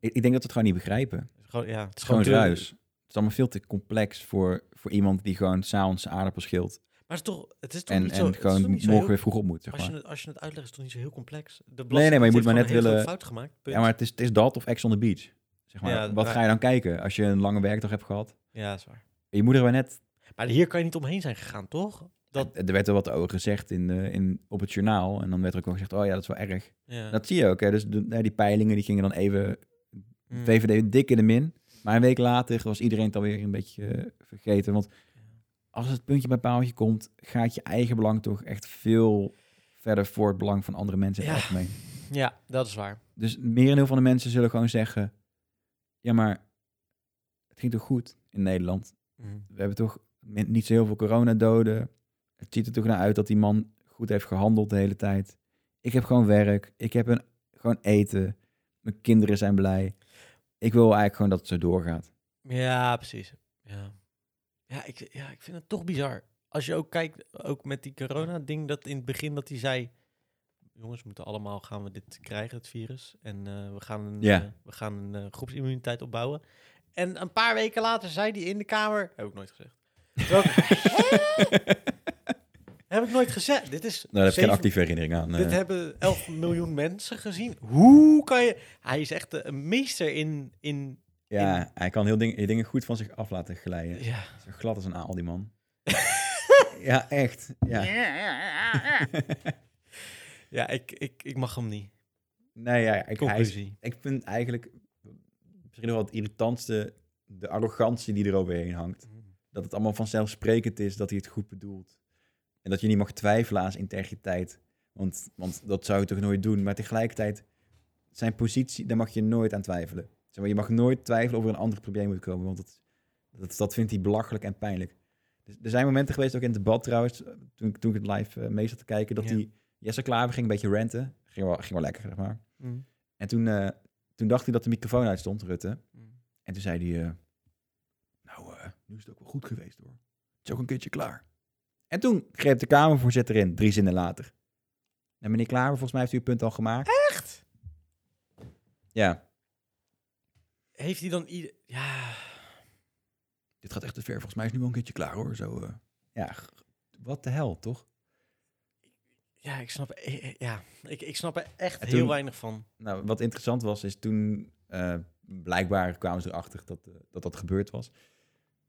S1: ik, ik denk dat we het gewoon niet begrijpen. Het
S2: Het is gewoon, ja, het is
S1: is gewoon
S2: te-
S1: ruis. Het is allemaal veel te complex voor, voor iemand die gewoon s'avonds aardappel schilt.
S2: Maar het is toch, het is toch
S1: En,
S2: niet zo...
S1: en
S2: het is toch
S1: gewoon
S2: niet zo
S1: morgen
S2: heel
S1: weer vroeg op moet, zeg
S2: Als je,
S1: maar.
S2: het, als je het uitlegt, is het toch niet zo heel complex? De
S1: nee, maar je moet maar net willen-
S2: fout gemaakt. punt.
S1: Ja, maar het is, het is dat of Ex on the Beach. Zeg maar.
S2: Ja,
S1: Wat
S2: maar-
S1: ga je dan kijken als je een lange werkdag hebt gehad?
S2: Ja, dat is waar.
S1: Je moeder er maar net...
S2: Maar hier kan je niet omheen zijn gegaan, toch? Dat,
S1: Er werd wel wat over gezegd in, eh, in, op het journaal. En dan werd er ook wel gezegd, oh ja, dat is wel erg.
S2: ja.
S1: Dat zie je ook, hè. Dus de- hè, die peilingen die gingen dan even...
S2: Mm.
S1: VVD dik in de min. Maar een week later was iedereen het alweer een beetje eh, vergeten. Want als het puntje bij paaltje komt, gaat je eigen belang toch echt veel verder voor het belang van andere mensen in het
S2: Ja.
S1: algemeen.
S2: ja, dat is waar.
S1: Dus meer en heel van de mensen zullen gewoon zeggen: Ja, maar het ging toch goed in Nederland?
S2: Mhm.
S1: We hebben toch min- niet zo heel veel coronadoden. Het ziet er toch naar uit dat die man goed heeft gehandeld de hele tijd. Ik heb gewoon werk. Ik heb een, gewoon eten. Mijn kinderen zijn blij. Ik wil eigenlijk gewoon dat het zo doorgaat.
S2: Ja, precies. Ja, ja, ik, ja ik vind het toch bizar. Als je ook kijkt, ook met die corona-ding, dat in het begin dat hij zei... Jongens, we moeten allemaal gaan we dit krijgen, het virus. En eh, we gaan een,
S1: Ja.
S2: eh, we gaan een eh, groepsimmuniteit opbouwen. En een paar weken later zei hij in de kamer... Heb ik nooit gezegd. Terwijl ik- heb ik nooit gezegd. Dit is
S1: Nou, daar heb ik geen
S2: zeven-
S1: actieve herinnering aan. eh.
S2: Dit hebben 11 miljoen mensen gezien. Hoe kan je... Hij is echt eh, een meester in... in
S1: ja, hij kan heel ding, dingen goed van zich af laten glijden.
S2: ja.
S1: Zo glad als een aal, die man. ja, echt. Ja.
S2: Ja, ik, ik, ik mag hem niet.
S1: Nee, ja, ik, hij is-
S2: Conclusie.
S1: ik vind eigenlijk misschien nog wel het irritantste de arrogantie die eroverheen hangt. Dat het allemaal vanzelfsprekend is dat hij het goed bedoelt. En dat je niet mag twijfelen aan zijn integriteit. Want, want dat zou je toch nooit doen. Maar tegelijkertijd, zijn positie, daar mag je nooit aan twijfelen. Zeg maar, je mag nooit twijfelen of er een ander probleem moet komen. Want dat, dat, dat vindt hij belachelijk en pijnlijk. Dus er zijn momenten geweest, ook in het debat trouwens, eh, toen, ik- toen ik het live eh, mee zat te kijken, dat
S2: Ja.
S1: hij Jesse Klaver ging een beetje ranten. Ging wel, ging wel lekker, zeg maar. En toen, eh, toen dacht hij dat de microfoon uit stond, Rutte.
S2: Mm.
S1: En toen zei hij, eh, nou, eh, nu is het ook wel goed geweest hoor. Het is ook een keertje klaar. En toen greep de Kamervoorzitter in, drie zinnen later. Nou, En meneer Klaver, volgens mij heeft u uw punt al gemaakt. Echt? Ja.
S2: heeft hij dan ieder... Ja,
S1: Dit gaat echt te ver. Volgens mij is nu wel een keertje klaar hoor. Zo, eh. Ja, g- wat de hel, toch?
S2: ja ik snap... eh, eh, Ja, ik, ik snap er echt
S1: En
S2: heel
S1: toen-
S2: weinig van.
S1: Nou, wat interessant was, is toen eh, blijkbaar kwamen ze erachter dat, eh, dat dat gebeurd was.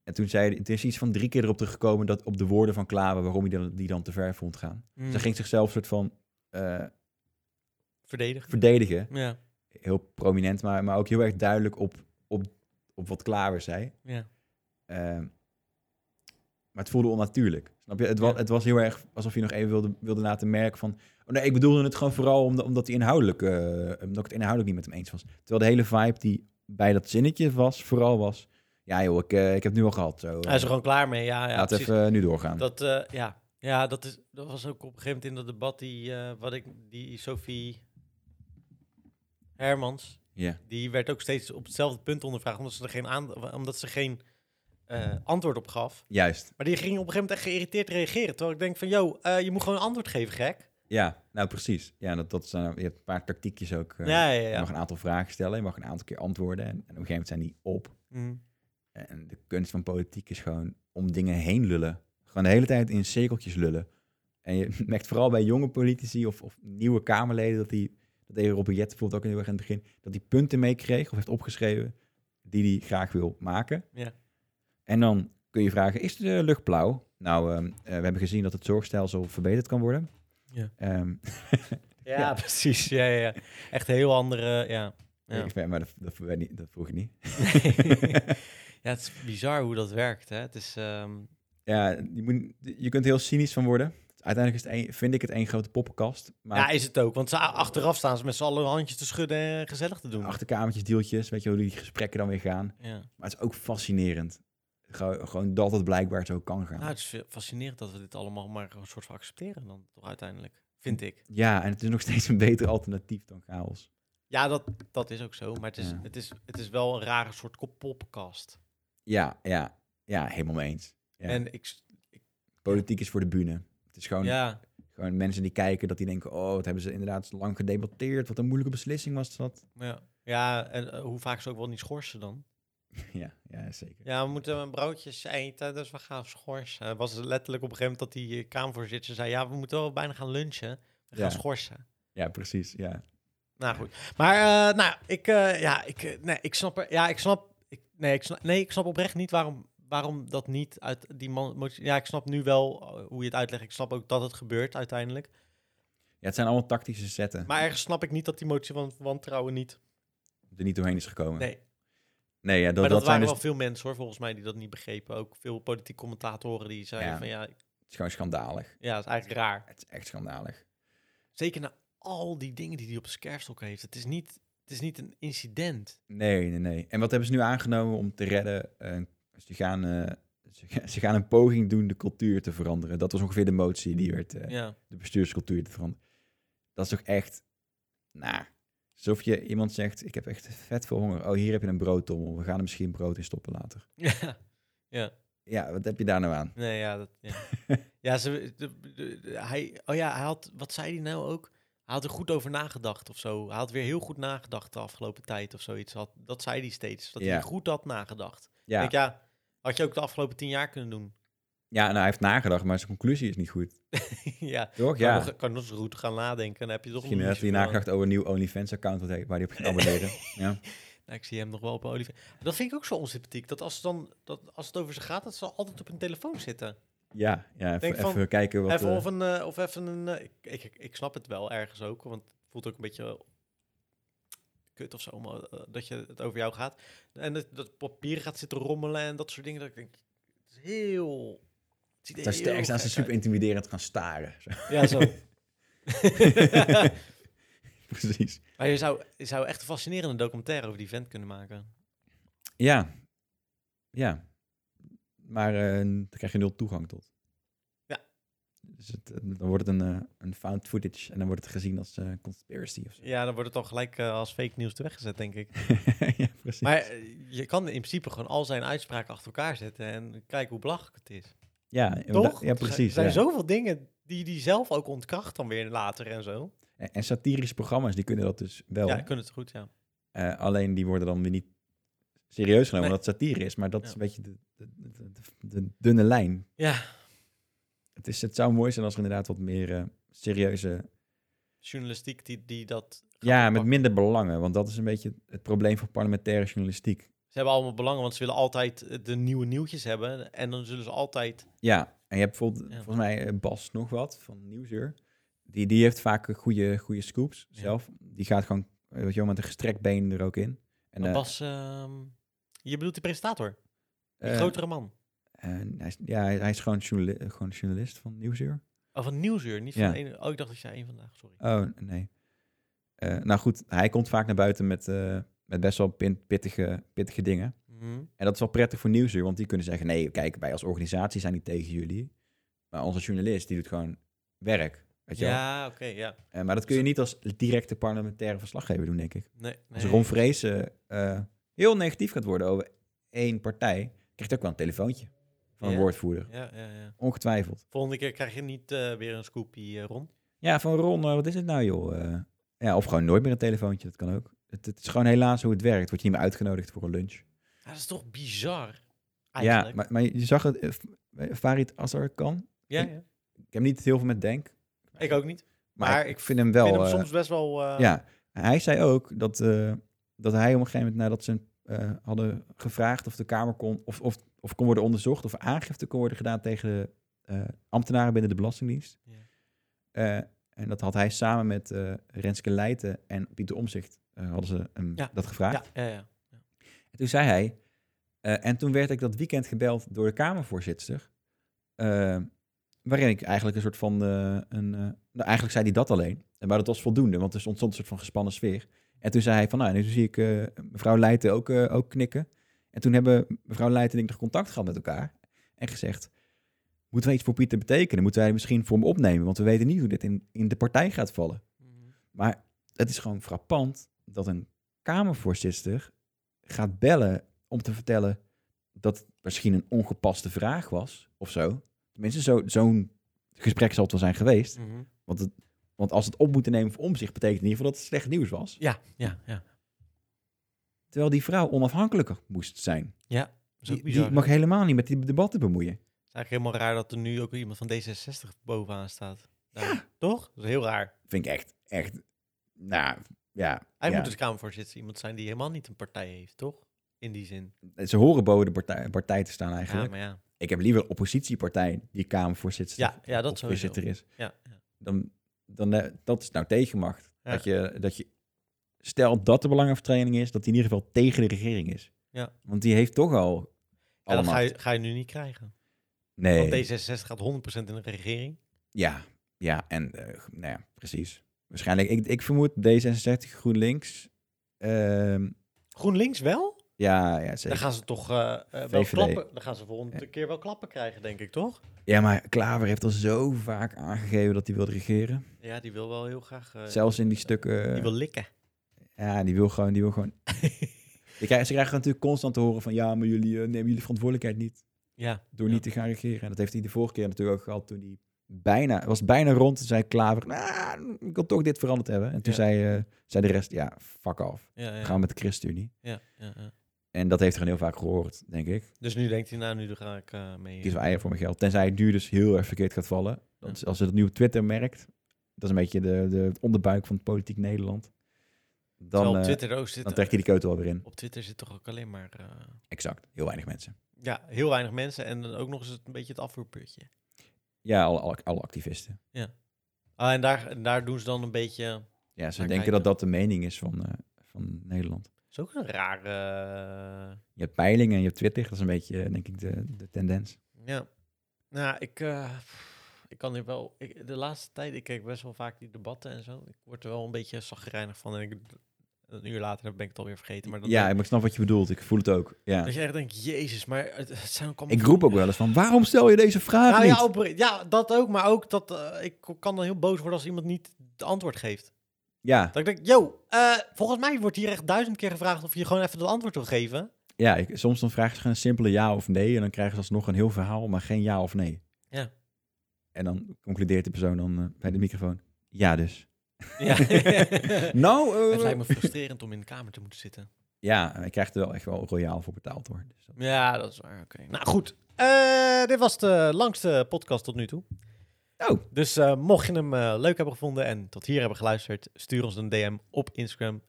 S1: En toen zei het is iets van drie keer erop teruggekomen dat op de woorden van Klaver waarom hij dan, die dan te ver vond gaan.
S2: Mm.
S1: Ze ging zichzelf soort van eh,
S2: Verdedigen.
S1: verdedigen.
S2: Ja,
S1: Heel prominent, maar, maar ook heel erg duidelijk op, op, op wat Klaver zei.
S2: ja.
S1: Ehm, maar het voelde onnatuurlijk. Snap je? Het, was,
S2: Ja.
S1: het was heel erg alsof je nog even wilde, wilde laten merken van... Oh nee, ik bedoelde het gewoon vooral omdat, omdat, hij inhoudelijk, eh, omdat ik het inhoudelijk niet met hem eens was. Terwijl de hele vibe die bij dat zinnetje was, vooral was... Ja joh, ik, eh, ik heb het nu al gehad. Zo,
S2: Hij is er gewoon klaar mee. Ja, ja
S1: laat
S2: precies.
S1: even eh, nu doorgaan.
S2: Dat, eh, ja. ja dat, is, dat was ook op een gegeven moment in dat debat die, eh, wat ik, die Sophie Hermans,
S1: Ja.
S2: die werd ook steeds op hetzelfde punt ondervraagd, omdat ze er geen, aan, omdat ze geen eh, antwoord op gaf.
S1: Juist,
S2: Maar die ging op een gegeven moment echt geïrriteerd reageren. Terwijl ik denk van, yo, eh, je moet gewoon een antwoord geven, gek.
S1: ja. Nou precies. Ja, dat, dat zijn, je hebt een paar tactiekjes ook. eh.
S2: ja, ja,
S1: Je
S2: ja.
S1: mag een aantal vragen stellen, je mag een aantal keer antwoorden. En, en op een gegeven moment zijn die op.
S2: Mm.
S1: En de kunst van politiek is gewoon om dingen heen lullen. Gewoon de hele tijd in cirkeltjes lullen. En je merkt vooral bij jonge politici of, of nieuwe Kamerleden dat die, dat deed Robert Jet bijvoorbeeld ook heel erg in het begin, dat hij punten meekreeg of heeft opgeschreven die hij graag wil maken.
S2: Ja.
S1: En dan kun je vragen, is de lucht blauw? Nou, ehm, eh, we hebben gezien dat het zorgstelsel verbeterd kan worden.
S2: Ja.
S1: Ehm,
S2: Ja,
S1: Ja.
S2: precies. Ja, ja, ja. Echt heel andere, ja. Ja.
S1: ik weet- maar dat, dat, weet niet- dat vroeg ik niet.
S2: ja, het is bizar hoe dat werkt, hè. Het is, ehm,
S1: Ja, je, moet, je kunt er heel cynisch van worden. Uiteindelijk is het één- vind ik het één grote poppenkast. Maar
S2: ja, is het ook. Want ze, achteraf staan ze met z'n allen handjes te schudden en gezellig te doen.
S1: achterkamertjes, deeltjes, weet je hoe die gesprekken dan weer gaan.
S2: Ja.
S1: Maar het is ook fascinerend. Gewoon, gewoon dat het blijkbaar zo kan gaan.
S2: Nou, het is fa- fascinerend dat we dit allemaal maar een soort van accepteren dan toch uiteindelijk, vind
S1: Hm.
S2: ik.
S1: Ja, en het is nog steeds een beter alternatief dan chaos.
S2: Ja, dat, dat is ook zo, maar het is,
S1: Ja.
S2: het, is, het is wel een rare soort kop- poppenkast.
S1: Ja, ja, ja, helemaal mee eens. Ja.
S2: En ik, s-
S1: Politiek is voor de bühne. Het is gewoon,
S2: ja,
S1: gewoon mensen die kijken, dat die denken, oh, wat hebben ze inderdaad lang gedebatteerd. Wat een moeilijke beslissing was dat.
S2: ja, ja, en eh, hoe vaak ze ook wel niet schorsen dan?
S1: ja, ja, zeker.
S2: Ja, we moeten een broodjes eten, dus we gaan schorsen. Het was letterlijk op een gegeven moment dat die eh, kamervoorzitter zei, ja, we moeten wel bijna gaan lunchen. We gaan
S1: Ja.
S2: schorsen.
S1: Ja, precies. Ja.
S2: Nou goed. Maar eh, nou, ik, eh, ja, ik, eh, nee, ik snap er, ja, ik snap, ik, nee, ik snap, nee, ik snap oprecht niet waarom, waarom dat niet uit die man. moti- Ja, ik snap nu wel eh, hoe je het uitlegt. Ik snap ook dat het gebeurt uiteindelijk.
S1: ja, het zijn allemaal tactische zetten.
S2: Maar ergens snap ik niet dat die motie van wantrouwen niet.
S1: er niet doorheen is gekomen.
S2: Nee,
S1: Nee, ja, dat,
S2: maar dat,
S1: dat zijn
S2: waren
S1: dus,
S2: wel veel mensen hoor, volgens mij, die dat niet begrepen. Ook veel politiek commentatoren die zeiden
S1: Ja.
S2: van ja, ik-
S1: het is gewoon schandalig.
S2: ja, het is eigenlijk raar.
S1: Het is echt schandalig.
S2: Zeker na al die dingen die hij op zijn kerfstok heeft. Het is niet, het is niet een incident.
S1: Nee, nee, nee. En wat hebben ze nu aangenomen om te redden? Eh, ze, gaan, eh, ze, ga- ze gaan een poging doen de cultuur te veranderen. Dat was ongeveer de motie die werd, eh,
S2: Ja,
S1: de bestuurscultuur te veranderen. Dat is toch echt, nou, alsof je iemand zegt, ik heb echt vet veel honger. Oh, hier heb je een broodtommel. We gaan er misschien brood in stoppen later.
S2: ja, ja.
S1: Ja, wat heb je daar nou aan?
S2: Nee, ja, dat, ja. ja ze, de- de- de- hij, oh ja, hij had, wat zei hij nou ook? Hij had er goed over nagedacht of zo. Hij had weer heel goed nagedacht de afgelopen tijd of zoiets. Had, dat zei hij steeds, dat
S1: Ja.
S2: hij goed had nagedacht.
S1: Ja,
S2: Ik denk, ja, had je ook de afgelopen tien jaar kunnen doen.
S1: ja nou, hij heeft nagedacht, maar zijn conclusie is niet goed.
S2: ja,
S1: Toch?
S2: kan
S1: Ja.
S2: nog, kan nog eens goed gaan nadenken. Dan heb je toch
S1: Misschien
S2: nog
S1: heeft
S2: niet
S1: hij
S2: zoveel aan-
S1: nagedacht over een nieuw OnlyFans-account wat hij- waar hij op ging abonneren. ja.
S2: Nou, ik zie hem nog wel op Olivier. Dat vind ik ook zo onsympathiek. Dat als, het dan, dat als het over ze gaat, dat ze altijd op hun telefoon zitten.
S1: Ja, ja even,
S2: Denk
S1: even
S2: van,
S1: kijken wat...
S2: even
S1: eh,
S2: of een, eh, of even een eh, ik, ik, ik snap het wel ergens ook, want het voelt ook een beetje eh, kut of zo, maar, eh, dat je het over jou gaat. En dat, dat papier gaat zitten rommelen en dat soort dingen. Dat ik denk, het is heel... Het ziet er
S1: Ten
S2: heel
S1: sterkste aan ze
S2: gek
S1: super
S2: uit.
S1: intimiderend gaan staren. Zo,
S2: Ja, zo.
S1: Precies.
S2: maar je zou, je zou echt een fascinerende documentaire over die vent kunnen maken.
S1: Ja. Ja. Maar eh, daar krijg je nul toegang tot.
S2: Ja.
S1: Dus het, eh, dan wordt het een, eh, een found footage en dan wordt het gezien als eh, conspiracy of zo.
S2: Ja, dan wordt het al gelijk eh, als fake nieuws teweggezet, denk ik.
S1: ja, precies.
S2: Maar eh, je kan in principe gewoon al zijn uitspraken achter elkaar zetten en kijken hoe belachelijk het is.
S1: ja, en
S2: Toch?
S1: da- Ja,
S2: Er
S1: precies.
S2: zijn
S1: ja.
S2: zoveel dingen die die zelf ook ontkracht dan weer later en zo.
S1: En, en satirische programma's, die kunnen dat dus wel.
S2: Ja, ik kan het goed, ja.
S1: Eh, alleen die worden dan weer niet serieus genomen
S2: Nee.
S1: dat het satire is, maar dat is
S2: Ja.
S1: een beetje de, de, de, de- de dunne lijn.
S2: Ja,
S1: Het, is, het zou mooi zijn als er inderdaad wat meer eh, serieuze
S2: journalistiek die, die dat... gaat
S1: Ja, met
S2: oppakken.
S1: minder belangen. Want dat is een beetje het probleem van parlementaire journalistiek.
S2: Ze hebben allemaal belangen, want ze willen altijd de nieuwe nieuwtjes hebben. En dan zullen ze altijd...
S1: Ja, en je hebt bijvoorbeeld,
S2: Ja.
S1: volgens mij, eh, Bas nog wat van Nieuwsuur. Die, die heeft vaak eh, goede, goede scoops
S2: Ja.
S1: zelf. Die gaat gewoon, eh, weet je wel, met een gestrekt been er ook in. En,
S2: Maar
S1: eh,
S2: Bas, ehm, je bedoelt die presentator, die
S1: eh,
S2: grotere man.
S1: en hij is, ja, hij hij is gewoon, journali- eh, gewoon journalist van Nieuwsuur.
S2: Of een nieuwsuur, niet Oh, van
S1: Ja.
S2: één. Oh, ik dacht dat ik zei één vandaag, sorry.
S1: Oh, nee. Eh, nou goed, hij komt vaak naar buiten met, eh, met best wel pin- pittige, pittige dingen.
S2: Mhm.
S1: En dat is wel prettig voor Nieuwsuur, want die kunnen zeggen... nee, kijk, wij als organisatie zijn niet tegen jullie. Maar onze journalist, die doet gewoon werk. Weet je wel?
S2: Ja, oké, ja.
S1: Eh, maar dat kun je niet als directe parlementaire verslaggever doen, denk ik.
S2: Nee,
S1: Als
S2: nee.
S1: Ron Vrezen eh, heel negatief gaat worden over één partij... krijgt hij ook wel een telefoontje van een
S2: Ja.
S1: woordvoerder.
S2: Ja, ja, ja.
S1: Ongetwijfeld.
S2: Volgende keer krijg je niet eh, weer een scoopie rond. Ron.
S1: Ja, van Ron, eh, wat is het nou, joh? Eh, ja, of gewoon nooit meer een telefoontje, dat kan ook. Het, het is gewoon helaas hoe het werkt. Word je niet meer uitgenodigd voor een lunch.
S2: Ja, dat is toch bizar,
S1: Ja,
S2: eigenlijk.
S1: maar, maar je zag het... eh, F- eh, Farid Azarkan.
S2: Ja, ja.
S1: Ik heb niet heel veel met Denk.
S2: Ik ook niet.
S1: Maar,
S2: Maar
S1: ik,
S2: ik
S1: vind hem wel...
S2: ik vind hem
S1: eh,
S2: soms best wel... eh,
S1: Ja, hij zei ook dat, eh, dat hij op een gegeven moment nadat ze hem, eh, hadden gevraagd of de Kamer kon, of, of, of kon worden onderzocht of aangifte kon worden gedaan tegen de eh, ambtenaren binnen de Belastingdienst.
S2: Ja.
S1: Eh, en dat had hij samen met eh, Renske Leijten en Pieter Omzicht eh, hadden ze hem
S2: Ja.
S1: dat gevraagd.
S2: Ja, ja, ja.
S1: En toen zei hij, eh, en toen werd ik dat weekend gebeld door de Kamervoorzitter, eh, waarin ik eigenlijk een soort van, eh, een, eh, nou, eigenlijk zei hij dat alleen, Eh, maar dat was voldoende, want er ontstond een soort van gespannen sfeer. En toen zei hij van, nou, nu zie ik eh, mevrouw Leijten ook, eh, ook knikken. En toen hebben mevrouw Leijten en ik nog contact gehad met elkaar en gezegd, moeten wij iets voor Pieter betekenen? Moeten wij misschien voor hem opnemen? Want we weten niet hoe dit in, in de partij gaat vallen.
S2: Mhm.
S1: Maar het is gewoon frappant dat een Kamervoorzitter gaat bellen om te vertellen dat het misschien een ongepaste vraag was of zo. Tenminste, zo- zo'n gesprek zal het wel zijn geweest.
S2: Mhm.
S1: Want, het, want als het op moeten nemen voor omzicht, betekent in ieder geval dat het slecht nieuws was.
S2: Ja, ja, ja.
S1: Terwijl die vrouw onafhankelijker moest zijn.
S2: Dat is ook
S1: Die,
S2: bizar.
S1: die mag helemaal niet met die debatten bemoeien.
S2: Het is eigenlijk helemaal raar dat er nu ook iemand van D66 bovenaan staat. Daar- Toch? Dat is heel raar.
S1: Vind ik echt, echt, nou ja.
S2: Hij
S1: ja.
S2: moet dus Kamervoorzitter iemand zijn die helemaal niet een partij heeft, toch? In die zin.
S1: Ze horen boven de partij, partij te staan eigenlijk.
S2: Ja, maar ja.
S1: Ik heb liever een oppositiepartij die Kamervoorzitter
S2: Ja, ja, dat
S1: of
S2: sowieso.
S1: voorzitter is.
S2: Ja, ja.
S1: dan, dan eh, dat is nou tegenmacht.
S2: Ja.
S1: Dat, je, dat je, stel dat de belangenverstrengeling is, dat die in ieder geval tegen de regering is.
S2: Ja.
S1: Want die heeft toch al
S2: Ja,
S1: alle
S2: dat ga
S1: macht.
S2: je, ga je nu niet krijgen.
S1: Nee,
S2: Want D66 gaat 100% in de regering.
S1: ja, ja, en eh, nou ja, precies. Waarschijnlijk, ik, ik vermoed D66, GroenLinks. ehm,
S2: GroenLinks wel?
S1: ja, ja,
S2: Dan
S1: zeker.
S2: gaan ze toch eh, eh, wel
S1: VVD.
S2: klappen. Dan gaan ze volgende keer wel klappen krijgen, denk ik, toch?
S1: Ja, maar Klaver heeft al zo vaak aangegeven dat hij wil regeren.
S2: Ja, die wil wel heel graag... eh,
S1: Zelfs in die stukken.
S2: Die wil likken.
S1: Ja, die wil gewoon, die wil gewoon. Je krijgt- ze krijgen natuurlijk constant te horen van ja, maar jullie eh, nemen jullie verantwoordelijkheid niet.
S2: Ja.
S1: door
S2: Ja.
S1: niet te gaan regeren. En dat heeft hij de vorige keer natuurlijk ook gehad toen hij bijna, het was bijna rond. Toen zei Klaver, "Nou, ik wil toch dit veranderd hebben. En toen
S2: Ja.
S1: zei, eh, zei de rest, ja, fuck off.
S2: Ja,
S1: We
S2: ja,
S1: gaan met de ChristenUnie.
S2: ja, ja, ja.
S1: En dat heeft hij gewoon heel vaak gehoord, denk ik.
S2: Dus nu denkt hij, nou, nu ga ik eh, mee.
S1: Ik kies wel eieren voor mijn geld. Tenzij het nu dus heel erg verkeerd gaat vallen. Dat is- als ze dat nu op Twitter merkt, dat is een beetje de, de het onderbuik van het politiek Nederland.
S2: Terwijl
S1: Dan,
S2: op
S1: eh,
S2: Twitter ook zit...
S1: dan trekt hij die keutel alweer in.
S2: Op Twitter zit toch ook alleen maar... eh,
S1: Exact. Heel weinig mensen.
S2: ja, heel weinig mensen en dan ook nog eens het- een beetje het afvoerputje.
S1: Ja, alle, alle, alle activisten.
S2: Ah, en daar, en daar doen ze dan een beetje...
S1: Ja, ze
S2: Maar
S1: denken dat
S2: kijk,
S1: dat de mening is van, eh, van Nederland.
S2: Dat is ook een rare... eh,
S1: Je hebt peilingen en je hebt Twitter. Dat is een beetje, eh, denk ik, de, de tendens.
S2: Ja. Nou, ik, eh, ik kan hier wel. Ik, de laatste tijd, ik kijk best wel vaak die debatten en zo. Ik word er wel een beetje zagrijnig van. En ik, een uur later ben ik het alweer vergeten. Maar dan
S1: ja,
S2: denk-
S1: maar ik snap wat je bedoelt. Ik voel het ook. Ja.
S2: dat je echt denkt, jezus, maar het, het zijn ook allemaal...
S1: Ik roep
S2: van-
S1: ook wel eens van, waarom stel je deze vraag
S2: Nou
S1: niet?
S2: ja, opere- ja, dat ook. Maar ook dat eh, ik kan dan heel boos worden als iemand niet het antwoord geeft.
S1: Ja,
S2: Dat ik denk, yo, eh, volgens mij wordt hier echt duizend keer gevraagd of je gewoon even het antwoord wil geven.
S1: ja ik, soms dan vragen ze gewoon een simpele ja of nee. En dan krijgen ze alsnog een heel verhaal, maar geen ja of nee.
S2: Ja.
S1: En dan concludeert de persoon dan eh, bij de microfoon, ja dus.
S2: Ja.
S1: Nou, eh,
S2: het lijkt me frustrerend om in de kamer te moeten zitten.
S1: Ja, en hij krijgt er wel echt wel royaal voor betaald hoor. Dus dat-
S2: Ja, dat is waar. Oké. Nou goed, Eh, dit was de langste podcast tot nu toe.
S1: Oh.
S2: Dus eh, mocht je hem eh, leuk hebben gevonden en tot hier hebben geluisterd, stuur ons een DM op Instagram,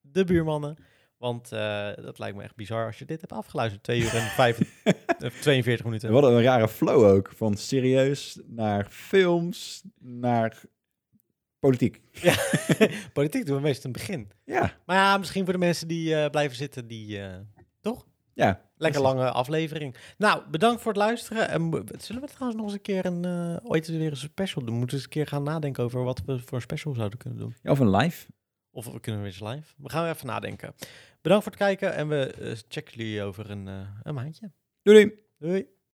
S2: de buurmannen. Want eh, dat lijkt me echt bizar als je dit hebt afgeluisterd. 2 uur en vijf- eh, 42 minuten.
S1: En wat een rare flow ook. Van serieus naar films, naar politiek.
S2: Politiek doen we meestal in het begin.
S1: Ja,
S2: Maar ja, misschien voor de mensen die eh, blijven zitten, die... eh, toch?
S1: ja.
S2: Lekker lange aflevering. Nou, bedankt voor het luisteren. En mo- zullen we trouwens nog eens een keer een, eh, ooit weer een special doen? Moeten we eens een keer gaan nadenken over wat we voor een special zouden kunnen doen.
S1: Ja, Of een live.
S2: Of we kunnen weer eens live. We gaan even nadenken. Bedankt voor het kijken en we eh, checken jullie over een, eh, een maandje.
S1: Doei doei.
S2: Doei.